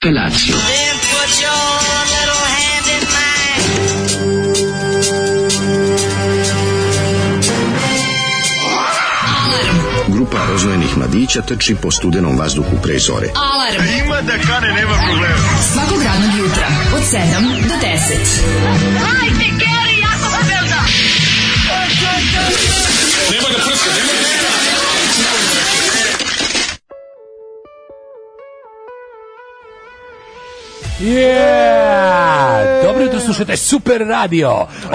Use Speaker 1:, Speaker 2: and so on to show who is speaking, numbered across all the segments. Speaker 1: Pelaciju.
Speaker 2: Grupa roznojenih mladića trči po studenom vazduhu pre zore.
Speaker 3: Alarm.
Speaker 4: Ima da kane, nema problema.
Speaker 3: Svakog radnog jutra od 7 do 10.
Speaker 5: Hajde, Geri, jako se velda!
Speaker 6: Yeah! Dobro jutro slušate Super Radio.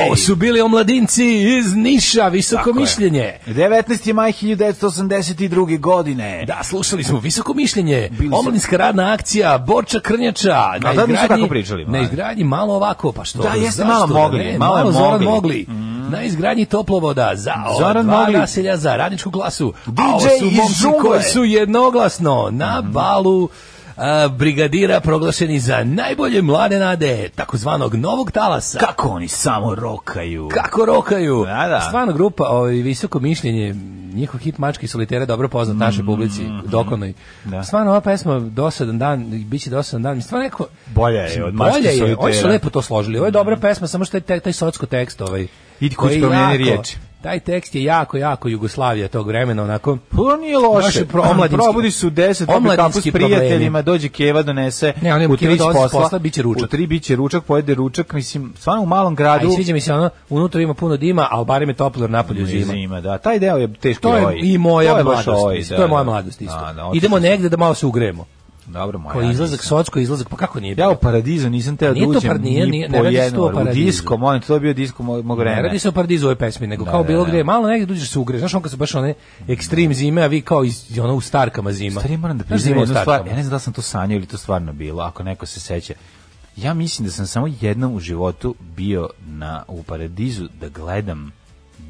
Speaker 6: Ovo su bili omladinci iz Niša, visoko
Speaker 7: Tako je.
Speaker 6: mišljenje.
Speaker 7: 19. maj 1982. godine.
Speaker 6: Da, slušali smo visoko mišljenje,
Speaker 7: Bili su-
Speaker 6: omladinska radna akcija, Borča Krnjača.
Speaker 7: da, nisu tako pričali,
Speaker 6: Na
Speaker 7: ma.
Speaker 6: izgradnji malo ovako, pa što?
Speaker 7: Da, jeste,
Speaker 6: zašto
Speaker 7: malo
Speaker 6: da
Speaker 7: mogli,
Speaker 6: ne?
Speaker 7: malo
Speaker 6: malo,
Speaker 7: je
Speaker 6: Zoran
Speaker 7: mogli. Mm.
Speaker 6: mogli. Na izgradnji toplovoda za
Speaker 7: Zoran
Speaker 6: Zoran dva
Speaker 7: Mogli.
Speaker 6: naselja za radničku klasu.
Speaker 7: DJ
Speaker 6: A ovo su
Speaker 7: iz
Speaker 6: momci
Speaker 7: džungle. Mhm.
Speaker 6: koji su jednoglasno na balu a, brigadira proglašeni za najbolje mlade nade takozvanog novog talasa.
Speaker 7: Kako oni samo rokaju.
Speaker 6: Kako rokaju.
Speaker 7: Da, da.
Speaker 6: Stvarno grupa, ovaj, visoko mišljenje, njihov hit Mački i solitere dobro poznat našoj publici, dokonoj.
Speaker 7: Mhm. Da.
Speaker 6: Stvarno ova pesma, dosadan dan, bit će dosadan dan, stvarno neko...
Speaker 7: Bolja je od Mački
Speaker 6: Bolje
Speaker 7: i
Speaker 6: je, oni su
Speaker 7: solitera. Mhm.
Speaker 6: lepo to složili. Ovo je dobra pesma, samo što je taj, taj socko tekst ovaj.
Speaker 7: Idi kući,
Speaker 6: koji je
Speaker 7: promijeni
Speaker 6: jako-
Speaker 7: riječi.
Speaker 6: Taj tekst je jako, jako Jugoslavija tog vremena, onako...
Speaker 7: Pa nije loše.
Speaker 6: Naše pro- omladinski-
Speaker 7: Probudi su u 10, popije kapu s
Speaker 6: omladinski
Speaker 7: prijateljima,
Speaker 6: problemi.
Speaker 7: dođe Keva, donese
Speaker 6: Ne, on je
Speaker 7: u
Speaker 6: Keva
Speaker 7: 3
Speaker 6: dolazi s
Speaker 7: posla,
Speaker 6: posla, bit će ručak.
Speaker 7: U 3 biće ručak, pojede ručak, mislim, stvarno u malom gradu.
Speaker 6: A i sviđa mi se ono, unutra ima puno dima, ali barem je toplo jer napolju zima.
Speaker 7: zima, da. Taj deo je teško
Speaker 6: To je
Speaker 7: oj.
Speaker 6: i moja
Speaker 7: To je baš
Speaker 6: mladost.
Speaker 7: oj, da,
Speaker 6: to je moja
Speaker 7: da.
Speaker 6: mladost isto.
Speaker 7: Da, da,
Speaker 6: Idemo
Speaker 7: otišao sam.
Speaker 6: negde da malo se ugrejemo.
Speaker 7: Dobro, moja.
Speaker 6: Koji
Speaker 7: ja
Speaker 6: izlazak,
Speaker 7: nisam.
Speaker 6: socko izlazak, pa kako nije
Speaker 7: Ja u
Speaker 6: bilo?
Speaker 7: paradizu nisam teo da
Speaker 6: Nije to
Speaker 7: uđem
Speaker 6: par- nije-
Speaker 7: ni
Speaker 6: nije-
Speaker 7: po
Speaker 6: ne radi se tu o
Speaker 7: jednom. U
Speaker 6: paradizu.
Speaker 7: disko, molim, te, to je bio disko mog mog vremena.
Speaker 6: Ne radi se o paradizu ove pesmi, nego
Speaker 7: Da,
Speaker 6: kao
Speaker 7: da,
Speaker 6: bilo
Speaker 7: da.
Speaker 6: gde, malo negde duđeš se ugreš. Znaš, on kad su baš one ekstrem zime, a vi kao iz, ono u starkama zima.
Speaker 7: Stari moram da
Speaker 6: Znaš zima
Speaker 7: priznam
Speaker 6: u
Speaker 7: jednu stvar,
Speaker 6: starkama?
Speaker 7: ja ne znam da li sam to sanjao ili to stvarno bilo, ako neko se seća. Ja mislim da sam samo jednom u životu bio na, u paradizu da gledam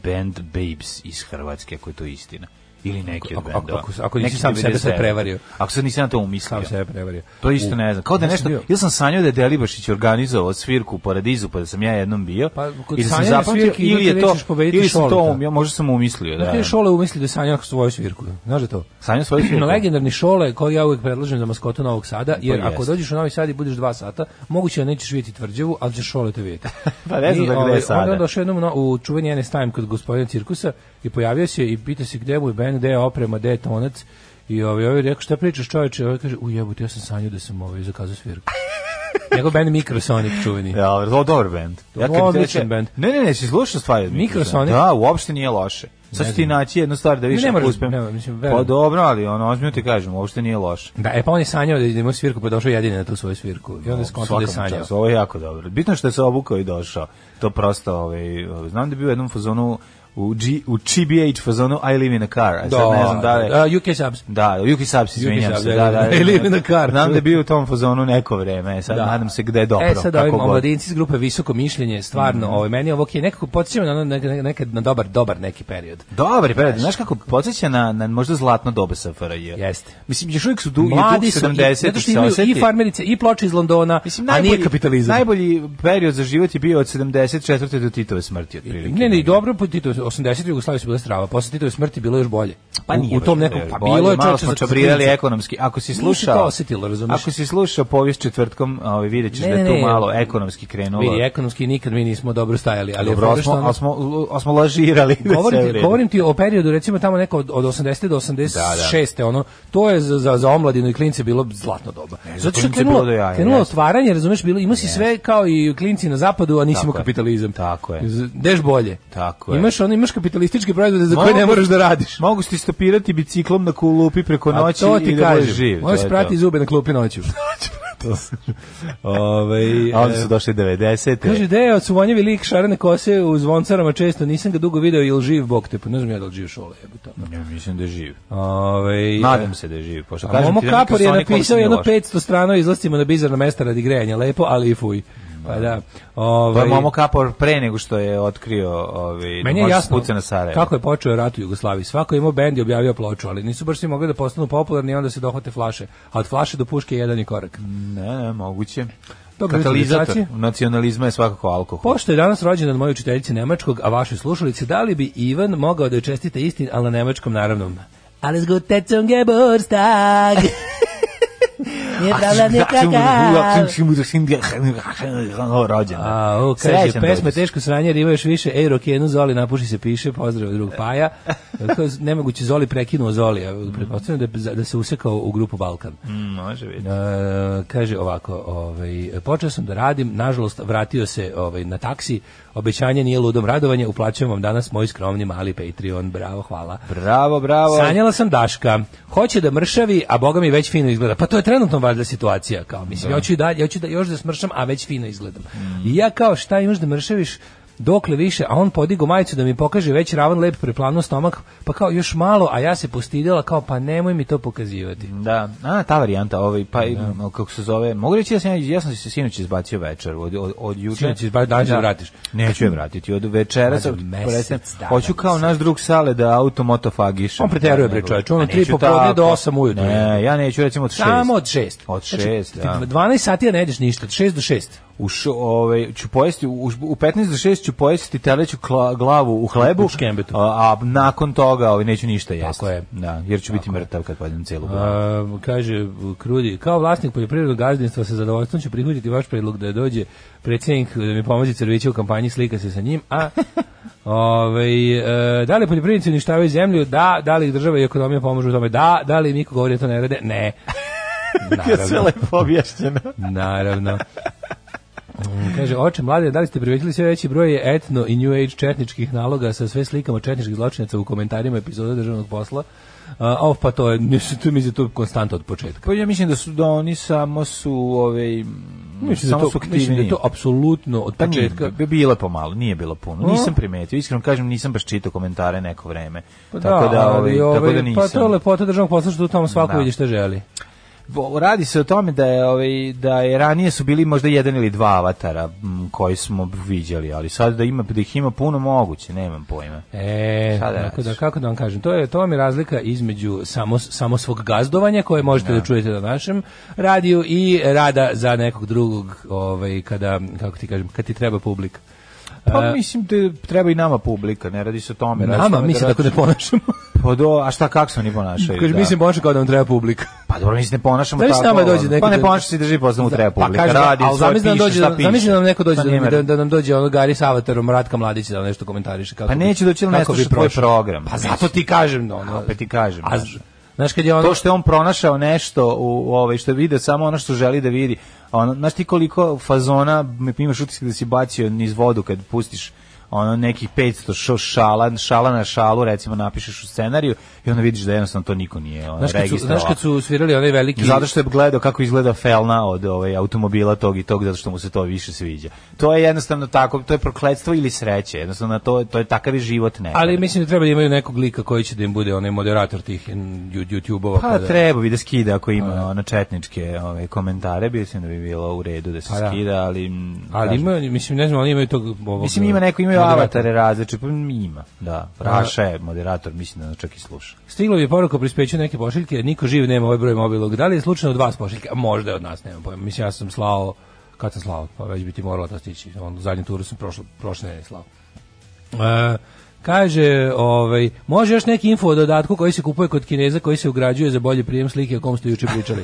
Speaker 7: band Babes iz Hrvatske, ako je to istina. Ili neki od
Speaker 6: Ako- ako-
Speaker 7: bendova.
Speaker 6: ako- ako nisi
Speaker 7: Neki
Speaker 6: sam sebe
Speaker 7: 97.
Speaker 6: sad prevario.
Speaker 7: Ako sad nisam na to umislio.
Speaker 6: Sam sebe prevario.
Speaker 7: To isto
Speaker 6: U-
Speaker 7: ne znam. Kao da
Speaker 6: Ja sam
Speaker 7: nešto,
Speaker 6: bio-
Speaker 7: ili sam sanjao da je Delibašić organizovao svirku u Paradizu, pa da sam ja jednom bio,
Speaker 6: Pa, kod
Speaker 7: i da sam
Speaker 6: sanjanja
Speaker 7: zapamtio,
Speaker 6: svirke
Speaker 7: ili
Speaker 6: idete
Speaker 7: je to,
Speaker 6: rečiš pobediti
Speaker 7: ili sam to,
Speaker 6: Šoleta.
Speaker 7: um- ja možda sam umislio, da.
Speaker 6: Ti je Šole umislio da je sanjao svoju svirku. Znaš da to?
Speaker 7: Sanjao svoju svirku?
Speaker 6: Legendarni Šole koji ja uvek predlažem za maskotu Novog Sada, jer
Speaker 7: jest.
Speaker 6: ako dođeš u Novi Sad i budeš dva sata, moguće da nećeš vidjeti tvrđavu, ali ćeš Šole te vidjeti.
Speaker 7: Pa ne znam
Speaker 6: I,
Speaker 7: da gde je
Speaker 6: ovaj, Onda
Speaker 7: sada.
Speaker 6: je došao jednom na- u čuveni NS Time kod gospodina Cirkusa i pojavio se i pita se gde mu je band, gde je oprema, gde je tonac. I ovaj, ovaj rekao, šta pričaš čoveče? Ovaj kaže, u jebote, ja sam sanjao da sam ovaj zakazao svirku. Njegov band Microsonic čuveni.
Speaker 7: Ja, to je dobar bend.
Speaker 6: Odličan bend.
Speaker 7: Ne, ne, ne, si slušao stvari od
Speaker 6: Mikrosonic?
Speaker 7: Mikrosonic? Da, uopšte nije loše. Sad ću ti naći jednu stvar da više
Speaker 6: Ne, ne moraš,
Speaker 7: uspem.
Speaker 6: ne, mislim, verujem.
Speaker 7: pa dobro, ali ono, ozbiljno ti kažem, uopšte nije loše.
Speaker 6: Da, e pa on je sanjao da idemo svirku, pa je došao jedini na tu svoju svirku. I onda je skontao da je
Speaker 7: Svaka mu
Speaker 6: sanjao.
Speaker 7: čast, Ovo je jako dobro. Bitno je što je se obukao i došao. To prosto, ovaj, ovaj, znam da je bio u jednom fazonu u, G, u GBH fazonu I live in a car. A sad ne znam da li...
Speaker 6: A, UK Subs.
Speaker 7: Da, Juki Saps, izvinjam
Speaker 6: Saps,
Speaker 7: se.
Speaker 6: da,
Speaker 7: Da, da,
Speaker 6: da, I live in a car.
Speaker 7: Znam da je bio u tom fazonu neko vreme, e sad nadam se gde je dobro.
Speaker 6: E sad
Speaker 7: kako
Speaker 6: ovim
Speaker 7: god. Mhm.
Speaker 6: omladinci iz grupe Visoko mišljenje, stvarno, ovaj, meni ovo je nekako podsjećao na ono neka- neka- nekad na dobar, dobar neki period.
Speaker 7: Dobar period, znaš kako podsjeća na, na možda zlatno doba SFRJ.
Speaker 6: Jeste.
Speaker 7: Mislim, još uvijek su dugi,
Speaker 6: Mladi
Speaker 7: su
Speaker 6: su,
Speaker 7: 70
Speaker 6: i, zato što imaju i farmerice, i ploče iz Londona,
Speaker 7: Mislim,
Speaker 6: a
Speaker 7: najbolji,
Speaker 6: nije kapitalizam.
Speaker 7: Najbolji period za život je bio od 74. do Titove smrti, otprilike.
Speaker 6: Ne, ne, i dobro, pa po Tito, 80. Jugoslavije su bila strava, posle Titove smrti bilo je još bolje.
Speaker 7: Pa
Speaker 6: U-
Speaker 7: nije
Speaker 6: u, tom
Speaker 7: baš
Speaker 6: nekom,
Speaker 7: previše
Speaker 6: pa
Speaker 7: bolje,
Speaker 6: bilo je
Speaker 7: malo
Speaker 6: čoče
Speaker 7: smo čabrirali ekonomski. Ako si
Speaker 6: Nisi
Speaker 7: slušao,
Speaker 6: to osetilo, razumeš?
Speaker 7: Ako si slušao povijest četvrtkom, ovaj vidjet ćeš
Speaker 6: Ne,
Speaker 7: da je
Speaker 6: ne,
Speaker 7: tu
Speaker 6: ne.
Speaker 7: malo ekonomski krenulo.
Speaker 6: Vidi, ekonomski nikad mi nismo dobro stajali, ali je
Speaker 7: Dobro,
Speaker 6: fora
Speaker 7: ali
Speaker 6: što
Speaker 7: smo,
Speaker 6: ono-
Speaker 7: ali smo, ali smo lažirali. sve
Speaker 6: govorim ti,
Speaker 7: vrijeme.
Speaker 6: govorim ti o periodu recimo tamo neko od, od 80 do 86 ono to je za za za omladinu i klince bilo zlatno doba.
Speaker 7: za
Speaker 6: Zato što je
Speaker 7: klince
Speaker 6: krenulo,
Speaker 7: bilo do jaja,
Speaker 6: krenulo
Speaker 7: jeste.
Speaker 6: otvaranje, razumeš, bilo ima si sve kao i klinci na zapadu, a nisimo
Speaker 7: Tako je.
Speaker 6: kapitalizam.
Speaker 7: Tako je.
Speaker 6: Z- Deš bolje.
Speaker 7: Tako je.
Speaker 6: Imaš ono, imaš kapitalističke proizvode za koje ne moraš da radiš.
Speaker 7: Mogu si stopirati biciklom na kulupi preko
Speaker 6: A
Speaker 7: noći
Speaker 6: to ti
Speaker 7: i da budeš
Speaker 6: kažem.
Speaker 7: živ. to
Speaker 6: Možeš
Speaker 7: je to.
Speaker 6: prati zube na klupi noću.
Speaker 7: Ovaj, a onda su došli 90.
Speaker 6: Kaže, da je od suvanjevi lik šarane kose u zvoncarama često, nisam ga dugo video, jel živ bog te, pa ne znam ja da li živ šole, jebote. ono.
Speaker 7: Ja mislim da je živ.
Speaker 6: Ovaj,
Speaker 7: Nadam se da je živ. Pošto
Speaker 6: A
Speaker 7: kažem
Speaker 6: Momo
Speaker 7: ti da
Speaker 6: Kapor je
Speaker 7: Mikrosonic
Speaker 6: napisao
Speaker 7: nije
Speaker 6: jedno
Speaker 7: loš.
Speaker 6: 500 strana o izlascima na bizarna mesta radi grejanja. Lepo, ali i fuj. Pa da.
Speaker 7: Pa
Speaker 6: Ovaj,
Speaker 7: je Momo Kapor pre nego što je otkrio ovaj,
Speaker 6: Meni je jasno
Speaker 7: puca na Sarajevo.
Speaker 6: kako je počeo rat u Jugoslaviji. Svako je imao bend i objavio ploču, ali nisu baš svi mogli da postanu popularni i onda se dohvate flaše. A od flaše do puške je jedan je korak.
Speaker 7: Ne, ne, moguće.
Speaker 6: Dobro,
Speaker 7: Katalizator
Speaker 6: dečaci.
Speaker 7: nacionalizma je svakako alkohol.
Speaker 6: Pošto je danas rođen od moje učiteljice nemačkog, a vašoj slušalici, da li bi Ivan mogao da joj čestite istin, ali na nemačkom naravno. Alles Gute zum Geburtstag.
Speaker 1: Nije dala ni kakav.
Speaker 7: rođen.
Speaker 6: A, o, kaže,
Speaker 7: Srećan
Speaker 6: pesma
Speaker 7: rođendan.
Speaker 6: teško sranje, riba još više, ej, rokenu, Zoli, napuši se, piše, pozdrav drug Paja. Kao, Nemoguće, Zoli prekinuo Zoli, a pretpostavljam da, da se usekao u grupu Balkan.
Speaker 7: Mm, Može biti.
Speaker 6: E, kaže ovako, ovaj, počeo sam da radim, nažalost vratio se ovaj, na taksi, obećanje nije ludom radovanje, uplaćujem vam danas moj skromni mali Patreon, bravo, hvala.
Speaker 7: Bravo, bravo.
Speaker 6: Sanjala sam Daška, hoće da mršavi, a boga mi već fino izgleda. Pa to je trenutno valjda situacija, kao mislim, ja hoću i dalje, ja hoću da još da smršam, a već fino izgledam. I ja kao šta imaš da mršaviš, dokle više, a on podigo majicu da mi pokaže već ravan lep preplanuo stomak, pa kao još malo, a ja se postidjela kao pa nemoj mi to pokazivati.
Speaker 7: Da, a ta varijanta, ovaj pa da. kako se zove, mogu reći da sam ja, ja sam se sinoć izbacio večer od od, od juče.
Speaker 6: Sinoć izbacio, danas ćeš vratiš.
Speaker 7: Neću je vratiti od večera
Speaker 6: Mlađo,
Speaker 7: sam
Speaker 6: mesec
Speaker 7: prestajem.
Speaker 6: dana
Speaker 7: Hoću kao naš drug sale da auto motofagiše.
Speaker 6: On preteruje, bre, čoveče, on od tri popodne do osam ujutru.
Speaker 7: Ne, ja neću recimo od 6.
Speaker 6: Samo od šest.
Speaker 7: Od
Speaker 6: Znači,
Speaker 7: šest,
Speaker 6: ti
Speaker 7: da.
Speaker 6: 12 sati ja ne jedeš ništa, od šest do šest.
Speaker 7: U š, ovaj ću pojesti u, u 15 do 6 ću pojesti teleću kla, glavu u hlebu.
Speaker 6: U škembetu.
Speaker 7: A, a nakon toga ovaj neću ništa jesti.
Speaker 6: Tako je.
Speaker 7: Da, jer ću biti mrtav kad pojedem celu glavu.
Speaker 6: A, Ehm, kaže Krudi, kao vlasnik poljoprivrednog gazdinstva sa zadovoljstvom ću prihvatiti vaš predlog da dođe predsjednik da mi pomozi Crvića u kampanji slika se sa njim, a ovaj, e, da li poljoprivrednici uništavaju zemlju? Da. Da li ih država i ekonomija pomažu u tome? Da. Da li im iko govori da to ne rade? Ne.
Speaker 7: Sve
Speaker 6: Naravno.
Speaker 7: lepo objašnjeno.
Speaker 6: Naravno. Mm, Kaže, oče mlade, da li ste privetili sve veći broj etno i new age četničkih naloga sa sve slikama četničkih zločinaca u komentarima epizoda državnog posla? A, of, pa to je, mislim, to mi je to konstanta od početka.
Speaker 7: Pa ja mislim da su da oni samo su ovaj
Speaker 6: Mislim da
Speaker 7: samo
Speaker 6: to,
Speaker 7: su
Speaker 6: mislim da
Speaker 7: aktivni.
Speaker 6: je to apsolutno od
Speaker 7: Pa nije,
Speaker 6: početka.
Speaker 7: bi- bilo je pomalo, nije bilo puno. Nisam primetio, iskreno kažem, nisam baš čitao komentare neko vreme. tako da,
Speaker 6: ali
Speaker 7: ovaj,
Speaker 6: ovaj,
Speaker 7: tako da nisam.
Speaker 6: Pa to je lepota državnog posla što tu tamo svako
Speaker 7: Da.
Speaker 6: vidi šta želi.
Speaker 7: Bo- Radi se o tome da je ovaj da je ranije su bili možda jedan ili dva avatara m, koji smo viđali, ali sad da ima da ih ima puno moguće, nemam pojma.
Speaker 6: E,
Speaker 7: Šta da
Speaker 6: tako da,
Speaker 7: radiš?
Speaker 6: kako da vam kažem, to je to vam je razlika između samo, samo svog gazdovanja koje možete da čujete na našem radiju i rada za nekog drugog, ovaj, kada, kako ti kažem, kad ti treba publika.
Speaker 7: Pa mislim da treba i nama publika, ne radi se o tome. radi se o
Speaker 6: Nama
Speaker 7: tome
Speaker 6: mi se tako ne
Speaker 7: radiš-
Speaker 6: ponašamo.
Speaker 7: Pa do, a šta kako se oni ponašaju?
Speaker 6: Kaže,
Speaker 7: da.
Speaker 6: mislim, ponašam kao da vam treba publika.
Speaker 7: Pa dobro, mi se ne ponašamo
Speaker 6: Zamisli
Speaker 7: tako.
Speaker 6: nama dođe neko
Speaker 7: pa ne
Speaker 6: da-
Speaker 7: ponašaš se i drži posle mu treba publika.
Speaker 6: kaže,
Speaker 7: radi,
Speaker 6: Pa ali
Speaker 7: svoje
Speaker 6: zamisli nam
Speaker 7: piše,
Speaker 6: dođe,
Speaker 7: šta
Speaker 6: da-
Speaker 7: piše.
Speaker 6: zamisli nam neko dođe
Speaker 7: Pa
Speaker 6: da,
Speaker 7: nema-
Speaker 6: da, da nam dođe ono Gari sa avatarom Ratka Mladića da nam nešto komentariše kako.
Speaker 7: Pa
Speaker 6: bi-
Speaker 7: neće doći, ali ne
Speaker 6: kako bi
Speaker 7: sluša tvoj
Speaker 6: prošao.
Speaker 7: program.
Speaker 6: Pa zato ti kažem, no, ono.
Speaker 7: Opet ti kažem.
Speaker 6: A, z- znaš kad je ono
Speaker 7: to što je on pronašao nešto u, u ovaj što je video samo ono što želi da vidi. A Ono, znaš ti koliko fazona me imaš utisak da si bacio niz vodu kad pustiš ono nekih 500 šo šala, šala na šalu recimo napišeš u scenariju i onda vidiš da jednostavno to niko nije ono,
Speaker 6: Znaš kad, su,
Speaker 7: registrovao.
Speaker 6: znaš kad su svirali onaj veliki
Speaker 7: Zato što je gledao kako izgleda felna od ovaj automobila tog i tog zato što mu se to više sviđa. To je jednostavno tako, to je prokletstvo ili sreće. Jednostavno to to je takav je život ne.
Speaker 6: E, Ali mislim da treba da imaju nekog lika koji će da im bude onaj moderator tih mm, ju- YouTube-ova.
Speaker 7: pa
Speaker 6: da-
Speaker 7: treba bi da skida ako ima ona četničke ove komentare, bi mislim da bi bilo u redu da se
Speaker 6: Pa da.
Speaker 7: skida, ali m,
Speaker 6: Ali
Speaker 7: kažem,
Speaker 6: imaju, mislim, ne znam, ali imaju tog... Ovog,
Speaker 7: Mislim ima neko imaju
Speaker 6: moderatora.
Speaker 7: avatare različite, pa ima. Pa Da, Raša je moderator, mislim da nas čak i sluša.
Speaker 6: Stiglo je poruka prispeću neke pošiljke, niko živ nema ovaj broj mobilog. Da li je slučajno od vas pošiljka? A Možda je od nas, nema pojma. Mislim, ja sam slao, kad sam slao, pa već bi ti morala to stići. On, zadnju turu sam prošlo, prošle nedelje slao. E, kaže, ovaj, može još neki info o dodatku koji se kupuje kod Kineza koji se ugrađuje za bolji prijem slike o kom ste juče pričali.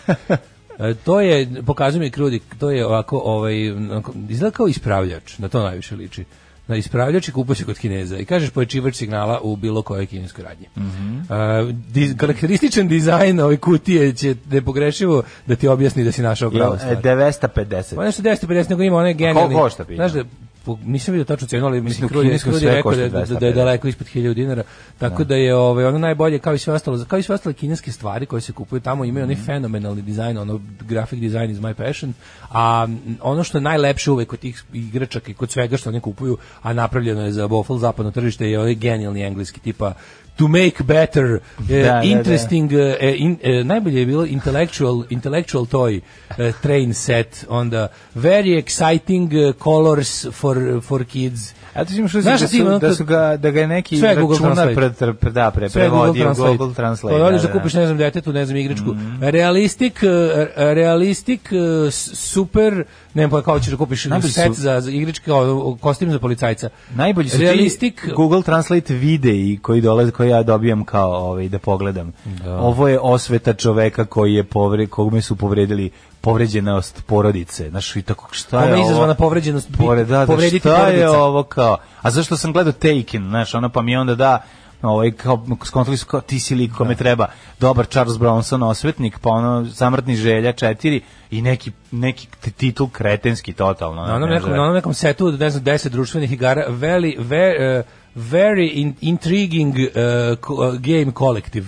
Speaker 6: E, to je, pokazuje mi Krudi, to je ovako, ovaj, onako, izgleda kao ispravljač, na to najviše liči. Na ispravljač i kupuje se kod Kineza i kažeš pojačivač signala u bilo kojoj kineskoj radnji.
Speaker 7: Mhm.
Speaker 6: E, di- karakterističan dizajn ove kutije će nepogrešivo da ti objasni da si našao
Speaker 7: Jel,
Speaker 6: pravo
Speaker 7: e, 950.
Speaker 6: pa nešto 950, nego ima one genijalni.
Speaker 7: koliko košta pivo?
Speaker 6: Znaš da, po- nisam vidio tačnu cenu, ali mislim,
Speaker 7: Mislim, u
Speaker 6: Krudi
Speaker 7: kineskom
Speaker 6: Krudi
Speaker 7: sve
Speaker 6: rekao da, je-
Speaker 7: košta
Speaker 6: da, da je
Speaker 7: 250.
Speaker 6: daleko ispod 1000 dinara, tako da, je ovaj, ono najbolje, kao i sve ostalo, kao i sve ostale kineske stvari koje se kupuju tamo, imaju
Speaker 7: Mhm.
Speaker 6: onaj fenomenalni dizajn, ono grafik dizajn is my passion, a m, ono što je najlepše uvek kod tih igračaka i kod svega što oni kupuju, a napravljeno je za bofl zapadno tržište, je onaj genijalni engleski tipa to make better, eh,
Speaker 7: da, da.
Speaker 6: interesting King, e, in, e, najbolje je bilo intellectual, intellectual toy e, train set, onda very exciting e, colors for, for kids.
Speaker 7: A ti imaš uzeti
Speaker 6: Znaš
Speaker 7: da
Speaker 6: ti, ono
Speaker 7: su, da
Speaker 6: kad-
Speaker 7: su ga, da ga je neki
Speaker 6: Sve je Google
Speaker 7: računar pre,
Speaker 6: Translate.
Speaker 7: pre- da, pre,
Speaker 6: Sve je
Speaker 7: prevodio Google Translate.
Speaker 6: Pa
Speaker 7: da,
Speaker 6: odeš da
Speaker 7: da, Mhm. da.
Speaker 6: kupiš, ne znam, detetu, ne znam, igračku. Realistic, e, realistic, e, s- super, nemam pojma kao ćeš da kupiš
Speaker 7: Najbolji
Speaker 6: set
Speaker 7: su-
Speaker 6: za, za igričke, o, o, kostim za policajca.
Speaker 7: Najbolji su
Speaker 6: Realistik,
Speaker 7: ti Google Translate videi koji dolaze koje ja dobijam kao ovaj da pogledam. Ovo je osveta čoveka koji je povre kome su povredili povređenost porodice. Znaš, i tako šta je
Speaker 6: Kome je
Speaker 7: ovo?
Speaker 6: izazvana povređenost bit-
Speaker 7: Povre- da, da,
Speaker 6: povrediti
Speaker 7: šta je
Speaker 6: porodica?
Speaker 7: ovo kao? A zašto sam gledao Taken, znaš, ono pa mi je onda da ovaj kao skontali su kao ti si lik kome treba dobar Charles Bronson osvetnik pa ono zamrtni želja 4 i neki neki t- titul kretenski totalno
Speaker 6: na onom
Speaker 7: ne
Speaker 6: nekom,
Speaker 7: znam.
Speaker 6: na onom nekom setu od, ne znam, deset društvenih igara, very, very, very in- intriguing eh, ko- game collective.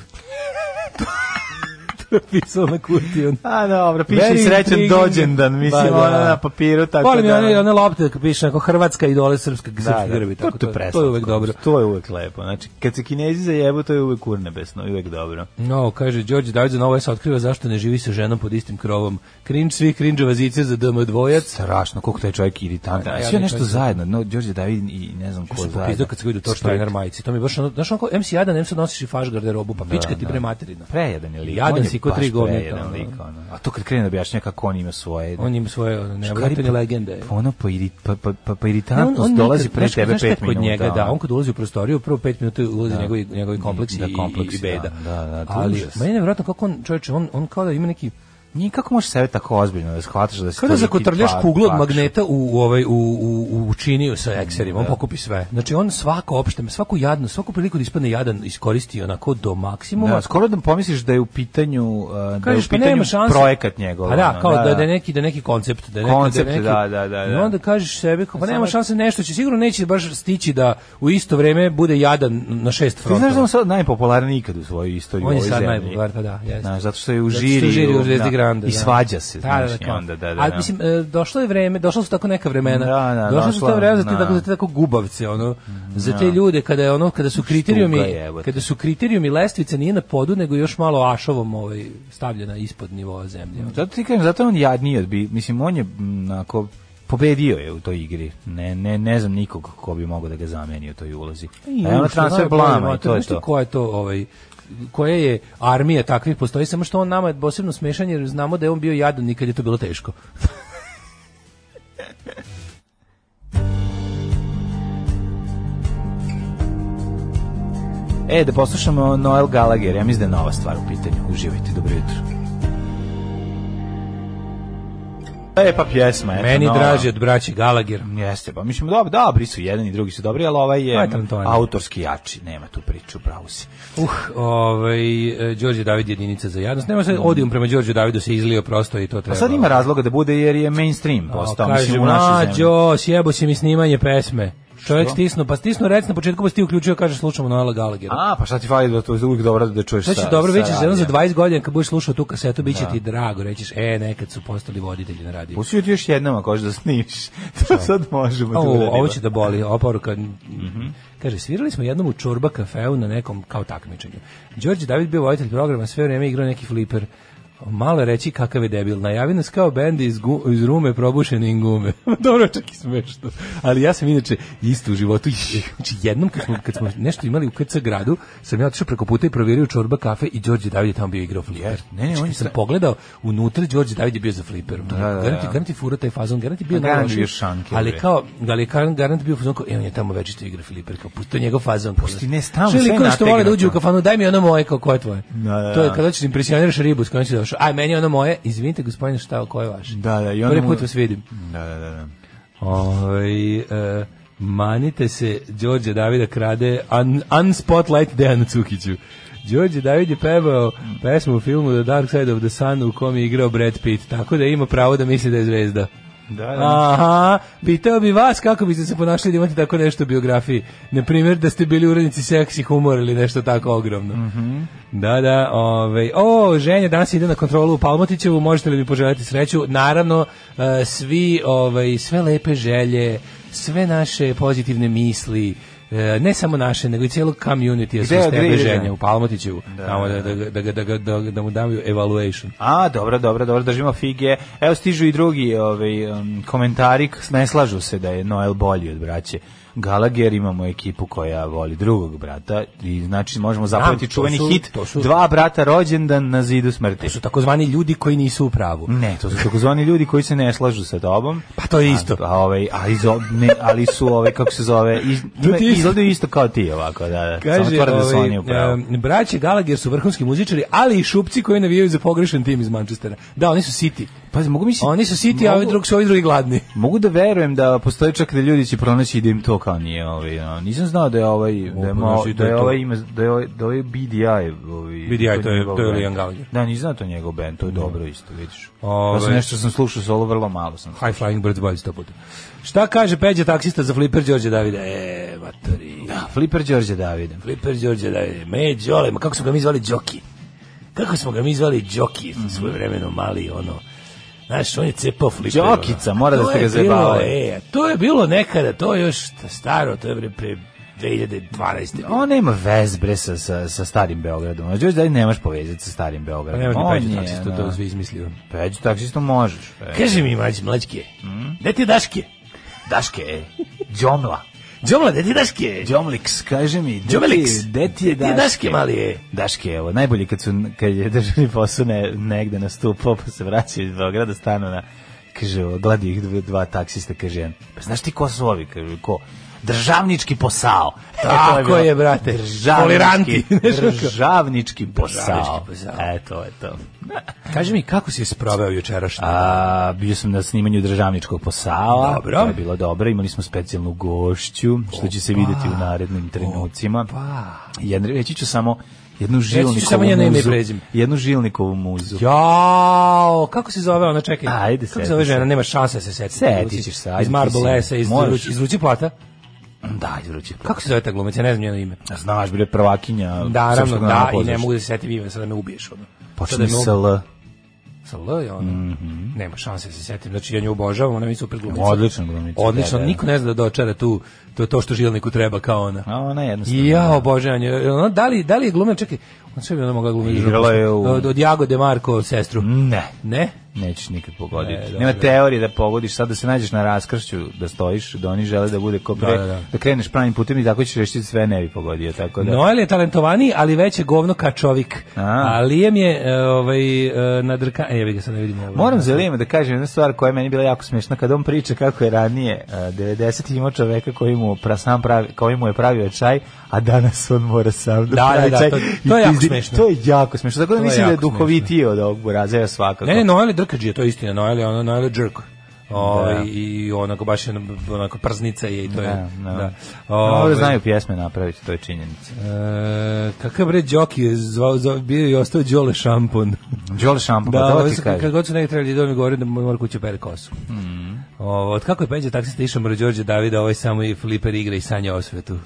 Speaker 6: to je pisao na kutiju.
Speaker 7: A Pa dobro, piše
Speaker 6: Very
Speaker 7: i srećan
Speaker 6: intriguing.
Speaker 7: dođendan, mislim,
Speaker 6: Ba, da.
Speaker 7: ono na papiru, tako
Speaker 6: Volim
Speaker 7: da...
Speaker 6: da, one, one lopte kako piše onako Hrvatska i dole srpska
Speaker 7: Da,
Speaker 6: srpski
Speaker 7: da,
Speaker 6: grbi
Speaker 7: to,
Speaker 6: tako
Speaker 7: to,
Speaker 6: je-
Speaker 7: je
Speaker 6: To je uvek dobro.
Speaker 7: To je uvek lepo, znači, kad se kinezi zajebu, to je uvek urnebesno, uvek dobro.
Speaker 6: No, kaže Đorđe David za novo S otkriva zašto ne živi sa ženom pod istim krovom. Krinč svih krinđova zice za DM dvojac.
Speaker 7: Strašno, koliko taj čovjek iritantan.
Speaker 6: Da,
Speaker 7: Da,
Speaker 6: ja
Speaker 7: Sve
Speaker 6: bi
Speaker 7: nešto
Speaker 6: čovjek-
Speaker 7: zajedno, no, Đorđe David i ne znam ko
Speaker 6: Ko se
Speaker 7: zajedno.
Speaker 6: popizdao kad se vidu to što je majici. To mi je baš ono, znaš onako MC1, em sad nosiš i faš garderobu, pa pička ti bre materina.
Speaker 7: Prejedan je lik.
Speaker 6: Jadan
Speaker 7: on je
Speaker 6: si ko
Speaker 7: baš
Speaker 6: tri govnjeta,
Speaker 7: prejedan
Speaker 6: ono.
Speaker 7: lik, ono. A to kad krene da objašnja kako on ima svoje...
Speaker 6: On ima svoje ono,
Speaker 7: Škari
Speaker 6: nevratene
Speaker 7: po-
Speaker 6: legende.
Speaker 7: Pa ono, pa, irit, pa, pa, pa, pa
Speaker 6: Ne,
Speaker 7: iritantnost dolazi
Speaker 6: nikad-
Speaker 7: pre
Speaker 6: znaš-
Speaker 7: tebe
Speaker 6: znaš šta je
Speaker 7: pet minuta.
Speaker 6: Kod njega, da,
Speaker 7: ono.
Speaker 6: on kad ulazi u prostoriju, prvo pet minuta ulazi njegovi, njegovi kompleksi,
Speaker 7: Da,
Speaker 6: i-
Speaker 7: kompleksi,
Speaker 6: i, beda.
Speaker 7: da, da, da, to je
Speaker 6: Ali,
Speaker 7: užas.
Speaker 6: meni je nevjerojatno kako on, čovječe, on, on kao da ima neki,
Speaker 7: Nije kako možeš sebe tako ozbiljno da shvataš da si
Speaker 6: Kada
Speaker 7: toliki
Speaker 6: zakotrljaš
Speaker 7: pa-
Speaker 6: kuglu od
Speaker 7: pakša.
Speaker 6: magneta u, u, ovaj, u, u, u činiju sa ekserima, on pokupi sve. Znači on svako opšte, svaku jadnu, svaku priliku da ispadne jadan iskoristi onako do maksimuma.
Speaker 7: Da, skoro da pomisliš da je u pitanju, uh, da je u
Speaker 6: Kažeš pa nema
Speaker 7: pitanju
Speaker 6: šanse.
Speaker 7: projekat njegov.
Speaker 6: Pa da,
Speaker 7: ono,
Speaker 6: kao da, da, je neki, da je neki koncept. Da je neki,
Speaker 7: Koncept,
Speaker 6: da, je neki,
Speaker 7: da, da, da,
Speaker 6: I
Speaker 7: da.
Speaker 6: onda kažeš sebi, kao, pa nema šanse nešto će, sigurno neće baš stići da u isto vreme bude jadan na šest
Speaker 7: Ti
Speaker 6: frontova.
Speaker 7: znaš da je on sad najpopularniji ikad u svojoj istoriji
Speaker 6: On
Speaker 7: u
Speaker 6: je
Speaker 7: ovoj
Speaker 6: sad
Speaker 7: zemlji.
Speaker 6: najpopularniji, pa da, jeste.
Speaker 7: Znaš, zato što je u
Speaker 6: Zato što
Speaker 7: žiri,
Speaker 6: u žiri u
Speaker 7: da,
Speaker 6: Zvezdi Grande,
Speaker 7: I
Speaker 6: da.
Speaker 7: svađa se, znači.
Speaker 6: Da,
Speaker 7: znaš,
Speaker 6: da, da,
Speaker 7: i onda, da, da.
Speaker 6: A
Speaker 7: da.
Speaker 6: mislim, e, došlo je vreme, došlo su tako neka vremena.
Speaker 7: Da, da,
Speaker 6: došlo su
Speaker 7: došla-
Speaker 6: ta vremena za te,
Speaker 7: da.
Speaker 6: tako, za te tako gubavce, ono, za te ljude kada je ono, kada su kriterijumi,
Speaker 7: je, evo te.
Speaker 6: kada su kriterijumi lestvice nije na podu, nego još malo ašovom ovaj, stavljena ispod nivoa zemlje. ono.
Speaker 7: Zato ti kažem, zato je on jadniji od bi, mislim, on je, mm, onako, pobedio je u toj igri. Ne, ne, ne znam nikog ko bi mogao da ga zameni u toj ulozi. I, e, ono
Speaker 6: Pa što je
Speaker 7: transfer
Speaker 6: najbolje,
Speaker 7: blama i
Speaker 6: mater,
Speaker 7: to je
Speaker 6: znaš ti
Speaker 7: to.
Speaker 6: Koja je to, ovaj, koja je armija takvih postoji, samo što on nama je posebno smešan jer znamo da je on bio jadan i kad je to bilo teško.
Speaker 7: E, da poslušamo Noel Gallagher, ja mislim da je nova stvar u pitanju. Uživajte, dobro jutro. E, pa pjesma, eto,
Speaker 6: Meni
Speaker 7: nova.
Speaker 6: draži od braće Gallagher.
Speaker 7: Jeste, pa mislim, dobro, dobri su, jedan i drugi su dobri, ali ovaj je
Speaker 6: Ajde, Antoni.
Speaker 7: autorski jači, nema tu priču, pravo si.
Speaker 6: Uh, ovaj, e, Đorđe David jedinica za jadnost. Nema se odijum prema Đorđu Davidu se izlio prosto i to treba.
Speaker 7: A Mm. Pa sad ima razloga da bude jer je mainstream
Speaker 6: A,
Speaker 7: postao,
Speaker 6: kaže,
Speaker 7: mislim, u našoj zemlji.
Speaker 6: Mlađo, sjebo si mi snimanje pesme. Čovjek stisnu, pa stisnu rec na početku, pa si ti uključio, kaže, slušamo Noela Gallaghera.
Speaker 7: A, pa šta ti fali da to je uvijek dobro da čuješ
Speaker 6: Sad ćeš
Speaker 7: sa-
Speaker 6: dobro,
Speaker 7: sa
Speaker 6: vidjet ćeš jedno za
Speaker 7: radija.
Speaker 6: 20 godina kad budeš slušao tu kasetu, bit će ti drago, rećeš, e, nekad su postali voditelji na radiju.
Speaker 7: Pustio ti još jednom ako hoćeš da snimiš. To sad možemo. tu
Speaker 6: Ovo,
Speaker 7: uradimo.
Speaker 6: ovo će da boli, ova poruka.
Speaker 7: Mhm.
Speaker 6: Kaže, svirali smo jednom u čorba kafeu na nekom kao takmičenju. Đorđe David bio voditelj programa, sve vreme igrao neki fliper. Malo je reći kakav je debil. Najavi nas kao bend iz, gu- iz rume probušene ingume. Dobro, čak i smešno. Ali ja sam inače isto u životu. Znači, jednom kad smo, kad smo nešto imali u KC gradu, sam ja otišao preko puta i provjerio čorba kafe i Đorđe David je tamo bio igrao fliper.
Speaker 7: Ne, ne, on
Speaker 6: Znači,
Speaker 7: je
Speaker 6: kad sam
Speaker 7: sta-
Speaker 6: pogledao, unutra Đorđe David je bio za fliperom. Da,
Speaker 7: da, da.
Speaker 6: ti fura taj fazon, garanti bio
Speaker 7: A garant
Speaker 6: najlošiji.
Speaker 7: bio šanker,
Speaker 6: Ali
Speaker 7: bre.
Speaker 6: kao, da li je Karan Garant bio fazon kao, e, on je tamo večito igra Filiper, kao, pusti to je njegov fazon. kao,
Speaker 7: Pusti, ne, stalno
Speaker 6: Što je
Speaker 7: sve
Speaker 6: liko što vole da
Speaker 7: nategnuto.
Speaker 6: uđe u kafanu, daj mi ono moje, kao, koje je tvoje?
Speaker 7: Da, da,
Speaker 6: To je
Speaker 7: da.
Speaker 6: kada ćeš impresioniraš ribu s kojom si došao, aj, meni je ono moje, izvinite, gospodine, šta, koje je vaše?
Speaker 7: Da, da, i ono
Speaker 6: Prvi
Speaker 7: mu-
Speaker 6: put vas vidim.
Speaker 7: Da, da, da, da.
Speaker 6: Oj, e, manite se, Đorđe Davida krade un, Unspotlight Dejanu Cukiću. Đorđe David je pevao pesmu u filmu The Dark Side of the Sun u kom je igrao Brad Pitt, tako da ima pravo da misli da je zvezda.
Speaker 7: Da, da.
Speaker 6: Aha, pitao bi vas kako biste se ponašali da imate tako nešto u biografiji. Na primjer, da ste bili urednici seksi humor ili nešto tako ogromno. Da, da, ovaj. O, ženja danas ide na kontrolu u Palmotićevu, možete li mi poželjeti sreću? Naravno, eh, svi, ovaj, sve lepe želje, sve naše pozitivne misli, eh, ne samo naše, nego i cijelog community su
Speaker 7: Gde-
Speaker 6: s
Speaker 7: gde ide
Speaker 6: tebe ženja
Speaker 7: ženja?
Speaker 6: u Palmotićevu. Tamo Da, da, ga- da, ga- da, ga- da, ga- da mu daju evaluation.
Speaker 7: A, dobro, dobro, dobro, držimo fige. Evo stižu i drugi ovaj, um, komentari, k- ne slažu se da je Noel bolji od braće. Gallagher, imamo ekipu koja voli drugog brata i znači možemo zapamtiti
Speaker 6: to
Speaker 7: čuveni
Speaker 6: su-
Speaker 7: hit
Speaker 6: to su-
Speaker 7: dva brata rođendan na zidu smrti.
Speaker 6: su takozvani ljudi koji nisu u pravu.
Speaker 7: Ne, to su takozvani ljudi koji se ne slažu sa tobom.
Speaker 6: Pa to je isto.
Speaker 7: A, a ovaj, a iz, ne, ali su ove, kako se zove, iz,
Speaker 6: To ti je isto.
Speaker 7: izgledaju isto kao ti ovako, da, da. Samo
Speaker 6: Kaže,
Speaker 7: tvrde da su
Speaker 6: ovaj,
Speaker 7: oni u pravu.
Speaker 6: em, braće Gallagher su vrhunski muzičari, ali i šupci koji navijaju za pogrešan tim iz Manchestera. Da, oni su City.
Speaker 7: Pazi, mogu misliti...
Speaker 6: Oni su City, a ovi drugi su ovi drugi gladni.
Speaker 7: Mogu da verujem da postoji čak da ljudi će pronaći i da im to kao nije ovaj, no, nisam znao da je ovaj da je, mo,
Speaker 6: pronaći, to
Speaker 7: da
Speaker 6: je
Speaker 7: je
Speaker 6: to.
Speaker 7: ovaj ime da je ovaj, da je ovaj BDI ovaj
Speaker 6: BDI, to je-
Speaker 7: njegov
Speaker 6: to je
Speaker 7: bend.
Speaker 6: Liam Gallagher.
Speaker 7: Da, nisam znao da je to njegov bend, to je dobro isto, vidiš.
Speaker 6: Ovaj.
Speaker 7: Ja sam nešto sam slušao solo vrlo malo sam.
Speaker 6: High Flying Birds bolje sto puta. Šta kaže Peđa taksista za Flipper Đorđe Davida? E, matori. Da.
Speaker 7: Flipper Đorđe Davide.
Speaker 6: Flipper Đorđe Davide. Me, Đole, ma kako smo ga mi zvali Đoki? Kako smo ga mi zvali Đoki?
Speaker 7: Mhm.
Speaker 6: Mm Svoje vremeno mali, ono... Znaš, on je cepao Flipper. ono.
Speaker 7: Đokica, mora da
Speaker 6: To
Speaker 7: ste
Speaker 6: je
Speaker 7: ga
Speaker 6: bilo,
Speaker 7: zajebavali.
Speaker 6: E, to je bilo nekada, to je još staro, to je bre pre 2012.
Speaker 7: On nema vez bre sa, sa, sa starim Beogradom. A Đorđe Davide nemaš povezati sa starim Beogradom.
Speaker 6: Nemaš ni
Speaker 7: On
Speaker 6: Peđa
Speaker 7: je,
Speaker 6: taksista,
Speaker 7: da.
Speaker 6: to svi izmislio.
Speaker 7: Peđu taksistu možeš. e.
Speaker 6: Kaži mi, mlađi, mlađke, gde ti je Daške?
Speaker 7: Hmm? Daške, e. Đomla.
Speaker 6: Đomla, gde ti je Daške?
Speaker 7: Đomlix, kaže mi.
Speaker 6: Đomeliks,
Speaker 7: Gde ti je
Speaker 6: Gde ti je Daške, mali je?
Speaker 7: Daške, evo, najbolje kad, su, kad je državni posao ne, negde nastupao, pa se vraćao iz Beograda, stanu na, kaže, ovo, gledi ih dva, dva taksista, kaže, jedan, pa znaš ti ko su ovi, kaže, ko? Državnički posao. E, to
Speaker 6: Tako
Speaker 7: bilo.
Speaker 6: je, brate. Poliranti.
Speaker 7: Državnički, državnički posao.
Speaker 6: Državnički posao.
Speaker 7: E, to je to.
Speaker 6: Kaži mi, kako si je spraveo jučerašnje?
Speaker 7: A, bio sam na snimanju državničkog posala.
Speaker 6: Dobro.
Speaker 7: To je bilo dobro. Imali smo specijalnu gošću, što će se videti u narednim trenucima. Jedn, reći ću samo jednu žilnikovu
Speaker 6: samo njeno ime i
Speaker 7: muzu.
Speaker 6: prezime.
Speaker 7: Jednu žilnikovu muzu.
Speaker 6: Jao, kako se zove ona, čekaj.
Speaker 7: Ajde,
Speaker 6: kako
Speaker 7: seti
Speaker 6: se zove
Speaker 7: se.
Speaker 6: žena, nema šanse da se seti.
Speaker 7: Setit ćeš se, ajde,
Speaker 6: Iz
Speaker 7: ti si-
Speaker 6: Marble Esa, iz,
Speaker 7: možeš.
Speaker 6: Ruć- iz Rući Plata.
Speaker 7: Da, izruči.
Speaker 6: Kako se zove ta glumica, ja ne znam njeno ime.
Speaker 7: Znaš, bre, prvakinja.
Speaker 6: Da, naravno,
Speaker 7: srpskog
Speaker 6: da, i
Speaker 7: narodnog
Speaker 6: ne
Speaker 7: pozorišta.
Speaker 6: mogu da se setim ime, sad da me ubiješ. Ono.
Speaker 7: Počne
Speaker 6: Sad da me
Speaker 7: sa Mhm. L.
Speaker 6: u- Sa L je ona. Nema šanse da se setim. Znači, ja nju obožavam, ona mi je super glumica.
Speaker 7: Odlična glumica,
Speaker 6: Odlično,
Speaker 7: da, da.
Speaker 6: niko ne zna da dočara tu, to, to što žilniku treba kao ona.
Speaker 7: A ona je jednostavno.
Speaker 6: Jao, bože, on je, ono, da li, da li je glumila, čekaj, on sve bi ona mogla glumiti.
Speaker 7: Igrala je u- Mm.
Speaker 6: Od, od Jagode Marko, sestru.
Speaker 7: Ne.
Speaker 6: Ne?
Speaker 7: Nećeš nikad
Speaker 6: Ne,
Speaker 7: pogoditi.
Speaker 6: dobro.
Speaker 7: Nema teorije da pogodiš, sad da se nađeš na raskršću, da stojiš, da oni žele da bude ko pre, da,
Speaker 6: da, da.
Speaker 7: kreneš pravim putem i tako ćeš rešiti sve ne bi pogodio, tako da.
Speaker 6: Noel je talentovaniji, ali veće govno ka čovik.
Speaker 7: A.
Speaker 6: A Lijem je e, ovaj, e, na drka... E, jebi ga sad ne vidim. Ovaj.
Speaker 7: Moram za Lijema da kažem jednu stvar koja je meni bila jako smešna kad on priča kako je ranije e, 90 imao čoveka koji mu pra, sam pravi, koji mu je pravio čaj, a danas on mora sam da,
Speaker 6: Da, da,
Speaker 7: pravi
Speaker 6: da,
Speaker 7: čaj.
Speaker 6: to-
Speaker 7: I
Speaker 6: to je jako
Speaker 7: pizdi-
Speaker 6: smešno.
Speaker 7: To je jako smešno. Tako da
Speaker 6: To je
Speaker 7: mislim da je
Speaker 6: jako smešno.
Speaker 7: duhovitiji od ovog burazeva svakako.
Speaker 6: Ne, ne, Noel je drkađija, to je istina. Noel je, ono, Noel je jerk. O,
Speaker 7: Da.
Speaker 6: I onako baš je onako prznica je i to je.
Speaker 7: Da, da.
Speaker 6: Ovaj,
Speaker 7: Dobro znaju pjesme napraviti, to je činjenica.
Speaker 6: E, kakav bre Đoki je zvao, zvao, bio i ostao Đole Šampon.
Speaker 7: Đole Šampa,
Speaker 6: Da,
Speaker 7: da, Pa to
Speaker 6: ovaj
Speaker 7: ti
Speaker 6: su-
Speaker 7: kažem. Mhm.
Speaker 6: kad god su negdje trebali da mi govore da mora kuće pere kosu. Ovo, od kako je Peđa taksista išao mora Đorđe Davida, ovaj samo i fliper igra i sanja o svetu.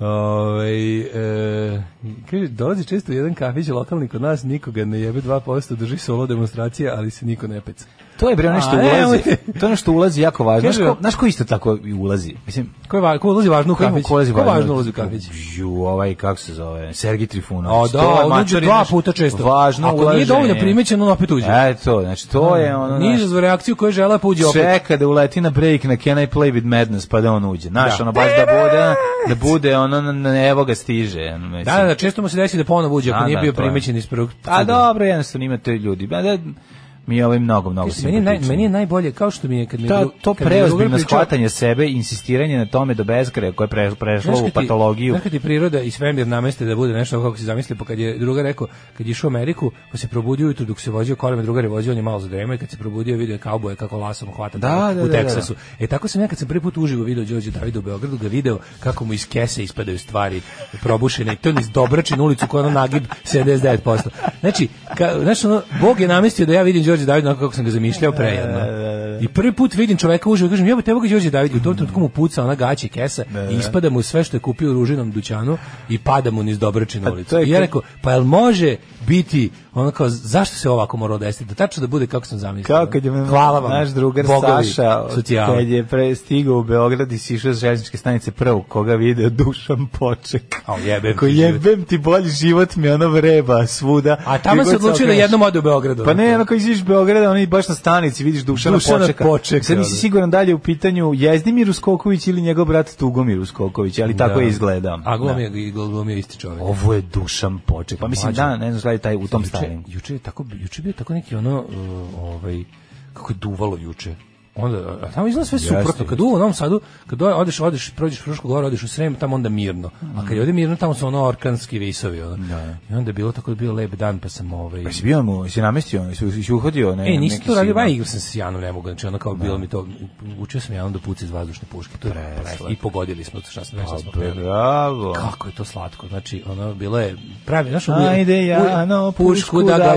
Speaker 6: Ovaj, e, kaže, dolazi često u jedan kafić lokalni kod nas, nikoga ne jebe 2%, drži solo demonstracije, ali se niko ne peca.
Speaker 7: To je bre nešto
Speaker 6: A,
Speaker 7: ulazi.
Speaker 6: nemojte.
Speaker 7: To je nešto ulazi jako važno. Znaš
Speaker 6: Kaže-
Speaker 7: ko, znaš ko isto tako i ulazi? Mislim,
Speaker 6: Ko, je, va- ko ulazi važno u
Speaker 7: ko ima-
Speaker 6: kafić?
Speaker 7: ko ulazi važno?
Speaker 6: važno ulazi u kafić?
Speaker 7: Ju, ovaj kako se zove? Sergij
Speaker 6: A
Speaker 7: Trifunović.
Speaker 6: da,
Speaker 7: To je
Speaker 6: on uđe
Speaker 7: mačar i
Speaker 6: dva
Speaker 7: nešto-
Speaker 6: puta često.
Speaker 7: Važno
Speaker 6: Ako
Speaker 7: ulaženje.
Speaker 6: nije dovoljno primećen, on opet uđe.
Speaker 7: E, to, znači to je ono
Speaker 6: Nije
Speaker 7: znaš,
Speaker 6: izazvao reakciju koju žele, pa uđe opet.
Speaker 7: čeka da uleti na break na Can I Play with Madness pa da on uđe. Znaš,
Speaker 6: Da.
Speaker 7: ono baš da bude, da bude ono, na- na- evo ga stiže. ono, mislim.
Speaker 6: Da, da, da, često mu se desi da ponovo uđe ako
Speaker 7: Da,
Speaker 6: nije
Speaker 7: da,
Speaker 6: bio
Speaker 7: to je.
Speaker 6: primećen iz prvog.
Speaker 7: A dobro, jednostavno imate ljudi. Ba, da, mi je ovaj mnogo, mnogo
Speaker 6: Meni je, naj,
Speaker 7: simpatičan.
Speaker 6: meni je najbolje, kao što mi je kad mi je
Speaker 7: Ta,
Speaker 6: dru-
Speaker 7: to
Speaker 6: kad mi je drugar
Speaker 7: preozbiljno
Speaker 6: pričao-
Speaker 7: shvatanje sebe, insistiranje na tome do bezgraja koje je pre, prešlo
Speaker 6: Znaš
Speaker 7: u
Speaker 6: kad ti-
Speaker 7: patologiju.
Speaker 6: Znaš kad ti priroda i svemir nameste da bude nešto kako si zamislio, pa kad je druga rekao, kad je išao u Ameriku, pa se probudio ujutru dok se vozio kolima, drugar je vozio, on je malo zadremao i kad se probudio vidio je kauboje kako lasom hvata
Speaker 7: Da,
Speaker 6: tamo
Speaker 7: da,
Speaker 6: u
Speaker 7: da, da.
Speaker 6: Teksasu. E tako sam ja kad sam prvi put uživo video Đorđe Davida u Beogradu, ga video kako mu iz kese ispadaju stvari probušene i to niz Dobračin ulicu koja je ono nagib 79%. Znači, ka, znaš, ono, Bog je namestio da ja vidim Đorđe Davida onako kako sam ga zamišljao prejedno. I prvi put vidim čoveka uživo i kažem, jebote, evo ga Đorđe David, u tom trenutku mu puca ona gaća i kesa i ispada mu sve što je kupio u ružinom dućanu i pada mu niz Dobračin
Speaker 7: A
Speaker 6: ulicu.
Speaker 7: Pa to je
Speaker 6: I ja
Speaker 7: kad-
Speaker 6: rekao, pa jel može biti ono kao, zašto se ovako moralo desiti? Da tačno da bude kako sam zamislio.
Speaker 7: Kao kad je me-
Speaker 6: Hvala vam.
Speaker 7: naš drugar
Speaker 6: Bogovi
Speaker 7: Saša,
Speaker 6: socijale.
Speaker 7: kad je pre stigao u Beograd i sišao s željezničke stanice prvo koga video Dušan Poček.
Speaker 6: Au, jebem ti
Speaker 7: Ko jebem ti bolji život mi ono vreba svuda.
Speaker 6: A tamo
Speaker 7: Gdje
Speaker 6: se
Speaker 7: god
Speaker 6: odlučio da
Speaker 7: okreneš.
Speaker 6: jednom ode u ono. Beogradu.
Speaker 7: Pa ne, onako iziš iz Beograda, oni baš na stanici vidiš Dušana,
Speaker 6: Dušana
Speaker 7: Počeka.
Speaker 6: Počeka,
Speaker 7: Sad nisi
Speaker 6: da.
Speaker 7: siguran dalje u pitanju Jezdimir Uskoković ili njegov brat Tugomir Uskoković, ali tako je izgledao.
Speaker 6: A glom
Speaker 7: Da.
Speaker 6: je, glom je isti čovjek.
Speaker 7: Ovo je Dušan Poček. Pa mislim
Speaker 6: Mlađo.
Speaker 7: da, ne znam šta je taj u tom
Speaker 6: juče,
Speaker 7: starim.
Speaker 6: juče je tako juče je bio tako neki ono uh, ovaj kako je duvalo juče. Onda a tamo izgleda sve suprotno. Kad duva u Novom Sadu, kad o- odeš, odeš, prođeš Frušku goru, odeš u Srem, tamo onda mirno. A kad je ovde mirno, tamo su ono orkanski visovi. Ono. I onda je bilo tako, bio lep dan, pa sam ovaj...
Speaker 7: Jesi bio mu, jesi namestio, jesi, jesi uhodio? Ne,
Speaker 6: E, nisi
Speaker 7: neki
Speaker 6: to radio,
Speaker 7: signal?
Speaker 6: ba, igrao sam se s Janom, ne mogu, znači ono kao bilo mi to, učio sam Janom da puci iz vazdušne puške, to je preslatko. I pogodili smo, šta sam, šta smo hteli.
Speaker 7: Bravo.
Speaker 6: Kako je to slatko, znači ono bilo je pravi, znaš, uvijek-
Speaker 7: Ajde, Jano, pušku da ga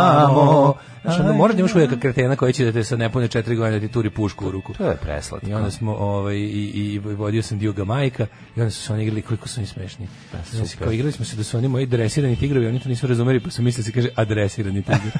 Speaker 7: upucamo.
Speaker 6: Znaš, ono, moraš da imaš uvijek kretena koji će da te sa nepune četiri godine da ti turi pušku u ruku.
Speaker 7: To je preslatko.
Speaker 6: I onda smo, ovaj, i, i, i vodio sam Dioga Majka i onda su se oni igrali, koliko su oni smešni.
Speaker 7: Pa,
Speaker 6: Znaš, kao igrali smo se da su oni moji dresirani tigrovi, oni to nisu razumeli, pa su mislili da se kaže adresirani tigrovi.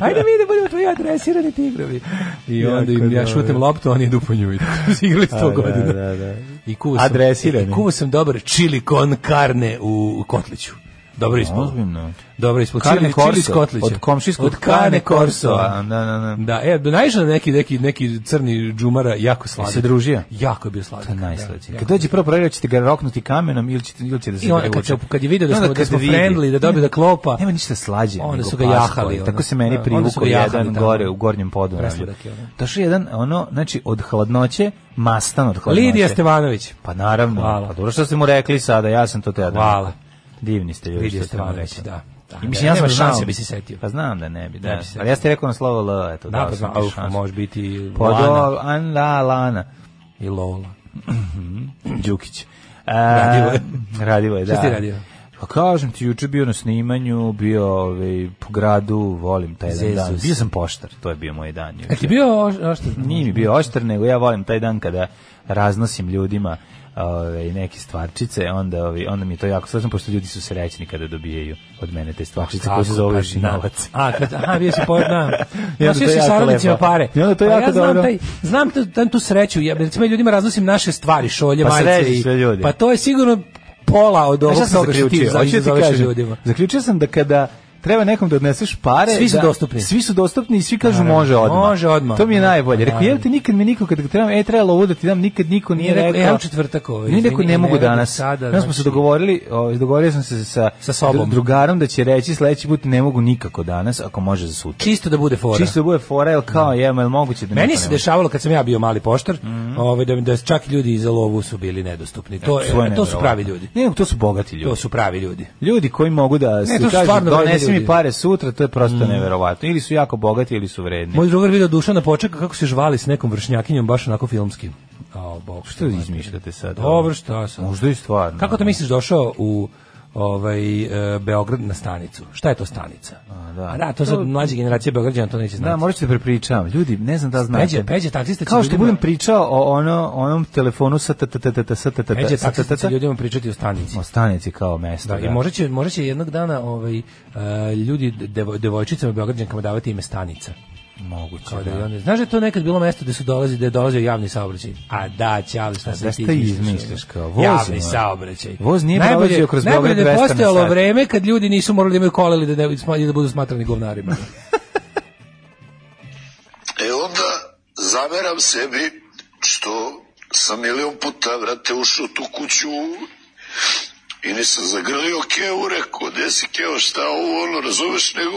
Speaker 6: Ajde mi da budemo tvoji adresirani tigrovi. I onda im,
Speaker 7: Jako
Speaker 6: ja
Speaker 7: dobro.
Speaker 6: šutem loptu, oni idu po nju i tako smo se igrali sto
Speaker 7: A, da,
Speaker 6: godina.
Speaker 7: da, da.
Speaker 6: I kuvao sam,
Speaker 7: Adresirani.
Speaker 6: i kuvao sam dobar čili con carne u, u Kotliću. Dobro ispalo.
Speaker 7: Ozbiljno.
Speaker 6: Dobro ispod
Speaker 7: Carne
Speaker 6: Čili,
Speaker 7: Corso,
Speaker 6: Čili Skotlića.
Speaker 7: od komšijskog
Speaker 6: od Carne
Speaker 7: Carne
Speaker 6: Korsova.
Speaker 7: Corsoa, da, da, da.
Speaker 6: Da, e, naišao na neki, neki, neki crni džumara, jako sladak.
Speaker 7: Se družio?
Speaker 6: Jako je bio sladak.
Speaker 7: To je najslađe.
Speaker 6: Da,
Speaker 7: Kad dođe prvo provjerio, ćete ga roknuti kamenom ili ćete, ili će da se
Speaker 6: I onda kad, se,
Speaker 7: prevuče.
Speaker 6: kad je vidio da
Speaker 7: I onda
Speaker 6: smo, da
Speaker 7: kad
Speaker 6: smo
Speaker 7: vidi-
Speaker 6: friendly, da dobio da klopa,
Speaker 7: Nema ništa slađe.
Speaker 6: Onda
Speaker 7: nego
Speaker 6: su ga
Speaker 7: pas
Speaker 6: jahali,
Speaker 7: koji-
Speaker 6: ono.
Speaker 7: Tako se
Speaker 6: Da,
Speaker 7: meni
Speaker 6: onda su
Speaker 7: privukao
Speaker 6: ga jahali
Speaker 7: jedan
Speaker 6: tamo.
Speaker 7: gore u gornjem podu.
Speaker 6: Presladak je ono.
Speaker 7: Došao je jedan, ono, znači, od hladnoće, mastan od hladnoće.
Speaker 6: Lidija Stevanović.
Speaker 7: Pa naravno.
Speaker 6: Hvala.
Speaker 7: Pa dobro što ste mu rekli sada, ja sam to teda.
Speaker 6: Hvala.
Speaker 7: Divni ste ljudi.
Speaker 6: Lidija
Speaker 7: što ste mu
Speaker 6: Stevanović,
Speaker 7: rekli.
Speaker 6: da. Da,
Speaker 7: I
Speaker 6: da,
Speaker 7: mislim, ja sam
Speaker 6: nema
Speaker 7: znao.
Speaker 6: šanse bi se setio.
Speaker 7: Pa znam da ne bi, da.
Speaker 6: Ne bi se
Speaker 7: Ali ja ste rekao na slovo L, eto,
Speaker 6: Da,
Speaker 7: dao
Speaker 6: pa
Speaker 7: sam
Speaker 6: znam,
Speaker 7: ti
Speaker 6: au,
Speaker 7: šansu.
Speaker 6: može biti
Speaker 7: Pa
Speaker 6: Lana
Speaker 7: do, an, da, Lana.
Speaker 6: i Lola.
Speaker 7: Đukić. E,
Speaker 6: Radivo je.
Speaker 7: Radivo je, da.
Speaker 6: Šta si ti radio?
Speaker 7: Pa kažem ti, juče bio na snimanju, bio ovaj, po gradu, volim taj jedan dan.
Speaker 6: Zezus.
Speaker 7: Bio sam poštar, to je bio moj dan juče.
Speaker 6: E ti bio oš- oštar?
Speaker 7: Nije mi bio oštar, nego ja volim taj dan kada raznosim ljudima ove, neke stvarčice, onda, ove, onda mi je to jako slično, pošto ljudi su srećni kada dobijaju od mene te stvarčice koje se
Speaker 6: Tako,
Speaker 7: zove
Speaker 6: pa,
Speaker 7: još i
Speaker 6: da.
Speaker 7: novac.
Speaker 6: A, kad, aha, bio si pored, da.
Speaker 7: pa, I onda
Speaker 6: Nosio
Speaker 7: to
Speaker 6: si
Speaker 7: jako
Speaker 6: saradnicima
Speaker 7: lepo.
Speaker 6: pare.
Speaker 7: I onda to
Speaker 6: Pa
Speaker 7: jako
Speaker 6: ja znam
Speaker 7: dobro.
Speaker 6: Taj, znam tu, tam tu sreću, ja, recimo ljudima raznosim naše stvari, šolje,
Speaker 7: Pa
Speaker 6: majice.
Speaker 7: sreći
Speaker 6: i-
Speaker 7: sve ljudi.
Speaker 6: Pa to je sigurno pola od
Speaker 7: Znaš
Speaker 6: ovog
Speaker 7: šta sam
Speaker 6: toga što ti
Speaker 7: zaključio? Hoću da ti
Speaker 6: zoveš
Speaker 7: kažem,
Speaker 6: ljudima.
Speaker 7: Zaključio sam da kada treba nekom da odneseš pare.
Speaker 6: Svi su
Speaker 7: da-
Speaker 6: dostupni.
Speaker 7: Svi su dostupni i svi kažu
Speaker 6: Naravno.
Speaker 7: može odmah.
Speaker 6: Može odmah.
Speaker 7: To mi je najbolje. Rekao,
Speaker 6: Naravno.
Speaker 7: jel ti nikad mi niko kad ga trebam, e, trebalo ovo da ti dam, nikad niko nije,
Speaker 6: Nije rekao,
Speaker 7: rekao.
Speaker 6: "E, u četvrtak ovo,
Speaker 7: Nije rekao,
Speaker 6: izvini,
Speaker 7: ne
Speaker 6: ne
Speaker 7: mogu
Speaker 6: mogu
Speaker 7: danas.
Speaker 6: sada,
Speaker 7: Znaš, smo se
Speaker 6: znači-
Speaker 7: dogovorili, o, dogovorio sam se sa,
Speaker 6: Sa sobom.
Speaker 7: dru- drugarom da će reći sledeći put ne mogu nikako danas, ako može za sutra.
Speaker 6: Čisto da bude fora.
Speaker 7: Čisto da bude fora, jel kao, je, jel moguće da Mhm.
Speaker 6: Meni
Speaker 7: neko
Speaker 6: se
Speaker 7: ne može?
Speaker 6: dešavalo kad sam ja bio mali poštar, ovaj, da, da čak i ljudi za lovu su bili nedostupni. To,
Speaker 7: Svoje
Speaker 6: je, to su
Speaker 7: nevjerovatno.
Speaker 6: pravi ljudi.
Speaker 7: Ne, nego to su bogati ljudi.
Speaker 6: To su pravi ljudi.
Speaker 7: Ljudi koji mogu da se
Speaker 6: to su
Speaker 7: kažu
Speaker 6: stvarno vredni
Speaker 7: donesi
Speaker 6: ljudi."
Speaker 7: mi
Speaker 6: Mm.
Speaker 7: pare sutra, to je prosto neverovatno. Ili su jako bogati ili su vredni.
Speaker 6: Moj drugar video Dušana počeka kako se žvali s nekom vršnjakinjom baš onako filmski. Ao, bog.
Speaker 7: Što vi izmišljate sad? ono?
Speaker 6: Dobro, šta sam.
Speaker 7: Možda i stvarno. ono.
Speaker 6: Kako to misliš došao u ovaj e, Beograd na stanicu? Šta je to stanica?
Speaker 7: A, da.
Speaker 6: A da, to sad mlađe generacije Beograđana to neće znati.
Speaker 7: Da, morat ću da prepričavam. Ljudi, ne znam da znate.
Speaker 6: Peđe- Peđe taksista će
Speaker 7: Kao što
Speaker 6: ljudima-
Speaker 7: budem pričao o ono, onom telefonu sa ta ta ta ta ta sa ta ta ta
Speaker 6: Međe
Speaker 7: sa ta
Speaker 6: taksista
Speaker 7: ta
Speaker 6: će
Speaker 7: ta
Speaker 6: ljudima pričati o stanici.
Speaker 7: O stanici kao mesto.
Speaker 6: Da, i možda će, možda će jednog dana ovaj, e, ljudi, devo, devojčicama Beograđankama davati ime stanica.
Speaker 7: Moguće,
Speaker 6: Kao da,
Speaker 7: da.
Speaker 6: i one- znaš da je to nekad bilo mesto gde su dolazi, da je dolazio javni saobraćaj? A da, ćali, šta se
Speaker 7: da
Speaker 6: ti
Speaker 7: šta
Speaker 6: izmišljaš?
Speaker 7: izmišljaš, kao, voz,
Speaker 6: Javni
Speaker 7: ono.
Speaker 6: saobraćaj.
Speaker 7: Voz nije
Speaker 6: Najbolje-
Speaker 7: prolazio kroz Beograd
Speaker 6: Najbolje da
Speaker 7: 200
Speaker 6: je
Speaker 7: na
Speaker 6: postojalo
Speaker 7: sat.
Speaker 6: vreme kad ljudi nisu morali da imaju kola ili da, ne, ili da budu smatrani govnarima.
Speaker 8: E onda zameram sebi što sam milion puta, vrate, ušao u tu kuću i nisam zagrlio Keu, rekao, gde si Keo, šta ovo, ono, razumeš, nego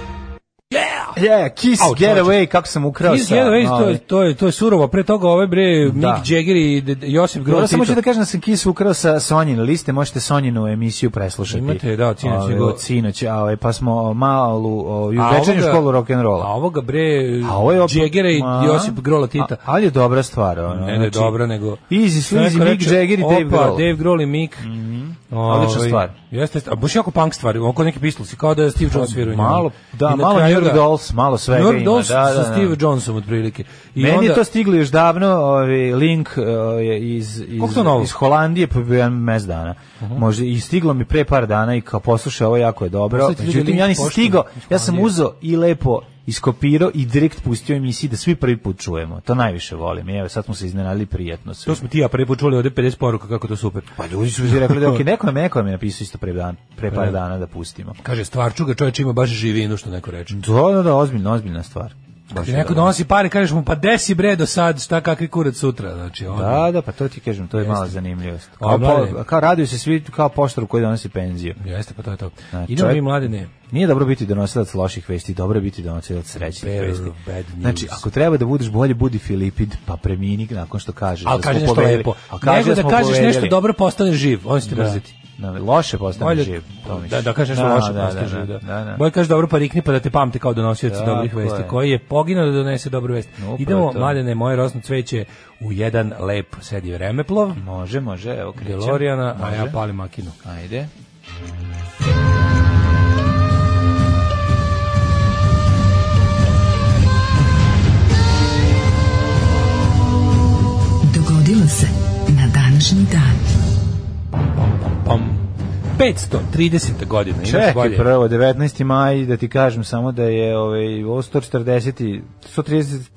Speaker 7: Yeah, Kiss
Speaker 6: Au,
Speaker 7: Get
Speaker 6: čoveče.
Speaker 7: Away, kako sam ukrao
Speaker 6: Kiss
Speaker 7: sa...
Speaker 6: Get Away, to, je-
Speaker 7: ovaj,
Speaker 6: to, je, to je surovo. Pre toga ove bre,
Speaker 7: Da.
Speaker 6: Mick Jagger i D- D- Josip
Speaker 7: Dobro,
Speaker 6: Groz.
Speaker 7: samo ću da kažem da sam Kiss ukrao sa Sonjine liste, možete Sonjinu emisiju preslušati.
Speaker 6: Imate, da, od sinoć
Speaker 7: Ove,
Speaker 6: nego-
Speaker 7: od Sinoć, a, ovaj, pa smo malu, ovaj, u večernju školu rock'n'rolla.
Speaker 6: A ovoga bre,
Speaker 7: A ovo je opet-
Speaker 6: Jaggera i
Speaker 7: Ma.
Speaker 6: Josip Grola Tita.
Speaker 7: A- Ali je dobra stvar. Ono,
Speaker 6: Ne, ne, dobro, nego...
Speaker 7: Easy,
Speaker 6: Što neko
Speaker 7: sleazy, Mick
Speaker 6: reče,
Speaker 7: Jagger i Dave
Speaker 6: Opa,
Speaker 7: Grohl.
Speaker 6: Dave Grohl i Mick.
Speaker 7: Odlična
Speaker 6: Ovaj,
Speaker 7: stvar.
Speaker 6: Jeste, jeste, a baš jako punk stvari, onako neki pistolsi, kao da je Steve Jones svirao u njemu.
Speaker 7: Pa, Malo, da,
Speaker 6: I na
Speaker 7: malo New
Speaker 6: kraju
Speaker 7: York
Speaker 6: ga-
Speaker 7: Dolls, malo svega
Speaker 6: New York
Speaker 7: ima,
Speaker 6: Dolls
Speaker 7: da, da,
Speaker 6: sa
Speaker 7: da.
Speaker 6: Steve Johnsom otprilike. I
Speaker 7: Meni
Speaker 6: onda,
Speaker 7: je to stiglo još davno, ovaj link ovaj, iz iz,
Speaker 6: Koliko to novo?
Speaker 7: iz Holandije pa bio jedan mesec dana. Možda i stiglo mi pre par dana i kao poslušao ovo jako je dobro.
Speaker 6: Poslati ljudi
Speaker 7: Međutim ja
Speaker 6: link
Speaker 7: nisam
Speaker 6: poštom
Speaker 7: stigao.
Speaker 6: iz
Speaker 7: Ja sam
Speaker 6: Holandije.
Speaker 7: uzeo i lepo iskopirao i direkt pustio emisiji da svi prvi put čujemo. To najviše volim. I Evo sad smo se iznenadili prijatno. Svi.
Speaker 6: To smo ti i ja prvi put čuli ovde 50 poruka, kako to super.
Speaker 7: Pa ljudi su mi rekli da ok, neko je neko je mi napisao isto pre dan, pre par
Speaker 6: Da.
Speaker 7: dana da pustimo.
Speaker 6: Kaže, stvarčuga čovječ ima baš živinu, što neko reče.
Speaker 7: Da, da, da, ozbiljna, ozbiljna stvar. Baš
Speaker 6: Kaže,
Speaker 7: je
Speaker 6: neko
Speaker 7: dobro.
Speaker 6: donosi pare, kažeš mu, pa desi bre do sad, šta kakvi kurac sutra, znači ono.
Speaker 7: Da, da, pa to ti kažem, to je mala zanimljivost.
Speaker 6: A,
Speaker 7: Kao, po,
Speaker 6: mlade.
Speaker 7: kao raduju se svi kao poštar koji donosi penziju.
Speaker 6: Jeste, pa to je to.
Speaker 7: Znači,
Speaker 6: Idemo
Speaker 7: čovjek-
Speaker 6: mi mladene.
Speaker 7: Nije dobro biti donosilac loših vesti, dobro je biti donosilac srećnih
Speaker 6: Bearer of
Speaker 7: vesti.
Speaker 6: bad news.
Speaker 7: Znači, ako treba da budeš bolje, budi Filipid, pa premini nakon što kažeš
Speaker 6: Ali
Speaker 7: da smo
Speaker 6: kaže nešto
Speaker 7: pobedili.
Speaker 6: lepo.
Speaker 7: A kaže
Speaker 6: Nego da
Speaker 7: smo
Speaker 6: kažeš nešto
Speaker 7: pobedili.
Speaker 6: dobro, postaneš živ, on će te mrziti.
Speaker 7: Da, loše postane
Speaker 6: Bolje
Speaker 7: živ. to mi
Speaker 6: da,
Speaker 7: se-
Speaker 6: da kažeš nešto
Speaker 7: Da,
Speaker 6: loše,
Speaker 7: da,
Speaker 6: da,
Speaker 7: da,
Speaker 6: da, živ,
Speaker 7: da,
Speaker 6: da.
Speaker 7: da, da.
Speaker 6: Bolje kažeš dobro pa rikni pa da te pamte kao donosioc
Speaker 7: Tako
Speaker 6: dobrih vesti,
Speaker 7: je.
Speaker 6: koji je poginuo da donese dobru vest.
Speaker 7: Upravo
Speaker 6: Idemo,
Speaker 7: to.
Speaker 6: mladene, moje rosno cveće u jedan lep sedi remeplov,
Speaker 7: Može, može, evo krećem.
Speaker 6: Delorijana, a
Speaker 7: Može.
Speaker 6: ja palim makinu.
Speaker 7: Ajde.
Speaker 3: Dogodilo se na današnji dan.
Speaker 6: Pam. 530. godina, imaš
Speaker 7: Čekaj
Speaker 6: bolje.
Speaker 7: prvo, 19. maj, da ti kažem samo da je ovaj, ovo 140. 130,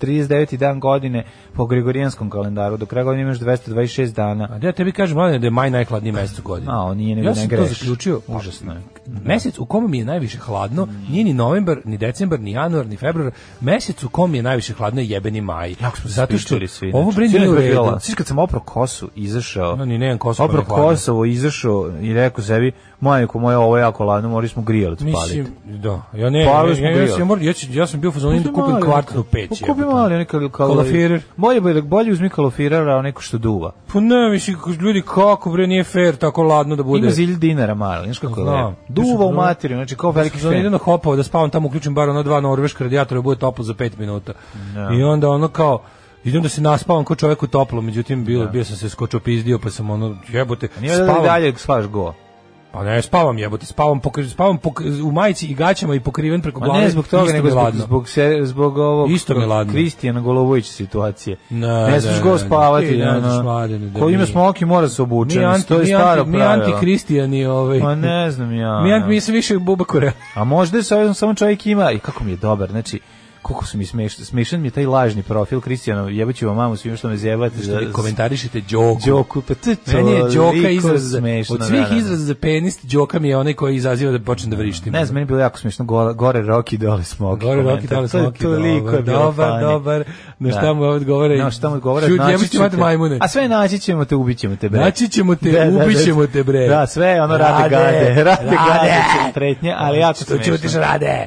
Speaker 7: 39. dan godine po Gregorijanskom kalendaru, do kraja godine imaš 226
Speaker 6: A
Speaker 7: dana.
Speaker 6: da ja tebi kažem, mladine, da je maj najhladniji mesec u godini.
Speaker 7: A, on nije nego
Speaker 6: ja
Speaker 7: ne
Speaker 6: sam to
Speaker 7: greš.
Speaker 6: zaključio.
Speaker 7: Užasno je.
Speaker 6: Mesec u kom mi je najviše hladno, nije ni novembar, ni decembar, ni januar, ni februar. Mesec u kom mi je najviše hladno je jebeni maj.
Speaker 7: Jako smo se
Speaker 6: Zato što
Speaker 7: spičili svi.
Speaker 6: ovo
Speaker 7: znači.
Speaker 6: bre
Speaker 7: Sinoć
Speaker 6: nije u
Speaker 7: je
Speaker 6: redu.
Speaker 7: bila- Sviš kad sam opro kosu izašao,
Speaker 6: No, ni nemam kosu, pa
Speaker 7: opro
Speaker 6: mi je hladno.
Speaker 7: Kosovo izašao i rekao sebi, majko moja, ovo je jako ladno, morali smo grijalac
Speaker 6: Mislim,
Speaker 7: paliti.
Speaker 6: da. Ja ne, ja,
Speaker 7: Palili
Speaker 6: ja,
Speaker 7: smo
Speaker 6: ja,
Speaker 7: grijal.
Speaker 6: sam, mor- ja, ću- ja sam bio u fazonu da kupim kvartnu peć.
Speaker 7: Pa kupi
Speaker 6: jebote.
Speaker 7: mali neki kal- kal-
Speaker 6: Kalofirer.
Speaker 7: Bolje, bolje, bolje uzmi kalofirera, a neko što duva.
Speaker 6: Pa ne, mislim, ljudi, kako bre, nije fair tako ladno da bude.
Speaker 7: Ima zilj dinara mali, znaš kako je
Speaker 6: Znam.
Speaker 7: lepo. Duva u materiju, znači kao veliki
Speaker 6: Za
Speaker 7: fen.
Speaker 6: jedan hopao da spavam tamo uključim bar ono dva norveška radijatora bude toplo za 5 minuta. I onda ono kao idem da se naspavam kao čovjek u toplo, međutim bio bio sam se skočopizdio pa sam ono jebote
Speaker 7: Nije da li
Speaker 6: spavam.
Speaker 7: dalje svaš go.
Speaker 6: Pa ne, spavam jebote, spavam pokri, spavam pokri- u majici i gaćama i pokriven preko
Speaker 7: Ma
Speaker 6: glave.
Speaker 7: ne zbog toga,
Speaker 6: isto
Speaker 7: nego
Speaker 6: mi je
Speaker 7: zbog,
Speaker 6: ladno.
Speaker 7: zbog, se, zbog ovog
Speaker 6: Isto mi je ladno.
Speaker 7: Kristijana Golovojić situacije.
Speaker 6: Ne,
Speaker 7: ne
Speaker 6: ne,
Speaker 7: smiješ
Speaker 6: ne,
Speaker 7: go
Speaker 6: ne,
Speaker 7: spavati.
Speaker 6: ti ne
Speaker 7: ono.
Speaker 6: znaš, mladene, da
Speaker 7: Ko ima
Speaker 6: mi-
Speaker 7: smoki mora se obučen.
Speaker 6: Mi anti,
Speaker 7: to je
Speaker 6: mi
Speaker 7: staro
Speaker 6: anti, mi
Speaker 7: pravilo.
Speaker 6: antikristijani ovaj.
Speaker 7: Ma ne znam ja. ono.
Speaker 6: Mi anti, mi se više buba korea.
Speaker 7: A možda je sa ovim samo čovjek ima i kako mi je dobar, znači koliko su mi smešni, smešan mi je taj lažni profil Kristijana, jebaću vam mamu svim što me zjebate.
Speaker 6: Što vi komentarišete Đoku.
Speaker 7: Đoku, pa to je
Speaker 6: Meni je Đoka
Speaker 7: toliko
Speaker 6: izraz za,
Speaker 7: smešno,
Speaker 6: od
Speaker 7: da,
Speaker 6: svih
Speaker 7: da, da.
Speaker 6: izraza za penis, Đoka mi je onaj koji izaziva da počnem da vrištim.
Speaker 7: Ne znam, meni je bilo jako smiješno, gore, gore Rocky, dole Smoki.
Speaker 6: Gore Roki,
Speaker 7: komentar.
Speaker 6: dole
Speaker 7: To je
Speaker 6: Smoki,
Speaker 7: toliko
Speaker 6: dobar,
Speaker 7: je bilo
Speaker 6: dobar,
Speaker 7: funny.
Speaker 6: dobar. Na
Speaker 7: Da.
Speaker 6: šta mu odgovore?
Speaker 7: Na šta mu odgovore,
Speaker 6: Ćut,
Speaker 7: naći
Speaker 6: jebeš ti
Speaker 7: ću
Speaker 6: mate
Speaker 7: te.
Speaker 6: majmune.
Speaker 7: A sve naći ćemo te, ubit ćemo te, bre.
Speaker 6: Naći ćemo te, ubit ćemo te, bre.
Speaker 7: Da, sve je ono rade,
Speaker 6: Rade,
Speaker 7: gade, rade,
Speaker 6: rade.
Speaker 7: gade, pretnje, ali jako
Speaker 6: Što
Speaker 7: smiješno.
Speaker 6: ćutiš rade?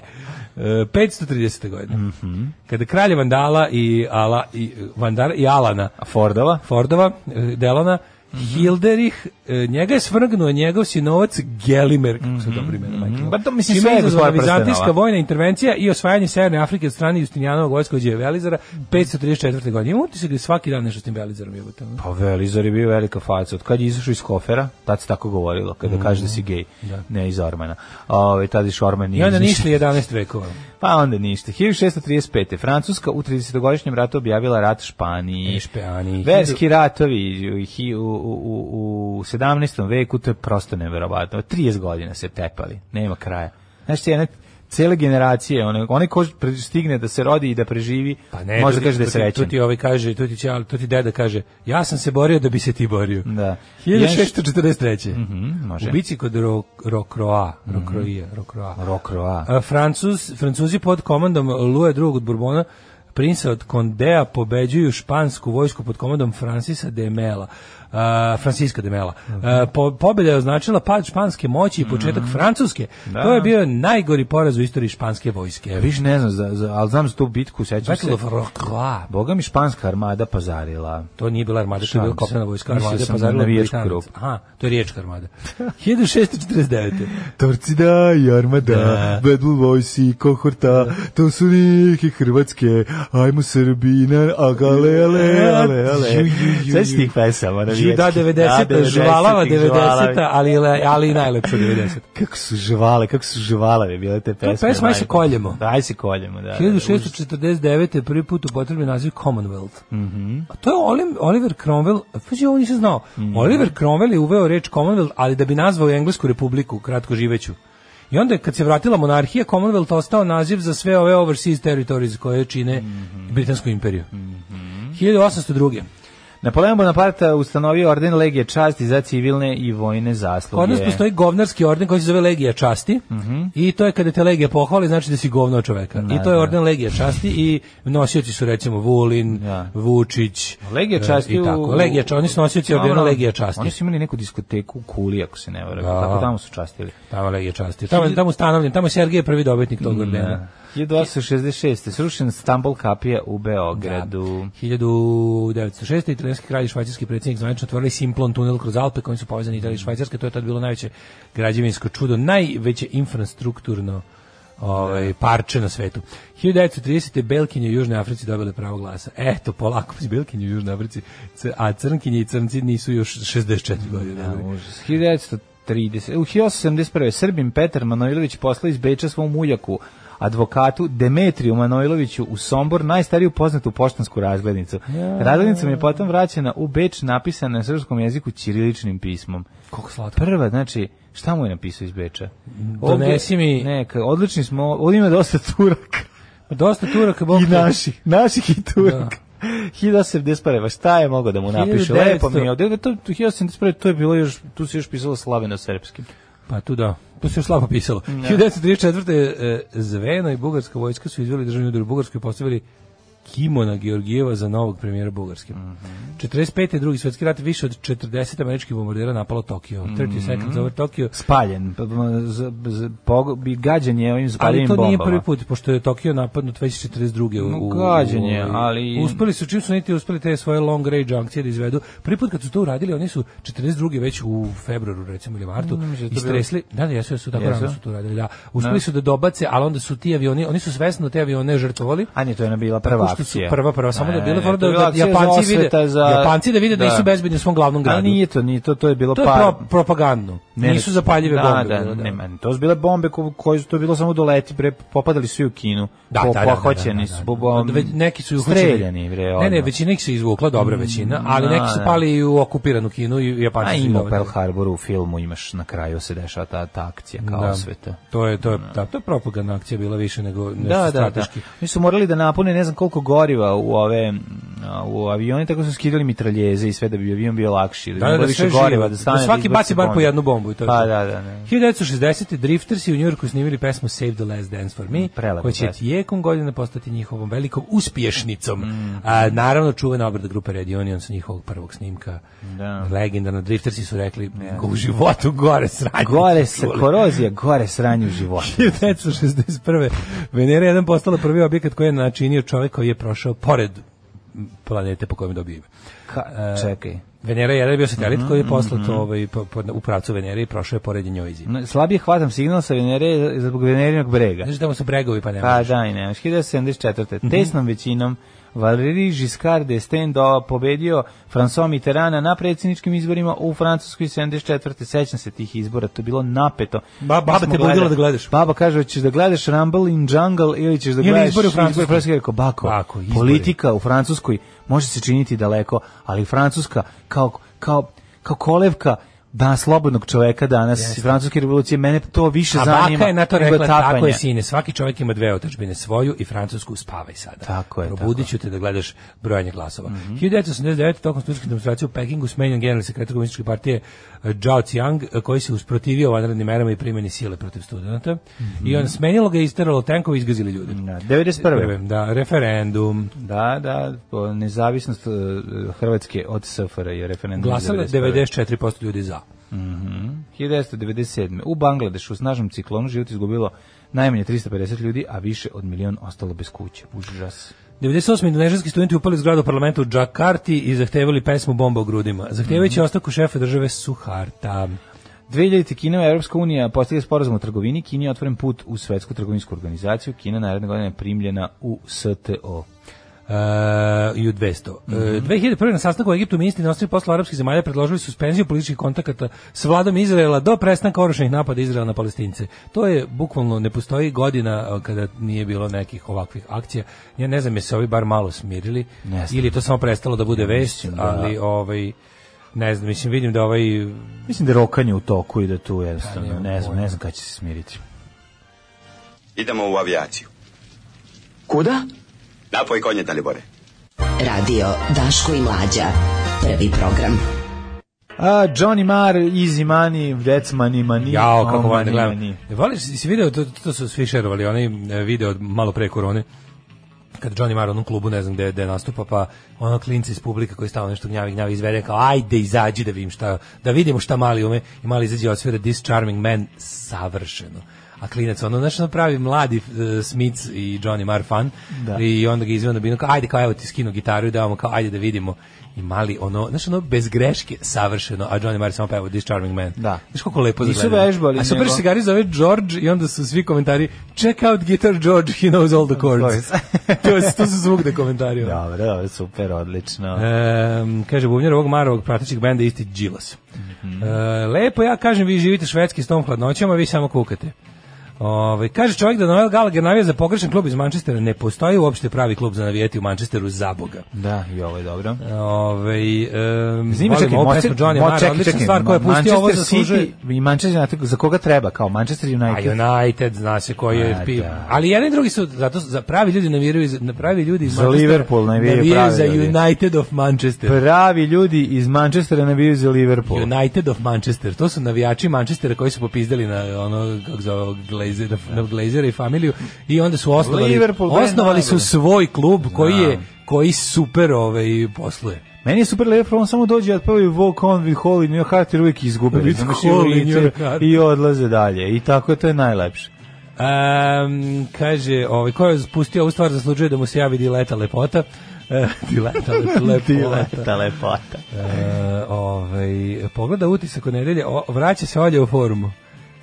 Speaker 6: E, 530. godine.
Speaker 7: Mhm.
Speaker 6: Kada kralje Vandala i, Ala, i, Vandara i Alana
Speaker 7: A Fordova?
Speaker 6: Fordova, e, Delana,
Speaker 7: Mhm.
Speaker 6: Hilderih, e, njega je svrgnuo njegov sinovac Gelimer, kako se dobro imena, majke moje.
Speaker 7: Pa to mislim
Speaker 6: Čime
Speaker 7: sve je
Speaker 6: je izazvana
Speaker 7: gospodar prstenova.
Speaker 6: Vizantijska vojna intervencija i osvajanje Severne Afrike od strane Justinijanovog vojskovođe Velizara 534. godine. Imamo utisak da je svaki dan nešto s tim Velizarom jebote. ono?
Speaker 7: Pa Velizar je bio velika faca. Od kad je izašao iz kofera, tad se tako govorilo, kada
Speaker 6: Mm.
Speaker 7: kaže da si gej, ne iz Ormana. Ove, tad iš Orman
Speaker 6: I
Speaker 7: nije
Speaker 6: onda
Speaker 7: izašao.
Speaker 6: nišli 11 vekova.
Speaker 7: Pa onda ništa. 1635. Francuska u 30-godišnjem ratu objavila rat Španiji.
Speaker 6: I E, Španiji.
Speaker 7: Verski ratovi u, hi- u, u, u 17. veku, to je prosto neverovatno. 30 godina se tepali, nema kraja. Znači, jedna cele generacije, one, one ko pre- stigne da se rodi i da preživi, može
Speaker 6: tu
Speaker 7: da
Speaker 6: Pa ti-
Speaker 7: kaže da
Speaker 6: tu
Speaker 7: je
Speaker 6: ti-
Speaker 7: srećan.
Speaker 6: Tu ti ovaj kaže, tu ti, ćal- tu ti deda kaže, ja sam se borio da bi se ti borio.
Speaker 7: Da. Mhm,
Speaker 6: 1643.
Speaker 7: može. Mhm.
Speaker 6: U bici kod Ro- Rokroa, Rokroija, Rokroa.
Speaker 7: Rokroa.
Speaker 6: A, Francuz, Francuzi pod komandom Luja II. od Bourbona, princa od Kondea, pobeđuju špansku vojsku pod komandom Francisa de Mela. A, Francisca de Mela.
Speaker 7: Mhm.
Speaker 6: A, po, pobjeda je označila pad španske moći i početak francuske. To je bio najgori poraz u istoriji španske vojske.
Speaker 7: E, Više ne znam, za, za, ali znam za tu bitku, sećam se.
Speaker 6: Battle of Rocroi.
Speaker 7: Boga mi španska armada pazarila.
Speaker 6: To nije bila armada, to je
Speaker 7: Šalim
Speaker 6: bila
Speaker 7: se.
Speaker 6: kopnena vojska
Speaker 7: Mislio
Speaker 6: armada,
Speaker 7: sam
Speaker 6: pa zarila
Speaker 7: na navijačku
Speaker 6: Britanac.
Speaker 7: grupu.
Speaker 6: Aha, to je riječka armada. 1649.
Speaker 7: Torci da i armada,
Speaker 6: Da.
Speaker 7: Battle Boys i kohorta, to su neke hrvatske, ajmo Srbina, agale, ale, ale, ale.
Speaker 6: E, Ju, ju, ju, ju.
Speaker 7: Sve si tih pesama, ne
Speaker 6: Ju da 90 da, žvalava 90 ali le- ali i najlepša 90
Speaker 7: Kako su žvale, kako su žvalave bile te pesme.
Speaker 6: pesma, aj se
Speaker 7: majko.
Speaker 6: koljemo.
Speaker 7: Da, Aj se koljemo, da.
Speaker 6: 1649. je prvi put upotrebljen naziv Commonwealth. A to je Olim- Oliver Cromwell, pazi, ovo nisam znao.
Speaker 7: Mhm.
Speaker 6: Oliver Cromwell je uveo reč Commonwealth, ali da bi nazvao Englesku republiku, kratko živeću. I onda je, kad se vratila monarhija, Commonwealth ostao naziv za sve ove overseas territories koje čine
Speaker 7: Mhm.
Speaker 6: Britansku imperiju. 1802.
Speaker 7: Napoleon Bonaparte ustanovio orden Legije časti za civilne i vojne zasluge.
Speaker 6: Kod nas postoji govnarski orden koji se zove Legija časti
Speaker 7: Mhm.
Speaker 6: i to je kada te Legija pohvali znači da si govno od čoveka. I to je orden Legija časti i nosioci su recimo Vulin,
Speaker 7: Da.
Speaker 6: Vučić,
Speaker 7: Legija
Speaker 6: e,
Speaker 7: časti
Speaker 6: i tako.
Speaker 7: u-
Speaker 6: Legija časti, oni su nosioci ordena
Speaker 7: Dobro,
Speaker 6: Legija časti.
Speaker 7: Oni su imali neku diskoteku u Kuli, ako se ne varam.
Speaker 6: Da.
Speaker 7: Tako tamo su častili.
Speaker 6: Tamo Legija časti. Tamo, tamo ustanovljen, tamo je Sergej prvi dobitnik tog ordena.
Speaker 7: 1866. Srušen Stambol kapija u Beogradu.
Speaker 6: 1906. italijanski kralj i švajcarski predsjednik zvanično otvorili Simplon tunel kroz Alpe kojim su povezani Italija i Švajcarska. To je tad bilo najveće građevinsko čudo, najveće infrastrukturno ovaj, parče na svetu. 1930. Belkinje u Južnoj Africi dobile pravo glasa. Eto, polako, Belkinje u Južnoj Africi, C- a crnkinje i crnci nisu još 64 godine. dobili.
Speaker 7: Užas. 1930. U 1871. Srbim Petar Manojlović poslao iz Beča svom ujaku, advokatu Demetriju Manojloviću u Sombor, najstariju poznatu poštansku razglednicu. Razglednica mi je potom vraćena u Beč, napisana na srpskom jeziku ćiriličnim pismom.
Speaker 6: Koliko slatko.
Speaker 7: Prva, znači, šta mu je napisao iz Beča?
Speaker 6: Donesi mi-
Speaker 7: Ne, ka- odlični smo, ovdje ima dosta Turaka
Speaker 6: Dosta Turaka, Bog
Speaker 7: i
Speaker 6: te-
Speaker 7: naših, naših i Turaka. 1871. Pa šta je mogao da mu napiše?
Speaker 6: 1900.
Speaker 7: Lepo mi je ovdje. To, 1871. to je bilo još, tu se još pisalo slaveno-srpski.
Speaker 6: Pa tu da, tu se još slabo pisalo. 1934. e, Zveno i bugarska vojska su izveli državni udar u Bugarskoj i postavili Kimona Georgijeva za novog premijera Bugarske. 45. drugi svjetski rat više od 40 američkih bombardera napalo Tokio. 30 seconds over Tokio.
Speaker 7: Spaljen. p- p- z- z- pogo- bi- Gađen je ovim
Speaker 6: Ali
Speaker 7: spaljenim
Speaker 6: to
Speaker 7: Pa bombama.
Speaker 6: nije prvi put, pošto je Tokio napadnut već 42.
Speaker 7: No,
Speaker 6: u, u,
Speaker 7: gađenje,
Speaker 6: u-
Speaker 7: ali-
Speaker 6: Uspeli su, čim su niti uspeli te svoje long range akcije da izvedu. Prvi put kad su to uradili, oni su 42. već u februaru, recimo, ili martu,
Speaker 7: mislim da je to bilo-
Speaker 6: istresli. Da, da, jesu, jesu, tako
Speaker 7: Jesu?
Speaker 6: rano su to uradili, da. Uspeli su da dobace, ali onda su ti avioni, oni su svesno te avione žrtvovali.
Speaker 7: A ne, to je ona bila prva
Speaker 6: Pušta su
Speaker 7: akcija.
Speaker 6: prva, prva, samo
Speaker 7: Ne,
Speaker 6: da je bilo
Speaker 7: ne,
Speaker 6: fora
Speaker 7: to je
Speaker 6: da,
Speaker 7: bila
Speaker 6: da
Speaker 7: akcija za
Speaker 6: Japanci vide,
Speaker 7: osveta, za-
Speaker 6: Japanci da vide da,
Speaker 7: da.
Speaker 6: nisu bezbedni u svom glavnom gradu.
Speaker 7: A nije to, nije to, to je bilo
Speaker 6: to je
Speaker 7: par...
Speaker 6: pro, propagandno.
Speaker 7: Pa- Ne, ne,
Speaker 6: nisu zapaljive
Speaker 7: da,
Speaker 6: bombe.
Speaker 7: Da,
Speaker 6: bilo, da.
Speaker 7: nema, to su bile bombe ko, koje su to bilo samo doleti, bre, popadali su i u kinu.
Speaker 6: Da,
Speaker 7: po,
Speaker 6: da, da, da,
Speaker 7: pohoćeni
Speaker 6: da, da,
Speaker 7: su,
Speaker 6: da.
Speaker 7: bo- bom-
Speaker 6: Ve- neki su i uhoćeni.
Speaker 7: streljani, bre, ono.
Speaker 6: Ne, ne,
Speaker 7: odmah.
Speaker 6: većina ih se izvukla, dobra većina, ali
Speaker 7: da,
Speaker 6: neki su
Speaker 7: da.
Speaker 6: pali i u okupiranu Kinu i Japanci
Speaker 7: A
Speaker 6: su ih
Speaker 7: ima u
Speaker 6: dovedali.
Speaker 7: Pearl Harboru u filmu, imaš na kraju se dešava ta, ta akcija kao
Speaker 6: Da.
Speaker 7: osveta.
Speaker 6: To je to je da, to je propagandna akcija bila više nego nešto
Speaker 7: Da, da, da.
Speaker 6: strateški.
Speaker 7: Mi su morali da napune ne znam koliko goriva u ove m, a, u avioni, tako su skidali mitraljeze i sve da bi avion bio lakši. Da,
Speaker 6: Da,
Speaker 7: bi
Speaker 6: da,
Speaker 7: bilo
Speaker 6: da,
Speaker 7: više
Speaker 6: sve živo.
Speaker 7: goriva, da, stane,
Speaker 6: Da svaki
Speaker 7: izbaci
Speaker 6: baci bar po
Speaker 7: bombe.
Speaker 6: jednu bombu i to je
Speaker 7: Pa
Speaker 6: to.
Speaker 7: da, da, ne.
Speaker 6: 1960. Driftersi u Njujorku snimili pesmu Save the Last Dance for Me,
Speaker 7: Mm, Prelepa
Speaker 6: koja će
Speaker 7: pesma.
Speaker 6: tijekom godine postati njihovom velikom uspješnicom.
Speaker 7: Mm.
Speaker 6: A, naravno, čuvena obrada grupe Red Union sa njihovog prvog snimka.
Speaker 7: Da.
Speaker 6: Legendarno, Driftersi su rekli, u životu gore sranje.
Speaker 7: Gore se, korozija, gore sranje u životu.
Speaker 6: 1961. Venera je jedan postala prvi objekat koji je načinio čovjek koji je prošao pored planete po kojem dobije ime.
Speaker 7: Ka,
Speaker 6: E,
Speaker 7: čekaj.
Speaker 6: Venera je jedan je bio satelit koji
Speaker 7: Mm-hmm,
Speaker 6: je poslat ovaj, po- po- u pravcu Venere i prošao je pored Njojzi.
Speaker 7: No, Slabije hvatam signal sa Venere zbog Venerinog brega.
Speaker 6: Znaš da mu su bregovi pa nema.
Speaker 7: Pa da, i nemaš.
Speaker 6: Mhm.
Speaker 7: 1974. Tesnom većinom Valéry Giscard d'Estaing pobedio François Mitterranda na predsjedničkim izborima u Francuskoj 74. Sećam se tih izbora, to je bilo napeto.
Speaker 6: Ba- baba
Speaker 7: Mi smo
Speaker 6: te budila da gledaš.
Speaker 7: Baba kaže, ćeš da gledaš Rumble in Jungle ili ćeš da
Speaker 6: Ili
Speaker 7: gledaš...
Speaker 6: izbore u Francuskoj."
Speaker 7: Francuskoj. Rekao, bako,
Speaker 6: Bako, izbori."
Speaker 7: politika u Francuskoj može se činiti daleko, ali Francuska kao, kao, kao kolevka dan slobodnog čoveka danas i francuske revolucije, mene to više
Speaker 6: A
Speaker 7: zanima.
Speaker 6: baka je na to
Speaker 7: nego
Speaker 6: rekla, tako je
Speaker 7: tapanje."
Speaker 6: sine, svaki čovjek ima dve otačbine, svoju i francusku, spavaj sada.
Speaker 7: Tako je, Mhm.
Speaker 6: Probudit ću te da gledaš brojanje glasova. 1989. tokom studijskih demonstracija u Pekingu smenjen generalni sekretar komunističke partije eh, Zhao Qiang, eh, koji se usprotivio vanrednim merama i primjeni sile protiv studenta. I
Speaker 7: Mhm.
Speaker 6: on smenjilo ga, isteralo tenkove i izgazili ljude.
Speaker 7: Da, 91.
Speaker 6: Da, referendum.
Speaker 7: Da, da, po- nezavisnost e, Hrvatske od SFRA je referendum.
Speaker 6: Glasalo je
Speaker 7: 91..
Speaker 6: 94% ljudi za.
Speaker 7: 1997. U Bangladešu u snažnom ciklonu život izgubilo najmanje 350 ljudi, a više od milion ostalo bez kuće. Užas.
Speaker 6: 98. indonežanski studenti upali u zgradu parlamenta u Džakarti i zahtevali pesmu Bomba u grudima.
Speaker 7: Mhm.
Speaker 6: Zahtevajući ostavku šefa države Suharta.
Speaker 7: 2000. Kina i Europska unija postigli sporazum o trgovini. Kini je otvoren put u svetsku trgovinsku organizaciju. Kina naredne godine je primljena u STO.
Speaker 6: Uh, Uh, i u 200. Mm
Speaker 7: Mhm.
Speaker 6: -hmm. uh, 2001. na sastanku u Egiptu ministri inostranih posla arapskih zemalja predložili suspenziju političkih kontakata s vladom Izraela do prestanka oružanih napada Izraela na Palestince. To je bukvalno ne postoji godina uh, kada nije bilo nekih ovakvih akcija. Ja ne znam je se ovi bar malo smirili
Speaker 7: Ne znam.
Speaker 6: ili je to samo prestalo da bude vest,
Speaker 7: da-
Speaker 6: ali ovaj ne znam, mislim vidim da ovaj
Speaker 7: Mislim da je rokanje u toku i da tu jednostavno,
Speaker 6: nemam
Speaker 7: ne znam,
Speaker 6: pojma.
Speaker 7: ne znam kada će se smiriti.
Speaker 9: Idemo u avijaciju.
Speaker 3: Kuda?
Speaker 9: Napoj konje, Dalibore.
Speaker 3: Radio Daško i Mlađa. Prvi program.
Speaker 7: A, Johnny Marr, Easy Money, That's Money, Money.
Speaker 6: Jao, kako
Speaker 7: oh,
Speaker 6: volim da
Speaker 7: money,
Speaker 6: gledam.
Speaker 7: money.
Speaker 6: Voliš, si video, to, to su svi šerovali, onaj e, video od malo pre korone, kad Johnny Marr u onom klubu, ne znam gde, gde nastupa, pa ono klinci iz publika koji stalno nešto gnjavi, gnjavi izvede, kao ajde izađi da vidim šta, da vidimo šta mali ume, i mali izađe od svira This Charming Man, savršeno. A klinac, ono, znaš, ono pravi mladi e, Smith i Johnny Marr fan,
Speaker 7: Da.
Speaker 6: i onda ga izveo na binu, kao ajde, kao evo ti skinu gitaru i damo, kao ajde da vidimo, i mali, ono, znaš, ono, bez greške, savršeno, a Johnny Marr samo peva This Charming Man.
Speaker 7: Da.
Speaker 6: Znaš koliko lepo
Speaker 7: Nisu
Speaker 6: izgleda.
Speaker 7: vežbali
Speaker 6: A super
Speaker 7: nego-
Speaker 6: se Gari zove George i onda su svi komentari check out guitar George, he knows all the chords. to, je- to su zvuk da komentariju.
Speaker 7: Dobro, dobro, super, odlično.
Speaker 6: Ehm, kaže bubnjar ovog Marovog pratećeg benda je isti Đilas.
Speaker 7: Mhm.
Speaker 6: E, lepo ja kažem vi živite švedski s tom hladnoćama, vi samo kukate. Ove, kaže čovjek da Noel Gallagher navija za pogrešan klub iz Manchestera. Ne postoji uopšte pravi klub za navijeti u Manchesteru za Boga.
Speaker 7: Da, i ovo je dobro.
Speaker 6: E, Ove, um,
Speaker 7: Zanima se
Speaker 6: volimo ovu pesmu Johnny Mara, odlična stvar koja je pustio ovo zaslužuje.
Speaker 7: i Manchester United, za koga treba, kao Manchester United.
Speaker 6: A United zna se koji je
Speaker 7: A,
Speaker 6: pi-
Speaker 7: da.
Speaker 6: Ali jedan i drugi su zato za pravi ljudi navijaju za na pravi ljudi iz
Speaker 7: Za
Speaker 6: Manchestera
Speaker 7: Liverpool navijaju pravi
Speaker 6: za
Speaker 7: ljudi.
Speaker 6: United of Manchester.
Speaker 7: Pravi ljudi iz Manchestera navijaju za Liverpool.
Speaker 6: United of Manchester. To su navijači Manchestera koji su popizdali na ono kako zove Glazera, na Glazera i familiju i onda su osnovali
Speaker 7: Liverpool, da je
Speaker 6: osnovali su
Speaker 7: najbolje.
Speaker 6: svoj klub koji je koji super ovaj posluje.
Speaker 7: Meni je super Liverpool, on samo dođe od prvi walk on with Hall in your heart jer uvijek izgube.
Speaker 6: With
Speaker 7: razumeš,
Speaker 6: Hall in
Speaker 7: lice
Speaker 6: your heart.
Speaker 7: I odlaze dalje. I tako je, to je najlepše.
Speaker 6: Um, kaže, ovaj, ko je spustio ovu stvar zaslužuje da mu se javi dileta lepota. E, dileta lep- lepota.
Speaker 7: Dileta lepota.
Speaker 6: E, ovaj, pogleda utisak od nedelje, o, vraća se Olja u forumu.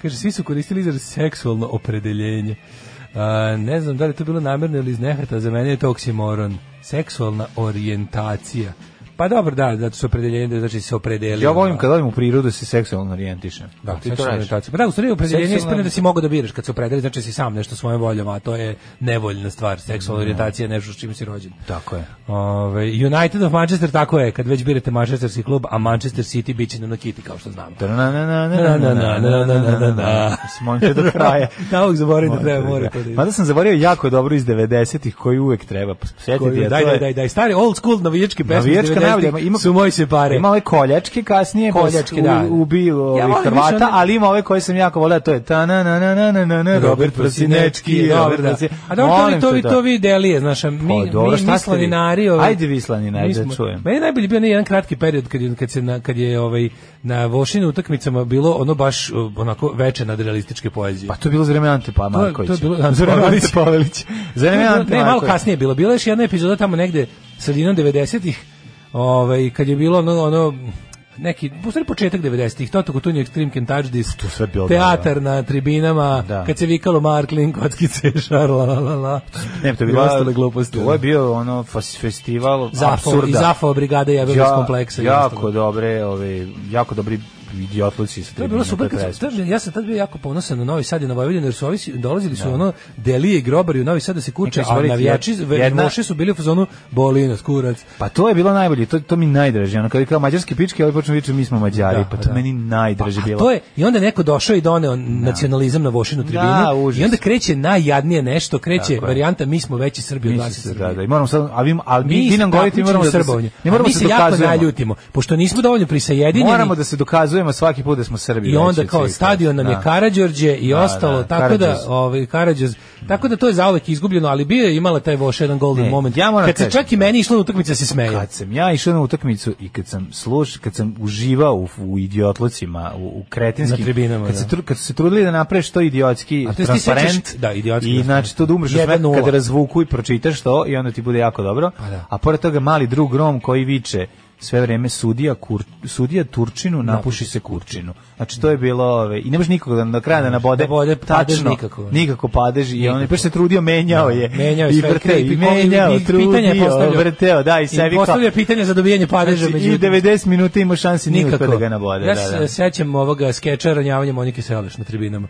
Speaker 6: Kaže, svi su koristili izraz seksualno opredeljenje. E, ne znam da li je to bilo namerno ili iz nehata, za mene je to oksimoron. Seksualna orijentacija. Pa dobro, da, zato su opredeljenje, da znači se opredelio.
Speaker 7: Ja volim kad odim u prirodu da se seksualno orijentišem.
Speaker 6: Da,
Speaker 7: ti to
Speaker 6: seksualna
Speaker 7: radiš.
Speaker 6: orijentacija. Pa da, u stvari opredeljenje
Speaker 7: Seksualna-
Speaker 6: ispane da si mogao da biraš kad se opredeli, znači si sam nešto svojom voljom, a to je nevoljna stvar. Seksualna orijentacija je nešto s čim si rođen.
Speaker 7: Tako je.
Speaker 6: Ove, United of Manchester, tako je, kad već birate Manchesterski klub, a Manchester City bit će na Nokiti, kao što znamo.
Speaker 7: Da-na-na-na-na-na-na-na-na-na-na-na. Smonite do kraja.
Speaker 6: Da, uvijek zaboravim da
Speaker 7: Morate
Speaker 6: treba,
Speaker 7: da-
Speaker 6: mora to da ide.
Speaker 7: Mada sam zaboravio jako dobro iz 90-ih koji uvek treba
Speaker 6: Koju-
Speaker 7: posjetiti. a
Speaker 6: daj,
Speaker 7: to
Speaker 6: daj,
Speaker 7: je-
Speaker 6: daj, daj, stari old school navijačke pesme.
Speaker 7: Navijačka
Speaker 6: 90-ih
Speaker 7: najbolja, ima-
Speaker 6: su moji se pare.
Speaker 7: Ima ove koljačke kasnije,
Speaker 6: Koljačke,
Speaker 7: koljačke,
Speaker 6: da.
Speaker 7: da. ubi
Speaker 6: Ja volim
Speaker 7: ovih
Speaker 6: više
Speaker 7: Hrvata,
Speaker 6: one-
Speaker 7: ali ima ove koje sam jako volio, to je ta na na na na na na na Robert Prosinečki,
Speaker 6: dobro,
Speaker 7: Robert
Speaker 6: da.
Speaker 7: Prosinečki.
Speaker 6: A dobro, to vi,
Speaker 7: Molim
Speaker 6: to
Speaker 7: te,
Speaker 6: vi,
Speaker 7: da.
Speaker 6: to vi delije, znaš, a mi,
Speaker 7: Pa, dobro,
Speaker 6: mi,
Speaker 7: šta
Speaker 6: mi
Speaker 7: ste vi?
Speaker 6: slaninari... Ovaj,
Speaker 7: Ajde vi slaninari,
Speaker 6: mi
Speaker 7: da
Speaker 6: smo-
Speaker 7: čujem.
Speaker 6: Meni je najbolji bio onaj jedan kratki period kad, je- kad, se na, kad je ovaj, na Vošinu utakmicama bilo ono baš uh, onako veče nad realističke poezije.
Speaker 7: Pa to je bilo za vreme Ante Pa Markovića.
Speaker 6: to je bilo- Ante
Speaker 7: za vreme
Speaker 6: Pavelića.
Speaker 7: Ante Pavelića. Za vreme Ante
Speaker 6: ne, malo
Speaker 7: Markovića.
Speaker 6: kasnije je bilo. Bila je još jedna epizoda tamo negde sredinom 90-ih, ovaj, kad je bilo ono, ono neki, u stvari početak 90-ih, Toto Kutunje, Extreme Can Touch This,
Speaker 7: je sve bilo
Speaker 6: teatar na tribinama,
Speaker 7: Da.
Speaker 6: kad se vikalo Marklin, Kockice, Šar, la, la, la, la.
Speaker 7: Ne, to je
Speaker 6: I
Speaker 7: bilo
Speaker 6: ostale gluposti.
Speaker 7: To je bio ono fas- festival
Speaker 6: Zafo,
Speaker 7: apsurda.
Speaker 6: i Zafo brigade je bez kompleksa. i
Speaker 7: jako
Speaker 6: ostalo.
Speaker 7: dobre, ove, jako dobri idiotluci. sa
Speaker 6: To je
Speaker 7: tribina,
Speaker 6: bilo super, kad sam,
Speaker 7: preskupo.
Speaker 6: to je- ja sam tad bio jako ponosan na Novi Sad i na Vojvodinu, jer su ovi, si- dolazili su ono delije i grobari u Novi Sad da se kuče,
Speaker 7: Neka
Speaker 6: a
Speaker 7: izvolite,
Speaker 6: navijači,
Speaker 7: jedna-
Speaker 6: jedna... su bili u fazonu bolinac, kurac,
Speaker 7: Pa to je bilo najbolje, to, to mi najdraže. Ono, kad je kao mađarski pički, ali počnu viču mi smo mađari,
Speaker 6: Da,
Speaker 7: pa to
Speaker 6: da.
Speaker 7: meni najdraže
Speaker 6: A
Speaker 7: bilo.
Speaker 6: to je, i onda je neko došao i doneo nacionalizam na Vošinu tribinu
Speaker 7: užas.
Speaker 6: i onda kreće najjadnije nešto, kreće
Speaker 7: Tako je.
Speaker 6: varijanta mi smo veći Srbi od
Speaker 7: Mi
Speaker 6: vas
Speaker 7: se-
Speaker 6: iz Srbije.
Speaker 7: da, da, i moramo sad, a vi, ali mi,
Speaker 6: Mi
Speaker 7: vi nam govorite, mi moramo da, se,
Speaker 6: srbovanje.
Speaker 7: ne moramo
Speaker 6: mi
Speaker 7: se,
Speaker 6: se jako
Speaker 7: dokazujemo.
Speaker 6: naljutimo, pošto nismo dovoljno prisajedinjeni.
Speaker 7: Moramo da se dokazujemo svaki put da smo Srbi.
Speaker 6: I onda
Speaker 7: veći od
Speaker 6: kao
Speaker 7: svih.
Speaker 6: stadion nam je
Speaker 7: Da.
Speaker 6: Karađorđe i
Speaker 7: Da,
Speaker 6: ostalo,
Speaker 7: da,
Speaker 6: tako da
Speaker 7: Karađorđe.
Speaker 6: ovaj Karađorđe, tako da to je zauvek izgubljeno, ali bio je imala taj Voš jedan golden
Speaker 7: Ne,
Speaker 6: moment.
Speaker 7: ja moram
Speaker 6: Kad se
Speaker 7: kažem-
Speaker 6: čak i meni išla utakmica da se smeje.
Speaker 7: Kad sam ja išao na utakmicu i kad sam sluš, kad sam uživao u, u idiotlucima, u, u kretinskim,
Speaker 6: Na tribinama,
Speaker 7: kad, se,
Speaker 6: da.
Speaker 7: tru- kad su se trudili da naprave što idiotski
Speaker 6: A to jest ti
Speaker 7: transparent,
Speaker 6: sećaš- da, idiotski
Speaker 7: i
Speaker 6: transparent.
Speaker 7: znači to da umreš od smeka
Speaker 6: 1:0.
Speaker 7: kada razvuku i pročitaš to i onda ti bude jako dobro,
Speaker 6: Pa da.
Speaker 7: a pored toga mali drug Rom koji viče sve vreme sudija, kur, sudija Turčinu, napuši se Kurčinu. Znači, to je bilo, ove, i ne može nikoga da na kraju da nabode,
Speaker 6: Da bode padež
Speaker 7: tačno,
Speaker 6: nikako.
Speaker 7: nikako padež, i on je baš se trudio, menjao je,
Speaker 6: Menjao je
Speaker 7: i
Speaker 6: sve,
Speaker 7: vrteo,
Speaker 6: i-
Speaker 7: i
Speaker 6: i-
Speaker 7: menjao,
Speaker 6: i- i- pitanja je
Speaker 7: trudio,
Speaker 6: postavljao.
Speaker 7: vrteo, da, i sebi
Speaker 6: I
Speaker 7: kao,
Speaker 6: postavlja pitanje za dobijanje padeža,
Speaker 7: znači, i
Speaker 6: međutim,
Speaker 7: 90 minuta imao šansi ni od
Speaker 6: nikako.
Speaker 7: koga da ga nabode.
Speaker 6: ja
Speaker 7: da,
Speaker 6: se
Speaker 7: da.
Speaker 6: sećam ovoga skeča ranjavanja Monike Seleš na tribinama.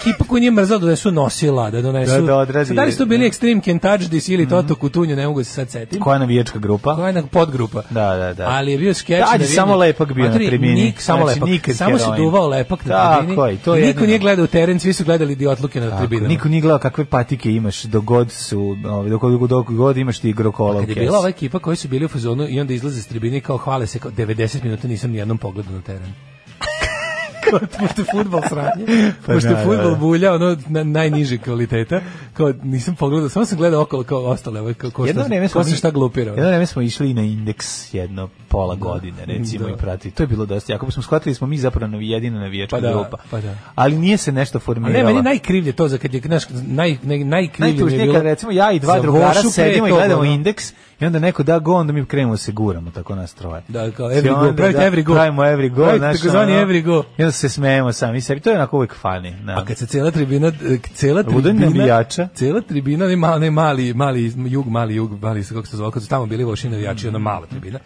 Speaker 6: Ekipa koju nije mrzao da su nosila, da donesu.
Speaker 7: Da, da Mhm. odradi.
Speaker 6: Sad, Da li su to bili Extreme Kentajdis ili Toto Kutunju, ne mogu da se sad setim.
Speaker 7: Koja navijačka grupa?
Speaker 6: Koja je jedna podgrupa.
Speaker 7: Da, da, da.
Speaker 6: Ali je bio skeč.
Speaker 7: Da, ali
Speaker 6: vidim-
Speaker 7: samo Lepak bio na
Speaker 6: Matri,
Speaker 7: tribini.
Speaker 6: Nik, samo
Speaker 7: Znači,
Speaker 6: lepak.
Speaker 7: nikad
Speaker 6: Samo se
Speaker 7: heroin.
Speaker 6: duvao lepak na
Speaker 7: Tako
Speaker 6: tribini.
Speaker 7: je, to je
Speaker 6: I niko
Speaker 7: jedino.
Speaker 6: nije gledao u teren, svi su gledali idiotluke na
Speaker 7: Tako,
Speaker 6: tribinama.
Speaker 7: Niko nije gledao kakve patike imaš dok god su, ovaj, dok, dok, dok god imaš ti igrokola u
Speaker 6: Kad je
Speaker 7: kesu.
Speaker 6: bila ova ekipa koji su bili u fazonu i onda izlaze s tribine i kao hvale se kao 90 minuta nisam ni jednom pogledao na teren. Kao, pošto je futbol sranje,
Speaker 7: Pa
Speaker 6: pošto
Speaker 7: da,
Speaker 6: je
Speaker 7: da,
Speaker 6: futbol
Speaker 7: da.
Speaker 6: bulja, ono na, najniži kvaliteta, kao nisam pogledao, samo sam gledao okolo kao ostale, ovaj, kao ko,
Speaker 7: Jedno
Speaker 6: šta,
Speaker 7: vreme
Speaker 6: ko
Speaker 7: smo
Speaker 6: se
Speaker 7: mi-
Speaker 6: šta ono. glupirao.
Speaker 7: Jedno vreme smo išli na indeks jedno pola godine recimo
Speaker 6: Da.
Speaker 7: i pratili. To je bilo dosta. Ako bismo shvatili smo mi zapravo navi- jedina navijačka
Speaker 6: Pa da,
Speaker 7: grupa.
Speaker 6: pa da.
Speaker 7: Ali nije se nešto
Speaker 6: A
Speaker 7: formiralo.
Speaker 6: ne, meni najkrivlje to za kad je, znaš, naj, naj, najkrivlje mi je
Speaker 7: Najtužnije
Speaker 6: bilo...
Speaker 7: kad recimo ja i dva
Speaker 6: za
Speaker 7: drugara
Speaker 6: Vošu pre
Speaker 7: sedimo i
Speaker 6: toga,
Speaker 7: gledamo
Speaker 6: ono.
Speaker 7: indeks i onda neko da go, onda mi krenemo da se guramo tako nas troje.
Speaker 6: Da, kao
Speaker 7: I
Speaker 6: every go,
Speaker 7: onda,
Speaker 6: pravite
Speaker 7: da,
Speaker 6: every go.
Speaker 7: Pravimo every go,
Speaker 6: Pravite
Speaker 7: znaš,
Speaker 6: takozvani
Speaker 7: ono,
Speaker 6: every go.
Speaker 7: I onda se smejemo sami sebi. To je onako uvek funny. Da.
Speaker 6: A kad se cela tribina, eh, cela
Speaker 7: Ludo je
Speaker 6: tribina,
Speaker 7: navijača.
Speaker 6: cela tribina, onaj mali, onaj mali, mali jug, mali jug, mali, kako se zvao, kad su tamo bili voši navijači, ona
Speaker 7: Mhm.
Speaker 6: mala tribina.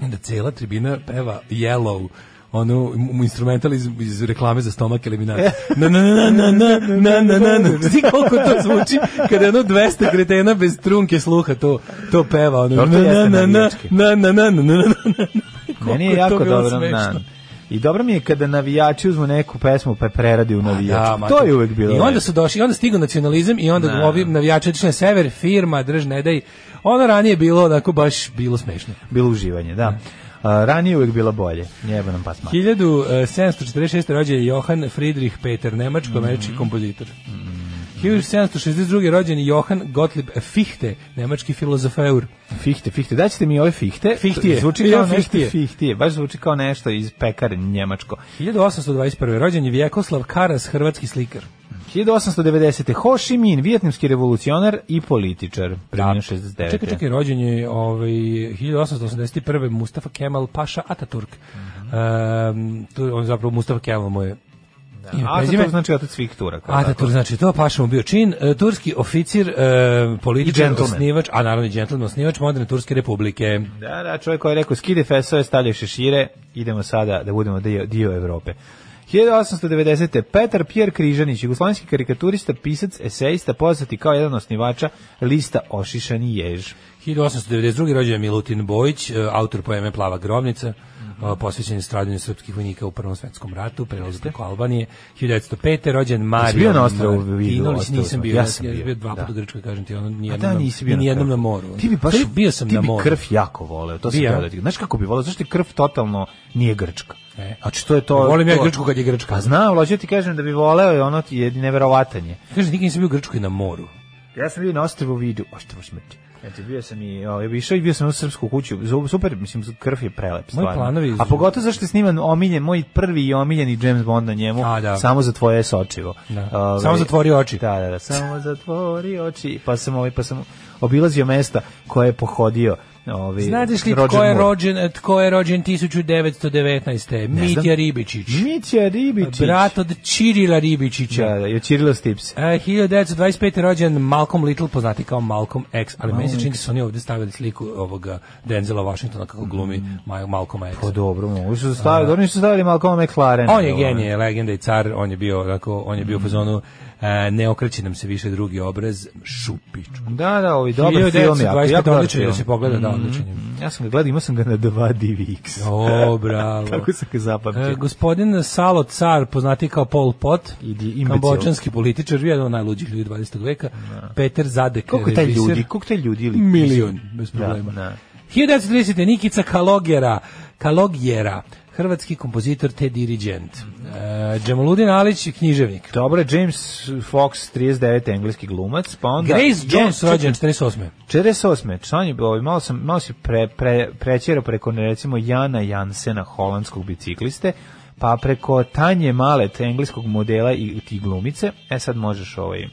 Speaker 6: I onda cela tribina peva Yellow, ono mu instrumental iz, iz reklame za stomak eliminator. Na na na na na na na na na. Ti koliko to zvuči kada je ono 200 kretena bez trunke sluha to to peva ono.
Speaker 7: Dobro,
Speaker 6: Na
Speaker 7: to
Speaker 6: na
Speaker 7: jeste
Speaker 6: na na
Speaker 7: navijački.
Speaker 6: na na na na na. Koliko
Speaker 7: Meni je
Speaker 6: to
Speaker 7: jako
Speaker 6: bilo
Speaker 7: dobro
Speaker 6: smešno.
Speaker 7: na. I dobro mi je kada navijači uzmu neku pesmu pa je preradi u
Speaker 6: Da,
Speaker 7: navijačku.
Speaker 6: ma,
Speaker 7: to je uvek bilo.
Speaker 6: I onda
Speaker 7: lepo.
Speaker 6: su došli, i onda stigu nacionalizam i onda
Speaker 7: Da.
Speaker 6: ovi navijači otišli na sever, firma, drž, ne daj. Ono ranije je bilo onako baš bilo smešno.
Speaker 7: bilo uživanje, da. A, ranije je uvek bila bolje. Jebe nam pas mati.
Speaker 6: e, 1746. rođen je Johan Friedrich Peter, nemačko-američki kompozitor. 1762. rođen je Johan Gottlieb Fichte, nemački filozofeur.
Speaker 7: Fichte, fichte. Daćete mi ove fichte.
Speaker 6: Fihtije.
Speaker 7: Zvuči kao
Speaker 6: Ja,
Speaker 7: nešto
Speaker 6: fihtije.
Speaker 7: fihtije. Baš zvuči kao nešto iz pekare njemačko.
Speaker 6: 1821. rođen je Vjekoslav Karas, hrvatski slikar.
Speaker 7: 1890. Ho Chi Minh, vijetnamski revolucionar i političar. Preminuo 69.
Speaker 6: Čekaj, čekaj, rođen je ovaj, 1881. Mustafa Kemal Paša Ataturk. Um, tu, on zapravo Mustafa Kemal mu je ime,
Speaker 7: A
Speaker 6: prezime.
Speaker 7: to znači otac svih Turaka.
Speaker 6: Ataturk, znači to, Paša mu bio čin, e, turski oficir, e,
Speaker 7: I
Speaker 6: političar,
Speaker 7: džentlmen.
Speaker 6: osnivač, a naravno i džentlmen, osnivač moderne Turske republike.
Speaker 7: Da, da, čovjek koji je rekao skide fesove, stavljaj šešire, idemo sada da budemo dio, dio Evrope. 1890. Petar Pjer Križanić, jugoslovenski karikaturista, pisac, esejista, poznati kao jedan od osnivača lista Ošišani jež.
Speaker 6: 1892. rođen je Milutin Bojić, e, autor poeme Plava grobnica,
Speaker 7: Mhm.
Speaker 6: e, posvećen je stradanju srpskih vojnika u Prvom svetskom ratu, prelazu preko Albanije. 1905. rođen Mario
Speaker 7: bio na ostrovu Vidu,
Speaker 6: Martinović,
Speaker 7: ostrovu
Speaker 6: nisam
Speaker 7: smo?
Speaker 6: bio,
Speaker 7: Ja
Speaker 6: ja
Speaker 7: sam
Speaker 6: sam
Speaker 7: bio,
Speaker 6: bio dva puta
Speaker 7: da.
Speaker 6: u Grčkoj, kažem ti, ono
Speaker 7: A
Speaker 6: nijednom,
Speaker 7: da,
Speaker 6: na-
Speaker 7: nisi bio
Speaker 6: ni jednom
Speaker 7: krv.
Speaker 6: na moru.
Speaker 7: Ti bi baš,
Speaker 6: Krv- bio sam
Speaker 7: ti
Speaker 6: na
Speaker 7: bi
Speaker 6: moru.
Speaker 7: krv jako voleo, to sam
Speaker 6: Bio.
Speaker 7: ja. da ti- Znaš kako bi voleo, zašto je krv totalno nije grčka?
Speaker 6: E.
Speaker 7: Znači to je to...
Speaker 6: Volim ja
Speaker 7: to-
Speaker 6: Grčku kad je Grčka.
Speaker 7: Pa znam, lođe ti kažem da bi voleo i ono ti je neverovatan je.
Speaker 6: Kaže, nikad nisam bio u Grčkoj na moru.
Speaker 7: Ja sam bio na ostrvu Vidu, ostrvu smrti. Eto, bio sam i, ovaj, bio išao i bio sam u srpsku kuću. Zu- Super, mislim, krv je prelep, stvarno.
Speaker 6: planovi iz-
Speaker 7: A pogotovo zašto je sniman omiljen, moj prvi i omiljeni James Bond na njemu,
Speaker 6: A, da.
Speaker 7: samo za tvoje sočivo.
Speaker 6: Da.
Speaker 7: Ovaj,
Speaker 6: Samo zatvori oči.
Speaker 7: Da, da, da, samo zatvori oči. Pa sam, ovaj, pa sam obilazio mesta koje je pohodio Ovi,
Speaker 6: Znateš li
Speaker 7: Roger
Speaker 6: tko je
Speaker 7: Moore.
Speaker 6: rođen, e, tko je rođen 1919.
Speaker 7: Ne znam.
Speaker 6: Mitja Ribičić.
Speaker 7: Mitja Ribičić.
Speaker 6: Brat od Čirila Ribičića.
Speaker 7: Da, da, i od Cirilo Stips.
Speaker 6: E, 1925. rođen Malcolm Little, poznati kao Malcolm X, ali meni se čini da su oni ovde stavili sliku ovoga Denzela Washingtona kako glumi Ma- Malcolma X.
Speaker 7: Pa dobro, mogu su stavili, dobro nisu stavili Malcolm McLaren.
Speaker 6: On je
Speaker 7: Ovaj.
Speaker 6: genije, legenda i car, on je bio, onako, on je bio u fazonu e, ne okreće nam se više drugi obraz, šupičku.
Speaker 7: Da, da, ovaj dobar film, jako, jako dobar
Speaker 6: odličan je
Speaker 7: film. Mm,
Speaker 6: da se pogleda, da, odličan je.
Speaker 7: Ja sam ga gledao, imao sam ga na 2 DVX.
Speaker 6: O, bravo.
Speaker 7: Tako sam ga zapamtio.
Speaker 6: E, gospodin Salo Car, poznati kao Pol Pot,
Speaker 7: Idi, imbecil.
Speaker 6: kambočanski političar, jedan od najluđih ljudi 20. veka, Peter Zadek,
Speaker 7: koliko je taj
Speaker 6: režiser.
Speaker 7: ljudi, koliko taj ljudi ili
Speaker 6: Milion, bez problema.
Speaker 7: Da, da.
Speaker 6: 1930. Nikica Kalogjera, Kalogjera, hrvatski kompozitor te dirigent. E, Džemoludin Alić, književnik.
Speaker 7: Dobro, James Fox, 39. engleski glumac, pa onda...
Speaker 6: Grace Jones,
Speaker 7: Je,
Speaker 6: rođen 48.
Speaker 7: 48. Član je bio, ovaj, malo, sam, malo si pre, pre, prećerao preko, recimo, Jana Jansena, holandskog bicikliste, pa preko Tanje Malet, engleskog modela i, i glumice. E sad možeš ovaj...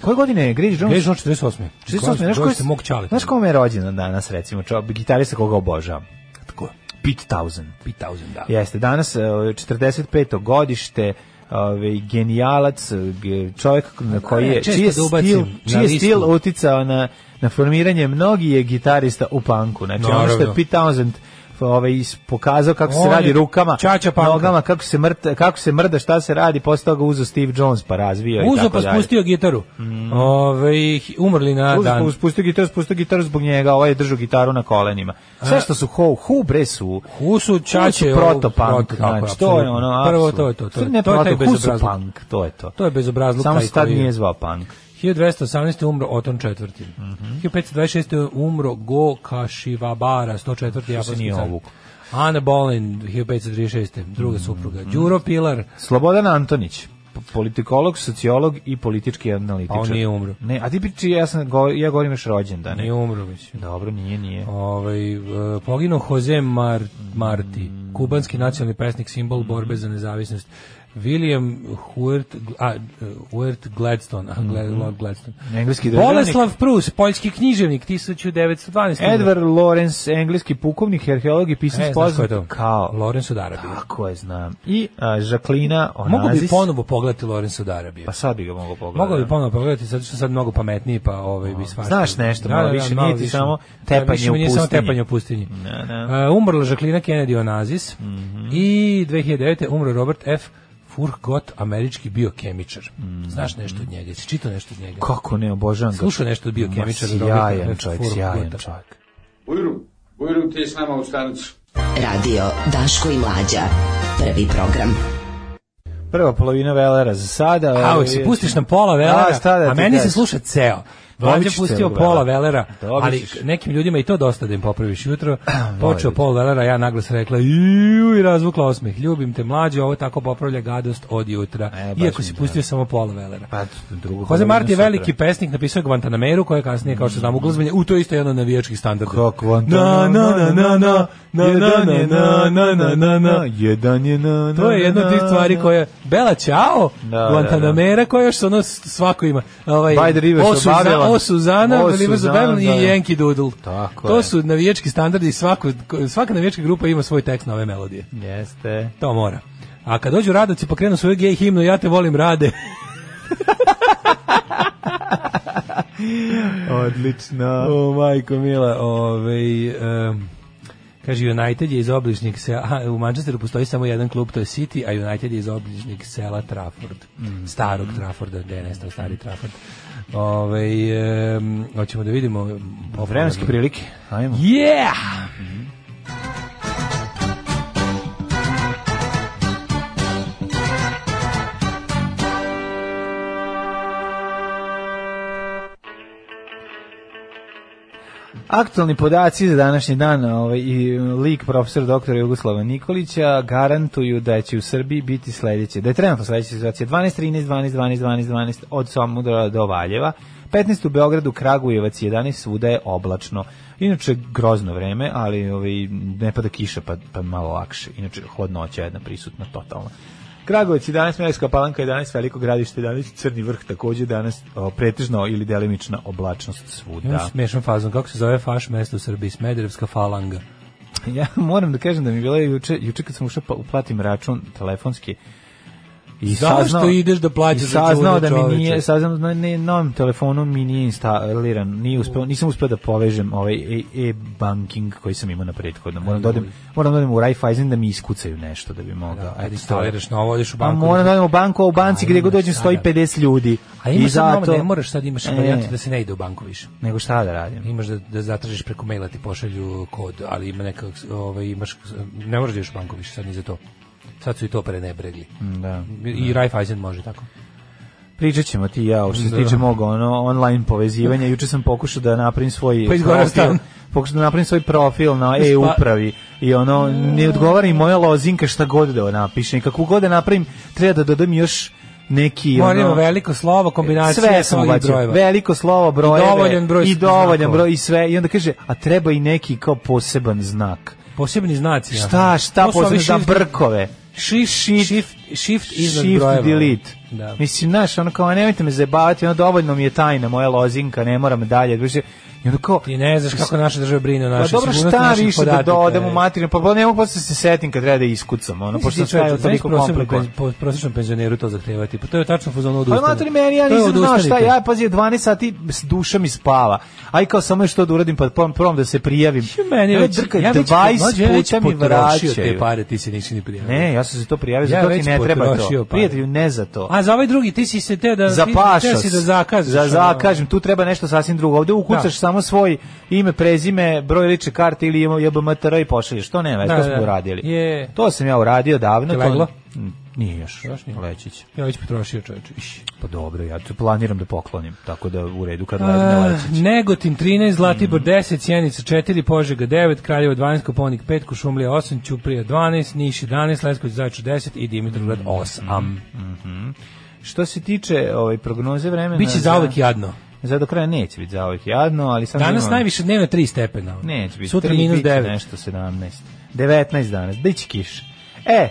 Speaker 7: Koje godine je Grace Jones?
Speaker 6: Grace Jones 48.
Speaker 7: 48. Znaš ko
Speaker 6: Gledali
Speaker 7: je,
Speaker 6: ste mog čale.
Speaker 7: znaš kome je rođendan danas, recimo, čo, gitarista koga obožavam? Tako Pete Townsend.
Speaker 6: 5000, da.
Speaker 7: Jeste, danas, eh, 45. godište, ovaj genijalac, eh, ge- čovjek na koji
Speaker 6: ne,
Speaker 7: je,
Speaker 6: često
Speaker 7: čiji je
Speaker 6: ga ubacim
Speaker 7: stil,
Speaker 6: na
Speaker 7: čiji je
Speaker 6: listu.
Speaker 7: stil uticao na, na formiranje mnogi je gitarista u panku. Znači, ono što je
Speaker 6: Naravno.
Speaker 7: Pete Townsend ovaj is- pokazao kako se
Speaker 6: On
Speaker 7: radi
Speaker 6: je
Speaker 7: rukama,
Speaker 6: čača panka.
Speaker 7: nogama, kako se mrt, kako se mrda, šta se radi, posle toga uzeo Steve Jones pa razvio i
Speaker 6: Uzo
Speaker 7: tako
Speaker 6: pa
Speaker 7: dalje. Mm. pa
Speaker 6: spustio gitaru. Ove, hi- umrli na
Speaker 7: Uz-
Speaker 6: dan.
Speaker 7: Spustio gitaru, spustio gitaru zbog njega, ovaj je držao gitaru na kolenima. Sve što su Who, Who bre su...
Speaker 6: Who su čače
Speaker 7: Who su
Speaker 6: ovog
Speaker 7: proto-punk,
Speaker 6: proto, tako je,
Speaker 7: znači to je
Speaker 6: apsolutno.
Speaker 7: ono...
Speaker 6: Prvo
Speaker 7: apsolutno.
Speaker 6: to je to, to je-
Speaker 7: ne
Speaker 6: to je taj
Speaker 7: proto, Who su
Speaker 6: bezobrazluk.
Speaker 7: punk, to je to.
Speaker 6: To je bezobrazluk.
Speaker 7: Samo
Speaker 6: taj
Speaker 7: se tad
Speaker 6: koji je.
Speaker 7: nije zvao punk.
Speaker 6: 1218. umro Oton IV.
Speaker 7: Mhm.
Speaker 6: 1526. umro Go Kashiwabara, 104.
Speaker 7: se
Speaker 6: japanski
Speaker 7: nije
Speaker 6: car.
Speaker 7: ovuklo.
Speaker 6: Ana Bolin, 1536.
Speaker 7: Mm.
Speaker 6: Druga supruga. Đuro Pilar,
Speaker 7: Slobodan Antonić, p- politikolog, sociolog i politički analitičar.
Speaker 6: A Pa on nije umro.
Speaker 7: Ne, a ti piči, ja, sam, go, ja govorim još rođendan.
Speaker 6: nije umro, mislim.
Speaker 7: Dobro, nije, nije.
Speaker 6: Ovaj, e, poginuo Jose Mar Marti, kubanski nacionalni pesnik,
Speaker 7: Mhm.
Speaker 6: simbol borbe za nezavisnost. William Huert, a, e, Huert Gladstone, a,
Speaker 7: Mhm.
Speaker 6: Glad, Lord Gladstone.
Speaker 7: Engleski državnik.
Speaker 6: Boleslav Prus, poljski književnik, 1912.
Speaker 7: Edward Lawrence, engleski pukovnik, arheolog i pisac
Speaker 6: E, znaš ko je
Speaker 7: poznat
Speaker 6: to?
Speaker 7: kao...
Speaker 6: Lorenzo d'Arabija.
Speaker 7: Tako je, znam. I a, Žaklina Onazis.
Speaker 6: Mogu bi ponovo pogledati Lorenzo d'Arabija.
Speaker 7: Pa sad bi ga mogao pogledati.
Speaker 6: Mogao bi ponovo pogledati, sad što sam sad mnogo pametniji, pa ovaj bi svašta.
Speaker 7: Znaš nešto, malo više, nije ti samo
Speaker 6: Da, više
Speaker 7: tepanje u
Speaker 6: mi nije samo
Speaker 7: pustinji.
Speaker 6: tepanje u pustinji.
Speaker 7: Ne, ne.
Speaker 6: Uh, umrla Jacqueline Kennedy Onazis
Speaker 7: Mhm.
Speaker 6: i 2009. umro Robert F. Furhgott, američki biokemičar.
Speaker 7: Mhm.
Speaker 6: Znaš nešto od njega? Jesi čitao nešto od njega?
Speaker 7: Kako ne, obožavam ga.
Speaker 6: Slušao nešto od biokemičara? Roberta
Speaker 7: Sjajan
Speaker 6: F.
Speaker 7: čovjek,
Speaker 6: Furhgotta.
Speaker 7: sjajan čovjek.
Speaker 10: Bujru, Bujru, ti s nama u stanicu.
Speaker 3: Radio Daško i Mlađa. Prvi program.
Speaker 7: Prva polovina velera za sada.
Speaker 6: A,
Speaker 7: ovaj,
Speaker 6: uvijek se pustiš na pola velera,
Speaker 7: A, šta da
Speaker 6: a
Speaker 7: ti
Speaker 6: meni se
Speaker 7: kažem?
Speaker 6: sluša ceo.
Speaker 7: Dobit
Speaker 6: Mlađe
Speaker 7: ćeš
Speaker 6: pustio
Speaker 7: celog
Speaker 6: pola
Speaker 7: velera.
Speaker 6: velera,
Speaker 7: Dobit
Speaker 6: ali
Speaker 7: ćeš.
Speaker 6: nekim ljudima i to dosta da im popraviš jutro. Počeo pol velera, ja naglas rekla "Iu", i razvukla osmeh. Ljubim te mlađe, ovo tako popravlja gadost od jutra.
Speaker 7: E, baš
Speaker 6: Iako
Speaker 7: mi
Speaker 6: si
Speaker 7: da.
Speaker 6: pustio samo pola velera.
Speaker 7: Pa, drugo.
Speaker 6: Jose Marti je
Speaker 7: sutra.
Speaker 6: veliki pesnik, napisao je Guantanameru, koja je kasnije, kao što znamo, uglazbenje. U, to je isto jedan navijački standard.
Speaker 7: Kako on
Speaker 6: Na, na, na, na, na, na,
Speaker 7: Jedan
Speaker 6: na,
Speaker 7: je
Speaker 6: na, na, na, na, na.
Speaker 7: Jedan je na, na,
Speaker 6: To je jedna od tih
Speaker 7: na,
Speaker 6: stvari
Speaker 7: na.
Speaker 6: koje Bela Ćao,
Speaker 7: Da, da,
Speaker 6: Guantanamera, koja još ono s- svako ima. Ovaj,
Speaker 7: By the Rivers
Speaker 6: O
Speaker 7: of
Speaker 6: Suzana-
Speaker 7: Babylon.
Speaker 6: O Suzana,
Speaker 7: O
Speaker 6: The Rivers of
Speaker 7: Suzana,
Speaker 6: Babylon i
Speaker 7: da.
Speaker 6: Yankee Doodle.
Speaker 7: Tako
Speaker 6: to
Speaker 7: je.
Speaker 6: su navijački standardi i svako, svaka navijačka grupa ima svoj tekst nove melodije.
Speaker 7: Jeste.
Speaker 6: To mora. A kad dođu radoci pa krenu svoju gej himnu, ja te volim rade.
Speaker 7: Odlično.
Speaker 6: o, majko mila, ovaj... em, Kaže, United je iz obližnjeg sela, a, u Manchesteru postoji samo jedan klub, to je City, a United je iz obližnjeg sela Trafford,
Speaker 7: Mhm.
Speaker 6: starog Trafforda, gde je nestao stari Trafford. Ove, hoćemo da vidimo... popularno.
Speaker 7: Vremenske prilike. Ajmo.
Speaker 6: Yeah!
Speaker 7: Aktualni podaci za današnji dan ovaj, i lik profesor doktora Jugoslava Nikolića garantuju da će u Srbiji biti sledeće, da je trenutno sledeća situacija 12, 13, 12, 12, 12, 12 od Somodora do Valjeva, 15 u Beogradu, Kragujevac 11, svuda je oblačno. Inače, grozno vreme, ali ovaj, ne pada kiša, pa, pa malo lakše. Inače, hladnoća je jedna prisutna totalno. Kragovic 11, Merska palanka 11, Veliko gradište 11, Crni vrh takođe danas o, pretežno ili delimična oblačnost svuda.
Speaker 6: Imam smešan fazon, kako se zove faš mesto u Srbiji, Smederevska falanga.
Speaker 7: Pa Ja moram da kažem da mi je bilo juče, juče kad sam ušao pa uplatim račun telefonski i
Speaker 6: Zašto
Speaker 7: saznao
Speaker 6: ideš da plaćaš
Speaker 7: i saznao
Speaker 6: račune,
Speaker 7: da mi
Speaker 6: čoveče?
Speaker 7: nije saznao da na novom telefonu mi nije instaliran, nije uspeo, nisam uspeo da povežem ovaj e, e banking koji sam imao na prethodnom. Moram da odem, moram da odem u Raiffeisen da mi iskucaju nešto da bi mogao.
Speaker 6: Da,
Speaker 7: Eto,
Speaker 6: ajde, instaliraš novo, odeš u
Speaker 7: A
Speaker 6: banku.
Speaker 7: moram da odem u banku, a u banci gde god dođem stoji 50 ljudi.
Speaker 6: A imaš
Speaker 7: I
Speaker 6: sad malo,
Speaker 7: zato
Speaker 6: ne moraš sad imaš
Speaker 7: E,
Speaker 6: varijantu da se ne ide u banku više.
Speaker 7: nego šta da radim?
Speaker 6: Imaš da, da zatražiš preko maila ti pošalju kod, ali ima neka, ovaj, imaš, ne moraš da ideš u banku više sad ni za to. Sad su i to prenebregli.
Speaker 7: Da.
Speaker 6: I Raiffeisen može tako.
Speaker 7: Pričat ćemo ti i ja, o što se
Speaker 6: Da.
Speaker 7: tiče mog ono, online povezivanja. Juče sam pokušao da napravim svoj
Speaker 6: Pa izgoreo stan. pa-
Speaker 7: Pokušao da napravim svoj profil na e-upravi i ono, ne odgovara i moja lozinka šta god da napišem. I kako god da napravim, treba da dodam još neki...
Speaker 6: Moramo
Speaker 7: ono,
Speaker 6: veliko slovo, kombinacija
Speaker 7: sve sam
Speaker 6: svih
Speaker 7: ubacio.
Speaker 6: brojeva.
Speaker 7: Veliko slovo, brojeve.
Speaker 6: dovoljan broj
Speaker 7: I dovoljan
Speaker 6: znakova.
Speaker 7: broj i sve. I onda kaže, a treba i neki kao poseban znak.
Speaker 6: Posebni znaci.
Speaker 7: Šta, šta
Speaker 6: To su ovi
Speaker 7: poseban za
Speaker 6: shift-
Speaker 7: brkove?
Speaker 6: Shift, shift, shift iznad
Speaker 7: Shift
Speaker 6: brojeva. ono.
Speaker 7: delete.
Speaker 6: Da.
Speaker 7: Mislim, znaš, ono kao, nemojte me zajebavati, ono dovoljno mi je tajna moja lozinka, ne moram dalje. Više, I ono kao,
Speaker 6: Ti ne znaš kako naša država brine o
Speaker 7: pa
Speaker 6: našoj
Speaker 7: dobro,
Speaker 6: sigurnosti
Speaker 7: šta
Speaker 6: naših
Speaker 7: više da
Speaker 6: podataka,
Speaker 7: dodam u
Speaker 6: e.
Speaker 7: materinu, pa pa ne mogu posle da se setim kad treba da iskucam, ono,
Speaker 6: Mislim,
Speaker 7: pošto sam
Speaker 6: ti čovječe,
Speaker 7: stavio
Speaker 6: znaš
Speaker 7: toliko
Speaker 6: prosječnom
Speaker 7: komplikovan.
Speaker 6: penz- po- prosječnom penzioneru to zahtevati. Pa to je tačno fuzon
Speaker 7: Pa
Speaker 6: odustane.
Speaker 7: mater meni, ja
Speaker 6: To je
Speaker 7: nisam znao šta,
Speaker 6: odustanite.
Speaker 7: ja pazi, 12 sati s- duša mi spava. Aj kao samo što da uradim, pa prvom, prvom da se prijavim.
Speaker 6: Ju, Meni
Speaker 7: Evo,
Speaker 6: već,
Speaker 7: drkaj,
Speaker 6: ja već,
Speaker 7: 20
Speaker 6: mlađe, ja već
Speaker 7: puta mi
Speaker 6: potrošio
Speaker 7: vraćaju.
Speaker 6: te pare, ti se nisi ni prijavio.
Speaker 7: Ne, ja sam se to prijavio,
Speaker 6: Ja
Speaker 7: zato ti
Speaker 6: već
Speaker 7: ne treba
Speaker 6: potrošio
Speaker 7: to.
Speaker 6: pare.
Speaker 7: Prijatelju, ne za to.
Speaker 6: A za ovaj drugi, ti si se teo da,
Speaker 7: za
Speaker 6: ti-
Speaker 7: pašas.
Speaker 6: teo si da zakažeš.
Speaker 7: Za
Speaker 6: ono.
Speaker 7: zakažem, tu treba nešto sasvim drugo. Ovde ukucaš
Speaker 6: Da.
Speaker 7: samo svoj ime, prezime, broj lične karte ili JBMTR i pošalješ. To nema,
Speaker 6: Da,
Speaker 7: to smo
Speaker 6: da.
Speaker 7: uradili.
Speaker 6: Je.
Speaker 7: To sam ja uradio davno.
Speaker 6: Ti
Speaker 7: to-
Speaker 6: leglo?
Speaker 7: Mm, Nije još.
Speaker 6: Još nije?
Speaker 7: Leći će.
Speaker 6: Ja već potrošio čovječe. Iš.
Speaker 7: Pa dobro, ja to planiram da poklonim, tako da u redu kad legne
Speaker 6: A,
Speaker 7: leći.
Speaker 6: Negotin 13, Zlatibor
Speaker 7: Mm.
Speaker 6: 10, Sjenica 4, Požega 9, Kraljevo 12, Koponik 5, Kušumlija 8, Ćuprija 12, Niš 11, Lesković Zajču 10 i Dimitrovgrad
Speaker 7: Mm.
Speaker 6: 8.
Speaker 7: Što se tiče ovaj prognoze vremena...
Speaker 6: Biće zauvek jadno.
Speaker 7: Za do kraja neće biti zauvek jadno, ali sam...
Speaker 6: Danas najviše dnevno 3 stepena.
Speaker 7: Pa Neće biti.
Speaker 6: Sutra
Speaker 7: tri,
Speaker 6: minus
Speaker 7: bit će
Speaker 6: 9.
Speaker 7: Nešto 17. 19 danas. Biće kiš. E,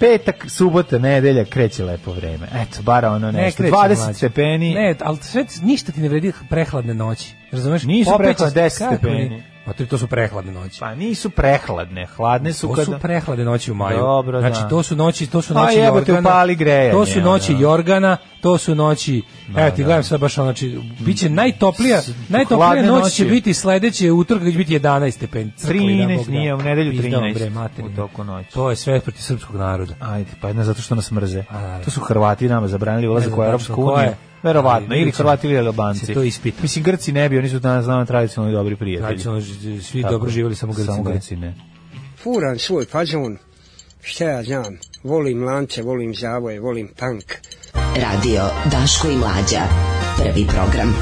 Speaker 7: petak, subota, nedelja, kreće lepo vreme. Eto, bar ono nešto.
Speaker 6: kreće,
Speaker 7: 20
Speaker 6: mlađe.
Speaker 7: stepeni.
Speaker 6: Ne, ali sve, ništa ti ne vredi prehladne noći. Razumeš?
Speaker 7: Nisu
Speaker 6: Popet će-
Speaker 7: prehladne, 10
Speaker 6: kako
Speaker 7: stepeni.
Speaker 6: ni- Pa to, to su prehladne noći.
Speaker 7: Pa nisu prehladne. Hladne su
Speaker 6: To
Speaker 7: kada...
Speaker 6: su prehladne noći u maju.
Speaker 7: Dobro,
Speaker 6: znači,
Speaker 7: da.
Speaker 6: to su noći, to su
Speaker 7: Pa
Speaker 6: noći
Speaker 7: jebote,
Speaker 6: jorgana.
Speaker 7: upali grejanje,
Speaker 6: To su noći
Speaker 7: ono.
Speaker 6: jorgana, to su noći. evo ti gledam sad baš ono, znači biće najtoplija,
Speaker 7: hladne
Speaker 6: najtoplija noć
Speaker 7: noći.
Speaker 6: će biti sledeće utorka gdje će biti 11 stepeni. Crkli, da,
Speaker 7: 13,
Speaker 6: Bog da.
Speaker 7: nije, u nedelju
Speaker 6: Pizda vam,
Speaker 7: 13
Speaker 6: bre, materine.
Speaker 7: u toku noći.
Speaker 6: To je sve protiv srpskog naroda.
Speaker 7: Ajde, pa ne zato što nas mrze.
Speaker 6: naravno.
Speaker 7: To su Hrvati nama zabranili ulazak
Speaker 6: Ne
Speaker 7: u
Speaker 6: znam
Speaker 7: Europsku
Speaker 6: tačno ko
Speaker 7: uniju.
Speaker 6: je.
Speaker 7: Verovatno,
Speaker 6: Ali
Speaker 7: ili
Speaker 6: vidjet ćemo.
Speaker 7: Hrvati ili Albanci.
Speaker 6: Se to ispita.
Speaker 7: Mislim, Grci ne bi, oni su danas nama tradicionalno dobri prijatelji.
Speaker 6: Tradicionalno Znači, ono, ž- svi
Speaker 7: Tako.
Speaker 6: dobro živjeli samo Grci.
Speaker 7: Samo
Speaker 6: ne.
Speaker 7: Grci ne.
Speaker 11: furam svoj fazon, šta ja znam, volim lance, volim zavoje, volim punk.
Speaker 3: Radio Daško i Mlađa. Prvi program.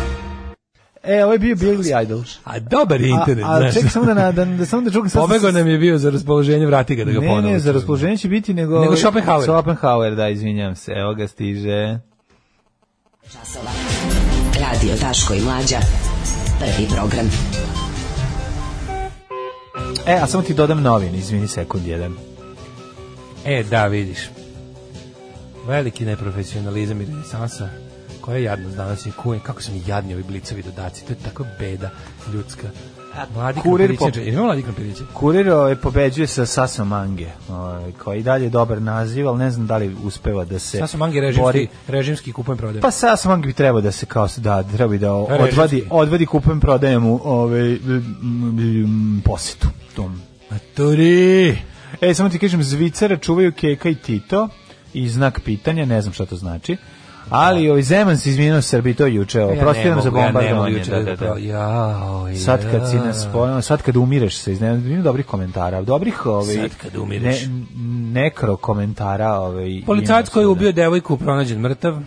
Speaker 7: E, ovo je bio Billy Idol.
Speaker 6: A dobar je internet,
Speaker 7: a, a,
Speaker 6: znaš.
Speaker 7: ček samo da, na, da, da, samo da čukam sad.
Speaker 6: Pobegao nam je bio za raspoloženje, vrati ga da ga
Speaker 7: Ne,
Speaker 6: ponovo.
Speaker 7: ne, za
Speaker 6: čujemo.
Speaker 7: raspoloženje će biti nego... ovaj
Speaker 6: Nego Schopenhauer.
Speaker 7: Schopenhauer, da, izvinjam se. Evo ga stiže.
Speaker 3: Časova. Radio Daško i Mlađa. Prvi program.
Speaker 7: E, a samo ti dodam novin, izvini sekund jedan.
Speaker 6: E, da, vidiš. Veliki neprofesionalizam i renesansa. Koja je jadnost danas je kujem. Kako su mi jadni ovi blicovi dodaci. To je tako beda ljudska. Mladi
Speaker 7: kurir
Speaker 6: krompiriće.
Speaker 7: pop-
Speaker 6: Jel imamo mladi krompiriće?
Speaker 7: Kurir ovaj, pobeđuje sa Saso Mange, ovaj, koji i dalje je dobar naziv, ali ne znam da li uspeva da se
Speaker 6: Sada su mangi režimski,
Speaker 7: bori.
Speaker 6: režimski kupujem prodajem.
Speaker 7: Pa Saso Mange bi trebao da se kao, da, treba bi da
Speaker 6: Režimski.
Speaker 7: odvadi, odvadi kupujem prodajem mu ovaj, m, m, posetu tom
Speaker 6: Maturi!
Speaker 7: E, samo ti kažem, Zvicara čuvaju Keka i Tito i znak pitanja, ne znam šta to znači. Ali ovaj Zeman se izvinio Srbiji to je juče,
Speaker 6: Ja
Speaker 7: oprostite
Speaker 6: ne
Speaker 7: pa nam za
Speaker 6: mogu, ja ne mogu
Speaker 7: bombardovanje.
Speaker 6: juče
Speaker 7: da, da,
Speaker 6: da
Speaker 7: da.
Speaker 6: pro- Jao, ja.
Speaker 7: Sad kad si nas pojavio, sad kad umireš se, ne ima dobrih komentara, dobrih ovaj
Speaker 6: Sad kad umireš.
Speaker 7: ne- nekro komentara, ovaj
Speaker 6: Policajac
Speaker 7: ima
Speaker 6: koji je
Speaker 7: svuda.
Speaker 6: ubio devojku pronađen mrtav.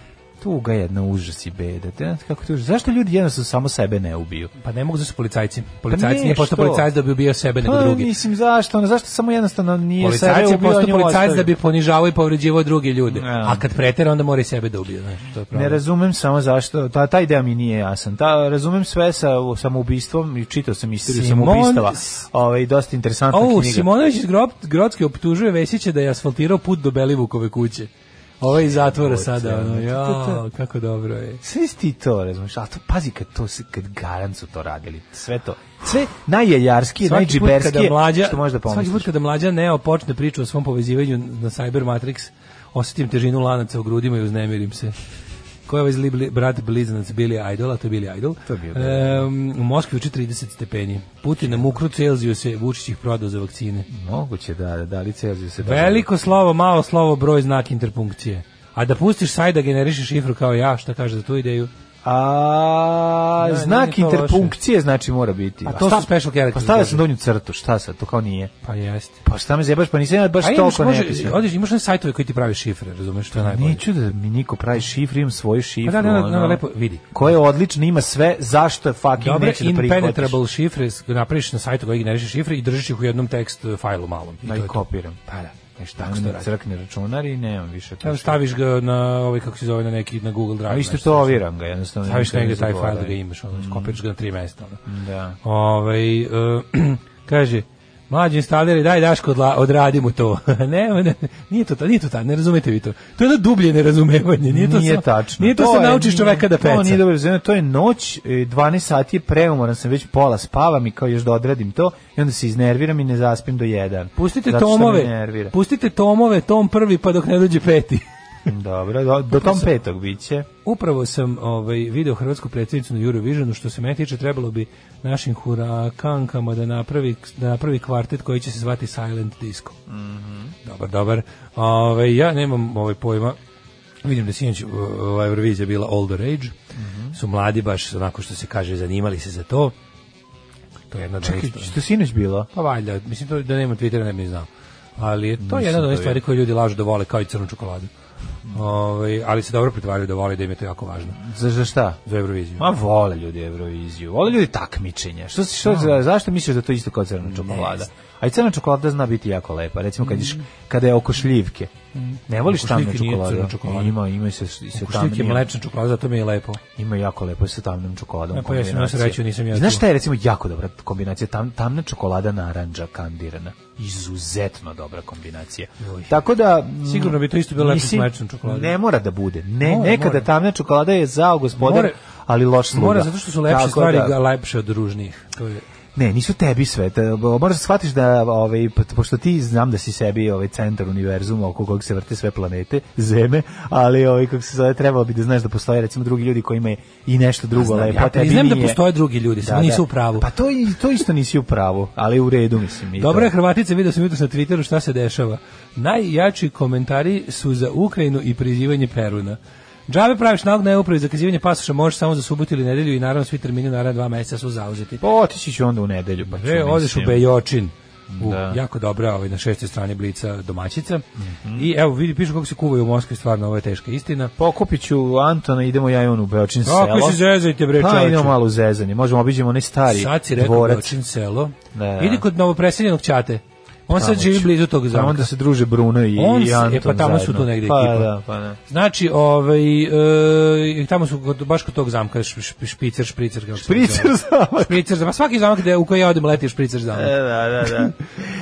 Speaker 7: tuga je jedna užas i beda. Te znate kako to je užas? Zašto ljudi jednostavno samo sebe ne ubiju?
Speaker 6: Pa ne mogu, zašto policajci? Policajac
Speaker 7: Pa ne,
Speaker 6: nije pošto
Speaker 7: što?
Speaker 6: policajac da bi ubio sebe nego
Speaker 7: Pa,
Speaker 6: drugi.
Speaker 7: mislim zašto, ono, zašto samo jednostavno nije
Speaker 6: Policajac
Speaker 7: sebe
Speaker 6: je
Speaker 7: ubio,
Speaker 6: postao
Speaker 7: nju
Speaker 6: policajac
Speaker 7: ostavio?
Speaker 6: da bi ponižavao i povređivao druge ljude.
Speaker 7: Ja.
Speaker 6: A kad pretera, onda mora i sebe da ubije. Znaš, to je
Speaker 7: Ne
Speaker 6: problem.
Speaker 7: razumem samo zašto, ta, taj deo mi nije jasan. Ta, razumem sve sa samoubistvom i čitao sam istoriju
Speaker 6: Simon-
Speaker 7: samoubistava. Ovaj, dosta interesantna
Speaker 6: O,
Speaker 7: knjiga.
Speaker 6: Simonović iz Grob, Grodske optužuje Vesića da je asfaltirao put do Belivukove kuće. Ovo je iz zatvora sada. Ono, jao, kako dobro je.
Speaker 7: Sve si ti to, razumiješ, ali to, pazi kad, to, se- kad Garancu to radili, sve to, sve najjejarskije,
Speaker 6: Svaki put kada
Speaker 7: najđiberskije,
Speaker 6: mlađa,
Speaker 7: što možeš da
Speaker 6: svaki put
Speaker 7: pomisliš.
Speaker 6: kada mlađa Neo počne priču o svom povezivanju na Cyber Matrix, osetim težinu lanaca u grudima i uznemirim se. Ko je ovaj zli bli- brat bliznac Billy Idol, a to je Billy Idol.
Speaker 7: To je bio
Speaker 6: Em, u Moskvi uči 30 stepeni. Putin na mukru Celziju se Vučić ih prodao za vakcine.
Speaker 7: Moguće da, da, da, licenziju se da.
Speaker 6: Veliko slovo, malo slovo, broj, znak interpunkcije. A da pustiš saj da generiše šifru kao ja, šta kaže za tu ideju?
Speaker 7: A,
Speaker 6: Ne,
Speaker 7: znak
Speaker 6: nije to
Speaker 7: interpunkcije znači mora biti.
Speaker 6: A to
Speaker 7: šta-
Speaker 6: su special characters,
Speaker 7: Pa stavio
Speaker 6: kaže.
Speaker 7: sam donju crtu, šta sad, to kao nije.
Speaker 6: Pa jeste.
Speaker 7: Pa šta me zebaš, pa nisam ja baš
Speaker 6: A imaš,
Speaker 7: toliko
Speaker 6: može,
Speaker 7: nepisao.
Speaker 6: odiš, imaš na sajtove koji ti pravi šifre, razumeš, to je najbolje.
Speaker 7: Neću da mi niko pravi šifru, imam svoju šifru.
Speaker 6: Pa da, da, da,
Speaker 7: ono,
Speaker 6: da, lepo, vidi.
Speaker 7: Koja je odlična, ima sve, zašto je fucking
Speaker 6: Dobre,
Speaker 7: neće da prihvatiš.
Speaker 6: impenetrable šifre s- napraviš na sajtu koji generiše šifre i držiš ih u jednom tekst e, fajlu malom. I
Speaker 7: Da
Speaker 6: to
Speaker 7: ih
Speaker 6: je to.
Speaker 7: kopiram.
Speaker 6: Pa da.
Speaker 7: E šta,
Speaker 6: Tako se to
Speaker 7: onda
Speaker 6: radi.
Speaker 7: crkne računar i nemam više to.
Speaker 6: Evo, staviš ga na ovaj kako se zove na neki na Google Drive.
Speaker 7: A isto
Speaker 6: nešto.
Speaker 7: to oviram ga, jednostavno.
Speaker 6: znači, Staviš
Speaker 7: nikad ne
Speaker 6: negde taj fajl
Speaker 7: zaboravim.
Speaker 6: da ga imaš, ono, skopiraš ga na tri mesta. Ono.
Speaker 7: Da.
Speaker 6: Ovaj, e, kaže, Mlađi instaleri, daj Daško, odla, odradi mu to. ne, ne, nije to, ta- nije to ta, ne razumete vi to. To je jedno dublje nerazumevanje. Nije, to samo-
Speaker 7: tačno.
Speaker 6: Nije to, se
Speaker 7: je-
Speaker 6: naučiš čoveka da peca.
Speaker 7: To nije dobro razumem, to je noć, e, 12 sati je preumoran sam, već pola spavam i kao još da odradim to i onda se iznerviram i ne zaspim do 1.
Speaker 6: Pustite
Speaker 7: Zato što me
Speaker 6: tomove,
Speaker 7: nervira.
Speaker 6: pustite tomove, tom prvi pa dok ne dođe peti.
Speaker 7: Dobro, do, do tom petog biće.
Speaker 6: Upravo sam ovaj video hrvatsku predsjednicu na Eurovisionu što se mene tiče trebalo bi našim hurakankama da napravi da napravi kvartet koji će se zvati Silent Disco. Mhm. Dobar, dobar. Ovaj ja nemam ovaj pojma. Vidim da je sinoć uh, ova Eurovizija bila older age. Su mladi baš onako što se kaže zanimali se za to. To je jedna od
Speaker 7: Čekaj,
Speaker 6: onih-
Speaker 7: što sinoć bilo?
Speaker 6: pa valjda, mislim to da nema Twittera ne bi ni znao. Ali je to jedna od onih
Speaker 7: vidio.
Speaker 6: stvari koje ljudi lažu da vole kao i crnu čokoladu. Ovaj, ali se dobro pretvaraju da vole i da im je to jako važno
Speaker 7: Za, za šta?
Speaker 6: za Euroviziju.
Speaker 7: Ma vole ljudi Euroviziju, vole ljudi takmičenje. Što si, što, za- zašto misliš da je to isto kao crna čokolada? A i crna čokolada zna biti jako lepa, recimo kad ješ, kada je oko šljivke. Ne voliš
Speaker 6: Mm. Oko
Speaker 7: tamnu
Speaker 6: šljivke nije
Speaker 7: čokoladu?
Speaker 6: crna čokolada.
Speaker 7: Ima, ima i sa, i sa
Speaker 6: Ako
Speaker 7: tamnim.
Speaker 6: šljivke mlečna čokolada, zato mi je lepo.
Speaker 7: Ima jako lepo sa tamnom
Speaker 6: E, pa
Speaker 7: čokoladom.
Speaker 6: ja sam
Speaker 7: kombinacija.
Speaker 6: imao sreću, nisam ja
Speaker 7: Znaš
Speaker 6: čuo.
Speaker 7: šta je recimo jako dobra kombinacija? Tam, tamna čokolada naranđa kandirana. Izuzetno dobra kombinacija. Tako da... mm,
Speaker 6: Sigurno bi to isto bilo lepo s
Speaker 7: mislim,
Speaker 6: mlečnom čokoladom.
Speaker 7: Ne mora da bude. Ne,
Speaker 6: Mora,
Speaker 7: nekada
Speaker 6: mora.
Speaker 7: tamna čokolada je zao gospodar,
Speaker 6: Mora-
Speaker 7: ali loš sluga.
Speaker 6: Mora, zato što su lepše
Speaker 7: Tako
Speaker 6: stvari
Speaker 7: da-
Speaker 6: ga lepše od ružnijih. To je,
Speaker 7: Ne, nisu tebi sve. Te, moraš da shvatiš da, ovaj, po- pošto ti znam da si sebi ovaj, centar univerzuma oko kog se vrte sve planete, zeme, ali ovaj, kako se zove, trebalo bi da znaš da postoje recimo drugi ljudi koji imaju i nešto drugo
Speaker 6: znam,
Speaker 7: lepo.
Speaker 6: ja
Speaker 7: a tebi
Speaker 6: priznajem da
Speaker 7: nije.
Speaker 6: postoje drugi ljudi, samo nisu u pravu.
Speaker 7: Pa to, i- to isto nisi u pravu, ali u redu mislim. i
Speaker 6: Dobro je
Speaker 7: to.
Speaker 6: Hrvatice, vidio sam jutros na Twitteru šta se dešava. Najjači komentari su za Ukrajinu i prizivanje Peruna. Džabe praviš nalog na upravi za kazivanje pasoša, možeš samo za subotu ili nedelju i naravno svi termini naravno dva meseca su zauzeti.
Speaker 7: Pa otići ću onda u nedelju. Pa ću,
Speaker 6: Pre, odeš E, u
Speaker 7: mislim.
Speaker 6: Bejočin. U,
Speaker 7: Da.
Speaker 6: Jako dobra ovaj, na šestoj strani blica domaćica.
Speaker 7: Mhm.
Speaker 6: I evo, vidi, pišu kako se kuvaju u Moskvi, stvarno, ovo je teška istina.
Speaker 7: Pokupit ću Antona, idemo ja i on u Beočin selo.
Speaker 6: Kako se zezajte, bre,
Speaker 7: Pa
Speaker 6: čoveče.
Speaker 7: idemo malo u zezanje, možemo obiđemo onaj stari
Speaker 6: Sad si rekao
Speaker 7: dvorac.
Speaker 6: Beočin selo.
Speaker 7: Da.
Speaker 6: Idi kod novopreseljenog čate. On sad
Speaker 7: Tamo
Speaker 6: živi
Speaker 7: ću.
Speaker 6: blizu tog
Speaker 7: Pa
Speaker 6: zamka.
Speaker 7: onda se druže Bruno i,
Speaker 6: On
Speaker 7: i
Speaker 6: se- e,
Speaker 7: Anton
Speaker 6: pa tamo su
Speaker 7: zajedno.
Speaker 6: tu negde
Speaker 7: pa,
Speaker 6: ekipa.
Speaker 7: Da, pa da.
Speaker 6: Znači, ovaj, e, tamo su kod, baš kod tog zamka, š- š- špicer, špricer. Kako se
Speaker 7: Špricer
Speaker 6: zove.
Speaker 7: zamak.
Speaker 6: Špricer zamak. Svaki zamak gde, u koji ja odem leti špricer zamak.
Speaker 7: E, da, da, da.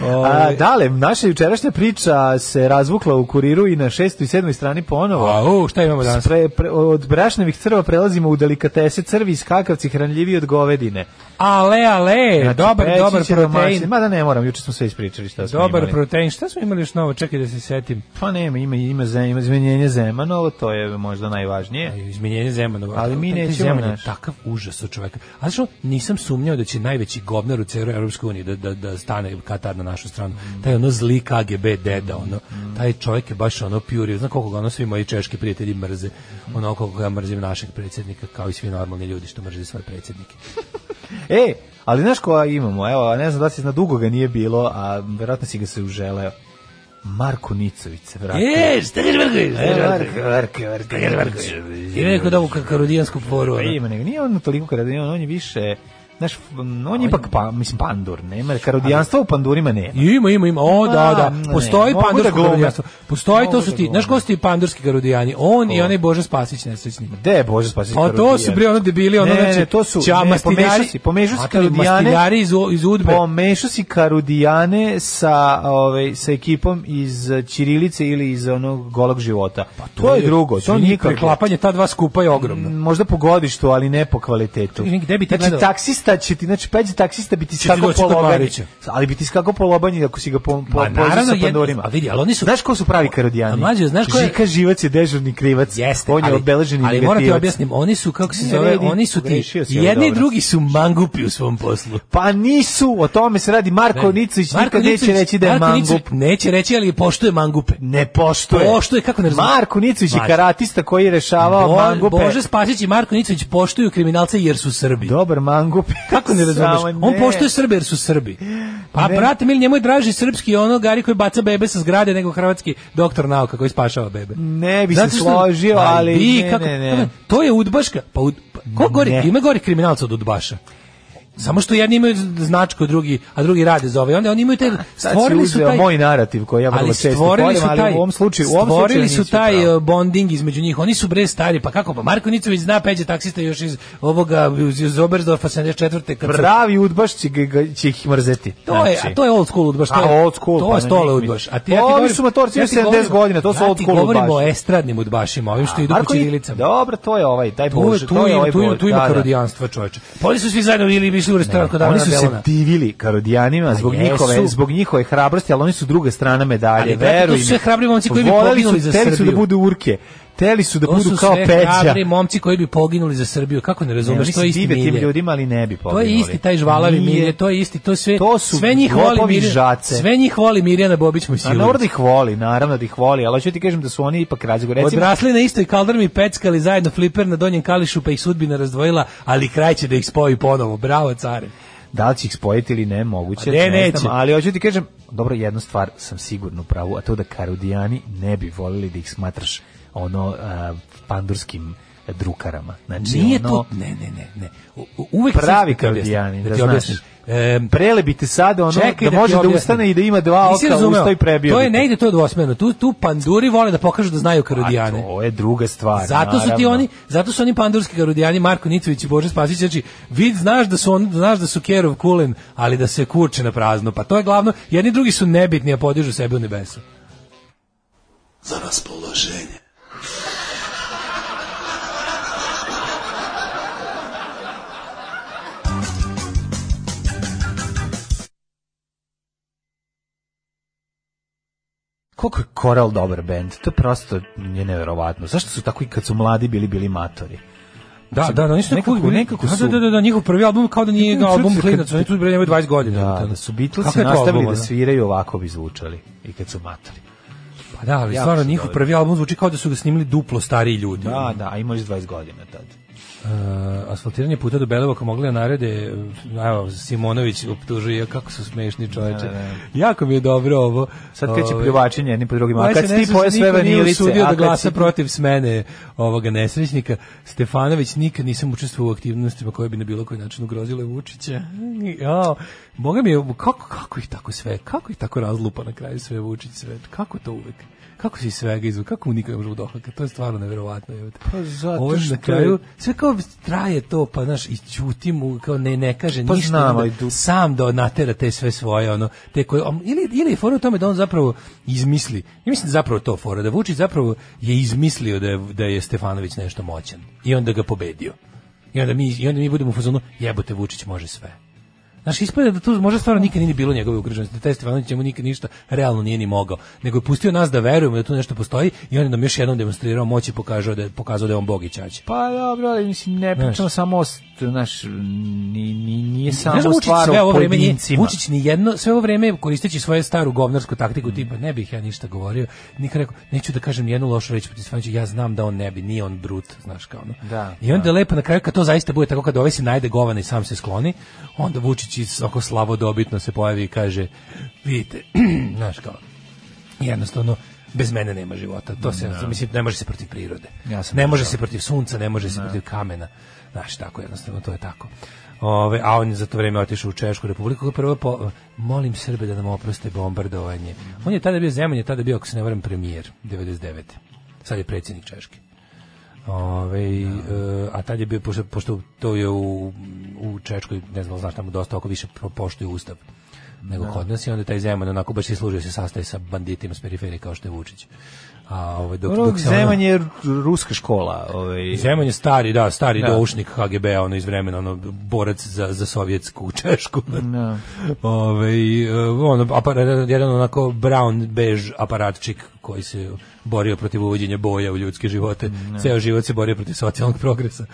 Speaker 7: A,
Speaker 6: Ovaj,
Speaker 7: dale, naša jučerašnja priča se razvukla u kuriru i na šestoj i sedmoj strani ponovo.
Speaker 6: A, u, šta imamo danas?
Speaker 7: Spre, pre, od brašnevih crva prelazimo u delikatese crvi i skakavci hranljiviji od govedine.
Speaker 6: Ale, ale,
Speaker 7: Znači,
Speaker 6: E, dobar,
Speaker 7: peći
Speaker 6: dobar
Speaker 7: će domaćin.
Speaker 6: protein.
Speaker 7: Ma da ne moram, juče smo sve ispričali šta smo
Speaker 6: Dobar
Speaker 7: imali.
Speaker 6: protein. Šta smo imali još novo? Čekaj da se setim.
Speaker 7: Pa nema, ima, ima, zem, ima zmenjenje Zemanovo, to je možda najvažnije.
Speaker 6: Izmenjenje Zemanova.
Speaker 7: Ali mi
Speaker 6: E, Taj- taj
Speaker 7: nećemo,
Speaker 6: Zeman je
Speaker 7: znaš.
Speaker 6: takav užas od čoveka. A znaš, što, nisam sumnjao da će najveći govnar u celoj Europskoj uniji da, da, da stane Katar na našu stranu. Taj ono zli KGB deda, ono. Taj čovjek je baš ono pjurio. Znam koliko ga ono svi moji češki prijatelji mrze. Ono koliko ja mrzim našeg predsjednika, kao i svi normalni ljudi što mrze svoje predsjednike.
Speaker 7: E, ali znaš koja imamo? Evo, a ne znam da si na dugo ga nije bilo, a verovatno si ga se uželeo. Marko Nicović se vratio.
Speaker 6: E, šta kažeš, Marković? Šta kažeš, Marković?
Speaker 7: Marko, Marko, Marko. E,
Speaker 6: Ima neku dobu karudijansku foru.
Speaker 7: Pa
Speaker 6: ono.
Speaker 7: ima nego, nije on toliko karadijan, on je više, znaš, on, je ipak, pa, mislim, pandur, nema, karodijanstva u pandurima nema.
Speaker 6: Pa. Ima, ima, ima. O, da, da.
Speaker 7: ne,
Speaker 6: Postoji
Speaker 7: mogu da
Speaker 6: pandursko
Speaker 7: glume.
Speaker 6: garodijanstvo. Postoji, to
Speaker 7: Mogu
Speaker 6: su
Speaker 7: da
Speaker 6: ti.
Speaker 7: glume.
Speaker 6: Znaš ko su ti pandurski garudijani? On i onaj Bože Spasić nesrećni.
Speaker 7: Gde je Bože spasi
Speaker 6: Pa to su bre ono debili, ono
Speaker 7: ne,
Speaker 6: znači...
Speaker 7: ne, to su,
Speaker 6: Ća,
Speaker 7: ne, pomešao
Speaker 6: mastiljari-
Speaker 7: si, pomešao si
Speaker 6: A, to je
Speaker 7: karudijane.
Speaker 6: Mastiljari iz, u- iz Udbe.
Speaker 7: Pomešao si karudijane sa, ovaj, sa ekipom iz eh, Ćirilice ili iz onog golog života. Pa to, je, drugo, to
Speaker 6: izvini,
Speaker 7: nije
Speaker 6: Preklapanje ta dva skupa je ogromno.
Speaker 7: možda po godištu, ali ne po kvalitetu.
Speaker 6: Čekaj, Mm, gde bi ti
Speaker 7: znači,
Speaker 6: gledao?
Speaker 7: taksista će ti, znači, peđe taksista bi ti
Speaker 6: ti
Speaker 7: skako
Speaker 6: doći kod
Speaker 7: polobanji.
Speaker 6: Marića.
Speaker 7: Ali bi ti skako polobanji ako si ga po, po,
Speaker 6: Ma,
Speaker 7: pozvao
Speaker 6: naravno,
Speaker 7: sa
Speaker 6: jed-
Speaker 7: pandorima.
Speaker 6: a vidi, ali oni su-
Speaker 7: Znaš ko su pravi karodijani?
Speaker 6: A mlađe, znaš ko je-
Speaker 7: Žika Živac je dežurni krivac.
Speaker 6: Jeste,
Speaker 7: On je
Speaker 6: ali-
Speaker 7: obeleženi
Speaker 6: Ali
Speaker 7: negativac.
Speaker 6: moram ti objasnim, oni su, kako se
Speaker 7: Ne
Speaker 6: zove,
Speaker 7: vredi,
Speaker 6: oni su ti...
Speaker 7: pogrešio si, ali
Speaker 6: Jedni i
Speaker 7: dobro.
Speaker 6: drugi su mangupi u svom poslu.
Speaker 7: Pa nisu, o tome se radi Marko Nicović, nikad neće
Speaker 6: Nicović-
Speaker 7: reći da je
Speaker 6: Marko
Speaker 7: mangup.
Speaker 6: Nicović Neće reći, ali poštuje mangupe.
Speaker 7: Ne poštuje.
Speaker 6: Poštuje, kako ne razumeš?
Speaker 7: Marko Nicović je
Speaker 6: Mlađe.
Speaker 7: karatista koji je rešavao
Speaker 6: Bo-
Speaker 7: mangupe.
Speaker 6: Bože Spasić i Marko Nicović poštuju kriminalce jer su Srbi.
Speaker 7: Dobar mangup.
Speaker 6: Kako ne razumeš?
Speaker 7: Samo
Speaker 6: On
Speaker 7: ne.
Speaker 6: poštuje Srbe jer su Srbi. Pa,
Speaker 7: Ne.
Speaker 6: brate, mili, njemu je draži srpski ono gari koji baca bebe sa zgrade nego hrvatski doktor nauka koji spašava bebe.
Speaker 7: Mm, Ne bi
Speaker 6: Zato
Speaker 7: se
Speaker 6: što-
Speaker 7: složio,
Speaker 6: Aj,
Speaker 7: ali
Speaker 6: bi,
Speaker 7: ne,
Speaker 6: kako-
Speaker 7: ne, ne.
Speaker 6: To je udbaška. Pa, ud, pa ko gori,
Speaker 7: Ne.
Speaker 6: ima gori kriminalca od udbaša. Samo što jedni imaju značku, drugi, a drugi rade za ovaj. Onda oni imaju taj
Speaker 7: Sad si
Speaker 6: stvorili su
Speaker 7: uzeo
Speaker 6: taj
Speaker 7: moj narativ koji ja vrlo
Speaker 6: ali
Speaker 7: često
Speaker 6: stvorili
Speaker 7: volim,
Speaker 6: su
Speaker 7: ali
Speaker 6: taj
Speaker 7: u ovom slučaju- u ovom
Speaker 6: stvorili
Speaker 7: slučaju
Speaker 6: su
Speaker 7: nisi u
Speaker 6: taj
Speaker 7: pravu.
Speaker 6: e, bonding između njih. Oni su bre stari, pa kako? Pa Marko Nicović zna peđe taksista još iz ovoga iz, iz Oberstdorfa 74. kad su-
Speaker 7: Pravi udbaš će, ga- ga- će ih mrzeti. Znači,
Speaker 6: To je, a to je old school udbaš, to
Speaker 7: A,
Speaker 6: je
Speaker 7: old school,
Speaker 6: to
Speaker 7: pa
Speaker 6: je
Speaker 7: ne,
Speaker 6: stole
Speaker 7: nik mi-
Speaker 6: udbaš. A ti
Speaker 7: Pa
Speaker 6: ja ti
Speaker 7: ovi
Speaker 6: govorim,
Speaker 7: su motorci
Speaker 6: ja ti
Speaker 7: 70
Speaker 6: govorim-
Speaker 7: godina, to su
Speaker 6: ja
Speaker 7: old
Speaker 6: ti
Speaker 7: school
Speaker 6: govorim o
Speaker 7: udbaši.
Speaker 6: estradnim udbašima, ovim što idu po čirilicama.
Speaker 7: Dobro, to je ovaj, taj
Speaker 6: Tu,
Speaker 7: Bože,
Speaker 6: tu,
Speaker 7: to je
Speaker 6: ima-
Speaker 7: ovaj
Speaker 6: tu, ima-
Speaker 7: Bože,
Speaker 6: tu ima
Speaker 7: da, da.
Speaker 6: karodijanstva, čoveče. Pa oni su svi zajedno ili išli u restoran kod
Speaker 7: Oni
Speaker 6: Ana
Speaker 7: su se
Speaker 6: Belona.
Speaker 7: divili karodijanima zbog
Speaker 6: jesu.
Speaker 7: njihove, zbog njihove hrabrosti, ali oni su druga strana medalje.
Speaker 6: Ali, brate, to su
Speaker 7: veruj mi.
Speaker 6: sve hrabri momci koji bi
Speaker 7: Voleli
Speaker 6: poginuli
Speaker 7: su-
Speaker 6: za
Speaker 7: Teli su da
Speaker 6: Srbiju.
Speaker 7: budu urke. Teli su da
Speaker 6: To
Speaker 7: budu
Speaker 6: su
Speaker 7: kao
Speaker 6: sve
Speaker 7: peća.
Speaker 6: hrabri momci koji bi poginuli za Srbiju. Kako ne
Speaker 7: Ne,
Speaker 6: razumeš,
Speaker 7: oni
Speaker 6: to
Speaker 7: se
Speaker 6: je isti
Speaker 7: dive tim
Speaker 6: milje.
Speaker 7: ljudima, ali ne bi
Speaker 6: To
Speaker 7: poginuli.
Speaker 6: je isti taj žvalavi
Speaker 7: Nije.
Speaker 6: milje, to je isti, to sve,
Speaker 7: To su
Speaker 6: sve njih voli
Speaker 7: lopovi
Speaker 6: Mirjana-
Speaker 7: žace.
Speaker 6: sve njih voli Mirjana Bobić
Speaker 7: A
Speaker 6: Musilović.
Speaker 7: naravno da ih voli, naravno da ih voli, ali hoću ti kažem da su oni ipak razliku. Recimo,
Speaker 6: Odrasli na istoj kaldrmi, peckali zajedno fliper na donjem kališu, pa ih sudbina razdvojila, ali kraj će da ih spoji ponovo. Bravo, care.
Speaker 7: da li će ih spojiti ili ne, moguće.
Speaker 6: Pa ne,
Speaker 7: znam,
Speaker 6: neće.
Speaker 7: ali hoću ti kažem, dobro, jednu stvar sam sigurno u pravu, a to da Karudijani ne bi volili da ih smatraš ono a, pandurskim drukarama. Znači,
Speaker 6: Nije
Speaker 7: ono,
Speaker 6: to, ne, ne, ne, ne. U- u- Uvek
Speaker 7: Pravi
Speaker 6: sam- da ti objasnim,
Speaker 7: Kardijanin, da
Speaker 6: ti
Speaker 7: znaš.
Speaker 6: objasnim. Em,
Speaker 7: Prelebite sad ono
Speaker 6: Čekaj
Speaker 7: da,
Speaker 6: ti
Speaker 7: može da
Speaker 6: objasnim.
Speaker 7: ustane i da ima dva
Speaker 6: Nisi
Speaker 7: oka
Speaker 6: razumeo.
Speaker 7: usta i prebio.
Speaker 6: To je
Speaker 7: bi
Speaker 6: ne
Speaker 7: te.
Speaker 6: ide to dvosmeno. Tu tu panduri vole da pokažu da znaju
Speaker 7: A
Speaker 6: Karudijane.
Speaker 7: to je druga stvar.
Speaker 6: Zato su ti
Speaker 7: naravno.
Speaker 6: oni, zato su oni pandurski karudijani Marko Nicović i Bože Spasić, znači vid znaš da su on znaš da su Kerov kulen, ali da se kurče na prazno. Pa to je glavno, jedni drugi su nebitni, a podižu sebe u nebesa.
Speaker 8: Za raspoloženje.
Speaker 7: Koliko je Coral dobar bend? To je prosto je neverovatno. Zašto su tako i kad su mladi bili bili matori?
Speaker 6: Da, da, da, oni su
Speaker 7: nekako,
Speaker 6: nekako,
Speaker 7: nekako su...
Speaker 6: Da, da, da, da, njihov prvi album kao da nije
Speaker 7: Nekako
Speaker 6: album
Speaker 7: su-
Speaker 6: klinac, oni tu bre nemaju 20 godina.
Speaker 7: Da,
Speaker 6: Ono.
Speaker 7: da su Beatlesi
Speaker 6: Kako je to
Speaker 7: nastavili
Speaker 6: album,
Speaker 7: da
Speaker 6: ono?
Speaker 7: sviraju ovako bi zvučali i kad su matori.
Speaker 6: Pa da, ali
Speaker 7: Jako
Speaker 6: stvarno
Speaker 7: su
Speaker 6: njihov
Speaker 7: dobri.
Speaker 6: prvi album zvuči kao da su ga snimili duplo stariji ljudi.
Speaker 7: Da, da, a imali su 20 godina tad.
Speaker 6: Uh, asfaltiranje puta do Belevoka mogli da narede evo Simonović optužuje kako su smešni čoveče. Jako mi je dobro ovo.
Speaker 7: Sad kreće
Speaker 6: Ovaj,
Speaker 7: pljuvačenje jedni po drugima. A kad
Speaker 6: SNS
Speaker 7: si ti pojeo
Speaker 6: se
Speaker 7: sve
Speaker 6: niko nije
Speaker 7: vanilice,
Speaker 6: usudio
Speaker 7: a
Speaker 6: da
Speaker 7: kad
Speaker 6: glasa
Speaker 7: si ti-
Speaker 6: protiv smene ovoga nesrećnika. Stefanović nikad nisam učestvovao u aktivnostima koje bi na bilo koji način ugrozile Vučića. Ja, boga mi je, kako, kako ih tako sve, kako ih tako razlupa na kraju sve Vučić sve, kako to uvek? Kako si iz svega izvuk, kako mu nikad ne može dohaka, to je stvarno neverovatno. jebote.
Speaker 7: Pa zato
Speaker 6: Ovo je
Speaker 7: što
Speaker 6: na
Speaker 7: je-
Speaker 6: kraju, sve kao traje to, pa znaš, i ćuti mu, kao ne, ne kaže
Speaker 7: Pa
Speaker 6: ništa,
Speaker 7: znam,
Speaker 6: onda
Speaker 7: ali du-
Speaker 6: sam da natera te sve svoje, ono, te koje, om, ili, ili je fora u tome da on zapravo izmisli, ja mislim da je zapravo to fora, da Vučić zapravo je izmislio da je, da je Stefanović nešto moćan i onda ga pobedio. I onda mi, i onda mi budemo u fazonu, jebote, Vučić može sve. Znaš, ispada da tu možda stvarno nikad nije ni bilo njegove ugroženosti, da taj Stefanović njemu nikad ništa realno nije ni mogao, nego je pustio nas da verujemo da tu nešto postoji i on je nam još jednom demonstrirao moć i pokazao da je, pokazao da je on bog i ćaće.
Speaker 7: Pa dobro, ali mislim, ne
Speaker 6: Znaš.
Speaker 7: pričamo samo o, st- znaš, ni, ni, nije
Speaker 6: Znaš da
Speaker 7: samo
Speaker 6: Vučić
Speaker 7: stvar
Speaker 6: sve
Speaker 7: o
Speaker 6: ovo vreme nije,
Speaker 7: pojedincima.
Speaker 6: Vučić ni jedno, sve ovo vreme koristeći svoju staru govnarsku taktiku, tipa ne bih ja ništa govorio, nikad rekao, neću da kažem jednu lošu reč protiv Stefanovića, ja znam da on ne bi, nije on brut, znaš kao ono.
Speaker 7: Da,
Speaker 6: I onda lepo na kraju, kad to zaista bude tako, kad ovaj se najde govana i sam se skloni, onda Vučić iz- ako slavodobitno se pojavi i kaže, vidite, znaš kao, jednostavno, bez mene nema života. To se mislim ne može se protiv prirode.
Speaker 7: Ja sam
Speaker 6: ne može se protiv sunca, ne može se protiv kamena. Znaš, tako jednostavno to je tako. Ove, a on je za to vreme otišao u Češku republiku koja je prvo po, molim Srbe da nam oproste bombardovanje. On je tada bio Zeman, je tada bio, ako se ne varam, premijer 99. Sad je predsjednik Češke. Ove, e, a tad je bio, pošto, pošto to je u, u Češkoj, ne znam, znaš tamo dosta oko više po- poštuju ustav nego kod nas i onda taj Zeman onako baš se služio se sastaje sa banditima s periferije kao što je Vučić. A ovaj dok,
Speaker 7: Dobro,
Speaker 6: dok se ono-
Speaker 7: Zeman je r- ruska škola. Ovaj,
Speaker 6: Zeman je stari, da, stari
Speaker 7: Da.
Speaker 6: doušnik KGB-a, ono iz vremena, ono, borac za, za sovjetsku Češku.
Speaker 7: Da.
Speaker 6: Ove, i, e, ono, aparat, jedan onako brown bež aparatčik koji se borio protiv uvođenja boja u ljudske živote. Ceo život se borio protiv socijalnog progresa.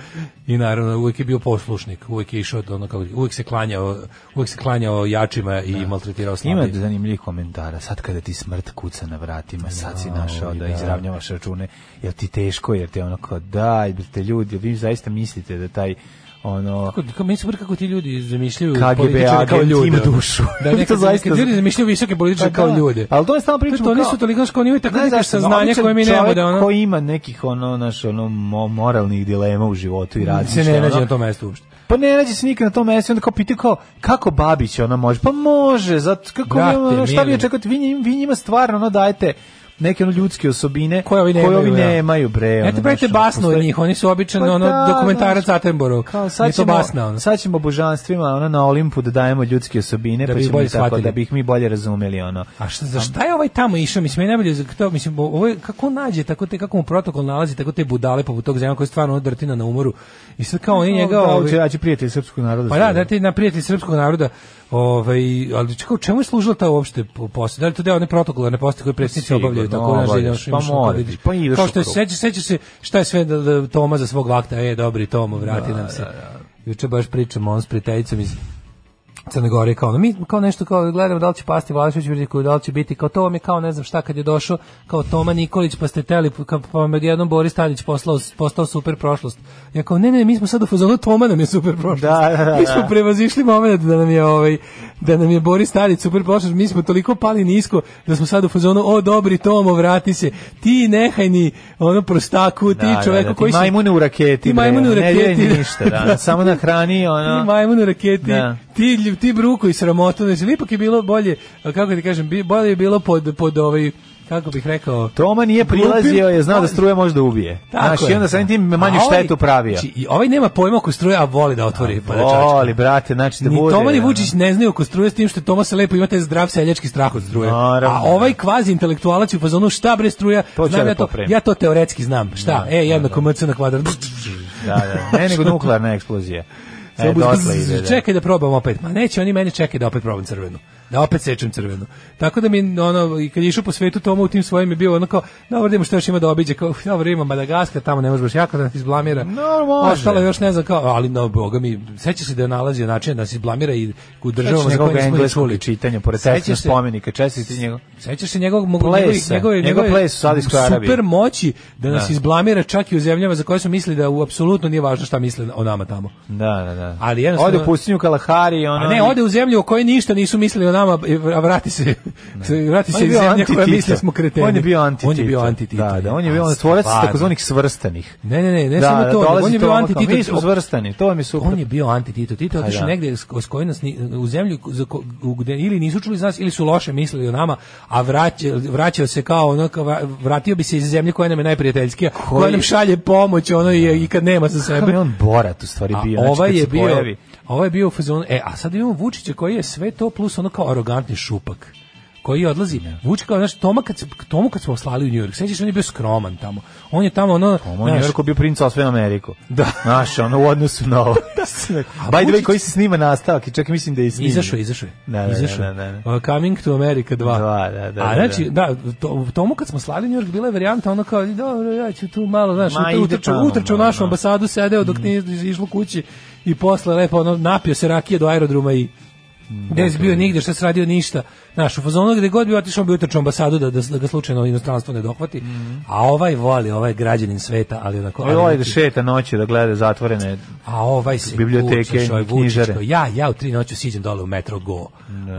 Speaker 6: I naravno, uvijek je bio poslušnik, uvijek je išao, do ono, kako, uvijek se klanjao, uvijek se klanjao jačima i maltretirao
Speaker 7: Ima
Speaker 6: slabije.
Speaker 7: zanimljivih komentara. Sad kada ti smrt kuca na vratima, sad si našao da
Speaker 6: da.
Speaker 7: izravnjavaš račune. Jel ti teško, jer te ono kao daj, brate ljudi, vi zaista mislite da taj ono
Speaker 6: Kako, kako, meni se kako ti ljudi zamišljaju
Speaker 7: KGB
Speaker 6: političare kao
Speaker 7: agent
Speaker 6: ljude.
Speaker 7: ima dušu.
Speaker 6: Da,
Speaker 7: To
Speaker 6: nekad,
Speaker 7: zaista-
Speaker 6: nekad ljudi zamišljaju visoke političare
Speaker 7: Pa
Speaker 6: kao
Speaker 7: da,
Speaker 6: ljude.
Speaker 7: Ali to je stalno
Speaker 6: Pričamo,
Speaker 7: pričamo.
Speaker 6: to nisu
Speaker 7: kao-
Speaker 6: toliko kao oni tako
Speaker 7: Ne,
Speaker 6: neka
Speaker 7: zašto,
Speaker 6: saznanja
Speaker 7: običan
Speaker 6: koje mi nemamo
Speaker 7: čovjek
Speaker 6: da ono
Speaker 7: Ko ima nekih ono, naš, ono, mo- moralnih dilema u životu i radi
Speaker 6: se ne nađe na tom mestu uopšte.
Speaker 7: pa ne nađe se nikad na tom mestu, i onda kao pitaju kao, kako Babić ona može? Pa može, zato, kako,
Speaker 6: Brate,
Speaker 7: mi, ono, šta vi
Speaker 6: mili.
Speaker 7: očekujete? Vi, njim- vi njima stvarno ono dajete neke ono ljudske osobine
Speaker 6: Koje ovi nemaju, ja.
Speaker 7: nemaju, bre.
Speaker 6: Eto, pravite
Speaker 7: znaš, ono,
Speaker 6: basnu od
Speaker 7: postoji-
Speaker 6: njih, oni su običan
Speaker 7: Pa
Speaker 6: ono,
Speaker 7: da,
Speaker 6: dokumentarac
Speaker 7: znaš,
Speaker 6: Attenborough.
Speaker 7: Kao,
Speaker 6: Nije
Speaker 7: sad,
Speaker 6: to
Speaker 7: ćemo,
Speaker 6: basna, ono.
Speaker 7: sad ćemo božanstvima ono, na Olimpu da dajemo ljudske osobine,
Speaker 6: Da
Speaker 7: da pa
Speaker 6: bi ih
Speaker 7: ćemo
Speaker 6: bolje
Speaker 7: i tako,
Speaker 6: shvatili.
Speaker 7: da bi ih mi bolje razumeli. Ono.
Speaker 6: A šta, za šta je ovaj tamo išao? Mislim, meni najbolje za to, mislim, bo- ovo je, kako on nađe, tako te, kako mu protokol nalazi, tako te budale poput tog zemlja koji je stvarno ono drtina na umoru. I sad kao oni njega...
Speaker 7: Da,
Speaker 6: ovaj-
Speaker 7: hoće- ja ću prijatelj srpskog naroda.
Speaker 6: Pa da, da ti na prijatelj srpskog naroda, ovaj, ali čekaj, čemu je služila ta uopšte po- posta? Da li to deo one protokolarne poste koje predsjednici
Speaker 7: Sigurno,
Speaker 6: obavljaju tako da
Speaker 7: obavljaš,
Speaker 6: željaš
Speaker 7: pa moraš, pa ideš
Speaker 6: Kao što je
Speaker 7: okolo.
Speaker 6: seća, seća se šta je sve da, da Toma za svog vakta, e, dobri Tomo, vrati nam se. Juče baš pričamo on s prijateljicom iz Crne Gore kao, ono, mi kao nešto kao gledamo da li će pasti Vlašević Vrdiku, da li će biti kao to vam je kao ne znam šta kad je došao kao Toma Nikolić pa ste teli pa pa vam je jednom Boris Tadić poslao, postao super prošlost. Ja kao ne ne mi smo sad u fazonu Toma nam je super prošlost.
Speaker 7: Da, da, da,
Speaker 6: mi smo
Speaker 7: da.
Speaker 6: prevazišli moment da nam je ovaj da nam je Boris Tadić super prošlost, mi smo toliko pali nisko da smo sad u fazonu o dobri Tomo vrati se. Ti nehajni ono prostaku, ti
Speaker 7: Da,
Speaker 6: čoveku
Speaker 7: da, da,
Speaker 6: koji
Speaker 7: ti
Speaker 6: si-
Speaker 7: majmune u raketi.
Speaker 6: Ti
Speaker 7: bre,
Speaker 6: majmune u
Speaker 7: ono, Ne
Speaker 6: raketi,
Speaker 7: daj
Speaker 6: da.
Speaker 7: ništa, da. Samo na hrani,
Speaker 6: ti
Speaker 7: ono...
Speaker 6: majmun u raketi,
Speaker 7: Da.
Speaker 6: ti, lju- ti bruku i sramotu, znači, ipak je bilo bolje, kako ti kažem, bi- bolje je bilo pod, pod ovaj, kako bih rekao,
Speaker 7: Toma nije prilazio, je znao da struja može da ubije.
Speaker 6: Pa- Tako
Speaker 7: Znaš,
Speaker 6: je.
Speaker 7: i onda sam tim
Speaker 6: A
Speaker 7: manju
Speaker 6: ovaj-
Speaker 7: štetu pravio.
Speaker 6: Znači, i ovaj nema pojma oko struje, a voli da otvori podačačke.
Speaker 7: Voli, brate, znači da
Speaker 6: Ni
Speaker 7: bude.
Speaker 6: Toma ni
Speaker 7: ono.
Speaker 6: Vučić ne znaju oko struje s tim što je Toma se lepo ima taj zdrav seljački strah od struje.
Speaker 7: Naravno.
Speaker 6: A ovaj kvazi intelektualac je u fazonu šta bre struja,
Speaker 7: To ću ja
Speaker 6: znam
Speaker 7: da
Speaker 6: ja to,
Speaker 7: popremim.
Speaker 6: ja to teoretski znam. Šta? e, jednako MC na kvadrat.
Speaker 7: Da, da. Ne, nego nuklearna eksplozija. E, dotle ide, da.
Speaker 6: Čekaj da probam opet. Ma neće oni meni čekaj da opet probam crvenu. Da opet sečem crvenu. Tako da mi ono i kad je išao po svetu Toma u tim svojim je bio ono kao dobro idemo što još ima da obiđe kao dobro ima Madagaskar tamo ne može baš jako da nas izblamira.
Speaker 7: No, može.
Speaker 6: Ostalo je još ne znam kao ali no boga mi seća se da je nalazio način da se izblamira i u
Speaker 7: Sećaš
Speaker 6: državama za
Speaker 7: njegovog
Speaker 6: koje nismo ni
Speaker 7: engleskog
Speaker 6: čuli.
Speaker 7: čitanja, pored
Speaker 6: Sećaš
Speaker 7: Tesla
Speaker 6: se-
Speaker 7: spomenika, čestiti njegov.
Speaker 6: Sećaš se njegovog mogu
Speaker 7: Plesa,
Speaker 6: njegovih njegove
Speaker 7: njegov
Speaker 6: njegove
Speaker 7: ples u Saudijskoj Arabiji.
Speaker 6: super moći da nas
Speaker 7: Da.
Speaker 6: izblamira čak i u zemljama za koje smo mislili da u apsolutno nije važno šta misle o nama tamo.
Speaker 7: Da, da, da.
Speaker 6: Ali jednostavno-
Speaker 7: Ode u pustinju Kalahari, ono...
Speaker 6: A ne, ode u zemlju o kojoj ništa nisu mislili o nama, a vrati se, vrati
Speaker 7: On
Speaker 6: se
Speaker 7: je
Speaker 6: iz
Speaker 7: bio
Speaker 6: zemlje koja
Speaker 7: anti-Tito.
Speaker 6: misli smo kreteni.
Speaker 7: On je bio anti
Speaker 6: On je bio anti
Speaker 7: Da, da, on je bio on stvorac takozvanih svrstanih.
Speaker 6: Ne, ne, ne, ne samo to, nego
Speaker 7: dolazi
Speaker 6: on je bio
Speaker 7: Toma kao,
Speaker 6: anti
Speaker 7: Mi smo svrstani, to mi super.
Speaker 6: On je bio anti Tito. Tito je
Speaker 7: Pa
Speaker 6: otišao
Speaker 7: da.
Speaker 6: negde s- s koje nas ni- u zemlju za ko- u- gde ili nisu čuli za nas ili su loše mislili o nama, a vraća, vraćao se kao ono kao va- vratio bi se iz zemlje koja nam je najprijateljskija, koja nam šalje pomoć, ono i, i kad nema za
Speaker 7: Kakav
Speaker 6: sebe.
Speaker 7: je on borat u stvari bio.
Speaker 6: A
Speaker 7: znači,
Speaker 6: ovaj
Speaker 7: kad
Speaker 6: je
Speaker 7: se
Speaker 6: bio,
Speaker 7: pojavi-
Speaker 6: ovaj je bio u fazonu, e, a sad imamo Vučića koji je sve to plus ono kao arogantni šupak koji odlazi. Vučić kao, znaš, Toma kad, se- tomu kad smo slali u New York, sećaš, on je bio skroman tamo. On je tamo, ono,
Speaker 7: Toma je u
Speaker 6: znaš,
Speaker 7: Njorku bio princ osvojen Ameriku.
Speaker 6: Da.
Speaker 7: Znaš, ono u odnosu na ovo. By the way, koji se snima nastavak i čak i mislim da je snima.
Speaker 6: Izašao, je, izašao. je.
Speaker 7: Da, da, da,
Speaker 6: Izašao je.
Speaker 7: da, da,
Speaker 6: Uh, Coming to America 2.
Speaker 7: Dva, da, da,
Speaker 6: A
Speaker 7: da,
Speaker 6: znači, da, to, tomu kad smo slali New York, bila je varijanta ono kao, dobro, ja ću tu malo, znaš,
Speaker 7: Ma,
Speaker 6: Ma,
Speaker 7: ide tamo, ono,
Speaker 6: utrčao u
Speaker 7: da, Mm.
Speaker 6: našu
Speaker 7: da.
Speaker 6: ambasadu, sedeo dok nije išlo kući i posle lepo ono, napio se rakije do aerodruma i
Speaker 7: Mm,
Speaker 6: Gde si bio nigde, šta si radio ništa. Znaš, u fazonu gde god bi otišao, on bi utrčao u ambasadu da, da, da ga slučajno inostranstvo ne dohvati. A ovaj voli, ovaj je građanin sveta, ali onako...
Speaker 7: Ovo je Mm. Ovaj da
Speaker 6: neki-
Speaker 7: šeta noću, da gleda zatvorene...
Speaker 6: a ovaj se
Speaker 7: Biblioteke,
Speaker 6: kucaš, ovaj Vučić,
Speaker 7: knjižare.
Speaker 6: kao, Ja, ja u tri noću siđem dole u metro Go,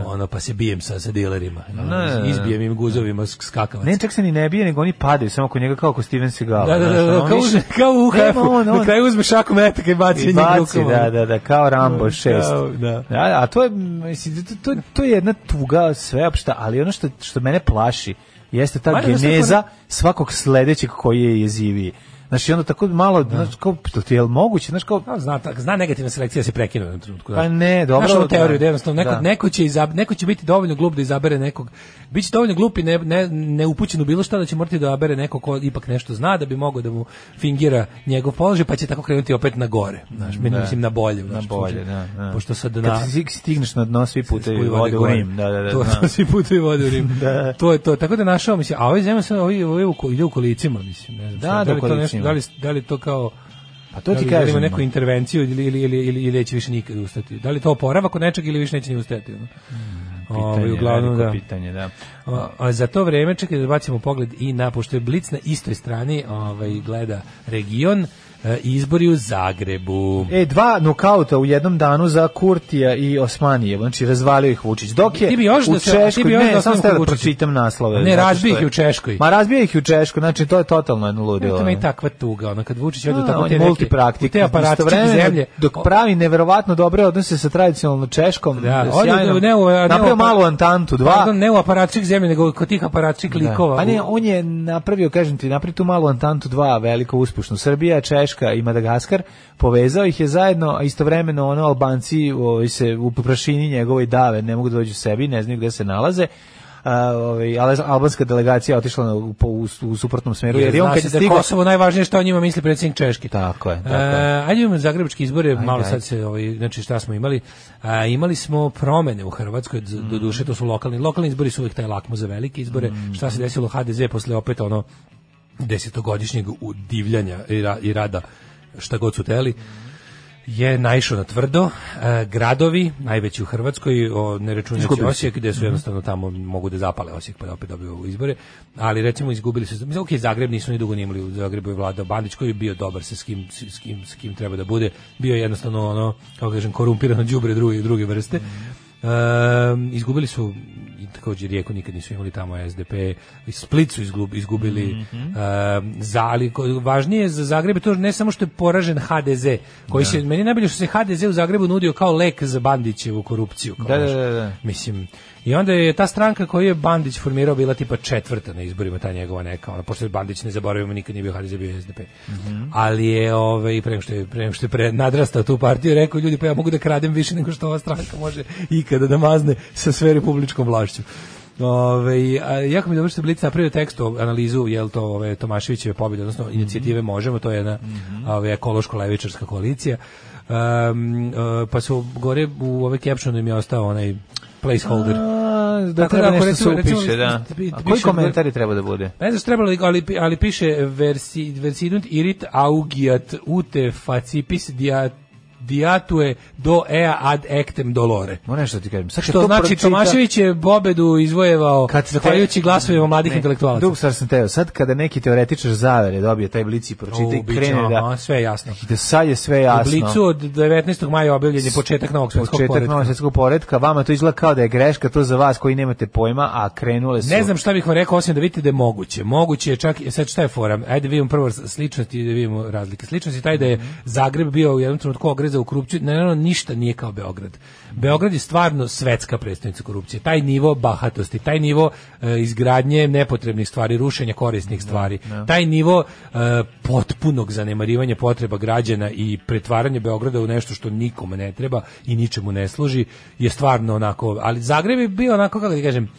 Speaker 6: ono, pa se bijem sa, sa dilerima, ono,
Speaker 7: ne,
Speaker 6: izbijem im guzovima sk- skakavac.
Speaker 7: Pa Ne, čak se ni ne bije, nego oni padaju, samo oko njega kao kod Steven Seagal.
Speaker 6: da, da, da, da, kao, uzme, kao u
Speaker 7: ono, Nema
Speaker 6: UHF-u,
Speaker 7: on, on-
Speaker 6: na kraju uzme šaku metaka i baci
Speaker 7: I
Speaker 6: njih
Speaker 7: baci,
Speaker 6: rukama.
Speaker 7: da, da, da, kao Rambo 6.
Speaker 6: Kao, da.
Speaker 7: A, a to je, mislim, to, to, to je jedna tuga sveopšta, ali ono što, što mene plaši jeste ta
Speaker 6: Manje, znaš šta je
Speaker 7: geneza svakog sledećeg koji je jeziviji. Znači, onda tako malo, znači, kao, to ti je li moguće, znači, kao,
Speaker 6: Da, zna, tak, zna negativna selekcija da se prekine u jednom trenutku.
Speaker 7: Pa ne, dobro,
Speaker 6: Znaš onu
Speaker 7: da.
Speaker 6: teoriju, da jednostavno, neko,
Speaker 7: Da.
Speaker 6: neko, će izab, neko će biti dovoljno glup da izabere nekog. Biće dovoljno glup i ne, ne, neupućen u bilo šta da će morati da abere neko ko ipak nešto zna da bi mogao da mu fingira njegov položaj, pa će tako krenuti opet na gore. Znaš, mi- mislim na bolje. u
Speaker 7: na
Speaker 6: našem
Speaker 7: bolje,
Speaker 6: slučaju.
Speaker 7: da, da.
Speaker 6: znači, Pošto sad na...
Speaker 7: Kad si- stigneš na dno, svi putevi vode u
Speaker 6: gore.
Speaker 7: Rim, da, da, da.
Speaker 6: To,
Speaker 7: da.
Speaker 6: to svi putevi vode u Rim. To je to. Tako da našao, mislim, a ovaj zemlja se ovaj, ovaj u ko- ide u kolicima, mislim. Ne znam,
Speaker 7: Da,
Speaker 6: sad,
Speaker 7: da,
Speaker 6: li to nešto,
Speaker 7: u kolicima.
Speaker 6: da, li, da li to kao...
Speaker 7: Pa to ti
Speaker 6: da li ima
Speaker 7: kažem.
Speaker 6: neku
Speaker 7: ono.
Speaker 6: intervenciju ili ili ili ili, ili neće više nikad ustati. Da li to oporavak od nečeg ili više neće ni ustati. ono? Ovaj,
Speaker 7: Mm, Pitanje,
Speaker 6: uglavnom
Speaker 7: veliko
Speaker 6: da.
Speaker 7: Pitanje, da.
Speaker 6: A, a za to vreme čekaj da bacimo pogled i na pošto je Blic na istoj strani, ovaj gleda region. E, izbori u Zagrebu.
Speaker 7: E, dva nokauta u jednom danu za Kurtija i Osmanije, znači razvalio ih Vučić. Dok je
Speaker 6: Ti bi još
Speaker 7: E, u
Speaker 6: da se- ti
Speaker 7: Češkoj,
Speaker 6: bi još da
Speaker 7: ne, samo
Speaker 6: ostanemo
Speaker 7: stavio da
Speaker 6: kod Vučića.
Speaker 7: pročitam naslove.
Speaker 6: Ne,
Speaker 7: zato što
Speaker 6: razbio ih
Speaker 7: je-
Speaker 6: je u Češkoj.
Speaker 7: Ma razbio ih je u Češkoj, znači to je totalno jedno ludilo.
Speaker 6: To mi je
Speaker 7: ono.
Speaker 6: takva tuga, ono kad Vučić ode
Speaker 7: Da,
Speaker 6: u tako
Speaker 7: on
Speaker 6: te
Speaker 7: je
Speaker 6: neke-
Speaker 7: multipraktik.
Speaker 6: u te aparatčike
Speaker 7: Istovremeno,
Speaker 6: zemlje.
Speaker 7: Dok pravi neverovatno dobre odnose sa tradicionalno Češkom,
Speaker 6: Da,
Speaker 7: sjajno,
Speaker 6: ode u- ne u- ne u-
Speaker 7: napravio malu Antantu, dva.
Speaker 6: Pardon, ne u aparačik zemlje, nego kod tih aparačik
Speaker 7: Da.
Speaker 6: likova.
Speaker 7: Pa ne, on je napravio, kažem ti, napravio tu malu Antantu 2, veliko uspešno. Srbija, Češka i Madagaskar, povezao ih je zajedno, a istovremeno ono Albanci ovaj, se u prašini njegovoj dave, ne mogu da dođu sebi, ne znaju gde se nalaze. A, ovaj, ale- albanska delegacija je otišla na, u, po- u, u suprotnom smeru, jer,
Speaker 6: Jer
Speaker 7: je on
Speaker 6: zna
Speaker 7: kad
Speaker 6: se
Speaker 7: je
Speaker 6: da je
Speaker 7: stigao...
Speaker 6: Kosovo najvažnije što o njima misli predsjednik Češke.
Speaker 7: Tako je, tako je.
Speaker 6: E, ajde imamo zagrebačke izbore, malo
Speaker 7: ajde.
Speaker 6: sad se, ovaj, znači šta smo imali. A, imali smo promene u Hrvatskoj, z-
Speaker 7: Mm.
Speaker 6: do duše to su lokalni. Lokalni izbori su uvijek taj lakmo za velike izbore.
Speaker 7: Mm.
Speaker 6: Šta se desilo HDZ posle opet ono desetogodišnjeg udivljanja i, ra- i rada šta god su teli je naišao na tvrdo. E, gradovi, najveći u Hrvatskoj, o, ne računajući Osijek, gde su jednostavno tamo mogu da zapale Osijek, pa da opet dobiju izbore, ali recimo izgubili su, mislim, ok, Zagreb nisu ni dugo ni imali, u Zagrebu je vladao Bandić koji je bio dobar sa s kim, s kim, s kim treba da bude, bio je jednostavno ono, kako kažem, korumpirano đubre druge, druge vrste. E, izgubili su i također Rijeku nikad nisu imali tamo SDP, i Split su izgub- izgubili
Speaker 7: Mhm.
Speaker 6: e, za, ali ko- važnije za Zagreb je to ne samo što je poražen HDZ, koji se, meni je najbolje što se HDZ u Zagrebu nudio kao lek za Bandićevu korupciju. Kao
Speaker 7: Da, da,
Speaker 6: znaš.
Speaker 7: da, da.
Speaker 6: Mislim, i onda je ta stranka koju je Bandić formirao bila tipa četvrta na izborima, ta njegova neka, ono, pošto je Bandić, ne zaboravimo, nikad nije bio HDZ, bio je SDP. Ali je, ovaj, pre nego što je, pre nego što je pre, nadrastao tu partiju, rekao, ljudi, pa ja mogu da kradem više nego što ova stranka može ikada da mazne sa sve republičkom vlašću. Ove, a, jako mi je dobro što je Blic napravio tekst o analizu jel to ove Tomaševićeve pobjede, odnosno inicijative Možemo, to je jedna ove, ekološko-levičarska koalicija. Um, e, pa su gore u ove captionu im je ostao onaj placeholder.
Speaker 7: A, da
Speaker 6: Pa, Tako
Speaker 7: treba
Speaker 6: da ako
Speaker 7: nešto
Speaker 6: recimo-
Speaker 7: se
Speaker 6: recimo,
Speaker 7: upiše, da.
Speaker 6: bi-
Speaker 7: A koji
Speaker 6: piše-
Speaker 7: komentari treba da bude?
Speaker 6: Ne znaš trebalo, li- ali, pi- ali piše versi, versidunt irit augiat ute facipis dia, diatue do ea ad ectem dolore.
Speaker 7: Moram nešto ti kažem. Sad kad
Speaker 6: Što
Speaker 7: to
Speaker 6: znači
Speaker 7: pročita-
Speaker 6: Tomašević je Bobedu izvojevao
Speaker 7: Kad ste-
Speaker 6: zahvaljujući glasovima mladih
Speaker 7: Ne,
Speaker 6: intelektualaca.
Speaker 7: Drugu stvar sam teo, sad kada neki teoretičar zavere dobije taj blic i
Speaker 6: U,
Speaker 7: pročita i
Speaker 6: biće,
Speaker 7: krene
Speaker 6: aha,
Speaker 7: da,
Speaker 6: sve je jasno.
Speaker 7: da sad je sve
Speaker 6: ono U
Speaker 7: jasno.
Speaker 6: Blicu od 19. maja objavljen je početak novog svetskog
Speaker 7: početak
Speaker 6: poretka.
Speaker 7: novog svetskog poretka, vama to izgleda kao da je greška, to za vas koji nemate pojma, a krenule su...
Speaker 6: Ne znam šta bih vam rekao, osim da vidite da je moguće. Moguće je čak, sad šta je fora? Ajde vidimo prvo sličnosti i da vidimo razlike. Sličnost je taj da je Zagreb bio u jednom trenutku ogreza u korupciju, naravno ništa nije kao Beograd. Beograd je stvarno svetska predstavnica korupcije. Taj nivo bahatosti, taj nivo e, izgradnje nepotrebnih stvari, rušenja korisnih stvari, taj nivo e, potpunog zanemarivanja potreba građana i pretvaranje Beograda u nešto što nikome ne treba i ničemu ne služi je stvarno onako, ali Zagreb je bio onako, kako ti kažem,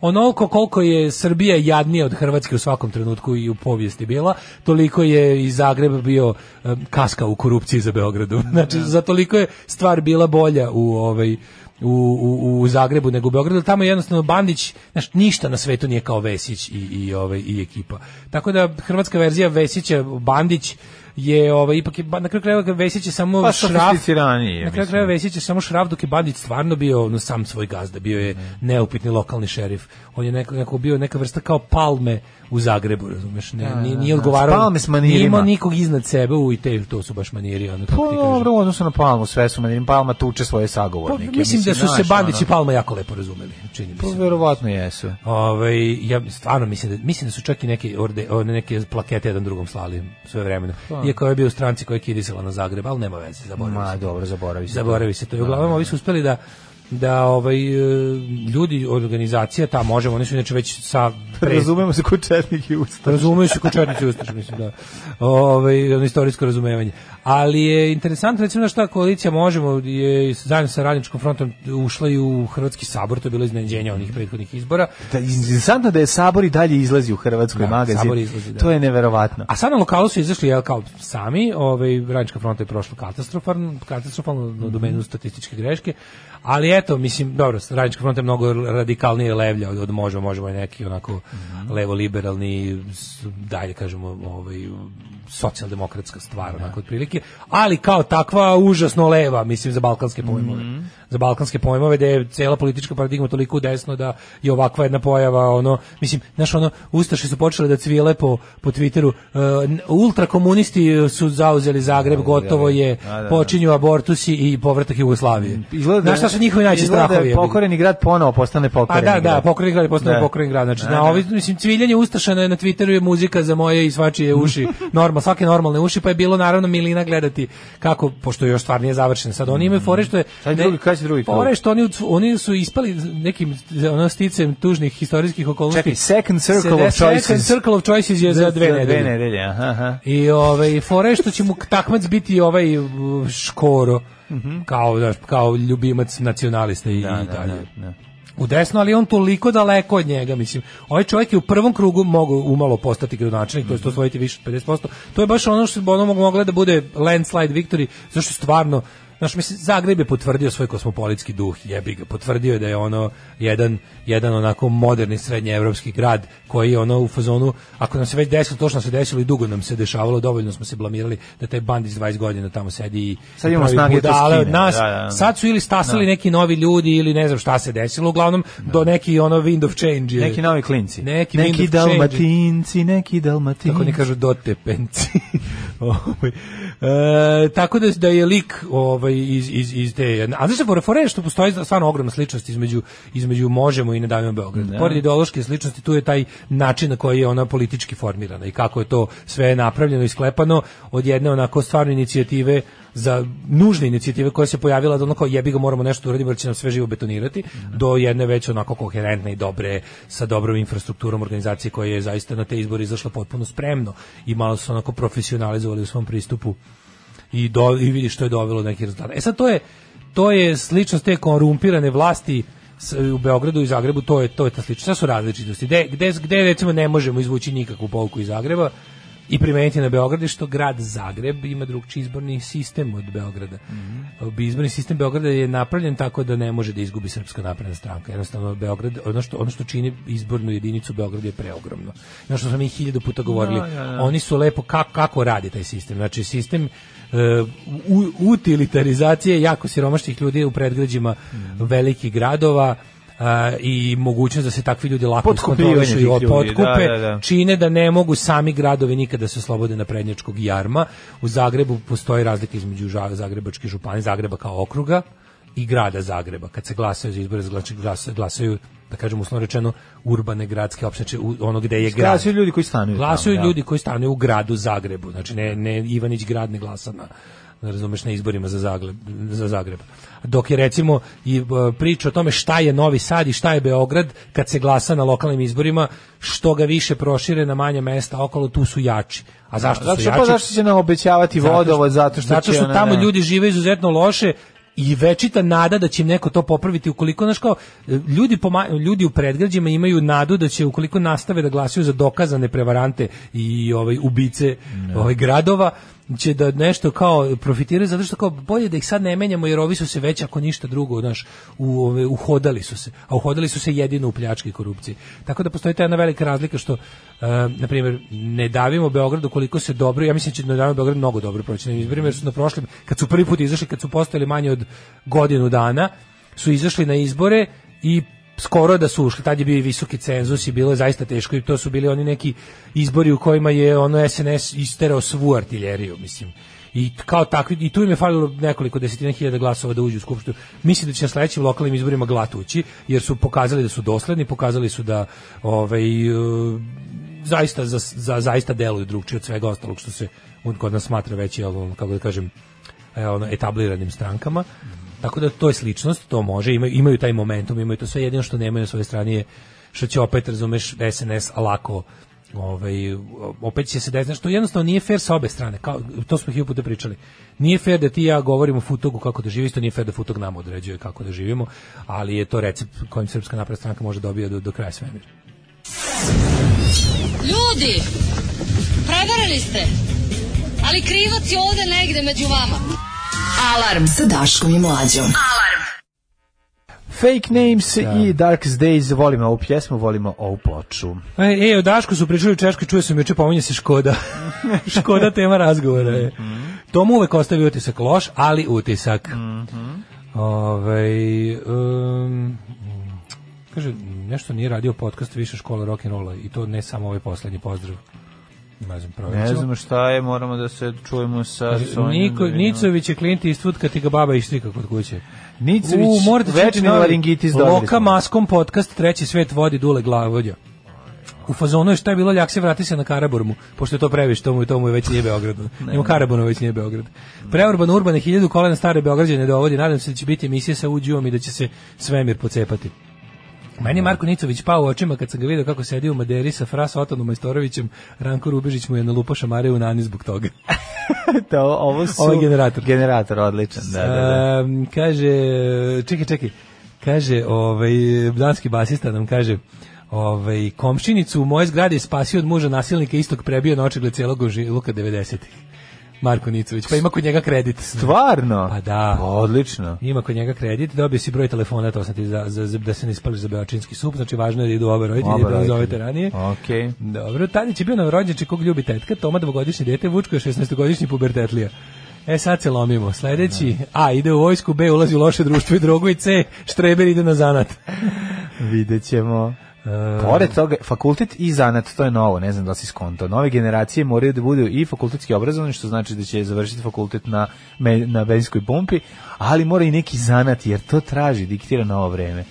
Speaker 6: onoliko koliko je Srbija jadnija od Hrvatske u svakom trenutku i u povijesti bila, toliko je i Zagreb bio em, kaska u korupciji za Beogradom. Znači, za toliko je stvar bila bolja u ovaj u, u, u Zagrebu nego u Beogradu, tamo je jednostavno Bandić, znaš, ništa na svetu nije kao Vesić i, i, ovaj, i ekipa. Tako da hrvatska verzija Vesića, Bandić je ovaj ipak je, ba- na kraju krajeva Vesić je samo
Speaker 7: Pa
Speaker 6: šraf
Speaker 7: sofisticiraniji je,
Speaker 6: na kraju
Speaker 7: mislim.
Speaker 6: krajeva Vesić je samo šraf dok je Bandić stvarno bio ono, sam svoj gazda, bio je
Speaker 7: Mhm.
Speaker 6: neupitni lokalni šerif. On je neko, neko bio neka vrsta kao palme u Zagrebu, razumeš? Ne, nije, nije
Speaker 7: da.
Speaker 6: odgovarao.
Speaker 7: Palme s
Speaker 6: Nije
Speaker 7: manirima.
Speaker 6: imao nikog iznad sebe u i te, to su baš maniri, ono
Speaker 7: Pa
Speaker 6: kako ti kažem.
Speaker 7: dobro, u odnosu na Palmu, sve su meni, Palma tuče svoje
Speaker 6: Pa,
Speaker 7: sagovornike.
Speaker 6: mislim da su se
Speaker 7: znaš,
Speaker 6: Bandić i
Speaker 7: ono,
Speaker 6: Palma jako lepo razumeli, čini mi se.
Speaker 7: Pa verovatno jesu.
Speaker 6: Ovaj ja stvarno mislim da mislim da su čak i neke orde one neke plakete jedan drugom slali sve vremena. Iako je bio u stranci koja je kidisala na Zagreb, ali nema veze, zaboravio
Speaker 7: Pa. Ma
Speaker 6: sam.
Speaker 7: dobro, zaboravi se.
Speaker 6: Zaboravi se to. I uglavnom ovi su uspeli da da ovaj e, ljudi od organizacija ta možemo oni su inače već sa pre,
Speaker 7: Razumemo se ko četnik i usta.
Speaker 6: Razumeju se kočarnici ustaš, mislim da. Ovaj ono istorijsko razumevanje. Ali je interesantno recimo da šta koalicija možemo je zajedno sa Radničkom frontom ušla i u Hrvatski sabor, to je bilo iznenađenje onih prethodnih izbora.
Speaker 7: Da, interesantno da je Sabor i dalje izlazi u Hrvatskoj
Speaker 6: Da,
Speaker 7: magazin.
Speaker 6: Sabor izlazi, da.
Speaker 7: To je neverovatno.
Speaker 6: A sad na lokalu su izašli jel, kao sami, ovaj, Radnička fronta je prošla katastrofalno, katastrofalno na domenu statističke greške, ali eto, mislim, dobro, Radnička fronta je mnogo radikalnije levlja od, od možda, možemo i neki onako levo-liberalni, s- dalje kažemo, ovaj, socijaldemokratska stvar, onako, otprilike, ali kao takva užasno leva, mislim, za balkanske pojmove.
Speaker 7: Mhm.
Speaker 6: Za balkanske pojmove, da je cela politička paradigma toliko desno da je ovakva jedna pojava, ono, mislim, znaš, ono, Ustaše su počele da cvile po, po Twitteru, e, n- ultrakomunisti su zauzeli Zagreb, gotovo je,
Speaker 7: Da, da, da.
Speaker 6: počinju abortusi i povratak Jugoslavije.
Speaker 7: Izgleda da-
Speaker 6: Znaš šta su njihovi najveći
Speaker 7: izgleda da
Speaker 6: strahovi?
Speaker 7: je
Speaker 6: jebi ga?
Speaker 7: Pokoreni grad ponovo postane
Speaker 6: Pa
Speaker 7: pokoreni
Speaker 6: da,
Speaker 7: grad.
Speaker 6: da, pokrajni grad postane
Speaker 7: Da.
Speaker 6: pokrajni grad. Znači,
Speaker 7: Da,
Speaker 6: na
Speaker 7: da.
Speaker 6: ovi, mislim, cviljenje Ustašana je na Twitteru je muzika za moje i svačije uši, normal, svake normalne uši, pa je bilo naravno Milina gledati kako, pošto još stvar nije završena. Sad oni imaju fore što je...
Speaker 7: Mm. Sad drugi, kada će drugi krug?
Speaker 6: Fore što oni, u- oni su ispali nekim ono, sticem tužnih historijskih okolnosti.
Speaker 7: Čekaj, second circle
Speaker 6: Se-
Speaker 7: of choices.
Speaker 6: Second circle of choices je za dve nedelje.
Speaker 7: Dve nedelje, aha, aha.
Speaker 6: I ovaj fore što će mu takmac biti ovaj uh, Škoro. Kao znaš, kao ljubimac nacionalista i, i
Speaker 7: Mhm. da,
Speaker 6: dalje.
Speaker 7: da, da.
Speaker 6: U desno, ali je on toliko daleko od njega, mislim. Ovaj čovjek je u prvom krugu mogao umalo postati gradonačelnik, to jest osvojiti više od 50%. To je baš ono što bi ono moglo da bude landslide victory, zašto stvarno Znaš, mislim, Zagreb je potvrdio svoj kosmopolitski duh, jebi ga, potvrdio je da je ono jedan, jedan onako moderni srednjeevropski grad koji je ono u fazonu, ako nam se već desilo, to što nam se desilo i dugo nam se dešavalo, dovoljno smo se blamirali da taj band iz 20 godina tamo sedi i,
Speaker 7: Sad
Speaker 6: i
Speaker 7: imamo
Speaker 6: pravi
Speaker 7: snage da to
Speaker 6: budale od
Speaker 7: skinemo,
Speaker 6: nas.
Speaker 7: da, da, da.
Speaker 6: Sad su ili stasali neki novi ljudi ili ne znam šta se desilo, uglavnom do neki ono wind of change. je-
Speaker 7: Neki novi klinci.
Speaker 6: Neki wind
Speaker 7: neki
Speaker 6: of change.
Speaker 7: dalmatinci, neki dalmatinci.
Speaker 6: Kako ne kažu dote penci. Ovaj, e, tako da, da je lik ovaj, iz, iz, iz te jedne. A znaš se, fora je što postoji stvarno ogromna sličnost između, između Možemo i Ne davimo Beograd. Pored ideološke sličnosti, tu je taj način na koji je ona politički formirana i kako je to sve napravljeno i sklepano od jedne onako stvarne inicijative za nužne inicijative koja se pojavila da ono kao jebi ga moramo nešto uraditi jer će nam sve živo betonirati do jedne već onako koherentne i dobre sa dobrom infrastrukturom organizacije koja je zaista na te izbore izašla potpuno spremno i malo su onako profesionalizovali u svom pristupu i, do, i vidi što je dovelo do nekih rezultata. E sad to je, to je sličnost te korumpirane vlasti s- u Beogradu i Zagrebu, to je, to je ta sličnost. Šta su različitosti? Gde, gde, gde recimo ne možemo izvući nikakvu pouku iz Zagreba i primeniti na Beograd je što grad Zagreb ima drugčiji izborni sistem od Beograda. Bi- Izborni sistem Beograda je napravljen tako da ne može da izgubi Srpska napredna stranka. Jednostavno Beograd, ono što ono što čini izbornu jedinicu Beograda je preogromno. Ono što smo mi hiljadu puta govorili, oni su lepo kako kako radi taj sistem. Znači sistem e, u- utilitarizacije jako siromašnih ljudi u predgrađima velikih gradova a, i mogućnost da se takvi ljudi lako
Speaker 7: Potkupljivanje
Speaker 6: iskontrolišu i
Speaker 7: tih ljudi,
Speaker 6: potkupe,
Speaker 7: da, da, da.
Speaker 6: čine da ne mogu sami gradovi nikada da se oslobode na prednjačkog jarma. U Zagrebu postoji razlika između ža- Zagrebačke županije, Zagreba kao okruga i grada Zagreba. Kad se glasaju za izbore, znači glasaju, glasaju da kažem uslovno rečeno, urbane gradske opštine, znači u- ono gde je grad.
Speaker 7: Glasuju ljudi koji stanuju tamo,
Speaker 6: Glasuju
Speaker 7: da.
Speaker 6: ljudi koji stanuju u gradu Zagrebu. Znači ne ne Ivanić grad ne glasa na ne razumeš na izborima za Zagreb, za Zagreb. Dok je recimo i e, priča o tome šta je Novi Sad i šta je Beograd kad se glasa na lokalnim izborima, što ga više prošire na manja mesta okolo, tu su jači. A zašto
Speaker 7: Zato
Speaker 6: su
Speaker 7: što,
Speaker 6: jači?
Speaker 7: pa zašto će nam obećavati
Speaker 6: Zato što-
Speaker 7: vodovod, zato što
Speaker 6: zato
Speaker 7: će
Speaker 6: što
Speaker 7: ona,
Speaker 6: tamo
Speaker 7: ne.
Speaker 6: ljudi žive izuzetno loše i večita nada da će im neko to popraviti ukoliko znaš kao ljudi poma- ljudi u predgrađima imaju nadu da će ukoliko nastave da glasaju za dokazane prevarante i ovaj ubice ovaj gradova će da nešto kao profitiraju zato što kao bolje da ih sad ne menjamo jer ovi su se već ako ništa drugo znaš u ove uhodali su se a uhodali su se jedino u pljački i korupciji tako da postoji ta jedna velika razlika što e, na primjer ne davimo Beogradu koliko se dobro ja mislim da će ne davimo Beograd mnogo dobro proći na izborima jer su na prošlim kad su prvi put izašli kad su postojali manje od godinu dana su izašli na izbore i skoro da su ušli, tad je bio i visoki cenzus i bilo je zaista teško i to su bili oni neki izbori u kojima je ono SNS isterao svu artiljeriju, mislim. I t- kao takvi, i tu im je falilo nekoliko desetina hiljada glasova da uđu u skupštinu. Mislim da će na sledećim lokalnim izborima glat ući, jer su pokazali da su dosledni, pokazali su da ovaj, e, zaista, za, za, zaista deluju drugčije od svega ostalog što se on kod nas smatra već, jel, ono, kako da kažem, e, ono, etabliranim strankama. Tako da to je sličnost, to može, imaju, imaju taj momentum, imaju to sve, jedino što nemaju na svojoj strani je što će opet, razumeš, SNS lako ovaj, opet će se desiti, što jednostavno nije fair sa obe strane, kao, to smo hiljadu puta pričali. Nije fair da ti i ja govorimo Futogu kako da živi, isto nije fair da Futog nama određuje kako da živimo, ali je to recept kojim Srpska napredna stranka može dobija do, do kraja svemira.
Speaker 5: Ljudi, prevarili ste. Ali krivac je ovde negde među vama.
Speaker 3: Alarm sa Daškom i Mlađom.
Speaker 7: Fake Names i Darkest Days, volimo ovu pjesmu, volimo ovu ploču.
Speaker 6: E, e, o Dašku su pričali u Češkoj, čuo sam juče, pominje se Škoda. škoda tema razgovora je. To mu uvek ostavi utisak loš, ali utisak. Ovaj, um, kaže, nešto nije radio podcast više škola rock'n'rolla i to ne samo ovaj poslednji pozdrav. Ne znam, provjerit
Speaker 7: Ne
Speaker 6: ćemo.
Speaker 7: znam šta je, moramo da se čujemo sa
Speaker 6: Kaže,
Speaker 7: Sonjom.
Speaker 6: Niko,
Speaker 7: da vidimo.
Speaker 6: Nicović je Clint Eastwood kad ti ga baba ištrika kod kuće.
Speaker 7: Nicović,
Speaker 6: U, morate čuti
Speaker 7: večni
Speaker 6: novi
Speaker 7: laringitis dobili
Speaker 6: Loka
Speaker 7: smo.
Speaker 6: maskom podcast, treći svet vodi dule glavodja. U fazonu je šta je bilo, ljak se vrati se na Karaburmu, pošto je to previše, tomu, tomu je već nije Beograd. Njemu Karaburno već nije Beograd. Preurban urbane hiljadu kolena stare Beograđane dovodi, nadam se da će biti emisija sa uđijom i da će se svemir pocepati. Meni je Marko Nicović pao u očima kad sam ga vidio kako sedi u Maderi sa Fras Otanom Majstorovićem, Ranko Rubežić mu je nalupao šamare u nani zbog toga.
Speaker 7: Da, ovo su...
Speaker 6: Ovo je generator.
Speaker 7: Generator, odličan, da, da, da.
Speaker 6: Ehm, kaže, čekaj, čekaj. Kaže, ovaj danski basista nam kaže, ovaj komšinicu u moje zgradi je spasio od muža nasilnika istog prebio na očigled celog luka 90-ih. Marko Nicović, pa ima kod njega kredit.
Speaker 7: Stvarno?
Speaker 6: Pa da.
Speaker 7: Odlično.
Speaker 6: Ima kod njega kredit, dobio si broj telefona, to sam ti za, za, za- da se ne ispališ za beočinski sup, znači važno je da idu oba roditelja, da ne zovete ranije.
Speaker 7: Okej.
Speaker 6: Dobro, Tadić je bio novorođenče kog ljubi tetka, Toma dvogodišnje dete, Vučko je 16-godišnji pubertetlija. E sad se lomimo. Sledeći, A ide u vojsku, B ulazi u loše društvo i drogu i C Štreber ide na zanat. E,
Speaker 7: Vidjet ćemo. E. Pored toga, fakultet i zanat, to je novo, ne znam da li si skonto. Nove generacije moraju da budu i fakultetski obrazovani, što znači da će završiti fakultet na, me, na benzinskoj pumpi, ali mora i neki zanat, jer to traži, diktira novo vreme.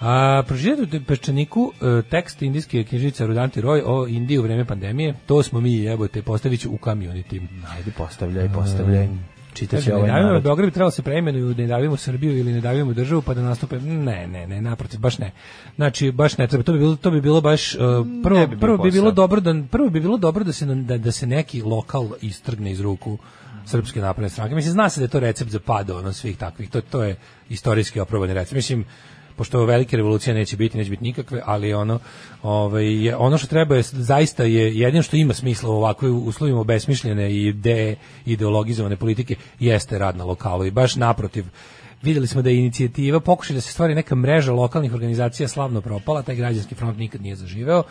Speaker 6: A pročitajte u Peščaniku e, tekst indijske knjižice Rudanti Roy o Indiji u vreme pandemije. To smo mi jebote, postavit ću u community.
Speaker 7: Ajde, postavljaj, postavljaj. Čitaće
Speaker 6: Kaže,
Speaker 7: ovaj
Speaker 6: Mm. ne davimo
Speaker 7: narod.
Speaker 6: Beograd bi trebalo se preimenuju, ne davimo Srbiju ili ne davimo državu pa da nastupe. Ne, ne, ne, naprotiv, baš ne. Znači baš ne treba. To bi bilo to bi bilo baš uh, prvo
Speaker 7: Ne bi bio
Speaker 6: prvo bi
Speaker 7: posao.
Speaker 6: bilo dobro da prvo bi bilo dobro da se nam- da, da se neki lokal istrgne iz ruku srpske napredne stranke. Mislim zna se da je to recept za pad ono svih takvih. To to je istorijski oprobani recept. Mislim pošto velike revolucije neće biti, neće biti nikakve, ali ono, ovaj, je- ono što treba je, zaista je, jedino što ima smisla u ovakvim uslovima besmišljene i de, ideologizovane politike, jeste rad na lokalu i baš naprotiv. Videli smo da je inicijativa, pokušaj da se stvari neka mreža lokalnih organizacija slavno propala, taj građanski front nikad nije zaživeo,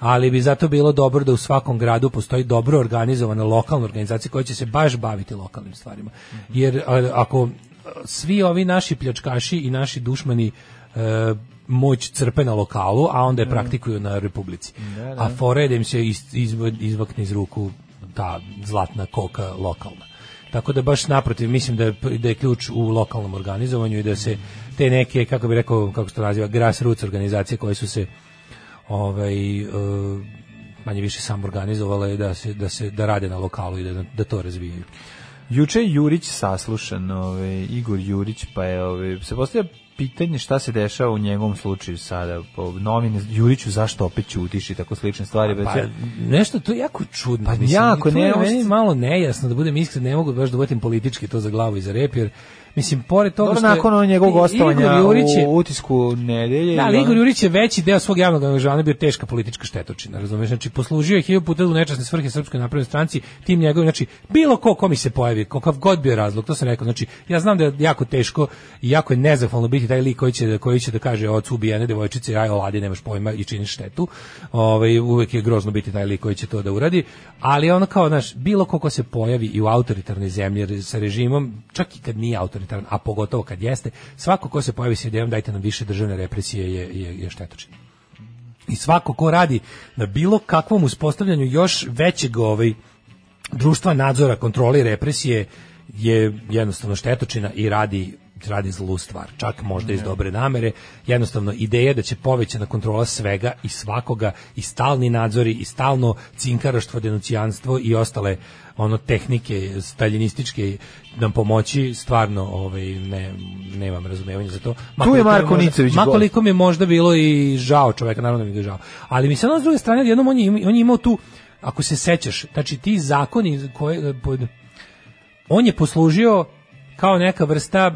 Speaker 6: ali bi zato bilo dobro da u svakom gradu postoji dobro organizovana lokalna organizacija koja će se baš baviti lokalnim stvarima. Jer a, ako svi ovi naši pljačkaši i naši dušmani e, moć crpe na lokalu, a onda je praktikuju na republici. A fora je da im se iz- izv- izvakne iz ruku ta zlatna koka lokalna. Tako da baš naprotiv, mislim da je, da je ključ u lokalnom organizovanju i da se te neke, kako bi rekao, kako se to naziva, grassroots organizacije koje su se ovaj e, manje više sam organizovale da se da se da rade na lokalu i da da to razvijaju.
Speaker 7: Juče je Jurić saslušan, ovaj, Igor Jurić, pa je, ovaj, se postavlja pitanje šta se dešava u njegovom slučaju sada. Po novine, Juriću zašto opet ćutiš i tako slične stvari. Znači, već
Speaker 6: Pa,
Speaker 7: ja-
Speaker 6: nešto to je jako čudno.
Speaker 7: Pa
Speaker 6: mislim,
Speaker 7: jako,
Speaker 6: i to je
Speaker 7: ne,
Speaker 6: meni
Speaker 7: ost-
Speaker 6: malo nejasno da budem iskren, ne mogu baš da votim politički to za glavu i za rep jer mislim pored toga
Speaker 7: Dobro,
Speaker 6: što je-
Speaker 7: nakon onog njegovog
Speaker 6: I-
Speaker 7: gostovanja
Speaker 6: Igor Jurić je,
Speaker 7: u utisku nedelje.
Speaker 6: Da,
Speaker 7: i
Speaker 6: ali
Speaker 7: ono-
Speaker 6: Igor Jurić je veći deo svog javnog angažovanja bio teška politička štetočina, razumeš? Znači, poslužio je hiljadu puta u nečasne svrhe Srpskoj naprednoj stranci, tim njegovim, znači, bilo ko ko mi se pojavi, kakav god bio razlog, to sam rekao, znači, ja znam da je jako teško i jako je nezahvalno biti taj lik koji će, koji će da kaže ocu ubijene devojčice, aj oladi, nemaš pojma i činiš štetu, ovaj, uvek je grozno biti taj lik koji će to da uradi, ali ono kao, znaš, bilo ko ko se pojavi i u autoritarnoj zemlji re- sa režimom, čak i kad nije autoritaran, a pogotovo kad jeste, svako ko se pojavi sa idejom dajte nam više državne represije je, je, je štetočin. I svako ko radi na bilo kakvom uspostavljanju još većeg ovaj, društva nadzora, kontrole i represije je jednostavno štetočina i radi radi zlu stvar, čak možda iz dobre namere, jednostavno ideja da će povećana kontrola svega i svakoga i stalni nadzori i stalno cinkaraštvo, denucijanstvo i ostale ono tehnike staljinističke nam pomoći, stvarno ovaj, ne, nemam razumevanja za to. Makar
Speaker 7: je
Speaker 6: to
Speaker 7: Marko
Speaker 6: možda-
Speaker 7: Nicović,
Speaker 6: makar
Speaker 7: gol.
Speaker 6: koliko mi je možda bilo i žao čoveka, naravno da mi ga je žao. Ali mi se ono s druge strane, jednom on je, im- on je imao tu, ako se sećaš, znači ti zakoni koje, pod, on je poslužio kao neka vrsta e,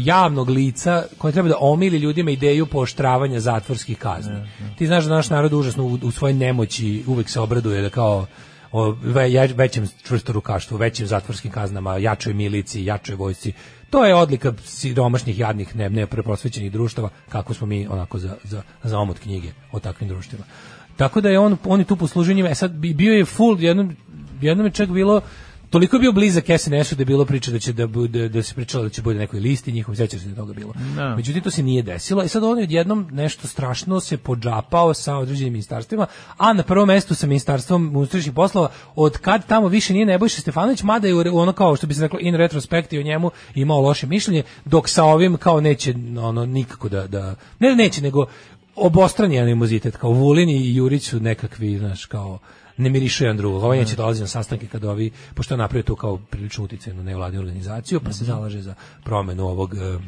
Speaker 6: javnog lica koje treba da omili ljudima ideju pooštravanja zatvorskih kazni. Ti znaš da naš narod užasno u, u svojoj nemoći uvek se obraduje da kao o ve, ja- većem čvrstorukaštvu, većim zatvorskim kaznama, jačoj miliciji, jačoj vojsci. To je odlika siromašnih, jadnih, ne, nepreprosvećenih društava, kako smo mi onako za, za, za omot knjige o takvim društvima. Tako da je on, on je tu poslužio njima. E sad, bi- bio je full, jednom, jednom je čak bilo, toliko je bio blizak SNS-u da je bilo priča da će da, bude, da se pričalo da će bude nekoj listi njihov, sećaš se da je toga bilo.
Speaker 7: Da.
Speaker 6: Međutim, to se nije desilo. I sad on je odjednom nešto strašno se podžapao sa određenim ministarstvima, a na prvom mestu sa ministarstvom unutrašnjih poslova, od kad tamo više nije Nebojša Stefanović, mada je u re- ono kao što bi se reklo in retrospekti o njemu imao loše mišljenje, dok sa ovim kao neće ono nikako da, da ne da neće, nego obostrani animozitet, kao Vulin i Jurić su nekakvi, znaš, kao ne mirišu jedan drugog. Ovaj neće dolazi na sastanke kada ovi, pošto je napravio tu kao prilično uticajnu nevladinu organizaciju, pa se zalaže za promenu ovog e,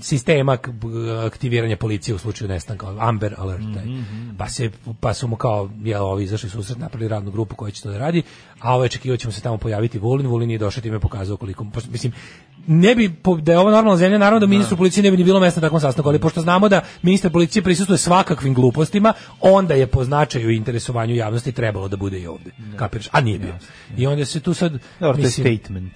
Speaker 6: sistema k- b- aktiviranja policije u slučaju nestanka ono, Amber Alert taj.
Speaker 7: Mhm,
Speaker 6: pa se pa su mu kao jel ovi izašli u susret napravili radnu grupu koja će to da radi a ovaj očekivao ćemo se tamo pojaviti Vulin Vulin je došao time pokazao koliko pošto, mislim ne bi po- da je ovo normalna zemlja naravno da ministru policije ne bi ni bilo mesta na takvom sastanku
Speaker 7: Mhm.
Speaker 6: ali pošto znamo da ministar policije prisustvuje svakakvim glupostima onda je po značaju i interesovanju javnosti trebalo da bude i ovde kapiraš a nije bio i onda se tu sad
Speaker 7: Dobro, to je
Speaker 6: mislim-
Speaker 7: statement.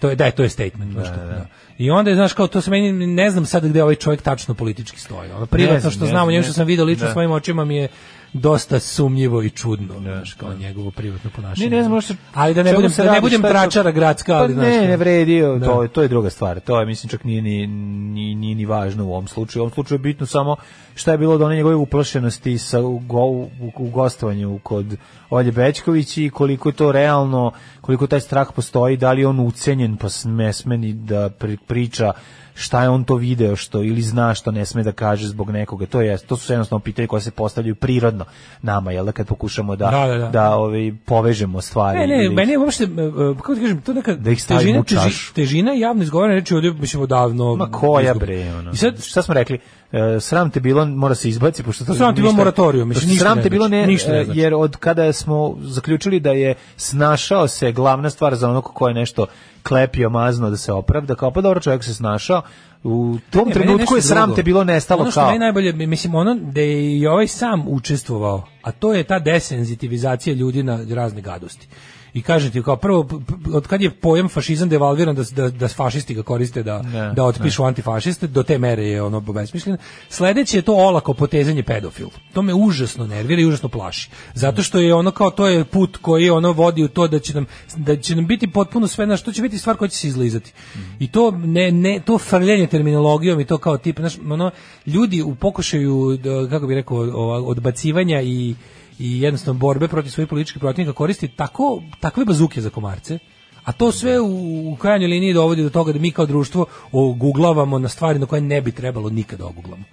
Speaker 6: to je da, to je statement baš to, da. I onda je, znaš kao to se meni ne znam sad gde ovaj čovjek tačno politički stoji. Ono
Speaker 7: Ne
Speaker 6: privatno
Speaker 7: znam,
Speaker 6: što
Speaker 7: ne
Speaker 6: znam o
Speaker 7: znam,
Speaker 6: njemu
Speaker 7: ne
Speaker 6: što
Speaker 7: znam.
Speaker 6: sam video lično
Speaker 7: Da.
Speaker 6: svojim očima mi je dosta sumnjivo i čudno, znaš, kao njegovo privatno ponašanje.
Speaker 7: Ne, ne znam, možda-
Speaker 6: ali da ne
Speaker 7: čemu
Speaker 6: budem
Speaker 7: se
Speaker 6: da ne
Speaker 7: radi,
Speaker 6: budem
Speaker 7: šta je to?
Speaker 6: tračara gradska,
Speaker 7: Pa
Speaker 6: ali znaš.
Speaker 7: ne,
Speaker 6: kao-
Speaker 7: ne vredi,
Speaker 6: Da.
Speaker 7: to, je, to je druga stvar. To je, mislim, čak nije ni, ni, ni, ni važno u ovom slučaju. U ovom slučaju je bitno samo šta je bilo do one njegove uplašenosti sa, u, go- u, u gostovanju kod Olje Bečković i koliko je to realno, koliko taj strah postoji, da li je on ucenjen pa ne smeni da pri- priča šta je on to video što ili zna što ne sme da kaže zbog nekoga to je to su jednostavno pitanja koja se postavljaju prirodno nama jel da kad pokušamo da
Speaker 6: Da, da, da.
Speaker 7: ovaj, povežemo stvari
Speaker 6: Ne, ne,
Speaker 7: ili-
Speaker 6: meni je uopšte, e, e, kako ti kažem, to neka
Speaker 7: Da ih stavimo u
Speaker 6: teži-
Speaker 7: čašu.
Speaker 6: težina javno izgovorene reči ovdje, mislim, odavno.
Speaker 7: Ma koja
Speaker 6: izgubljena.
Speaker 7: bre, ono.
Speaker 6: I sad,
Speaker 7: šta smo rekli? E, sram te bilo, mora se izbaci, pošto to
Speaker 6: Pa Sram te bilo
Speaker 7: ništa-
Speaker 6: moratorijum, mislim,
Speaker 7: pošto
Speaker 6: ništa
Speaker 7: Sram
Speaker 6: ne
Speaker 7: te bilo
Speaker 6: znači,
Speaker 7: ne,
Speaker 6: ništa ne
Speaker 7: e,
Speaker 6: znači.
Speaker 7: jer od kada smo zaključili da je snašao se glavna stvar za onog ko je nešto klepio, mazno da se opravda, kao pa dobro, čovjek se snašao, u tom
Speaker 6: Ne, meni
Speaker 7: trenutku
Speaker 6: nešto
Speaker 7: je sram
Speaker 6: drugo.
Speaker 7: te bilo nestalo
Speaker 6: ono što
Speaker 7: kao.
Speaker 6: meni najbolje, mi- mislim, ono da je i ovaj sam učestvovao, a to je ta desenzitivizacija ljudi na razne gadosti. I kažem ti, kao prvo, p- p- od kad je pojam fašizam devalviran da, s- da, da fašisti ga koriste da,
Speaker 7: Ne,
Speaker 6: da otpišu antifašiste, do te mere je ono besmišljeno. Sledeće je to olako potezanje pedofil. To me užasno nervira i užasno plaši. Zato što je ono kao, to je put koji ono vodi u to da će nam, da će nam biti potpuno sve, na što će biti stvar koja će se izlizati. I to, ne, ne, to frljanje terminologijom i to kao tip, znaš, ono, ljudi u pokušaju, da, kako bi rekao, o- odbacivanja i i jednostavno borbe protiv svojih političkih protivnika koristi tako, takve bazuke za komarce a to sve u, u krajnjoj liniji dovodi do toga da mi kao društvo oguglavamo na stvari na koje ne bi trebalo nikada oguglamo.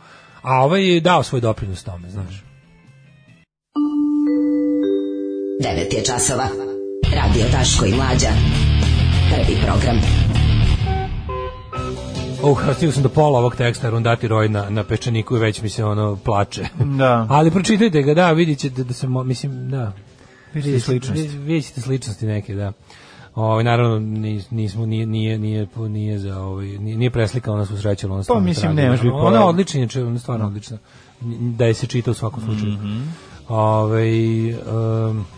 Speaker 6: A ovaj je dao svoj doprinos tome, znaš.
Speaker 3: 9 je časova. Radio Daško i Mlađa. Prvi program.
Speaker 6: Oh, stigao sam do pola ovog teksta, rundati roj na, na pečeniku i već mi se ono plače.
Speaker 7: Da.
Speaker 6: Ali pročitajte ga, da, vidit ćete da se, mo- mislim, da.
Speaker 7: Vidjet ćete sličnosti.
Speaker 6: vi- Vidjet ćete sličnosti neke, da. Ovaj naravno nis- nismo nije nije nije nije za ovaj nije, nije preslikao nas usrećilo ona stvarno
Speaker 7: Pa mislim, ovaj-
Speaker 6: tragična.
Speaker 7: nemaš bi
Speaker 6: Ona
Speaker 7: pojel-
Speaker 6: je odlična, inače, ona je
Speaker 7: Mm.
Speaker 6: stvarno odlična. Da je se čita u svakom slučaju. Ovaj, um,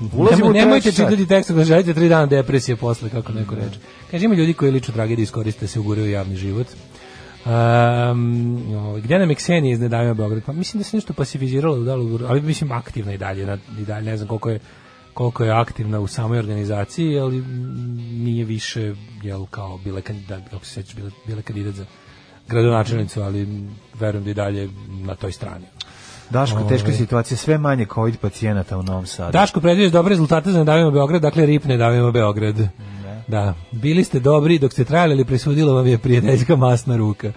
Speaker 7: Mhm.
Speaker 6: nemo-
Speaker 7: Ulazimo u treći
Speaker 6: nemojte
Speaker 7: sat.
Speaker 6: čitati tekst da želite tri dana depresije posle, kako neko reče. Kaže, ima ljudi koji ličnu tragediju iskoriste da se uguraju u javni život. Um, ovaj, gde nam je Ksenija iznedavio Beograd? Pa mislim da se nešto pasiviziralo, da li, ali mislim aktivna i dalje, na- i dalje ne znam koliko je koliko je aktivna u samoj organizaciji, ali mm, nije više jel kao bila kandidat, kako se sećaš, bila, bila kandidat za gradonačelnicu, ali mm, verujem da i dalje na toj strani.
Speaker 7: Daško, teška
Speaker 6: Ovaj.
Speaker 7: situacija, sve manje COVID pacijenata u Novom Sadu.
Speaker 6: Daško predviđaš dobre rezultate za Nedavimo Beograd, dakle RIP Nedavimo Beograd. Da. Bili ste dobri dok ste trajali, ali presudila vam je prijateljska masna ruka.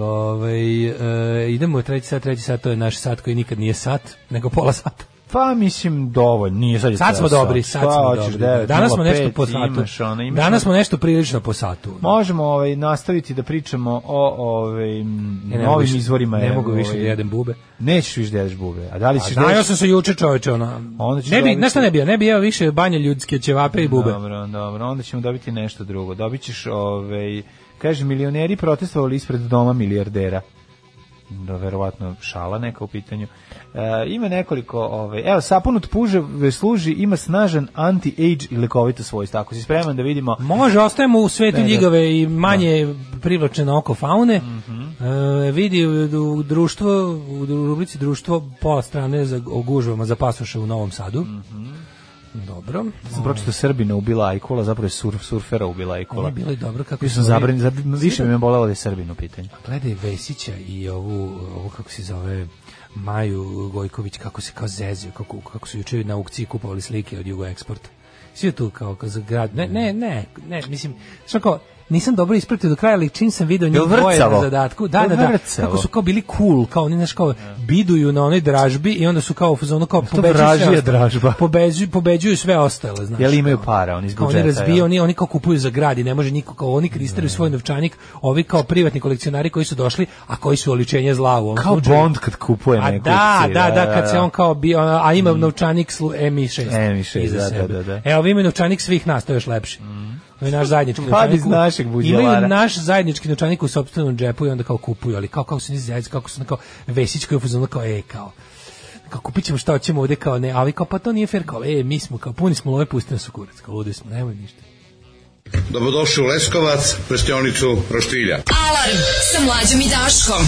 Speaker 6: Ove, e, idemo u treći sat, treći sat, to je naš sat koji nikad nije sat, nego pola sata.
Speaker 7: Pa mislim dovoljno, nije sad je
Speaker 6: Sad smo
Speaker 7: ceo
Speaker 6: dobri,
Speaker 7: sat.
Speaker 6: sad
Speaker 7: Šta
Speaker 6: smo
Speaker 7: hoćeš,
Speaker 6: dobri.
Speaker 7: devet,
Speaker 6: Danas smo
Speaker 7: nula
Speaker 6: nešto
Speaker 7: pet,
Speaker 6: po satu.
Speaker 7: imaš ono, imaš
Speaker 6: Danas
Speaker 7: ono-
Speaker 6: smo nešto prilično po satu.
Speaker 7: Možemo ovaj nastaviti da pričamo o ovaj m,
Speaker 6: Ja E, ne mogu
Speaker 7: novim
Speaker 6: više-
Speaker 7: izvorima.
Speaker 6: Ne mogu više
Speaker 7: ovaj,
Speaker 6: da jedem bube.
Speaker 7: Nećeš više da jedeš bube. A da li ćeš da
Speaker 6: Znao
Speaker 7: jedeš-
Speaker 6: sam se juče čoveče, ono.
Speaker 7: Onda ćeš
Speaker 6: Ne bi,
Speaker 7: dobiti-
Speaker 6: znaš šta ne bi, ja? ne bi jeo više banje ljudske ćevape i bube.
Speaker 7: Dobro, dobro. Onda ćemo dobiti nešto drugo. Dobićeš ovaj kaže milioneri protestovali ispred doma milijardera. da verovatno šala neka u pitanju. E, ima nekoliko, ove, evo, sapun od puže ve služi, ima snažan anti-age i lekovito svojstvo. Ako si spreman da vidimo...
Speaker 6: Može, ostajemo u svetu
Speaker 7: Ne, ne.
Speaker 6: ljigave i manje privlače na oko faune. E, vidi u, u društvo, u dru- rubrici društvo pola strane za, o gužvama za pasoše u Novom Sadu. Dobro.
Speaker 7: Sam pročito Srbina ubila Ajkula, zapravo je surf, surfera ubila Ajkula.
Speaker 6: Ovo je bilo i dobro kako
Speaker 7: Bio sam
Speaker 6: se zove-
Speaker 7: zabranjen, zab- više mi je bolelo da je Srbin u pitanju.
Speaker 6: Gledaj Vesića i ovu, ovu kako se zove, Maju Gojković, kako se kao zezio, kako, kako su juče na aukciji kupovali slike od Jugo Eksporta. Svi tu kao, kao za grad, ne, ne, ne, ne, mislim, što kao, nisam dobro ispratio do kraja, ali čim sam video njih
Speaker 7: Jel
Speaker 6: dvoje na
Speaker 7: vrcavo?
Speaker 6: zadatku, da,
Speaker 7: Jel
Speaker 6: da, da,
Speaker 7: vrcavo?
Speaker 6: kako su kao bili cool, kao oni, znaš, kao, biduju na onoj dražbi i onda su kao, ono kao, pobeđuju sve
Speaker 7: vražija
Speaker 6: ostale.
Speaker 7: dražba.
Speaker 6: Pobeđuju, pobeđuju sve ostale, znaš.
Speaker 7: Jel imaju
Speaker 6: kao.
Speaker 7: para, oni iz
Speaker 6: Kao
Speaker 7: budžeta,
Speaker 6: Oni razbijaju,
Speaker 7: jel?
Speaker 6: oni, oni kao kupuju za grad i ne može niko, kao oni kristiraju svoj novčanik, ovi kao privatni kolekcionari koji su došli, a koji su oličenje zla u ovom
Speaker 7: Kao
Speaker 6: slučaju.
Speaker 7: Bond kad kupuje
Speaker 6: Pa A
Speaker 7: neku
Speaker 6: da,
Speaker 7: akciju,
Speaker 6: da, da, kad se on kao bio, a ima
Speaker 7: Mm.
Speaker 6: novčanik slu, MI6.
Speaker 7: MI6,
Speaker 6: iza
Speaker 7: da, da,
Speaker 6: sebe.
Speaker 7: da, da.
Speaker 6: Evo, imaju novčanik svih nas, to je još lepše. To je naš zajednički
Speaker 7: Pa
Speaker 6: novčanik.
Speaker 7: iz našeg budjelara.
Speaker 6: Imaju naš zajednički novčanik u sopstvenom džepu i onda kao kupuju, ali kao, kao su niz zajednici, kako su ono kao Vesić koji je u fazonu kao, e, kao, kao kupit ćemo šta hoćemo ovde kao ne, ali kao pa to nije fair, kao e, mi smo kao puni smo love, pusti nas u kurac, kao ludi smo, nemoj ništa.
Speaker 12: Dobrodošli u Leskovac, prštionicu Roštilja.
Speaker 3: Oh, Alarm sa mlađom i Daškom.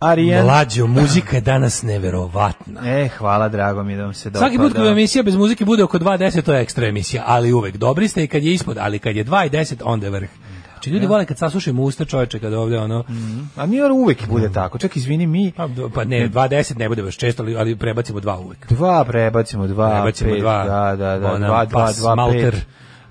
Speaker 7: Arijan.
Speaker 6: Mlađo, muzika je danas neverovatna.
Speaker 7: E, hvala, drago mi pa da vam se dopada.
Speaker 6: Svaki put kada emisija bez muzike bude oko 2.10, to je ekstra emisija, ali uvek dobri ste i kad je ispod, ali kad je 2.10, onda je vrh. Znači, ljudi vole kad saslušaju usta čoveče, kad ovde ono,
Speaker 7: A mi ono uvek bude tako. Čak, izvini, mi
Speaker 6: Mm. pa, do- pa ne, 2.10 ne bude baš često, ali, ali prebacimo dva uvek.
Speaker 7: dva prebacimo, dva,
Speaker 6: Prebacimo
Speaker 7: pet,
Speaker 6: dva.
Speaker 7: da, da, da,
Speaker 6: Ona,
Speaker 7: dva, dva,
Speaker 6: pas,
Speaker 7: dva,
Speaker 6: malter.
Speaker 7: pet.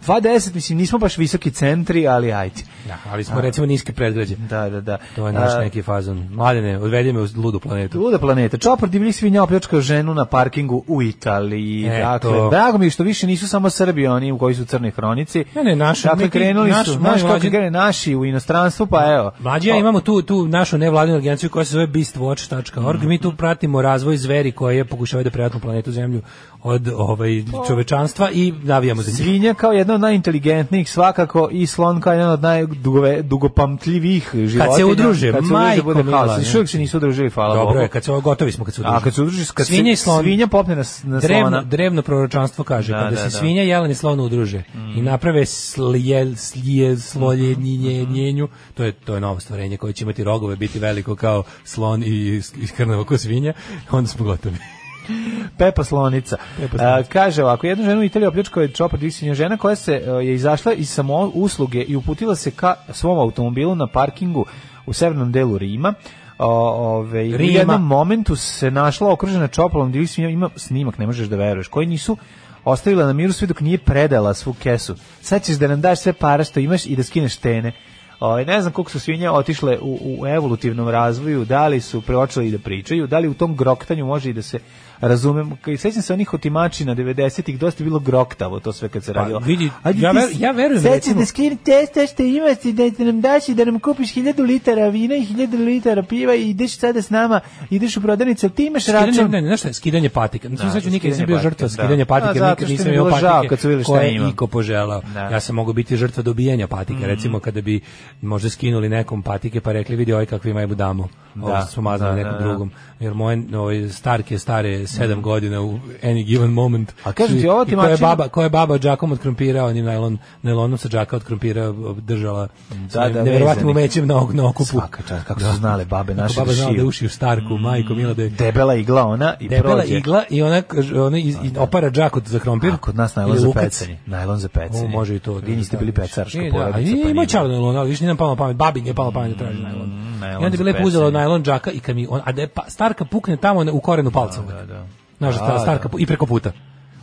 Speaker 7: Dva deset, mislim, nismo baš visoki centri, ali ajde.
Speaker 6: Da, ali smo recimo niske predgrađe.
Speaker 7: Da, da, da.
Speaker 6: To je naš
Speaker 7: A,
Speaker 6: neki fazon. Mladene, odvedi me u ludu planetu.
Speaker 7: Luda planeta. Čopar divljih svinja opljačkao ženu na parkingu u Italiji.
Speaker 6: Eto.
Speaker 7: Dakle, drago mi je što više nisu samo Srbi oni u koji su u crnoj hronici.
Speaker 6: Ne, ne, naši-
Speaker 7: Dakle,
Speaker 6: neki-
Speaker 7: krenuli
Speaker 6: naš-
Speaker 7: su,
Speaker 6: moj
Speaker 7: znaš kako
Speaker 6: mlađi-
Speaker 7: krene naši u inostranstvu, pa evo.
Speaker 6: Mlađi, ja imamo tu, tu našu nevladinu agenciju koja se zove beastwatch.org. Mi tu pratimo razvoj zveri koje pokušavaju da prijatnu planetu Zemlju od ovaj,
Speaker 7: Pa.
Speaker 6: čovečanstva i navijamo za njih.
Speaker 7: Svinja kao jedna od najinteligentnijih svakako i slon kao jedan od najdugopamtljivijih životinja.
Speaker 6: udruže,
Speaker 7: Kad se
Speaker 6: majko
Speaker 7: bude
Speaker 6: mila,
Speaker 7: haos.
Speaker 6: ne.
Speaker 7: Još uvijek se nisu udružili, hvala
Speaker 6: Dobro
Speaker 7: Bogu.
Speaker 6: je, kad se gotovi smo kad se udruži.
Speaker 7: A kad se udruži, kad
Speaker 6: svinja
Speaker 7: se
Speaker 6: i slon.
Speaker 7: svinja popne na, s- na
Speaker 6: drevno,
Speaker 7: slona.
Speaker 6: drevno proročanstvo kaže,
Speaker 7: Da,
Speaker 6: kada
Speaker 7: da,
Speaker 6: se
Speaker 7: da. Mm.
Speaker 6: svinja, jelen i slon udruže i naprave slijel, slijel,
Speaker 7: Mm-hmm,
Speaker 6: sloljenjenju, njenju, to je, to je novo stvorenje koje će imati rogove, biti veliko kao slon i, i krnavo kao svinja, onda smo gotovi.
Speaker 7: Pepa Slonica.
Speaker 6: Pepa Slonica.
Speaker 7: A, kaže ovako, jednu ženu u Italiji opljačkao je čopar disinja žena koja se e, je izašla iz samo usluge i uputila se ka svom automobilu na parkingu u severnom delu Rima. O, ove, i U
Speaker 6: Rima.
Speaker 7: jednom momentu se našla okružena čopalom divljih svinja, ima snimak, ne možeš da veruješ, koji nisu ostavila na miru sve dok nije predala svu kesu. Sad ćeš da nam daš sve para što imaš i da skineš tene. Ovaj, ne znam koliko su svinje otišle u, u evolutivnom razvoju, da li su preočeli da pričaju, da li u tom groktanju može i da se razumem. K- Sećam se onih otimačina 90-ih, dosta je bilo groktavo to sve kad se
Speaker 6: Pa,
Speaker 7: radilo.
Speaker 6: vidi,
Speaker 7: Ajde
Speaker 6: ja
Speaker 7: ti
Speaker 6: ver-
Speaker 7: s-
Speaker 6: ja verujem,
Speaker 7: Sad ćeš
Speaker 6: recimo-
Speaker 7: da skini testa što imaš i da nam daš i da nam kupiš 1000 litara vina i 1000 litara piva i ideš sada s nama, ideš u prodavnicu, ali ti imaš
Speaker 6: Skidanje,
Speaker 7: račun.
Speaker 6: ne, ne, znaš šta, je, skidanje patika. Mislim,
Speaker 7: Da,
Speaker 6: sad ću nikad nisam
Speaker 7: skidanje
Speaker 6: bio
Speaker 7: patike,
Speaker 6: žrtva
Speaker 7: da.
Speaker 6: skidanja
Speaker 7: A,
Speaker 6: patike,
Speaker 7: zato
Speaker 6: nikad
Speaker 7: što
Speaker 6: nisam
Speaker 7: mi je
Speaker 6: imao
Speaker 7: bilo žao
Speaker 6: patike
Speaker 7: kad su vidjeli šta
Speaker 6: koje
Speaker 7: imam.
Speaker 6: iko poželao.
Speaker 7: Da. Mhm.
Speaker 6: Ja sam mogao biti žrtva dobijanja patike, recimo kada bi možda skinuli nekom patike pa rekli vidi ovaj kakvi imaju damu. Ovo
Speaker 7: Da,
Speaker 6: su mazali
Speaker 7: da,
Speaker 6: nekom
Speaker 7: da, da.
Speaker 6: drugom. Jer moje ovaj, starke stare sedam godina u any given moment.
Speaker 7: A kažem
Speaker 6: su-
Speaker 7: ti, ovo
Speaker 6: i
Speaker 7: ti
Speaker 6: koja je
Speaker 7: mačina-
Speaker 6: baba, koja je baba džakom od krompira, onim najlon, najlonom sa džaka od krompira držala. sa
Speaker 7: da,
Speaker 6: neverovatnim
Speaker 7: vezani.
Speaker 6: umećem na, na okupu.
Speaker 7: Svaka čast, kako su znale babe
Speaker 6: Kako
Speaker 7: naše
Speaker 6: baba
Speaker 7: da
Speaker 6: znala da
Speaker 7: šiju.
Speaker 6: uši u starku, majko
Speaker 7: Mhm.
Speaker 6: mila da je
Speaker 7: Debela igla ona i
Speaker 6: debela
Speaker 7: prođe.
Speaker 6: igla i ona, kaže, ona iz, i opara džak od za krompir.
Speaker 7: A, kod nas najlon
Speaker 6: Ili
Speaker 7: za
Speaker 6: lukac.
Speaker 7: pecanje. Najlon za pecanje.
Speaker 6: O, može i to.
Speaker 7: Vi niste bili pecarska
Speaker 6: E, Da,
Speaker 7: porodica.
Speaker 6: ali
Speaker 7: pa
Speaker 6: ima
Speaker 7: nije. Mm,
Speaker 6: čarno najlon, ali više nije nam palo na pamet. Babi nije palo na pamet da traži najlon.
Speaker 7: najlon
Speaker 6: I onda bi
Speaker 7: za
Speaker 6: lepo uzela
Speaker 7: pecanje.
Speaker 6: od najlon džaka i kad mi, on, a da je pa, starka pukne tamo na- u korenu palca. Da, da,
Speaker 7: da.
Speaker 6: ta starka, pu- i preko puta.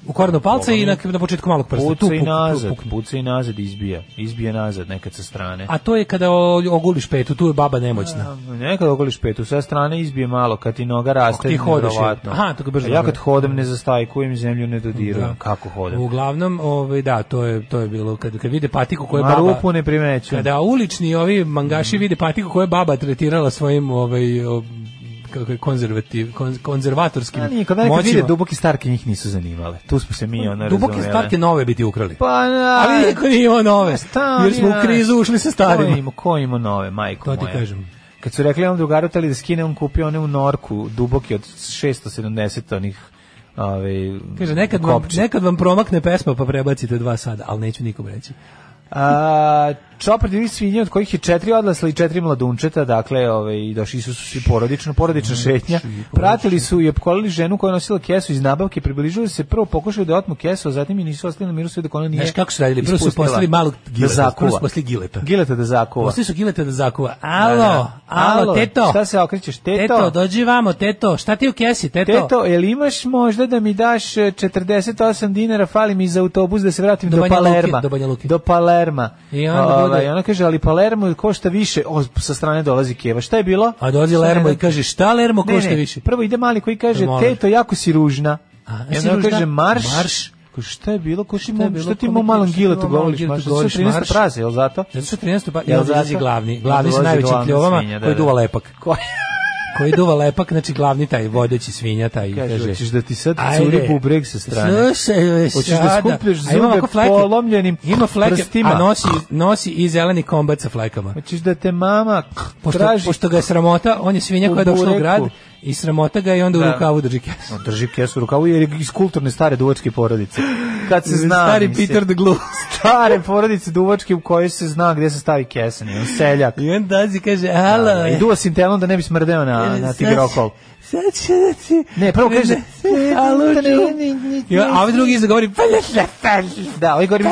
Speaker 6: U korenu palca i na, na početku malog prsta. Tu
Speaker 7: Puca i
Speaker 6: puk- tu
Speaker 7: nazad,
Speaker 6: pukne.
Speaker 7: puca i nazad izbija. Izbije nazad nekad sa strane.
Speaker 6: A to je kada o- oguliš petu, tu je baba nemoćna.
Speaker 7: Nekad ogoliš petu sa strane, izbije malo, kad ti noga raste,
Speaker 6: Ako ti hodeš,
Speaker 7: nevjerovatno.
Speaker 6: je. Aha, to ga brzo
Speaker 7: A Ja kad
Speaker 6: nazove.
Speaker 7: hodam ne zastajkujem, zemlju ne dodirujem.
Speaker 6: Da.
Speaker 7: Kako hodam?
Speaker 6: Uglavnom, ovaj da, to je to je bilo kad kad vide patiku koju je
Speaker 7: Ma
Speaker 6: baba
Speaker 7: rupu ne primećujem.
Speaker 6: Kada ulični ovi
Speaker 7: Mhm.
Speaker 6: mangaši vide patiku koju je baba tretirala svojim ovaj o, kako je konzervativ kon, konzervatorskim
Speaker 7: A nije, kada nekad
Speaker 6: moćima.
Speaker 7: vide duboke starke njih nisu zanimale. Tu smo se mi ona
Speaker 6: Duboke
Speaker 7: razumeli.
Speaker 6: starke nove biti ukrali.
Speaker 7: Pa, na,
Speaker 6: Ali niko nije imao nove,
Speaker 7: Stan,
Speaker 6: jer smo u
Speaker 7: ja.
Speaker 6: krizu ušli sa
Speaker 7: Ko
Speaker 6: starima.
Speaker 7: ima, ko ima nove, majko
Speaker 6: To ti
Speaker 7: moja?
Speaker 6: kažem.
Speaker 7: Kad su rekli ovom drugaru teli da skine, on kupio one u Norku, duboki od 670 onih ovaj, ove,
Speaker 6: Kaže, nekad vam, nekad vam promakne pesma pa prebacite dva sada, ali neću nikom reći.
Speaker 7: A, čopar divih svinja od kojih je četiri odlasla i četiri mladunčeta, dakle, ove, i došli su svi porodično, porodična
Speaker 6: Znači,
Speaker 7: šetnja. Pratili su i opkolili ženu koja je nosila kesu iz nabavke, približili su se, prvo pokušali da otmu kesu, a zatim je nisu ostali na miru sve dok ona nije
Speaker 6: Znaš kako su radili? Prvo su
Speaker 7: ispustila.
Speaker 6: poslali malog
Speaker 7: da
Speaker 6: gileta.
Speaker 7: zakuva.
Speaker 6: prvo su poslali gileta.
Speaker 7: Gileta da zakuva.
Speaker 6: Poslali su gileta da zakuva.
Speaker 7: Da,
Speaker 6: Alo,
Speaker 7: da.
Speaker 6: alo, teto.
Speaker 7: Šta se okrećeš? Teto,
Speaker 6: Teto, dođi vamo, teto. Šta ti u kesi, teto?
Speaker 7: Teto, jel imaš možda da mi daš e, 48 dinara, fali mi za autobus da se vratim do,
Speaker 6: Do Banja Luke,
Speaker 7: Palerma.
Speaker 6: do Banja Luke.
Speaker 7: Do Palerma.
Speaker 6: I onda
Speaker 7: Ovaj,
Speaker 6: bude-
Speaker 7: ona kaže, ali Palermo košta više. O, sa strane dolazi Keva. Šta je bilo?
Speaker 6: A dođe
Speaker 7: Šta je
Speaker 6: Lermo i
Speaker 7: bilo?
Speaker 6: kaže, šta Lermo
Speaker 7: Ne,
Speaker 6: košta
Speaker 7: ne,
Speaker 6: više?
Speaker 7: Prvo ide mali koji kaže,
Speaker 6: Molim.
Speaker 7: teto, jako si ružna.
Speaker 6: A,
Speaker 7: I
Speaker 6: si
Speaker 7: onda ona
Speaker 6: ružna?
Speaker 7: kaže, marš.
Speaker 6: Marš.
Speaker 7: Ko, šta je bilo? Ko ti
Speaker 6: Šta je
Speaker 7: mu,
Speaker 6: bilo?
Speaker 7: šta ti
Speaker 6: Ko
Speaker 7: mu
Speaker 6: mi-
Speaker 7: malom
Speaker 6: šta ti
Speaker 7: giletu
Speaker 6: mu malom
Speaker 7: govoriš?
Speaker 6: giletu
Speaker 7: Marš,
Speaker 6: govoriš?
Speaker 7: su 13
Speaker 6: Marš.
Speaker 7: praze, jel zato?
Speaker 6: Zato što 13. pa i
Speaker 7: Jel
Speaker 6: onda dolazi
Speaker 7: zato?
Speaker 6: glavni.
Speaker 7: Onda
Speaker 6: Glavni sa
Speaker 7: dolazi
Speaker 6: najvećim
Speaker 7: glavna
Speaker 6: kljovama
Speaker 7: svinja, da,
Speaker 6: koji
Speaker 7: da.
Speaker 6: duva lepak. koji duva lepak, znači glavni taj vodeći svinja taj.
Speaker 7: Kaže,
Speaker 6: kaže,
Speaker 7: "Hoćeš da ti sad
Speaker 6: "Ajde,
Speaker 7: curi bubreg sa strane?"
Speaker 6: Slušaj,
Speaker 7: Hoćeš da
Speaker 6: sada,
Speaker 7: skupljaš
Speaker 6: a ima
Speaker 7: zube
Speaker 6: ovako fleke.
Speaker 7: polomljenim
Speaker 6: Ima fleke,
Speaker 7: prstima?
Speaker 6: a nosi, nosi i zeleni kombat sa flekama.
Speaker 7: Hoćeš da te mama
Speaker 6: Pošto,
Speaker 7: traži?
Speaker 6: pošto ga je sramota, on je svinja
Speaker 7: U
Speaker 6: koja je došla u
Speaker 7: bureku.
Speaker 6: grad i sramota ga je i onda
Speaker 7: Da.
Speaker 6: u rukavu drži kesu.
Speaker 7: On drži kesu u rukavu jer je iz kulturne stare duvačke porodice. Kad se zna...
Speaker 6: Stari
Speaker 7: mislim.
Speaker 6: Peter the Glue.
Speaker 7: Stare porodice duvačke u kojoj se zna gde se stavi kesen. On seljak.
Speaker 6: I onda dazi kaže, alo,
Speaker 7: I duva sintelom da ne bi smrdeo na, na
Speaker 6: Sad-
Speaker 7: tigrokol.
Speaker 6: Sad će da ti...
Speaker 7: Ne, prvo kaže-
Speaker 6: Alo, ču. I on- A ovaj drugi iza govori...
Speaker 7: Da, ovaj gori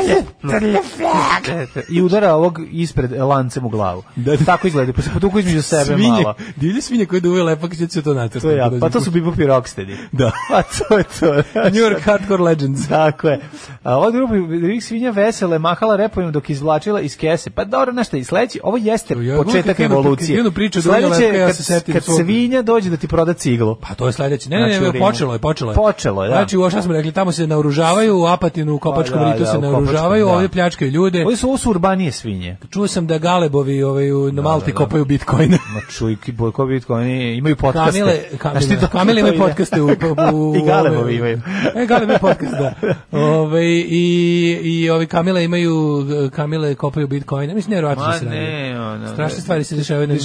Speaker 7: I udara ovog ispred lancem u glavu.
Speaker 6: Da, da.
Speaker 7: Tako izgleda, pa se potuku između sebe
Speaker 6: Svinje,
Speaker 7: malo.
Speaker 6: divlje svinje koje duvaju lepo, kada će to natrstati.
Speaker 7: To je ja. Pa to su Bebop i Rocksteady.
Speaker 6: Da.
Speaker 7: Pa to je to.
Speaker 6: New York Hardcore Legends.
Speaker 7: Tako je. A ova grupa Rix Svinja vesele mahala repovima dok je izvlačila iz kese. Pa dobro, nešto i sledeći, ovo jeste
Speaker 6: Ja, kad
Speaker 7: početak
Speaker 6: krenu- kad
Speaker 7: evolucije.
Speaker 6: krenu priče od
Speaker 7: Sledeće
Speaker 6: Dunja Lepka, ja
Speaker 7: kad,
Speaker 6: se setim
Speaker 7: kad
Speaker 6: svog-
Speaker 7: svinja dođe da ti proda ciglu.
Speaker 6: Pa to je sledeće. Ne, ne,
Speaker 7: Znači, u
Speaker 6: ne,
Speaker 7: Rimu.
Speaker 6: počelo je, počelo je.
Speaker 7: Počelo je, da.
Speaker 6: Znači, ovo šta smo rekli, tamo se naoružavaju, u Apatinu, u Kopačkom
Speaker 7: Pa da,
Speaker 6: ritu
Speaker 7: da,
Speaker 6: se
Speaker 7: u Kopačkom,
Speaker 6: naoružavaju,
Speaker 7: da.
Speaker 6: ovdje pljačkaju ljude.
Speaker 7: Ovo su, ovo su urbanije svinje.
Speaker 6: Čuo sam da Galebovi ovaj, u- na Malti
Speaker 7: da.
Speaker 6: kopaju bitcoine.
Speaker 7: Ma čuj, ki- boj, ko bitko, oni imaju podcaste.
Speaker 6: Kamile,
Speaker 7: Znaš ti
Speaker 6: Kamile,
Speaker 7: to-
Speaker 6: Kamile
Speaker 7: to
Speaker 6: imaju
Speaker 7: ide?
Speaker 6: podcaste u, u, u
Speaker 7: I Galebovi imaju.
Speaker 6: E, Galeb imaju podcast, da. Ove, i, I ovi Kamile imaju, Kamile kopaju bitcoine. Mislim, nevjerojatno
Speaker 7: Ma
Speaker 6: da se radi.
Speaker 7: ne, ono,
Speaker 6: Strašne
Speaker 7: da.
Speaker 6: stvari se dešavaju. Ne,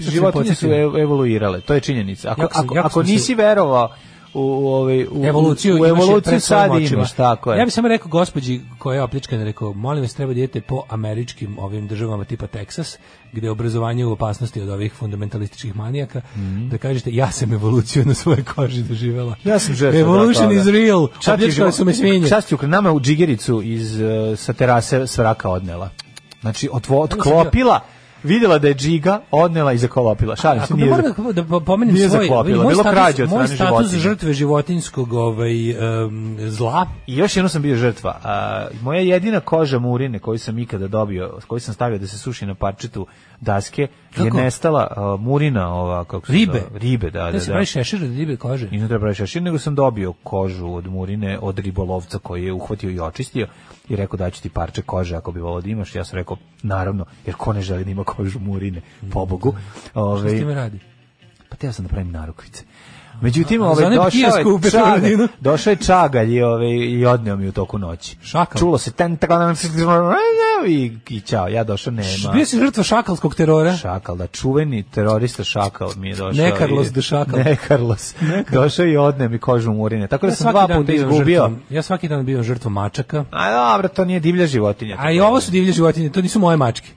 Speaker 7: Životinje su ev- evoluirale, to je činjenica. Ako,
Speaker 6: Jako sam-
Speaker 7: ako,
Speaker 6: jako
Speaker 7: ako
Speaker 6: sam se-
Speaker 7: nisi verovao u, u, ovaj- u,
Speaker 6: evoluciju,
Speaker 7: u
Speaker 6: imaš je
Speaker 7: evoluciju
Speaker 6: pred svojim
Speaker 7: sad
Speaker 6: očima.
Speaker 7: imaš, tako je.
Speaker 6: Ja bih samo rekao gospođi koja je opličkana, rekao, molim vas, treba da idete po američkim ovim državama tipa Texas, gde je obrazovanje u opasnosti od ovih fundamentalističkih manijaka, da kažete, ja sam evoluciju na svojoj koži doživela.
Speaker 7: Mhm. Ja sam žrtva
Speaker 6: Evolution
Speaker 7: toga.
Speaker 6: is real.
Speaker 7: Šta ti
Speaker 6: Opljačkali
Speaker 7: živo-
Speaker 6: su me svinje.
Speaker 7: Šta si nama u džigericu iz, eh, sa terase svraka odnela? Znači, otvo, otklopila, vidjela da je džiga, odnela i zakolopila. Šalim se,
Speaker 6: Ako bi
Speaker 7: nije...
Speaker 6: moram da, da pomenem
Speaker 7: nije
Speaker 6: svoj,
Speaker 7: zaklopila,
Speaker 6: moj
Speaker 7: bilo
Speaker 6: status,
Speaker 7: krađe od
Speaker 6: moj
Speaker 7: strane
Speaker 6: status
Speaker 7: životinja.
Speaker 6: žrtve životinskog ovaj, em, zla,
Speaker 7: I još jednom sam bio žrtva. A, moja jedina koža murine koju sam ikada dobio, koju sam stavio da se suši na parčetu daske, je
Speaker 6: Kako?
Speaker 7: nestala a, murina, ova, kako se
Speaker 6: ribe.
Speaker 7: zove? Ribe, da, da,
Speaker 6: Da se
Speaker 7: da.
Speaker 6: pravi šešir od ribe kože.
Speaker 7: I ne treba reći šešir, nego sam dobio kožu od murine, od ribolovca koji je uhvatio i očistio i rekao da ću ti parče kože ako bi volao da imaš. Ja sam rekao, naravno, jer ko ne želi da ima kožu murine, pobogu.
Speaker 6: Šta s
Speaker 7: Ove,
Speaker 6: time radi?
Speaker 7: pa teo sam da pravim narukvice. Međutim,
Speaker 6: A,
Speaker 7: ovaj,
Speaker 6: za onaj
Speaker 7: došao,
Speaker 6: kiosku u
Speaker 7: je čagalj,
Speaker 6: Petrovaradinu.
Speaker 7: došao je čagalj i, ovaj, i odneo mi u toku noći.
Speaker 6: Šakal.
Speaker 7: Čulo se ten i, i čao, ja došao nema.
Speaker 6: Bio si žrtva šakalskog terora.
Speaker 7: Šakal, da čuveni terorista Šakal mi je došao.
Speaker 6: Ne
Speaker 7: i-
Speaker 6: Carlos de Šakal.
Speaker 7: Ne Carlos. Došao je i odneo mi kožu murine. Tako da sam
Speaker 6: svaki
Speaker 7: dva
Speaker 6: dan
Speaker 7: puta
Speaker 6: bivam
Speaker 7: izgubio.
Speaker 6: žrtvom- ja svaki dan bivam žrtvom mačaka.
Speaker 7: A dobro, to nije divlja životinja.
Speaker 6: A i ovo su divlje životinje, to nisu moje mačke.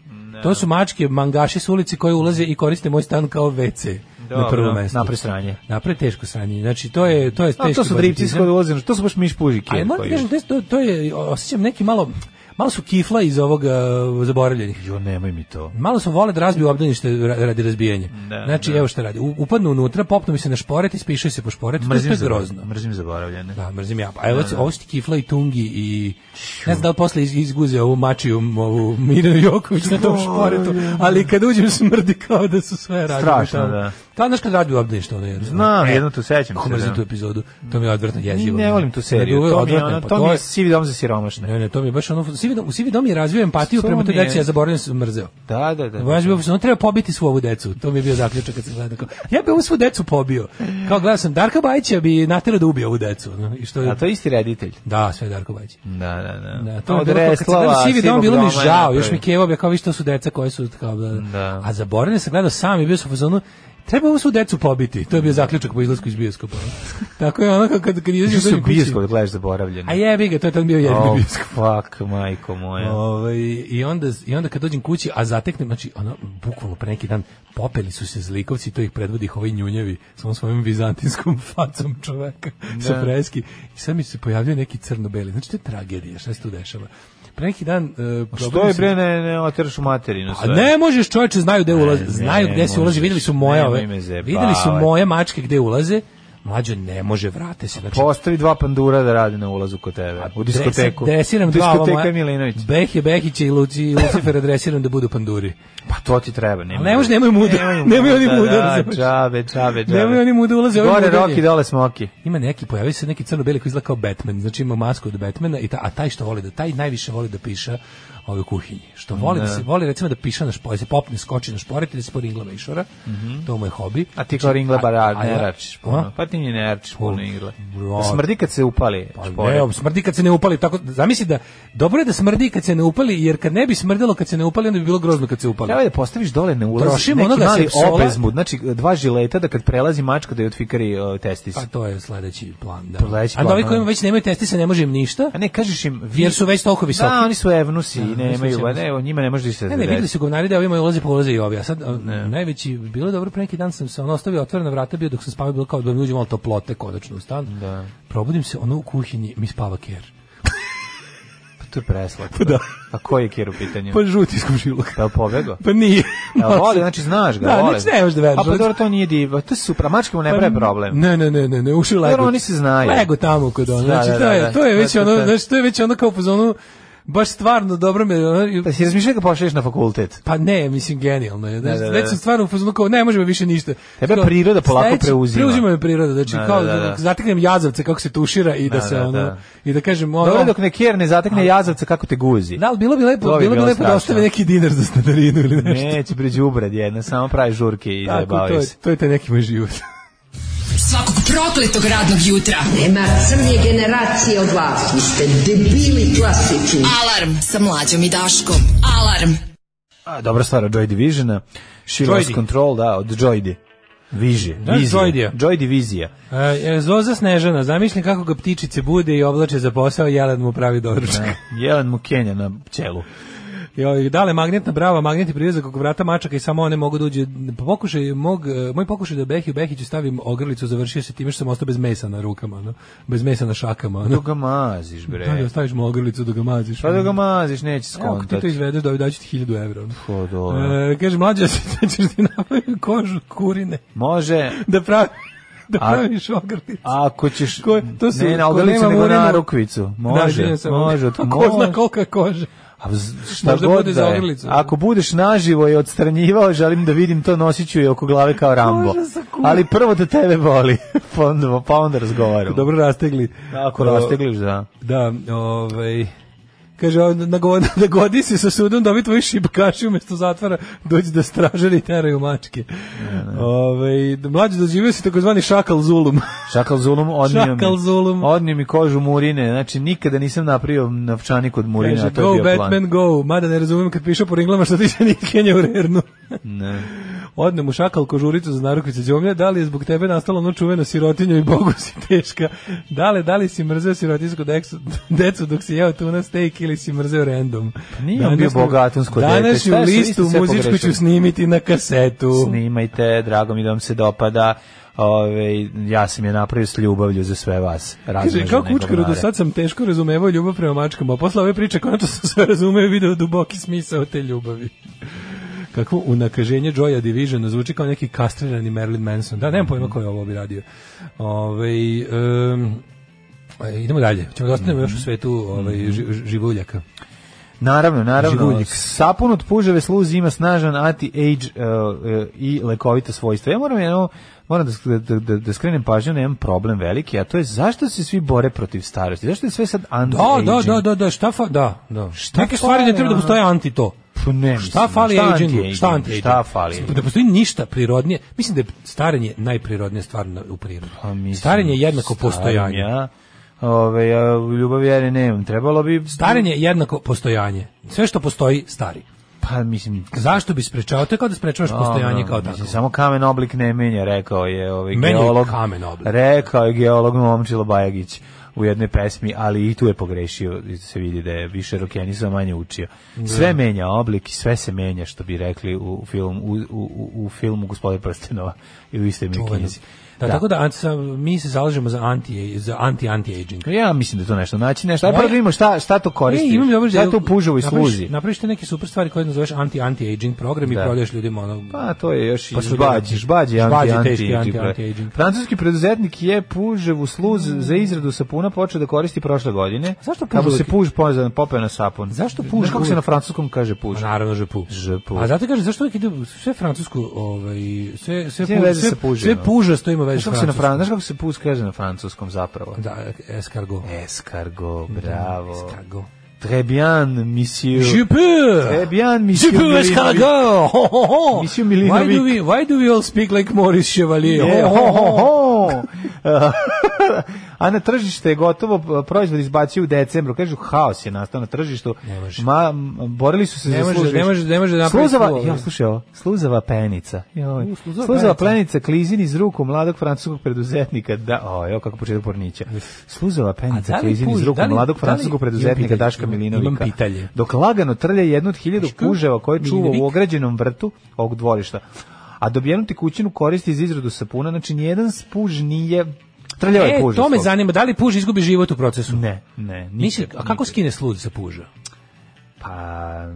Speaker 6: To su mačke, mangaši s ulici koji ulaze i koriste moj stan kao WC. na prvo mesto.
Speaker 7: Napre sranje.
Speaker 6: Napravi teško sranje. Znači, to je, to je
Speaker 7: A,
Speaker 6: teški
Speaker 7: to su dripci s
Speaker 6: banditizam.
Speaker 7: kod ulazim, to su baš miš puži
Speaker 6: Ali
Speaker 7: kjer.
Speaker 6: moram
Speaker 7: koji-
Speaker 6: ti kažem, to je- to, to je, osjećam neki malo, malo su kifla iz ovog uh, zaboravljenih.
Speaker 7: Jo, nemoj mi to.
Speaker 6: Malo su vole da razbiju obdanište ra- radi razbijanja.
Speaker 7: Da,
Speaker 6: znači, evo šta radi. U- Upadnu unutra, popnu mi se na šporet i spišaju se po šporetu. To- to je
Speaker 7: zabora-
Speaker 6: grozno.
Speaker 7: Mrzim zaboravljene.
Speaker 6: Da, mrzim ja. A evo, ovo su ti kifla i tungi i... Ne znam da li posle iz- izguze ovu mačiju, ovu Mirjanu Joković na tom šporetu, ali kad uđem smrdi kao da su sve radili.
Speaker 7: Strašno,
Speaker 6: tamo.
Speaker 7: da.
Speaker 6: Kao znaš kad radi u obdanište, ono je.
Speaker 7: Znam, jedno tu sećam
Speaker 6: Kako
Speaker 7: se,
Speaker 6: mrzim
Speaker 7: da.
Speaker 6: tu epizodu, to mi je odvrtno jezivo.
Speaker 7: Ne volim tu seriju.
Speaker 6: Ne,
Speaker 7: To mi je
Speaker 6: odvratno je,
Speaker 7: ono,
Speaker 6: pa
Speaker 7: to mi
Speaker 6: je-
Speaker 7: je sivi dom za siromašne.
Speaker 6: Ne, ne, to mi je baš ono, sivi dom, u sivi dom je razvio empatiju
Speaker 7: Što
Speaker 6: prema toj
Speaker 7: mi je-
Speaker 6: deci, ja zaboravljam sam mrzeo.
Speaker 7: Da, da, da.
Speaker 6: Nego ja sam bio u fazonu, on ono treba pobiti svu ovu decu. To mi je bio zaključak kad sam gledao. kao, Ja bi ovu svu decu pobio. Kao gledao sam Darka Bajića bi naterao da ubije ovu decu. no, I što
Speaker 7: A to je isti reditelj.
Speaker 6: Da, sve je Darko Bajić.
Speaker 7: Da, da, da.
Speaker 6: Da, to je bilo, kao kad sam gledao Sivi dom, bilo mi žao, još mi Kevo bio kao vi što su deca koje su kao bla, bla.
Speaker 7: Da.
Speaker 6: A zaboravljam sam gledao sam i bio sam u fazonu treba ovu svu decu pobiti. To je bio zaključak po izlasku iz bioskopa. Tako je ono kao kad, kad
Speaker 7: Još
Speaker 6: izlaziš
Speaker 7: su
Speaker 6: u kući.
Speaker 7: bioskop, gledaš zaboravljeno.
Speaker 6: A jebi ga, to je tad bio jedini
Speaker 7: Oh,
Speaker 6: bioskop.
Speaker 7: fuck, majko moja.
Speaker 6: Ovaj, i, onda, I onda kad dođem kući, a zateknem, znači, ono, bukvalno pre neki dan popeli su se zlikovci, to ih predvodi ovaj njunjevi s ovom svojim vizantinskom facom čoveka sa freski. I sad mi se pojavljaju neki crno-beli. Znači, to je tragedija, šta se tu dešava. Pre neki dan... e,
Speaker 7: Što
Speaker 6: probudim
Speaker 7: je
Speaker 6: se-
Speaker 7: bre, ne, ne oteraš u materinu
Speaker 6: A
Speaker 7: sve?
Speaker 6: Pa ne možeš, čoveče, znaju gde ulaze, znaju
Speaker 7: ne
Speaker 6: gde se ulazi,
Speaker 7: možeš,
Speaker 6: videli su moje
Speaker 7: nemoj
Speaker 6: ove,
Speaker 7: me zajebavati.
Speaker 6: videli su moje mačke gde ulaze, mlađe ne može, vrate se, znači,
Speaker 7: Postavi Pa dva pandura da radi na ulazu kod tebe.
Speaker 6: Pa
Speaker 7: U
Speaker 6: Dresi-
Speaker 7: diskoteku.
Speaker 6: Dresiram dva ova
Speaker 7: Diskoteka
Speaker 6: moja-
Speaker 7: Milinović.
Speaker 6: Behe Behića i Luci i Lucifera dresiram da budu panduri.
Speaker 7: Pa to ti treba, nema.
Speaker 6: Ali ne može, nemoj muda, nemoj oni muda, razumeš?
Speaker 7: Čabe, čabe, čabe.
Speaker 6: Nemoj oni muda ulaze, ovi
Speaker 7: Gore
Speaker 6: muda
Speaker 7: Roki,
Speaker 6: nije.
Speaker 7: dole Smoki.
Speaker 6: Ima neki, pojavio se neki crno-beli koji izgleda kao Batman, znači ima masku od Batmana, i ta, a taj što voli da, taj najviše voli da piša ove u kuhinji. Što voli da se, voli recimo da piša na šporet, da se popne, skoči na šporet i da se poringla vešora, to mu je hobi.
Speaker 7: Mhm. A ti kao ringla barar, ne
Speaker 6: ja- Znači,
Speaker 7: račiš
Speaker 6: A?
Speaker 7: puno. Pa ti ni ne račiš puno igle.
Speaker 6: bro.
Speaker 7: Smrdi kad se upali.
Speaker 6: Pa ne, smrdi kad se ne upali, tako, zamisli da, dobro je da smrdi kad se ne upali, jer kad ne bi smrdilo kad se ne upali, onda bi bilo grozno kad se upali.
Speaker 7: Treba da postaviš dole na ulaz
Speaker 6: Trošim
Speaker 7: neki
Speaker 6: onoga
Speaker 7: mali
Speaker 6: sepsola.
Speaker 7: opezmud, znači dva žileta da kad prelazi mačka da je otfikari uh, testis.
Speaker 6: Pa to je sledeći plan, da.
Speaker 7: Sledeći
Speaker 6: A da
Speaker 7: plan,
Speaker 6: ovi
Speaker 7: da.
Speaker 6: koji već nemaju testisa ne može im ništa.
Speaker 7: A ne, kažeš im... Vi...
Speaker 6: Jer su već toliko visoki.
Speaker 7: Da, oni su evnusi i
Speaker 6: oni su
Speaker 7: nemaju,
Speaker 6: evnusi.
Speaker 7: ne, o njima ne može da se
Speaker 6: Ne, ne, videli
Speaker 7: desi.
Speaker 6: su govnari da ovi imaju ulaze, polaze i ovi. A sad, a, najveći, bilo je dobro, pre neki dan sam se ono ostavio otvorena vrata, bio dok sam spavao, bilo kao da mi uđe malo toplote konačno u stan.
Speaker 7: Da.
Speaker 6: Probudim se, ono u kuhinji mi spava ker.
Speaker 7: Pa to je preslatko. da. A koji je kjer u pitanju?
Speaker 6: Pa žuti iz komšiluka.
Speaker 7: Pa je pobegao?
Speaker 6: Pa nije.
Speaker 7: Ja voli, znači znaš ga,
Speaker 6: Da,
Speaker 7: vole.
Speaker 6: znači ne možeš da veruješ.
Speaker 7: A pa dobro, to nije divo. To je super, a mačke mu ne
Speaker 6: Pa
Speaker 7: pravi problem.
Speaker 6: Ne, ne, ne, ne, ne, ušli lego.
Speaker 7: Dobro, oni se znaju.
Speaker 6: Lego tamo kod ono.
Speaker 7: Da,
Speaker 6: Znači,
Speaker 7: da,
Speaker 6: to
Speaker 7: da,
Speaker 6: je,
Speaker 7: da.
Speaker 6: to je već
Speaker 7: Da, da,
Speaker 6: ono,
Speaker 7: da.
Speaker 6: znači, to je već ono kao po zonu, baš stvarno dobro me, ono,
Speaker 7: Pa si razmišljao da ga pošalješ na fakultet?
Speaker 6: Pa ne, mislim genijalno je. Znači,
Speaker 7: Da, da, da.
Speaker 6: već sam stvarno u fazonu kao ne možemo više ništa.
Speaker 7: Tebe
Speaker 6: Kao,
Speaker 7: priroda polako
Speaker 6: sledeći-
Speaker 7: preuzima.
Speaker 6: Preuzima me priroda, znači
Speaker 7: Da,
Speaker 6: kao
Speaker 7: da,
Speaker 6: da,
Speaker 7: da, da.
Speaker 6: zateknem jazavce kako se tušira i da,
Speaker 7: Da,
Speaker 6: se
Speaker 7: da,
Speaker 6: ono
Speaker 7: da.
Speaker 6: i da kažem ono
Speaker 7: Dobro dok ne kjer ne zatekne jazavca kako te guzi.
Speaker 6: Da, ali bilo bi lepo,
Speaker 7: To bi
Speaker 6: bilo bi
Speaker 7: bilo
Speaker 6: lepo da
Speaker 7: strašno.
Speaker 6: ostave neki dinar za stanarinu ili nešto.
Speaker 7: Neće priđi ubred jedna, samo pravi žurke i
Speaker 6: Tako, to
Speaker 7: zabavi
Speaker 6: je,
Speaker 7: se.
Speaker 6: to je taj neki moj život.
Speaker 3: Svakog prokletog radnog jutra. Nema crnije generacije od vas. Vi ste debili klasični. Alarm sa mlađom i Daškom. Alarm.
Speaker 7: A, Pa, dobra stvar od Joy Divisiona. She
Speaker 6: Joy
Speaker 7: Lost
Speaker 6: Di.
Speaker 7: Control, da, od Joy Di. Viži,
Speaker 6: Da,
Speaker 7: vizija.
Speaker 6: Joy Dija.
Speaker 7: Joy Divizija.
Speaker 6: E, Zoza Snežana, zamišljam kako ga ptičice bude i oblače za posao, Jelen mu pravi doručak.
Speaker 7: Jelen mu Kenja na ćelu.
Speaker 6: Jo, dale magnetna brava, magneti privezak oko vrata mačaka i samo one mogu da uđe. Pokušaj mog, eh, moj pokušaj da Behi u Behiću stavim ogrlicu završio se time što sam ostao bez mesa na rukama, no? bez mesa na šakama.
Speaker 7: Dok
Speaker 6: No?
Speaker 7: Pa ga maziš, bre.
Speaker 6: Da, da staviš mu ogrlicu da ga maziš.
Speaker 7: Pa
Speaker 6: ono.
Speaker 7: dok ga maziš, neće
Speaker 6: Evo, ako ti to
Speaker 7: skontati.
Speaker 6: izvedeš, da ovaj daću ti 1000 evra. ono.
Speaker 7: Pa dobro.
Speaker 6: E, kaže, mlađe, da se- da ćeš ti napraviti kožu kurine,
Speaker 7: Može,
Speaker 6: da, pravi, da
Speaker 7: A-
Speaker 6: praviš ogrlicu.
Speaker 7: ako ćeš...
Speaker 6: Ko- to su-
Speaker 7: ne, na
Speaker 6: ko
Speaker 7: ogrlicu,
Speaker 6: nema
Speaker 7: nego na
Speaker 6: urinu-
Speaker 7: rukvicu.
Speaker 6: Da,
Speaker 7: Može,
Speaker 6: izvinjam se,
Speaker 7: može.
Speaker 6: a Ko zna
Speaker 7: može.
Speaker 6: kolika je koža.
Speaker 7: A z- šta
Speaker 6: Možda
Speaker 7: god
Speaker 6: bude
Speaker 7: da
Speaker 6: za
Speaker 7: je.
Speaker 6: ogrlicu.
Speaker 7: Ako budeš naživo i odstranjivao, želim da vidim to nosit ću i oko glave kao Rambo.
Speaker 6: Može za kur-
Speaker 7: Ali prvo da tebe boli, pa onda, pa onda razgovaramo.
Speaker 6: Dobro rastegli.
Speaker 7: Ako rastegliš, da.
Speaker 6: Da, ovaj kaže on nagodi, nagodi se sa sudom dobi tvoji šipkaši umesto zatvora dođi da stražari teraju mačke. Ovaj mlađi doživio se takozvani šakal zulum.
Speaker 7: Šakal Zulum odnio
Speaker 6: Šakal
Speaker 7: mi.
Speaker 6: Zulum.
Speaker 7: Odnio mi kožu Murine. Znači, nikada nisam napravio novčanik od Murine,
Speaker 6: Kaže,
Speaker 7: a to je
Speaker 6: go
Speaker 7: bio
Speaker 6: Batman
Speaker 7: plan.
Speaker 6: go. Mada ne razumem kad piše po ringlama što ti se nitkenja u rernu.
Speaker 7: Ne.
Speaker 6: Odne mu šakal kožuricu za narukvice džomlja, da li je zbog tebe nastalo ono čuveno sirotinje i bogu si teška? Da li, da li si mrzeo sirotinsko deksu, decu dok si jeo tuna steak ili si mrzeo random?
Speaker 7: Pa Nije on bio bogatunsko dete,
Speaker 6: Danas
Speaker 7: šta je,
Speaker 6: u
Speaker 7: sve
Speaker 6: listu
Speaker 7: ste sve
Speaker 6: muzičku ću
Speaker 7: pogrešili.
Speaker 6: snimiti na kasetu.
Speaker 7: Snimajte, drago mi da vam se dopada. Ove, ja sam je napravio s ljubavlju za sve vas.
Speaker 6: Kaže,
Speaker 7: Razmažene
Speaker 6: kao kučkaru, do
Speaker 7: govnare.
Speaker 6: sad sam teško razumevao ljubav prema mačkama, a posle ove priče konačno sam sve razumeo i video duboki smisao te ljubavi. Kako unakaženje Joya Divisiona zvuči kao neki kastrirani Marilyn Manson. Da, nemam pojma ko je ovo bi radio. Ove, Mhm. idemo dalje. Ćemo da ostanemo još u svetu ovaj, ži- ži- ovaj, živuljaka.
Speaker 7: Naravno, naravno.
Speaker 6: Žiguljiks.
Speaker 7: Sapun od puževe sluz ima snažan anti-age uh, uh, i lekovita svojstva. Ja moram jedno, moram da, da, da, da skrenem pažnju na jedan problem veliki, a to je zašto se svi bore protiv starosti? Zašto je sve sad
Speaker 6: Da,
Speaker 7: anti-aging?
Speaker 6: da, da, da, da, šta fa, da, da.
Speaker 7: Šta
Speaker 6: Neke
Speaker 7: fali,
Speaker 6: stvari ne treba da
Speaker 7: ono?
Speaker 6: postoje anti to.
Speaker 7: Pa ne, mislim,
Speaker 6: Šta fali
Speaker 7: šta
Speaker 6: agingu?
Speaker 7: anti-aging?
Speaker 6: Šta anti
Speaker 7: Šta fali?
Speaker 6: Da postoji ništa prirodnije. Mislim da je starenje najprirodnija stvar na- u prirodi.
Speaker 7: Pa
Speaker 6: starenje je jednako postojanje.
Speaker 7: Ja, ove, ja ljubav vjere nemam. Trebalo bi...
Speaker 6: Starenje je jednako postojanje. Sve što postoji, stari.
Speaker 7: Pa, mislim...
Speaker 6: Zašto bi sprečao? To je kao da sprečavaš postojanje
Speaker 7: Ono,
Speaker 6: kao
Speaker 7: mislim,
Speaker 6: tako.
Speaker 7: Samo kamen oblik ne menja, rekao je ovaj
Speaker 6: Menja
Speaker 7: geolog.
Speaker 6: kamen oblik.
Speaker 7: Rekao je geolog Momčilo Bajagić u jednoj pesmi, ali i tu je pogrešio, se vidi da je više rokenizam manje učio. Sve menja oblik i sve se menja, što bi rekli u, film, u, u, u filmu Gospode Prstenova i u istoj mi
Speaker 6: Čuvenom.
Speaker 7: knjizi.
Speaker 6: Da, tako da an- sa- mi se zalažemo za anti za anti anti aging.
Speaker 7: Ja mislim da je to nešto naći, nešto. Aj,
Speaker 6: Znači, Moje-
Speaker 7: prvo da vidimo šta, šta to koristi.
Speaker 6: E, imam dobro
Speaker 7: šta
Speaker 6: ideju.
Speaker 7: to puževo i
Speaker 6: Napraviš-
Speaker 7: služi.
Speaker 6: Napraviš te neke super stvari koje nazoveš anti anti aging program i
Speaker 7: Da.
Speaker 6: prodaješ ljudima ono.
Speaker 7: Pa to je još i
Speaker 6: Pa su
Speaker 7: žbađi,
Speaker 6: ljudi-
Speaker 7: žbađi,
Speaker 6: žbađi,
Speaker 7: anti,
Speaker 6: teški
Speaker 7: anti,
Speaker 6: anti-anti-aging.
Speaker 7: Francuski preduzetnik je puževu sluz za izradu sapuna počeo da koristi prošle godine.
Speaker 6: Zašto puž
Speaker 7: Kad mu se
Speaker 6: uvek-
Speaker 7: puž poza- popeo na sapun.
Speaker 6: Zašto puž
Speaker 7: Znaš kako se
Speaker 6: uvek-
Speaker 7: na francuskom kaže puž?
Speaker 6: Pa naravno žepu.
Speaker 7: Žepu.
Speaker 6: A zato kaže zašto uvijek ide sve francusko, ovaj sve sve
Speaker 7: Sve
Speaker 6: pu-
Speaker 7: veze
Speaker 6: sve,
Speaker 7: sa pužem,
Speaker 6: sve
Speaker 7: ono.
Speaker 6: pužasto ima veze
Speaker 7: Znaš
Speaker 6: sa
Speaker 7: kako se na
Speaker 6: francuskom.
Speaker 7: fran- znaš kako se puž kaže na francuskom zapravo?
Speaker 6: Da, escargot.
Speaker 7: Escargot, bravo.
Speaker 6: Escargot.
Speaker 7: Très bien, monsieur.
Speaker 6: Je peux.
Speaker 7: Très bien,
Speaker 6: Je
Speaker 7: monsieur.
Speaker 6: peux
Speaker 7: e, Milinović.
Speaker 6: escargot. Ho, ho, ho.
Speaker 7: Monsieur
Speaker 6: Why
Speaker 7: Milinović.
Speaker 6: do we why do we all speak like Maurice Chevalier?
Speaker 7: Je,
Speaker 6: Ho, ho, ho.
Speaker 7: ho, ho. A na tržište je gotovo proizvod izbacio u decembru. Kažu, haos je nastao na tržištu.
Speaker 6: Ne može.
Speaker 7: Ma, m, borili su se
Speaker 6: Ne
Speaker 7: za
Speaker 6: može,
Speaker 7: služiš.
Speaker 6: ne može, ne može da napravi
Speaker 7: Sluzava,
Speaker 6: slovo.
Speaker 7: ja, slušaj ovo, sluzava penica. Joj.
Speaker 6: U, sluzava
Speaker 7: sluzava,
Speaker 6: penica.
Speaker 7: penica klizin iz ruku mladog francuskog preduzetnika. Da, o, evo kako početak pornića. Sluzava penica
Speaker 6: A da li
Speaker 7: klizin
Speaker 6: puž-
Speaker 7: iz ruku
Speaker 6: da li-
Speaker 7: mladog
Speaker 6: da li-
Speaker 7: francuskog
Speaker 6: imam
Speaker 7: preduzetnika
Speaker 6: pitanje,
Speaker 7: Daška
Speaker 6: imam-
Speaker 7: Milinovića.
Speaker 6: imam pitanje.
Speaker 7: Dok lagano trlja jednu od hiljadu
Speaker 6: Daško
Speaker 7: puževa koje čuva
Speaker 6: Miljinović?
Speaker 7: u ograđenom vrtu ovog dvorišta. A dobijenuti kućinu koristi za izradu sapuna, znači nijedan spuž nije... Trljao je
Speaker 6: E,
Speaker 7: puž.
Speaker 6: to me
Speaker 7: doslovno.
Speaker 6: zanima, da li puž izgubi život u procesu?
Speaker 7: Ne, ne.
Speaker 6: Nisi,
Speaker 7: nikad,
Speaker 6: a kako
Speaker 7: nikad.
Speaker 6: skine slud sa puža?
Speaker 7: Pa,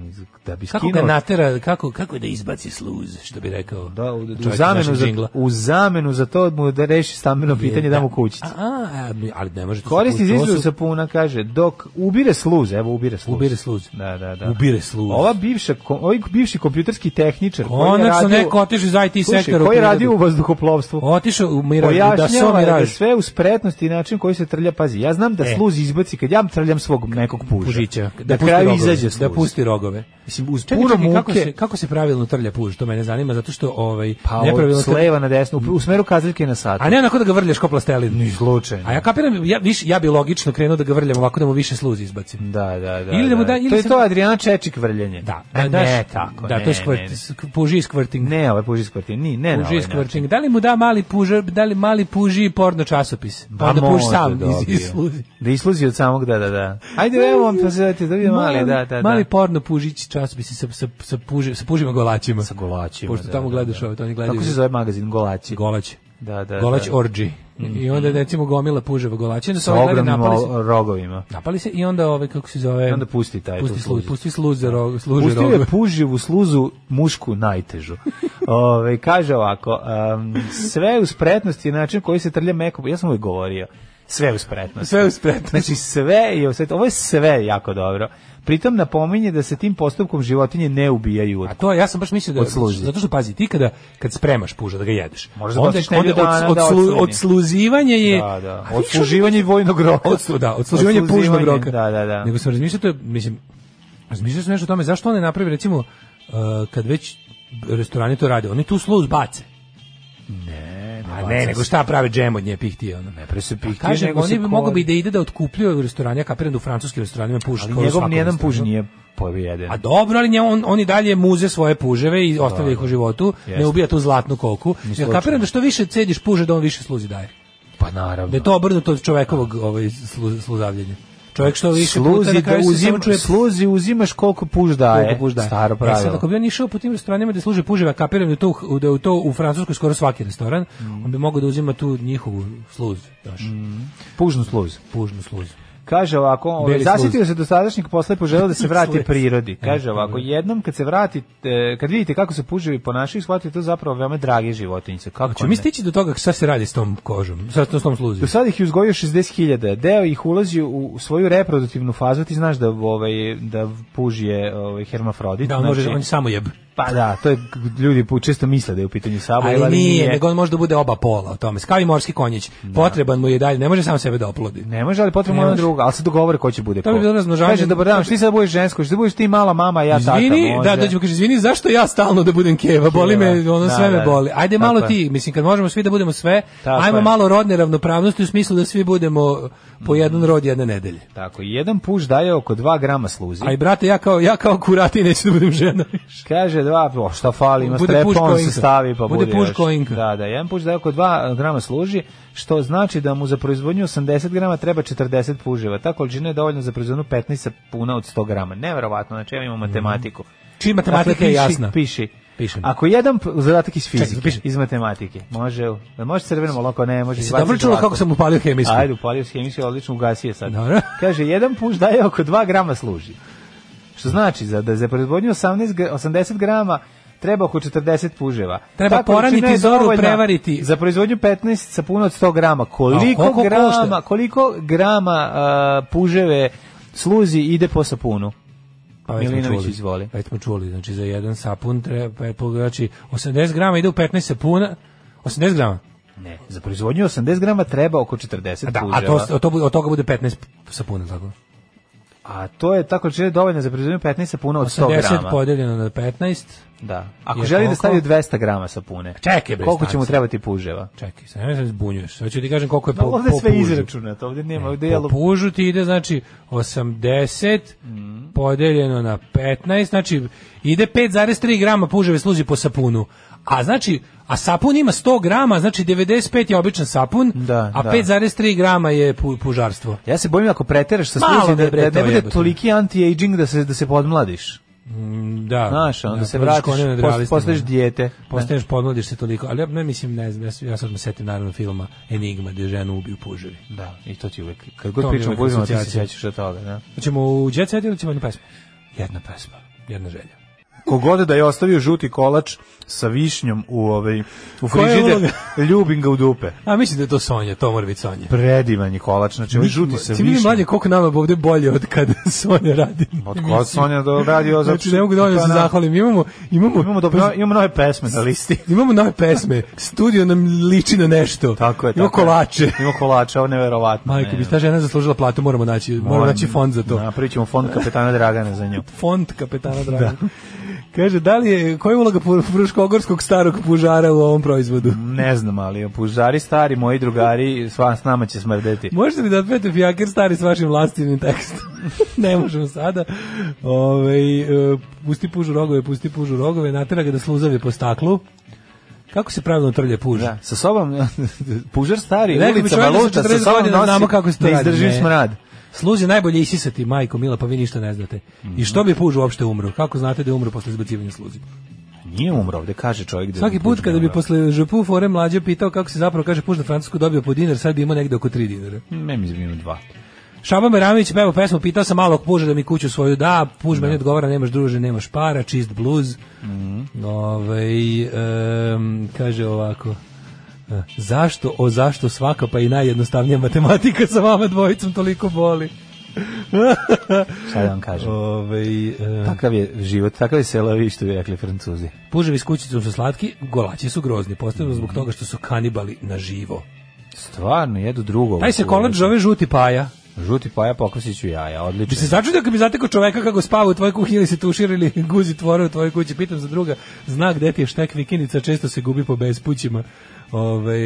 Speaker 7: da bi
Speaker 6: Kako
Speaker 7: skinuo...
Speaker 6: ga natera, kako, kako da izbaci sluz, što bi rekao
Speaker 7: Da, u, u,
Speaker 6: čovjek
Speaker 7: zamenu
Speaker 6: našeg
Speaker 7: za,
Speaker 6: džingla?
Speaker 7: u zamenu za to mu da reši stambeno pitanje da mu kućicu.
Speaker 6: A, a, ali ne može to
Speaker 7: Koristi
Speaker 6: sa
Speaker 7: iz
Speaker 6: pužom, to
Speaker 7: izradu
Speaker 6: su-
Speaker 7: sapuna, kaže, dok ubire sluz, evo ubire sluz.
Speaker 6: Ubire sluz.
Speaker 7: Da, da, da.
Speaker 6: Ubire sluz.
Speaker 7: Ova bivša, ko- ovaj bivši kompjuterski tehničar koji je
Speaker 6: Konačno
Speaker 7: radio...
Speaker 6: neko otišao iz IT
Speaker 7: Slušaj,
Speaker 6: sektora. u
Speaker 7: koji je
Speaker 6: privredu.
Speaker 7: radio u vazduhoplovstvu.
Speaker 6: Otišao u Miraž, da so
Speaker 7: Pojašnjava je da
Speaker 6: Miraž.
Speaker 7: sve uz spretnost i način koji se trlja, pazi, ja znam da
Speaker 6: E.
Speaker 7: sluz izbaci kad ja trljam svog nekog puža.
Speaker 6: Pužića.
Speaker 7: Da
Speaker 6: pusti
Speaker 7: kraju
Speaker 6: rogove,
Speaker 7: izađe sluz.
Speaker 6: Da pusti rogove.
Speaker 7: Mislim, uz
Speaker 6: Čekaj,
Speaker 7: puno
Speaker 6: čekaj, kako
Speaker 7: muke.
Speaker 6: se, kako se pravilno trlja puž, to mene zanima, zato što ovaj,
Speaker 7: Pa
Speaker 6: nepravilno
Speaker 7: od
Speaker 6: trlja-
Speaker 7: sleva na desnu, u- u smeru kazaljke na sat.
Speaker 6: A ne onako da ga vrljaš ko plastelin.
Speaker 7: Ni slučajno.
Speaker 6: A ja kapiram, ja, više, ja bi logično krenuo da ga vrljam ovako da mu više sluzi izbacim.
Speaker 7: Da, da, da.
Speaker 6: Ili da mu da-
Speaker 7: da.
Speaker 6: ili
Speaker 7: to je
Speaker 6: sam-
Speaker 7: to Adriana Čečik vrljenje.
Speaker 6: Da,
Speaker 7: A
Speaker 6: da daš-
Speaker 7: ne, tako,
Speaker 6: Da,
Speaker 7: ne,
Speaker 6: to je
Speaker 7: ne,
Speaker 6: skvrt, sk- puži skvrting.
Speaker 7: Ne, ne ovaj puži skvrti, ni, ne na
Speaker 6: puži
Speaker 7: ovaj
Speaker 6: skvrting. Da li mu da mali puži, da li mali puži porno časopis? Pa onda puži
Speaker 7: može
Speaker 6: sam
Speaker 7: da
Speaker 6: iz,
Speaker 7: dobije.
Speaker 6: iz sluzi.
Speaker 7: Da isluzi od samog, da, da, da. Ajde, evo vam pozivajte, da vidim mali, da, da, da.
Speaker 6: Mali porno pužić časopis sa, sa, sa, puži, sa pužima golaćima.
Speaker 7: sa golaćima.
Speaker 6: Pošto
Speaker 7: da,
Speaker 6: tamo
Speaker 7: da,
Speaker 6: gledaš
Speaker 7: da.
Speaker 6: ove, to oni gledaju.
Speaker 7: Kako se zove magazin? Golaći.
Speaker 6: Golać.
Speaker 7: Da, da,
Speaker 6: Golać
Speaker 7: da.
Speaker 6: orđi. I onda recimo gomila puževa golaća. Onda se
Speaker 7: Sa
Speaker 6: ovaj gleda
Speaker 7: ogromnim
Speaker 6: napali se.
Speaker 7: o- rogovima.
Speaker 6: Napali se i onda ove, kako se zove...
Speaker 7: I onda pusti taj tu
Speaker 6: pusti sluz,
Speaker 7: sluzi.
Speaker 6: pusti sluz za rog, služe
Speaker 7: Pustio
Speaker 6: rogove.
Speaker 7: je puživu sluzu mušku najtežu. Ove, kaže ovako, um, sve u spretnosti i način koji se trlja meko, ja sam uvijek govorio, sve u spretnosti.
Speaker 6: Sve u spretnosti.
Speaker 7: Znači sve je u spretnosti. ovo je sve jako dobro. Pritom napominje da se tim postupkom životinje ne ubijaju od
Speaker 6: A to ja sam baš mislio da
Speaker 7: Od sluzi.
Speaker 6: zato što pazi ti kada kad spremaš puža da ga jedeš.
Speaker 7: Možeš da
Speaker 6: onda
Speaker 7: baciš nedelju dana
Speaker 6: od,
Speaker 7: da
Speaker 6: slu,
Speaker 7: odsluženi.
Speaker 6: odsluzivanje je
Speaker 7: Da, da.
Speaker 6: A vidiš,
Speaker 7: Odsluživanje vojnog roka.
Speaker 6: Odslu, da,
Speaker 7: Znači,
Speaker 6: odsluživanje pužnog
Speaker 7: Odsluživanje,
Speaker 6: roka.
Speaker 7: Da, da, da.
Speaker 6: Nego sam razmišljao, to je, mislim, razmišljao sam nešto o tome, zašto on ne napravi, recimo, uh, kad već restorani to rade, oni tu sluz bace.
Speaker 7: Ne,
Speaker 6: A ne, nego šta prave džem od nje pihtije, ono.
Speaker 7: Ne presupih.
Speaker 6: Kažem,
Speaker 7: nego
Speaker 6: oni
Speaker 7: se
Speaker 6: bi mogao bi
Speaker 7: koristi.
Speaker 6: da ide da otkupljuje od restoranja, kapiram da u francuskim restoranima puš.
Speaker 7: Ali
Speaker 6: skoro
Speaker 7: njegov
Speaker 6: svako
Speaker 7: nijedan
Speaker 6: restoranu.
Speaker 7: puž nije povijeden.
Speaker 6: A Pa dobro, ali nje, on, on i dalje muze svoje puževe i ostavlja ih u životu, ne
Speaker 7: Jeste.
Speaker 6: ubija tu zlatnu koku. Jer
Speaker 7: slučajno.
Speaker 6: kapiram da što više cediš puže, da on više sluzi daje.
Speaker 7: Pa naravno.
Speaker 6: Da je to obrnuto od čovekovog ovaj, slu, sluzavljenja. Čovjek što više puta
Speaker 7: sluzi
Speaker 6: na
Speaker 7: da
Speaker 6: kraju se
Speaker 7: uzim,
Speaker 6: samo čuje
Speaker 7: sluzi uzimaš koliko puž daje.
Speaker 6: koliko puž daje.
Speaker 7: Staro
Speaker 6: E sad,
Speaker 7: pravilo.
Speaker 6: ako bi on išao po tim restoranima da služe puževa, kapiram da je to, u- da je u to u Francuskoj skoro svaki restoran,
Speaker 7: Mm.
Speaker 6: on bi mogao da uzima tu njihovu sluz, znaš,
Speaker 7: Pužnu sluz.
Speaker 6: pužnu sluzu.
Speaker 7: Kaže ovako, ovaj,
Speaker 13: Beli
Speaker 7: zasitio
Speaker 13: sluz.
Speaker 7: se dosadašnjih posle poželeo da se vrati
Speaker 13: Sluz.
Speaker 7: prirodi. Kaže
Speaker 13: E,
Speaker 7: ovako,
Speaker 13: dobro.
Speaker 7: jednom kad se vratite, kad vidite kako se puževi ponašaju, shvatite to zapravo veoma drage životinjice. Kako
Speaker 6: Hoćemo Znači, mi
Speaker 7: ne?
Speaker 6: stići do toga šta se radi s tom kožom, sa s tom sluzom.
Speaker 7: Do sada ih je uzgojio 60.000. Deo ih ulazi u svoju reproduktivnu fazu. Ti znaš da ovaj da puži je ovaj hermafrodit. znači-
Speaker 6: Da, on može, on je samo jeb.
Speaker 7: Pa da, to je ljudi pu- često misle da je u pitanju samo,
Speaker 6: Ali, nije, nego on može da bude oba pola o tome. Kao i morski konjić. Potreban mu je i dalje, ne može sam sebe da oplodi.
Speaker 7: Ne može, ali potrebno
Speaker 6: Ne
Speaker 7: je ono
Speaker 6: može.
Speaker 7: drugo, ali se dogovore ko će bude
Speaker 6: To bi
Speaker 7: ko.
Speaker 6: bilo razmnožavanje.
Speaker 7: Kaže, dobar dan, što ti sad budeš žensko, što budeš ti mala mama, a ja tata,
Speaker 6: Izvini,
Speaker 7: može.
Speaker 6: da, dođemo, kaže, izvini, zašto ja stalno da budem keva? Boli me, ono
Speaker 7: Da,
Speaker 6: sve
Speaker 7: da,
Speaker 6: me boli. Ajde
Speaker 7: tako
Speaker 6: malo
Speaker 7: je.
Speaker 6: ti, mislim, kad možemo svi da budemo sve,
Speaker 7: Tako
Speaker 6: ajmo
Speaker 7: je. Mm.
Speaker 6: malo rodne ravnopravnosti u smislu da svi budemo po jedan rod jedne nedelje.
Speaker 7: Tako, jedan puš daje oko 2 grama sluzi.
Speaker 6: A i brate, ja kao, ja kao kurati neću da budem žena.
Speaker 7: Kaže dva, o, šta fali, ima
Speaker 6: Bude puš
Speaker 7: strepon
Speaker 6: ko
Speaker 7: se
Speaker 6: Inka.
Speaker 7: stavi, pa bude,
Speaker 6: Bude puš
Speaker 7: još.
Speaker 6: ko Inka.
Speaker 7: Da, da, jedan puš daje oko 2 grama služi, što znači da mu za proizvodnju 80 grama treba 40 puževa. Ta količina je dovoljna za proizvodnju 15 puna od 100 grama. Neverovatno, znači ja imam matematiku. Dakle,
Speaker 6: Čiji matematika Mhm. je
Speaker 7: piši,
Speaker 6: jasna.
Speaker 7: Piši.
Speaker 6: Pišem.
Speaker 7: Ako jedan p- zadatak iz
Speaker 6: Čekaj,
Speaker 7: fizike,
Speaker 6: pišem.
Speaker 7: iz matematike, može, da može crveno moloko, ne, može
Speaker 6: Jesi
Speaker 7: izbaciti
Speaker 6: dobro čulo
Speaker 7: ovako.
Speaker 6: kako sam upalio hemijsku?
Speaker 7: Ajde, upalio si hemijsku, odlično ugasio sad.
Speaker 6: Dobro.
Speaker 7: Kaže, jedan puš daje oko 2 grama služi. Što znači za, da za proizvodnju 18, gr- 80 grama treba oko 40 puževa.
Speaker 6: Treba
Speaker 7: Ta količina
Speaker 6: poraniti
Speaker 7: je
Speaker 6: zoru,
Speaker 7: dovoljna
Speaker 6: prevariti.
Speaker 7: Za proizvodnju 15 sa puno od 100 grama. Koliko,
Speaker 6: A, koliko
Speaker 7: grama,
Speaker 6: košta?
Speaker 7: koliko grama a, puževe sluzi ide po sapunu?
Speaker 6: Pa već smo
Speaker 7: Milinović,
Speaker 6: čuli.
Speaker 7: izvoli.
Speaker 6: Već smo čuli, znači za jedan sapun treba, pa, znači 80 grama ide u 15 sapuna, 80 grama,
Speaker 7: Ne, za proizvodnju 80 grama treba oko 40
Speaker 6: da,
Speaker 7: puževa.
Speaker 6: a to, a to, bu- od toga bude 15 sapuna, tako?
Speaker 7: A to je tako čini dovoljno za proizvodnju 15 sapuna od 100
Speaker 6: 80
Speaker 7: grama.
Speaker 6: podeljeno na 15,
Speaker 7: Da. Ako
Speaker 6: Je
Speaker 7: želi da
Speaker 6: koliko?
Speaker 7: stavi 200 grama sapune.
Speaker 6: Čekaj, bre,
Speaker 7: Koliko će
Speaker 6: stani
Speaker 7: mu
Speaker 6: sad.
Speaker 7: trebati puževa?
Speaker 6: čekaj, sad nemoj da se zbunjuješ, sad ću ti kažem koliko je po,
Speaker 7: No, Pa ovde
Speaker 6: po
Speaker 7: sve
Speaker 6: pužu.
Speaker 7: izračunat, ovde nema, ovde je
Speaker 6: Po pužu ti ide, znači, 80
Speaker 7: Mhm.
Speaker 6: podeljeno na 15, znači, ide 5,3 grama puževe služi po sapunu. A znači, a sapun ima 100 grama, znači 95 je običan sapun,
Speaker 7: Da,
Speaker 6: a
Speaker 7: da.
Speaker 6: 5,3 grama je pu, pužarstvo.
Speaker 7: Ja se bojim ako preteraš sa
Speaker 6: Malo
Speaker 7: sluzi
Speaker 6: mi
Speaker 7: da,
Speaker 6: je, bre,
Speaker 7: da ne
Speaker 6: to
Speaker 7: bude
Speaker 6: jebote.
Speaker 7: toliki anti-aging da se, da se podmladiš.
Speaker 6: Da.
Speaker 7: Znaš, onda
Speaker 6: Da,
Speaker 7: se
Speaker 6: prodiš
Speaker 7: vratiš,
Speaker 6: konja nad
Speaker 7: post-
Speaker 6: realistima.
Speaker 7: postaješ dijete.
Speaker 6: Postaješ, podmladiš se toliko, ali ja ne mislim, ne znam, ja se- ja sad me setim naravno filma Enigma gde ženu ubiju puževi.
Speaker 7: Da, i to ti uvek. Kad
Speaker 6: To
Speaker 7: god
Speaker 6: mi je
Speaker 7: pričamo o
Speaker 6: uvek
Speaker 7: puževima, ti se
Speaker 6: asocijacija.
Speaker 7: sjećaš od toga. Da.
Speaker 6: Hoćemo Pa u Jet Set ili ćemo jednu pesmu?
Speaker 7: Jedna pesma.
Speaker 6: Jedna želja.
Speaker 7: Kogod da je ostavio žuti kolač sa višnjom u, ovaj, u
Speaker 6: Koja je
Speaker 7: frižider,
Speaker 6: uloga?
Speaker 7: ljubim ga u dupe.
Speaker 6: A mislim da je to Sonja, to mora biti Sonja.
Speaker 7: Predivan je kolač, znači ovaj žuti sa
Speaker 6: Ti vidi
Speaker 7: višnjom.
Speaker 6: mlađe koliko nama ovde bolje od kad Sonja radi.
Speaker 7: Od kod Sonja do radio
Speaker 6: Znači, ne mogu dovoljno da se zahvalim. Imamo, imamo,
Speaker 7: Imamo, dobro, imamo nove pesme na listi.
Speaker 6: imamo nove pesme. Studio nam liči na nešto.
Speaker 7: Tako je.
Speaker 6: Imamo
Speaker 7: tako je.
Speaker 6: kolače.
Speaker 7: Imamo kolače, ovo je neverovatno.
Speaker 6: Majko,
Speaker 7: ne.
Speaker 6: bi ta žena zaslužila platu, moramo naći, moramo naći fond za to.
Speaker 7: Napravit ćemo fond kapetana Dragana za nju.
Speaker 6: Fond kapetana Dragana. Kaže, da li je, koja je uloga Pru- Fruškogorskog starog pužara u ovom proizvodu?
Speaker 7: Ne znam, ali pužari stari, moji drugari, sva s nama će smrdeti.
Speaker 6: Možete li da otpete fijaker stari s vašim vlastinim tekstom? ne možemo sada. Ove, e, pusti pužu rogove, pusti pužu rogove, natera ga da sluzave po staklu. Kako se pravilno trlje puž?
Speaker 7: Da, sa sobom, pužar stari,
Speaker 6: Rekao bi
Speaker 7: ulica
Speaker 6: čovjek da sa
Speaker 7: Baluta, sa
Speaker 6: 40
Speaker 7: sobom
Speaker 6: godina
Speaker 7: nosi,
Speaker 6: znamo kako se to
Speaker 7: ne
Speaker 6: radi,
Speaker 7: izdrživ
Speaker 6: ne.
Speaker 7: smrad.
Speaker 6: Sluz je najbolje isisati, majko mila, pa vi ništa ne znate. I što bi puž uopšte umro? Kako znate da je umro posle izbacivanja sluzi?
Speaker 7: Nije umro, ovde kaže čovjek da
Speaker 6: Svaki
Speaker 7: puž
Speaker 6: put
Speaker 7: ne
Speaker 6: kada bi
Speaker 7: umro.
Speaker 6: posle žepu fore mlađe pitao kako se zapravo kaže puž na francusku dobio po dinar, sad bi imao negde oko 3 dinara.
Speaker 7: Ne mi izbimo dva.
Speaker 6: Šaba Meramović peva pa pesmu, pitao sam malog puža da mi kuću svoju da, puž meni odgovara, nemaš druže, nemaš para, čist bluz. Ovaj, em, kaže ovako, e, zašto, o zašto svaka pa i najjednostavnija matematika sa vama dvojicom toliko boli?
Speaker 7: Šta da vam kažem?
Speaker 6: Ovaj, e,
Speaker 7: Takav je život, takav je selavi što bi rekli francuzi.
Speaker 6: puževi s kućicom su slatki, golaći su grozni, posebno zbog toga što su kanibali na živo.
Speaker 7: Stvarno, jedu drugo.
Speaker 6: Taj se kolač zove žuti paja.
Speaker 7: Žuti paja pokosiću jaja,
Speaker 6: Bi se
Speaker 7: odlično.
Speaker 6: začudio kad bi zatekao čoveka kako spava u tvojoj kuhinji ili se tušira ili guzi tvore u tvojoj kući. Pitam za druga, zna gde ti je štek vikinica, često se gubi po bespućima. Ovaj,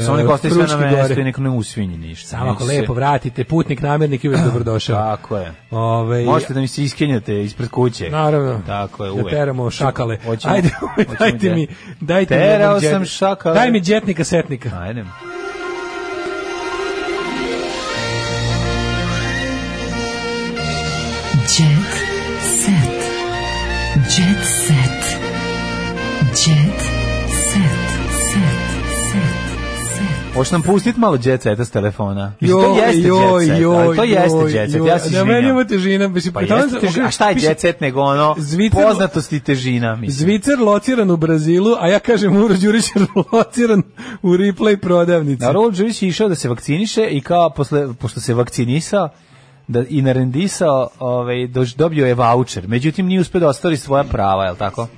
Speaker 7: Samo
Speaker 6: e,
Speaker 7: nek ostaje sve na
Speaker 6: Fruške
Speaker 7: mesto
Speaker 6: gore.
Speaker 7: i nek ne usvinji ništa.
Speaker 6: Samo ako
Speaker 7: Nek se-
Speaker 6: lepo vratite, putnik, namernik i uvijek dobrodošao.
Speaker 7: Tako je.
Speaker 6: Ovaj,
Speaker 7: Možete da mi se iskenjate ispred kuće.
Speaker 6: Naravno.
Speaker 7: Tako je,
Speaker 6: Da
Speaker 7: uvek.
Speaker 6: teramo šakale.
Speaker 7: Hoćemo-
Speaker 6: Ajde,
Speaker 7: hoćemo
Speaker 6: dajte
Speaker 7: dje-
Speaker 6: mi, dajte mi
Speaker 7: Terao
Speaker 6: jednog
Speaker 7: sam
Speaker 6: djet-
Speaker 7: šakale.
Speaker 6: Daj mi djetnika setnika.
Speaker 7: Ajde.
Speaker 3: Jet set. Jet set. Jet set. Set. Set. Set.
Speaker 7: Hoćeš nam pustiti malo Jet Seta s telefona? Mislim, to Pa jeste Jet Set, ali to jeste Jet Set, ja se
Speaker 6: izvinjam. Na meni ima
Speaker 7: izvinjam.
Speaker 6: težina. Mislim,
Speaker 7: Pa jeste, težina. a šta je Jet Set nego ono,
Speaker 6: Zvicer-
Speaker 7: poznatost i težina, mislim.
Speaker 6: Zvicer lociran u Brazilu, a ja kažem Uro Đurić je lociran u replay prodavnici.
Speaker 7: Na Raul Đurić je išao da se vakciniše i kao posle, pošto se vakcinisao da i narendisao, ovaj, doš, dobio je voucher. Međutim, nije uspio da ostvari svoja prava, je li tako?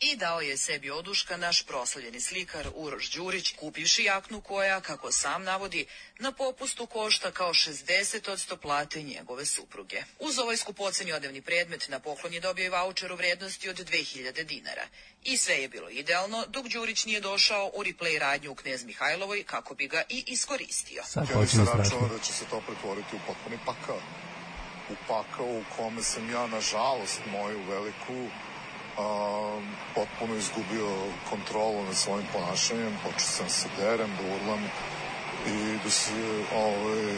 Speaker 14: I dao je sebi oduška naš proslavljeni slikar Uroš Đurić, kupivši jaknu koja, kako sam navodi, na popustu košta kao 60% plate njegove supruge. Uz ovaj skupoceni odevni predmet na poklon je dobio i voucher u vrednosti od 2000 dinara. I sve je bilo idealno, dok Đurić nije došao u replay radnju u Knez Mihajlovoj kako bi ga i iskoristio.
Speaker 6: Sad
Speaker 15: Ja
Speaker 6: počinje
Speaker 15: nisam
Speaker 6: strašno.
Speaker 15: računao da će se to pretvoriti u potpuni pakao. U pakao u kome sam ja, nažalost, moju veliku a, potpuno izgubio kontrolu nad svojim ponašanjem, počeo sam da se derem, da urlam i da se, ovaj,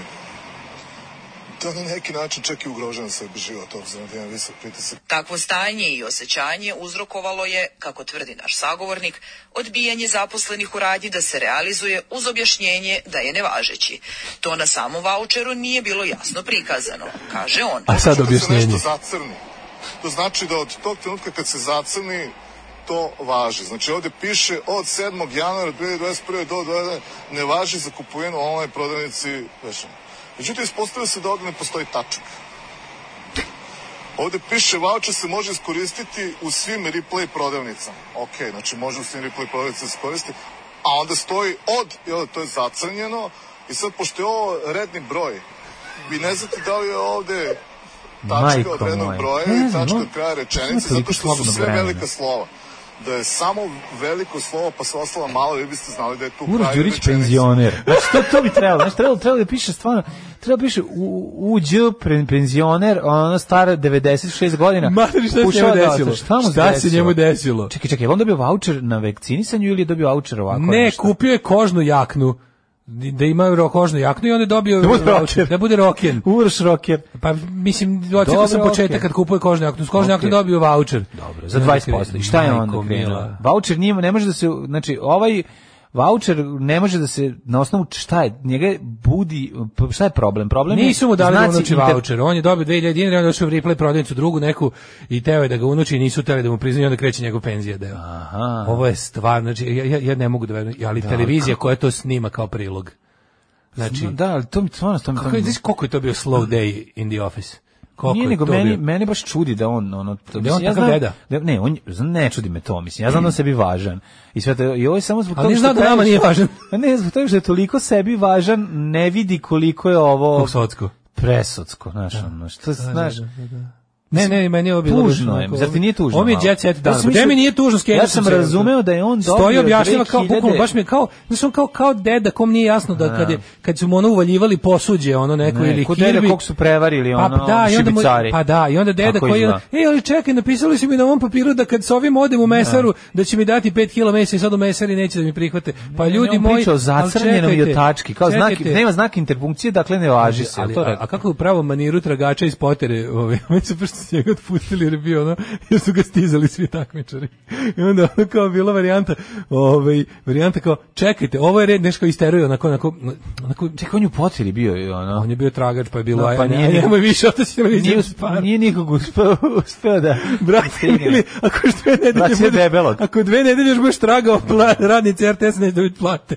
Speaker 15: da na neki način čak i ugrožavam sebi život, obzirom da imam visok pritisak
Speaker 14: Takvo stanje i osjećanje uzrokovalo je, kako tvrdi naš sagovornik, odbijanje zaposlenih u radnji da se realizuje uz objašnjenje da je nevažeći. To na samom vaučeru nije bilo jasno prikazano, kaže on.
Speaker 6: A sad
Speaker 15: Da se
Speaker 6: objašnjenje.
Speaker 15: nešto zacrni. To znači da od tog trenutka kad se zacrni, to važi. Znači ovdje piše od 7. januara 2021. do 2021. ne važi za kupovinu u online prodavnici vešanja. Međutim, ispostavio se da ovdje ne postoji tačka. Ovdje piše voucher se može iskoristiti u svim replay prodavnicama. Ok, znači može u svim replay prodavnicama se iskoristi, a onda stoji od, i onda to je zacrnjeno, i sad pošto je ovo redni broj, vi ne znate da li je ovdje tačka
Speaker 7: Majko
Speaker 15: od rednog
Speaker 7: moja.
Speaker 15: broja
Speaker 7: Ne
Speaker 15: i
Speaker 7: znam,
Speaker 15: tačka
Speaker 7: ono-
Speaker 15: od kraja
Speaker 7: ono
Speaker 15: rečenice,
Speaker 7: toliko
Speaker 15: zato što su
Speaker 7: slobodno
Speaker 15: sve
Speaker 7: vremena.
Speaker 15: velika slova. Da je samo veliko slovo, pa se ostala malo, vi biste znali da je tu
Speaker 7: Uroš
Speaker 15: kraj
Speaker 7: Đurić
Speaker 15: rečenice.
Speaker 7: penzioner. Znači, to, to bi trebalo. Znači, trebalo, trebalo da piše stvarno, trebalo da piše u, uđ pre- penzioner, ono stara 96 godina.
Speaker 6: Mater, šta se
Speaker 7: Ušao
Speaker 6: njemu
Speaker 7: da-
Speaker 6: desilo?
Speaker 7: Šta, mu se
Speaker 6: Šta se njemu desilo?
Speaker 7: Čekaj, čekaj, je li on dobio voucher na vakcinisanju ili je dobio voucher ovako?
Speaker 6: Ne,
Speaker 7: nešto?
Speaker 6: kupio je kožnu jaknu. Da ima ro- kožnu jaknu i onda je dobio
Speaker 7: Da bude
Speaker 6: voucher.
Speaker 7: rocker.
Speaker 6: Da bude rocken.
Speaker 7: Uroš rocker.
Speaker 6: Pa mislim, odsjekao sam
Speaker 7: Dobro,
Speaker 6: početak
Speaker 7: okej.
Speaker 6: kad kupuje kožnu jaknu. S kožnu jaknu
Speaker 7: Okej.
Speaker 6: dobio voucher.
Speaker 7: Dobro, za 20%. I šta je onda
Speaker 6: Majko
Speaker 7: krenulo?
Speaker 6: mila.
Speaker 7: Voucher nije, ne može da se, znači, ovaj voucher ne može da se, na osnovu šta je, njega budi, šta je problem? Problem je...
Speaker 6: Nisu mu dali da
Speaker 7: znaci
Speaker 6: unuči
Speaker 7: inter-
Speaker 6: voucher. On je dobio 2000 dinara, onda je došao u replay prodavnicu drugu neku i teo je da ga unuči i nisu teli da mu priznaju, onda kreće njegov penzija deo.
Speaker 7: Aha.
Speaker 6: Ovo je stvarno, znači, ja, ja, ja ne mogu da verujem, ali
Speaker 7: Da,
Speaker 6: televizija
Speaker 7: kako-
Speaker 6: koja to snima kao prilog. Znači,
Speaker 7: No, da, ali to mi stvarno... To mi, to
Speaker 6: kako je,
Speaker 7: mi-
Speaker 6: znaš koliko je to bio slow day in the office? Koliko
Speaker 7: Nije
Speaker 6: je
Speaker 7: nego
Speaker 6: to
Speaker 7: meni,
Speaker 6: bio?
Speaker 7: mene baš čudi da on ono to,
Speaker 6: Da je on takav
Speaker 7: znam,
Speaker 6: deda.
Speaker 7: Da, ne, on znam, ne čudi me to, mislim. Ja znam da on sebi važan. I sve to i ovo je samo zbog
Speaker 6: Ali
Speaker 7: toga
Speaker 6: nije znao da
Speaker 7: previše-
Speaker 6: nama nije važan.
Speaker 7: A ne, zbog toga što je toliko sebi važan, ne vidi koliko je ovo
Speaker 6: Socko.
Speaker 7: presocko, znaš, ono, što znaš.
Speaker 6: Ne, ne, meni je ovo bilo
Speaker 7: Tužno
Speaker 6: baš
Speaker 7: je,
Speaker 6: onako-
Speaker 7: zar ti nije tužno?
Speaker 6: Ovo mi je
Speaker 7: malo?
Speaker 6: jet set
Speaker 7: Ja
Speaker 6: dan.
Speaker 7: sam
Speaker 6: Gde
Speaker 7: mislio-
Speaker 6: mi nije tužno skenio
Speaker 7: Ja sam
Speaker 6: se.
Speaker 7: razumeo da je on dobio
Speaker 6: Stoji objašnjava kao
Speaker 7: 2000
Speaker 6: bukvalno baš mi je kao, znači on kao kao deda kom nije jasno da kad je kad su mu ono uvaljivali posuđe ono neko
Speaker 7: Ne,
Speaker 6: ili
Speaker 7: ko deda
Speaker 6: kirbi.
Speaker 7: kog su prevarili,
Speaker 6: Pa
Speaker 7: ono,
Speaker 6: da, i onda mu,
Speaker 7: šibicari.
Speaker 6: pa da, i onda deda
Speaker 7: Tako
Speaker 6: koji je,
Speaker 7: izgleda.
Speaker 6: ej, ali čekaj, napisali su mi na ovom papiru da kad s ovim odem u mesaru, da će mi dati 5 kg mesa i sad u mesari neće da mi prihvate. Pa
Speaker 7: Ne,
Speaker 6: ljudi
Speaker 7: on
Speaker 6: moji,
Speaker 7: priča o
Speaker 6: ali
Speaker 7: zacrnjenom i o
Speaker 6: čekajte,
Speaker 7: tački, kao znak,
Speaker 6: čekajte.
Speaker 7: nema znaka interpunkcije, dakle ne važi se.
Speaker 6: Ali,
Speaker 7: to
Speaker 6: a,
Speaker 7: rekao.
Speaker 6: a kako je u pravom maniru tragača iz potere, ovaj, oni su prsto s njega otpustili jer je bio ono, jer su ga stizali svi takmičari. I onda ono kao bila varijanta, ovaj, varijanta kao, čekajte, ovo je red, nešto kao isteruje, onako, onako, onako,
Speaker 7: Čekaj, on je u potiri bio, i ono.
Speaker 6: on je bio tragač, pa je bilo,
Speaker 7: Da,
Speaker 6: aj,
Speaker 7: pa
Speaker 6: pa
Speaker 7: nije
Speaker 6: nije, aj,
Speaker 7: ni-
Speaker 6: nemoj više otaći
Speaker 7: Nije,
Speaker 6: televiziju.
Speaker 7: usp- nije nikog uspeo, uspeo da...
Speaker 6: Brate,
Speaker 7: stigne.
Speaker 6: ili, ako još dve nedelje
Speaker 7: Brate,
Speaker 6: budeš-
Speaker 7: Znači, debelog.
Speaker 6: ako dve nedelje još budeš tragao pla- radnici RTS neće dobiti plate.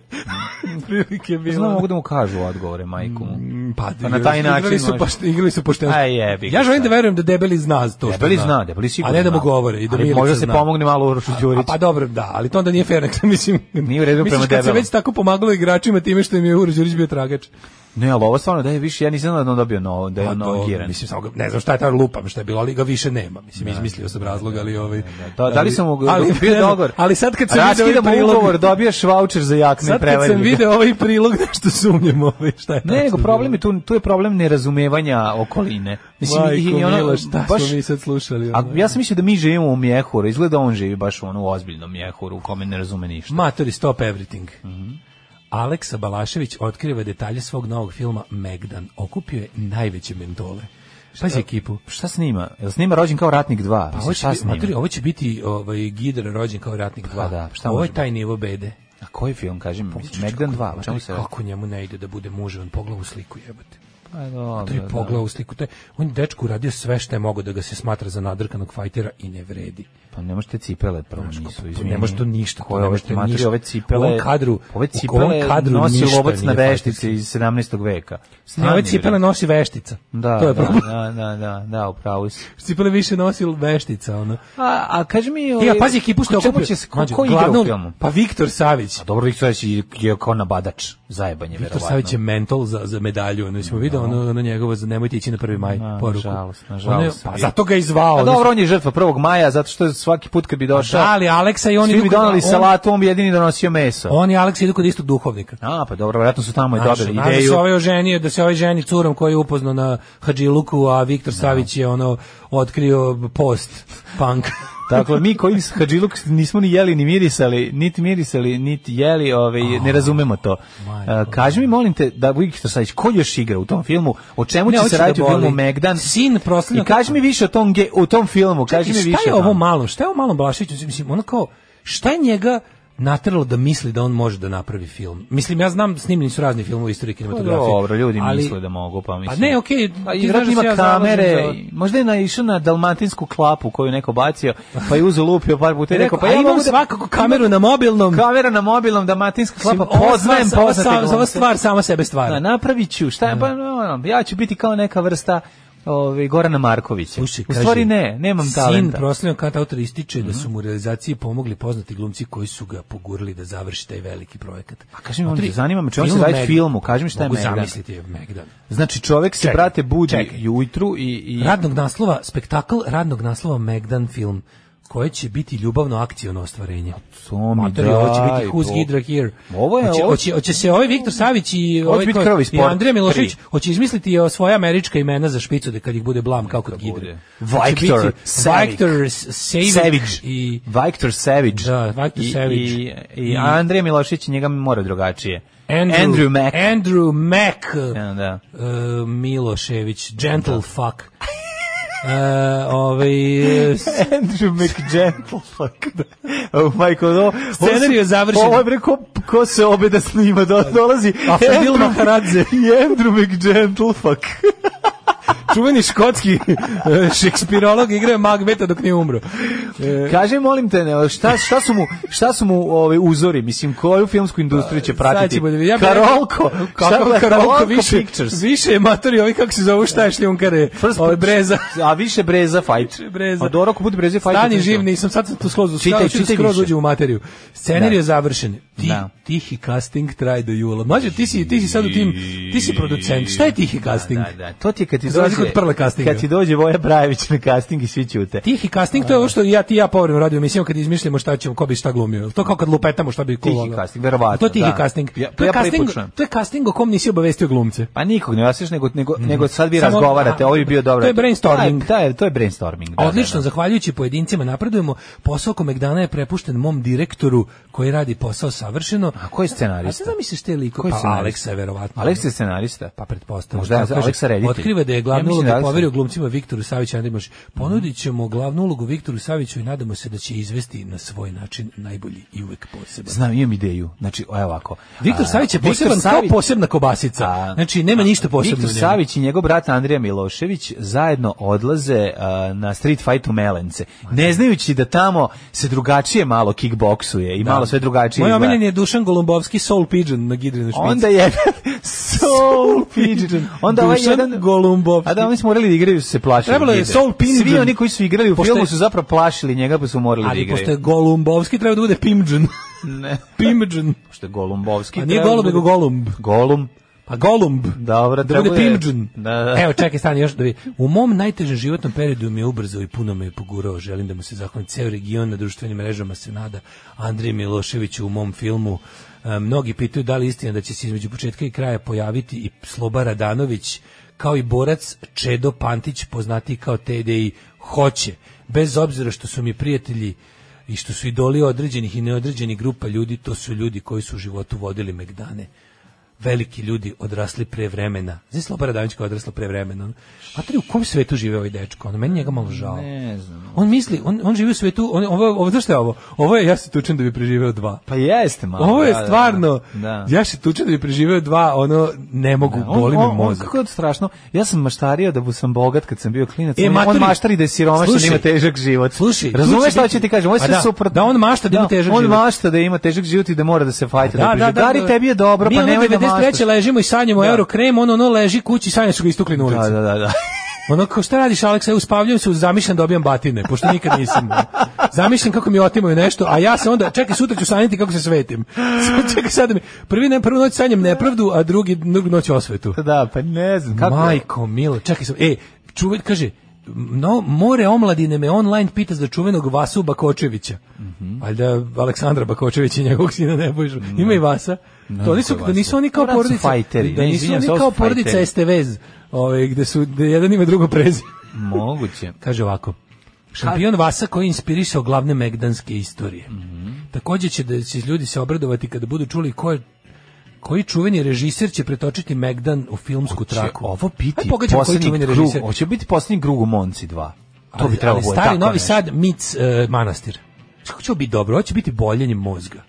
Speaker 6: Prilike je bilo.
Speaker 7: Znam, mogu da mu kažu odgovore, majku mu.
Speaker 6: Pa,
Speaker 7: Pa na taj
Speaker 6: igrali
Speaker 7: način
Speaker 6: su
Speaker 7: može.
Speaker 6: pošte, igrali su pošteno.
Speaker 7: Aj, jebi ga,
Speaker 6: ja želim
Speaker 7: šta
Speaker 6: da
Speaker 7: je.
Speaker 6: verujem da debeli zna to. što
Speaker 7: Debeli zna, debeli sigurno
Speaker 6: A ne da mu
Speaker 7: zna.
Speaker 6: govore i da
Speaker 7: Ali
Speaker 6: Milica
Speaker 7: možda se
Speaker 6: zna.
Speaker 7: pomogne malo Urošu
Speaker 6: A,
Speaker 7: Đuriću.
Speaker 6: pa dobro, da, ali to onda nije fair, nek- mislim.
Speaker 7: Nije u redu
Speaker 6: Misliš
Speaker 7: prema
Speaker 6: kad se
Speaker 7: debelom.
Speaker 6: već tako pomagalo igračima time što im je Uroš Đurić bio tragač.
Speaker 7: Ne, ali ovo stvarno da je više, ja nisam znao da je on dobio no, da je on nogiran.
Speaker 6: Pa mislim, samo ga, ne znam šta je ta lupam, šta je bilo, ali ga više nema. Mislim, izmislio sam razlog, ali ovaj...
Speaker 7: Da, da li sam mu ali, bio
Speaker 6: ne znam,
Speaker 7: dogovor?
Speaker 6: Ali sad kad sam vidio ovaj
Speaker 7: Raskidamo
Speaker 6: prilog...
Speaker 7: ugovor, dobijaš voucher za jakne i
Speaker 6: Sad kad
Speaker 7: prevarili.
Speaker 6: sam
Speaker 7: ga.
Speaker 6: video ovaj prilog, nešto sumnjam ovaj, šta je
Speaker 7: Ne,
Speaker 6: tačno
Speaker 7: nego problem
Speaker 6: bilo.
Speaker 7: je tu, tu je problem nerazumevanja okoline.
Speaker 6: Majko mila, šta smo mi sad slušali?
Speaker 7: ono, a,
Speaker 6: ono?
Speaker 7: ja sam mislio da mi živimo u mjehuru, izgleda on živi baš u onu ozbiljnom mjehuru u kome ne razume ništa.
Speaker 6: Matori stop everything.
Speaker 7: Mhm.
Speaker 6: Aleksa Balašević otkriva detalje svog novog filma Megdan. Okupio je najveće mentole. Pazi ekipu.
Speaker 7: Šta snima? Jel snima rođen kao ratnik 2?
Speaker 6: Pa
Speaker 7: Mislim,
Speaker 6: ovo će,
Speaker 7: šta
Speaker 6: biti,
Speaker 7: snima?
Speaker 6: maturi, ovo će biti ovaj, Gider rođen kao ratnik 2.
Speaker 7: Pa da, šta
Speaker 6: ovo je
Speaker 7: možemo?
Speaker 6: taj nivo bede.
Speaker 7: A koji film, kažem, Megdan 2, o čemu se radi?
Speaker 6: Kako njemu ne ide da bude muž, on pogleda u sliku jebote.
Speaker 7: Pa
Speaker 6: A to je
Speaker 7: dobro,
Speaker 6: pogleda
Speaker 7: da.
Speaker 6: u sliku. To je, on je dečku radio sve što je mogo da ga se smatra za nadrkanog fajtera i ne vredi.
Speaker 7: Pa ne možete cipele prvo nisu, izvini.
Speaker 6: Ne može to ništa.
Speaker 7: Koje
Speaker 6: to ne
Speaker 7: ove
Speaker 6: može to
Speaker 7: šmatri,
Speaker 6: ništa.
Speaker 7: ove
Speaker 6: U
Speaker 7: cipele,
Speaker 6: ovom kadru,
Speaker 7: ove
Speaker 6: u ovom
Speaker 7: cipele
Speaker 6: kadru
Speaker 7: nosi
Speaker 6: ništa
Speaker 7: lovac na
Speaker 6: nije
Speaker 7: veštici iz 17. veka.
Speaker 6: Ne, ove
Speaker 7: Stani,
Speaker 6: cipele
Speaker 7: bre.
Speaker 6: nosi veštica.
Speaker 7: Da,
Speaker 6: to je
Speaker 7: da,
Speaker 6: problem.
Speaker 7: da, da, da, da, upravo si.
Speaker 6: Cipele više nosi veštica, ono.
Speaker 7: A, a kaži mi...
Speaker 6: E, a pazi ekipu što je
Speaker 7: ko čemu
Speaker 6: okupio.
Speaker 7: će se- Ko,
Speaker 6: Mađo,
Speaker 7: ko igra u
Speaker 6: glavnom-
Speaker 7: filmu?
Speaker 6: Pa Viktor Savić.
Speaker 7: A dobro, Viktor Savić je kao nabadač, zajebanje,
Speaker 6: Viktor
Speaker 7: verovatno.
Speaker 6: Savić je mentol za, za medalju, ono smo videli, ono, ono njegovo za nemojte ići na 1. maj
Speaker 7: Na,
Speaker 6: poruku.
Speaker 7: Nažalost,
Speaker 6: Ono je-
Speaker 7: nažalost.
Speaker 6: pa zato ga je zvao.
Speaker 7: A
Speaker 6: ono
Speaker 7: dobro, on je žrtva 1. maja, zato što svaki put kad bi došao...
Speaker 6: Pa Da, ali Aleksa i oni
Speaker 7: Svi bi
Speaker 6: idu kod-
Speaker 7: donali
Speaker 6: on-
Speaker 7: salatu, on bi jedini donosio meso.
Speaker 6: On i Aleks idu kod istog duhovnika.
Speaker 7: A, pa dobro, vjerojatno su tamo i
Speaker 6: Znaš,
Speaker 7: dobili
Speaker 6: znaš da
Speaker 7: ideju.
Speaker 6: se ovaj oženio, da se ovaj ženi curom koji je upoznao na Hadžiluku, a Viktor Savić je ono otkrio post punk.
Speaker 7: Dakle, mi koji s Hadžiluk nismo ni jeli, ni mirisali, niti mirisali, niti jeli, ovaj, ne razumemo to.
Speaker 6: Ah, Majko.
Speaker 7: Uh, kaži mi, molim te, da Viktor Savić, ko još igra u tom filmu? O čemu
Speaker 6: Ne,
Speaker 7: će
Speaker 6: hoće
Speaker 7: se
Speaker 6: da
Speaker 7: raditi u
Speaker 6: boli.
Speaker 7: filmu Megdan?
Speaker 6: Sin proslavlja-
Speaker 7: I kaži mi više o tom, ge, o tom filmu, kaži
Speaker 6: I
Speaker 7: mi
Speaker 6: šta
Speaker 7: više.
Speaker 6: je ovo
Speaker 7: tamo.
Speaker 6: malo? Šta je ovo malo Blašiću? Mislim, ono kao, šta je njega natralo da misli da on može da napravi film? Mislim, ja znam, snimljeni su razni filmovi istorije kinematografije.
Speaker 7: Pa Dobro, ljudi
Speaker 6: ali-
Speaker 7: misle da mogu, pa mislim.
Speaker 6: ne, okej,
Speaker 7: Pa
Speaker 6: ti
Speaker 7: i
Speaker 6: znaš da
Speaker 7: ima
Speaker 6: se ja zalažem
Speaker 7: kamere,
Speaker 6: za-
Speaker 7: i možda je naišao na dalmatinsku klapu koju je neko bacio, pa je uzeo lupio par puta i rekao, pa
Speaker 6: E, a
Speaker 7: ja
Speaker 6: imam
Speaker 7: mogu da-
Speaker 6: svakako kameru na mobilnom.
Speaker 7: kamera na mobilnom, dalmatinska klapa,
Speaker 6: Mislim, ova
Speaker 7: poznajem
Speaker 6: stvar- ova
Speaker 7: poznate
Speaker 6: stvar-
Speaker 7: glumce.
Speaker 6: Ova stvar sama sebe stvara.
Speaker 7: Da, napravit ću, šta je, pa, no, no, ja ću biti kao neka vrsta ovaj, Gorana Markovića.
Speaker 6: Slušaj,
Speaker 7: U
Speaker 6: kaže,
Speaker 7: stvari ne, nemam
Speaker 6: Sin
Speaker 7: talenta. Mhm.
Speaker 6: proslavljenog kanta autor ističe da su mu u realizaciji pomogli poznati glumci koji su ga pogurili da završi taj veliki projekat. A
Speaker 7: kaži mi, molim te, zanima me, čemu se radi filmu, kaži mi šta je Megdan.
Speaker 6: Mogu zamisliti je Megdan.
Speaker 7: Znači čovek se,
Speaker 6: Čekaj,
Speaker 7: brate, budi
Speaker 6: čekaj.
Speaker 7: jutru i... i
Speaker 6: Radnog naslova, spektakl radnog naslova Megdan film koje će biti ljubavno akciono ostvarenje.
Speaker 7: to Pa, mi
Speaker 6: Mater,
Speaker 7: daj,
Speaker 6: ovo će biti Who's
Speaker 7: bo-
Speaker 6: Hydra Here.
Speaker 7: Ovo je-
Speaker 6: Hoće,
Speaker 7: ovo-
Speaker 6: hoće, hoće se ovaj Viktor Savić i, ovaj
Speaker 7: biti
Speaker 6: ko-
Speaker 7: krvavi
Speaker 6: i
Speaker 7: sport
Speaker 6: Andrija Milošević
Speaker 7: tri.
Speaker 6: hoće izmisliti o svoja američka imena za špicu da kad ih bude blam kao kod
Speaker 7: bude.
Speaker 6: Hidre.
Speaker 7: Viktor Savić.
Speaker 6: Viktor Savić.
Speaker 7: Savić.
Speaker 6: I,
Speaker 7: Viktor Savić.
Speaker 6: da, Viktor
Speaker 7: I,
Speaker 6: Savić.
Speaker 7: i, i Andrija Milošić njega mora drugačije.
Speaker 6: Andrew,
Speaker 7: Andrew Mack.
Speaker 6: Andrew Mack.
Speaker 7: Ja, da.
Speaker 6: Uh, Milošević. Gentle fuck. Uh, ovaj, eh,
Speaker 7: Andrew McGentlefuck. oh, majko, ovo... ovo su-
Speaker 6: Scenarij je završen.
Speaker 7: Ovo je bre, ko, ko se obe da snima, do, dolazi...
Speaker 6: A Fadil
Speaker 7: Andrew-
Speaker 6: Maharadze.
Speaker 7: I Andrew McGentlefuck.
Speaker 6: čuveni škotski eh, šekspirolog igrao je Magbeta dok nije umro. E,
Speaker 7: Kaže, molim te, ne, šta, šta su mu, šta su mu ove, uzori? Mislim, koju filmsku industriju će
Speaker 6: Sad
Speaker 7: pratiti?
Speaker 6: ćemo da vidimo. Ja bih rekao-
Speaker 7: Karolko! šta
Speaker 6: Kako
Speaker 7: gleda-
Speaker 6: Karolko više,
Speaker 7: Pictures.
Speaker 6: više je matori ovi kako se zovu šta je šljunkare,
Speaker 7: First
Speaker 6: ovaj breza.
Speaker 7: A više breza fight.
Speaker 6: Breza.
Speaker 7: A dobro, ako bude breze fight...
Speaker 6: Stani živ, nisam, sad sam tu skroz
Speaker 7: Čitaj,
Speaker 6: čitaj, čitaj
Speaker 7: čitaj
Speaker 6: skroz
Speaker 7: više.
Speaker 6: uđem u materiju. Scenarij
Speaker 7: Da.
Speaker 6: je završen. Ti,
Speaker 7: Da.
Speaker 6: Tihi casting traje do jula. Mlađe, ti si, ti si sad u tim, ti si producent. Šta je tihi casting?
Speaker 7: Da, da, to ti je kad ti
Speaker 6: Za razliku
Speaker 7: dođe...
Speaker 6: od prle castinga.
Speaker 7: Kad ti dođe Voja Brajević na casting i svi ćute.
Speaker 6: Tihi casting, to je ovo što ja ti i ja povremeno radio emisijama kad izmišljamo šta ćemo, ko bi šta glumio. To kao kad lupetamo šta bi ko
Speaker 7: Tihi
Speaker 6: volao.
Speaker 7: casting, verovatno,
Speaker 6: To je tihi
Speaker 7: da.
Speaker 6: casting.
Speaker 7: Ja-
Speaker 6: to, je
Speaker 7: ja prvi
Speaker 6: casting
Speaker 7: put čujem.
Speaker 6: to je casting o kom nisi obavestio glumce.
Speaker 7: Pa nikog ne vasiš, nego, nego, nego sad vi
Speaker 6: Mhm. Samo-
Speaker 7: razgovarate,
Speaker 6: a,
Speaker 7: ovo je bio dobro.
Speaker 6: to je brainstorming.
Speaker 7: Da, da, to je brainstorming. da, da,
Speaker 6: Odlično,
Speaker 7: da.
Speaker 6: zahvaljujući pojedincima napredujemo. Posao oko Megdana je prepušten mom direktoru koji radi posao savršeno.
Speaker 7: A ko je
Speaker 6: A ti
Speaker 7: scenarista?
Speaker 6: zamisliš te likove?
Speaker 7: Ko je
Speaker 6: Pa
Speaker 7: scenarista?
Speaker 6: Aleksa, verovatno.
Speaker 7: Aleks je scenarista.
Speaker 6: Pa pretpostavljam.
Speaker 7: Možda je
Speaker 6: Tako kaže,
Speaker 7: Aleksa reditelj.
Speaker 6: Otkriva da je glavnu
Speaker 7: Ja mislim
Speaker 6: ulogu
Speaker 7: da je Aleksa-
Speaker 6: poverio glumcima Viktoru Saviću Andrimaš. Ponudit ćemo glavnu ulogu Viktoru Saviću i nadamo se da će izvesti na svoj način najbolji i uvek poseban.
Speaker 7: Znam, imam ideju. Znači, evo ovako.
Speaker 6: Viktor
Speaker 7: A,
Speaker 6: Savić je
Speaker 7: Viktor
Speaker 6: poseban
Speaker 7: Savić-
Speaker 6: kao posebna kobasica.
Speaker 7: A,
Speaker 6: znači, nema ništa posebno u
Speaker 7: Viktor
Speaker 6: njemu.
Speaker 7: Savić i njegov brat Andrija Milošević zajedno odlaze a, na street fight u Melence, ne znajući da tamo se drugačije malo kickboksuje i malo sve drugačije.
Speaker 6: Moj
Speaker 7: izgleda.
Speaker 6: omiljen je Dušan Golumbovski, Soul Pigeon na Gidrinu špici.
Speaker 7: Onda je Soul Pigeon. Onda ovaj
Speaker 6: Dušan
Speaker 7: jedan
Speaker 6: Golumbovski.
Speaker 7: A da oni su morali da igraju, su se plašili.
Speaker 6: Trebalo je
Speaker 7: Gide.
Speaker 6: Soul Pigeon.
Speaker 7: Svi oni koji su igrali u
Speaker 6: Pošto je-
Speaker 7: filmu su zapravo plašili njega, pa su morali da
Speaker 6: Ali
Speaker 7: igraju.
Speaker 6: pošto je Golumbovski, treba da bude Pimđan.
Speaker 7: Ne.
Speaker 6: Pimđan.
Speaker 7: Pošto je Golumbovski.
Speaker 6: Pa nije
Speaker 7: treba
Speaker 6: Golub,
Speaker 7: da bude-
Speaker 6: nego Golumb.
Speaker 7: Golum.
Speaker 6: Pa Golumb.
Speaker 7: Dobro,
Speaker 6: da bude
Speaker 7: treba je-
Speaker 6: Pimđan.
Speaker 7: Da, da.
Speaker 6: Evo, čekaj, stani još da vi. U mom najtežem životnom periodu mi je ubrzao i puno me je pogurao. Želim da mu se zahvalim ceo region na društvenim mrežama se nada Andrije Miloševiću u mom filmu. E, Mnogi pitaju da li je istina da će se između početka i kraja pojaviti i Sloba Radanović kao i borac Čedo Pantić poznati kao TDI hoće. Bez obzira što su mi prijatelji i što su idoli određenih i neodređenih grupa ljudi, to su ljudi koji su u životu vodili Megdane. veliki ljudi odrasli pre vremena. Znaš Slobara Davić koja je odrasla pre vremena. A tri u kom svetu žive ovaj dečko? Ono, meni njega malo žao.
Speaker 7: Ne znam.
Speaker 6: On misli, on, on živi u svetu, on, ovo, ovo, znaš šta je ovo? Ovo je, ja se tučem da bi preživeo dva.
Speaker 7: Pa jeste malo.
Speaker 6: Ovo je
Speaker 7: da, da,
Speaker 6: stvarno,
Speaker 7: da.
Speaker 6: ja se tučem da bi preživeo dva, ono, ne mogu, boli me
Speaker 7: on, on,
Speaker 6: mozak.
Speaker 7: kako je strašno. Ja sam maštario da bu sam bogat kad sam bio klinac.
Speaker 6: E,
Speaker 7: on,
Speaker 6: maturi-
Speaker 7: on maštari da je siromašan, da
Speaker 6: Slušaj.
Speaker 7: ima težak život.
Speaker 6: Slušaj, tu će
Speaker 7: Razumeš šta
Speaker 6: biti-
Speaker 7: ću ti kažem? Ovo je
Speaker 6: Pa
Speaker 7: sve
Speaker 6: da,
Speaker 7: super.
Speaker 6: da on mašta da ima težak
Speaker 7: On
Speaker 6: život.
Speaker 7: mašta da ima težak život i da mora da se fajta. Da, da, da,
Speaker 6: da.
Speaker 7: tebi je dobro,
Speaker 6: Mi
Speaker 7: pa
Speaker 6: ono
Speaker 7: nemoj da maštaš.
Speaker 6: 93. ležimo i sanjamo da. euro krem, ono ono leži kući i sanja su ga istukli na ulici.
Speaker 7: Da, da, da, da.
Speaker 6: Ono kao šta radiš Aleksa, ja uspavljam se, zamišljam da dobijam batine, pošto nikad nisam. zamišljam kako mi otimaju nešto, a ja se onda, čekaj, sutra ću sanjati kako se svetim. Sad, čekaj, sad da mi, prvi, ne, prvu noć sanjam nepravdu, a drugi, drugu noć osvetu.
Speaker 7: Da, pa ne znam. Kako?
Speaker 6: Majko, milo, čekaj sam, e, čuvaj, kaže, no, more omladine me online pita za čuvenog Vasu Bakočevića.
Speaker 7: Mhm.
Speaker 6: Valjda Aleksandra Bakočevića i njegovog sina Nebojšu. Ima i Vasa. to nisu,
Speaker 7: ko je
Speaker 6: da nisu
Speaker 7: Vasa?
Speaker 6: oni kao
Speaker 7: Moram su
Speaker 6: porodica.
Speaker 7: fajteri.
Speaker 6: Da
Speaker 7: Ne,
Speaker 6: nisu
Speaker 7: izvinjam
Speaker 6: oni
Speaker 7: se, ovo
Speaker 6: kao
Speaker 7: su
Speaker 6: porodica
Speaker 7: fajteri.
Speaker 6: Estevez. Ovaj, gde su, gde jedan ima drugo prezime.
Speaker 7: Moguće.
Speaker 6: Kaže ovako. Šampion Vasa koji je inspirisao glavne megdanske istorije. Takođe će da će ljudi se obradovati kada budu čuli ko je koji čuveni režiser će pretočiti Megdan u filmsku traku.
Speaker 7: Ovo biti
Speaker 6: Aj, pogađam koji čuveni
Speaker 7: poslednji krug.
Speaker 6: režiser.
Speaker 7: Hoće biti poslednji krug u Monci 2. To bi
Speaker 6: Ali-
Speaker 7: trebalo
Speaker 6: ali
Speaker 7: bude
Speaker 6: Stari
Speaker 7: tako
Speaker 6: Novi
Speaker 7: nešto.
Speaker 6: Sad, Mic, e, Manastir. Kako će ovo biti dobro? Ovo će biti boljenje mozga.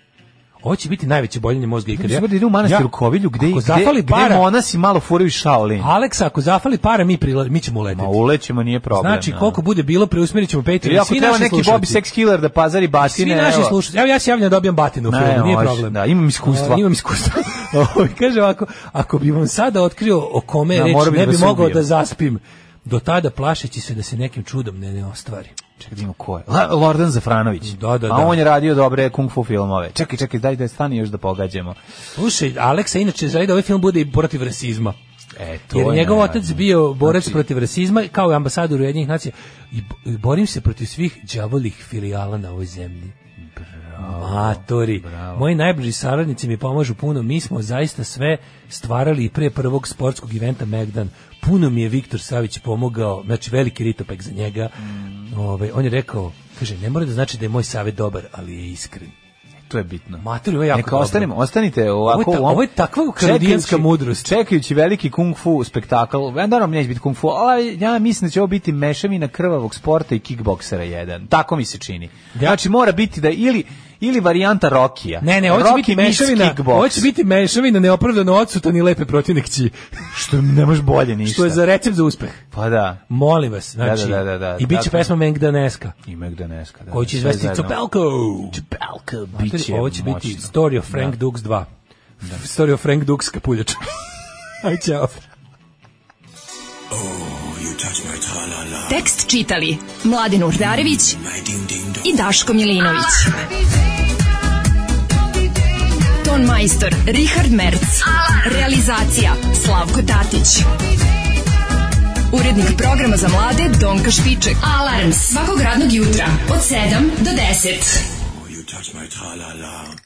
Speaker 6: Ovo će biti najveće boljenje mozga ikad.
Speaker 7: Mislim da ide u manastir u Kovilju gde,
Speaker 6: ako
Speaker 7: gde,
Speaker 6: zafali
Speaker 7: gde
Speaker 6: para,
Speaker 7: monasi malo furaju Shaolin.
Speaker 6: Aleksa, ako zafali para, mi, prila- mi ćemo uletiti.
Speaker 7: Ma ulećemo, nije problem.
Speaker 6: Znači,
Speaker 7: da.
Speaker 6: koliko bude bilo, preusmjerit ćemo Patreon.
Speaker 7: Ili ako
Speaker 6: Svi
Speaker 7: treba
Speaker 6: naši
Speaker 7: neki
Speaker 6: slušalci-
Speaker 7: Bobby Sex Killer da pazari
Speaker 6: Svi
Speaker 7: batine,
Speaker 6: naši
Speaker 7: evo.
Speaker 6: slušaju. Evo ja se javljam da dobijam batinu u
Speaker 7: Ne,
Speaker 6: filmu, nije
Speaker 7: može,
Speaker 6: problem.
Speaker 7: da, imam iskustva.
Speaker 6: A, imam iskustva. Ovaj, Kaže ovako, ako bi vam sada otkrio o kome je
Speaker 7: Da,
Speaker 6: reč,
Speaker 7: morao bi
Speaker 6: ne
Speaker 7: da
Speaker 6: bi
Speaker 7: se
Speaker 6: mogao
Speaker 7: ubijem.
Speaker 6: da zaspim. Do tada plašeći se da se nekim čudom ne, ne ostvari.
Speaker 7: Čekaj, da vidimo ko je. La- Lordan Zafranović.
Speaker 6: Da, da,
Speaker 7: A
Speaker 6: da.
Speaker 7: on je radio dobre kung fu filmove. Čekaj, čekaj, daj da stani još da pogađamo.
Speaker 6: Slušaj, Aleksa inače želi da ovaj film bude i protiv rasizma.
Speaker 7: E, to
Speaker 6: Jer je njegov
Speaker 7: je nevjerojatno.
Speaker 6: otac bio borac
Speaker 7: Znači-
Speaker 6: protiv rasizma, kao i ambasador Ujedinjenih nacija. I bo- i borim se protiv svih đavolih filijala na ovoj zemlji. Matori, moji najbliži saradnici mi pomažu puno, mi smo zaista sve stvarali i pre prvog sportskog eventa Megdan. Puno mi je Viktor Savić pomogao, znači veliki ritopek za njega.
Speaker 7: Mm.
Speaker 6: Ovaj, on je rekao, kaže, ne mora da znači da je moj savjet dobar, ali je iskren.
Speaker 7: To je bitno.
Speaker 6: Matori, ovo je jako
Speaker 7: Neka
Speaker 6: dobro.
Speaker 7: ostanemo, ostanite
Speaker 6: Ovo je
Speaker 7: ovako.
Speaker 6: ta-
Speaker 7: u ovom-
Speaker 6: ovo je takva
Speaker 7: čekajući-
Speaker 6: kanadijanska mudrost.
Speaker 7: Čekajući veliki kung fu spektakl, ja naravno neće biti kung fu, ali ja mislim da će ovo biti mešavina krvavog sporta i kickboksera jedan. Tako mi se čini. Znači mora biti da ili ili varijanta Rokija.
Speaker 6: Ne, ne, ovo će
Speaker 7: Rocky
Speaker 6: biti
Speaker 7: meets
Speaker 6: mešavina,
Speaker 7: kickboks.
Speaker 6: ovo će biti mešavina neopravdano odsutan i lepe protivnik će,
Speaker 7: što ne možeš bolje ništa.
Speaker 6: što je za recept za uspeh.
Speaker 7: Pa da.
Speaker 6: Molim vas, znači,
Speaker 7: da, da, da,
Speaker 6: i bit će
Speaker 7: dakle.
Speaker 6: pesma Mengdaneska,
Speaker 7: I Megdaneska. Da,
Speaker 6: koju će
Speaker 7: sve
Speaker 6: izvesti
Speaker 7: zajedno.
Speaker 6: Copelko.
Speaker 7: Copelko,
Speaker 6: Matori,
Speaker 7: bit će
Speaker 6: Ovo će biti
Speaker 7: moćno.
Speaker 6: Story of Frank Dukes 2. Story of Frank Dukes kapuljač. Aj, čao.
Speaker 3: Tekst čitali Mladin Urdarević i Daško Milinović. Ton majstor Richard Merc. Realizacija Slavko Tatić. Urednik programa za mlade Donka Špiček. Alarms svakog radnog jutra od 7 do 10.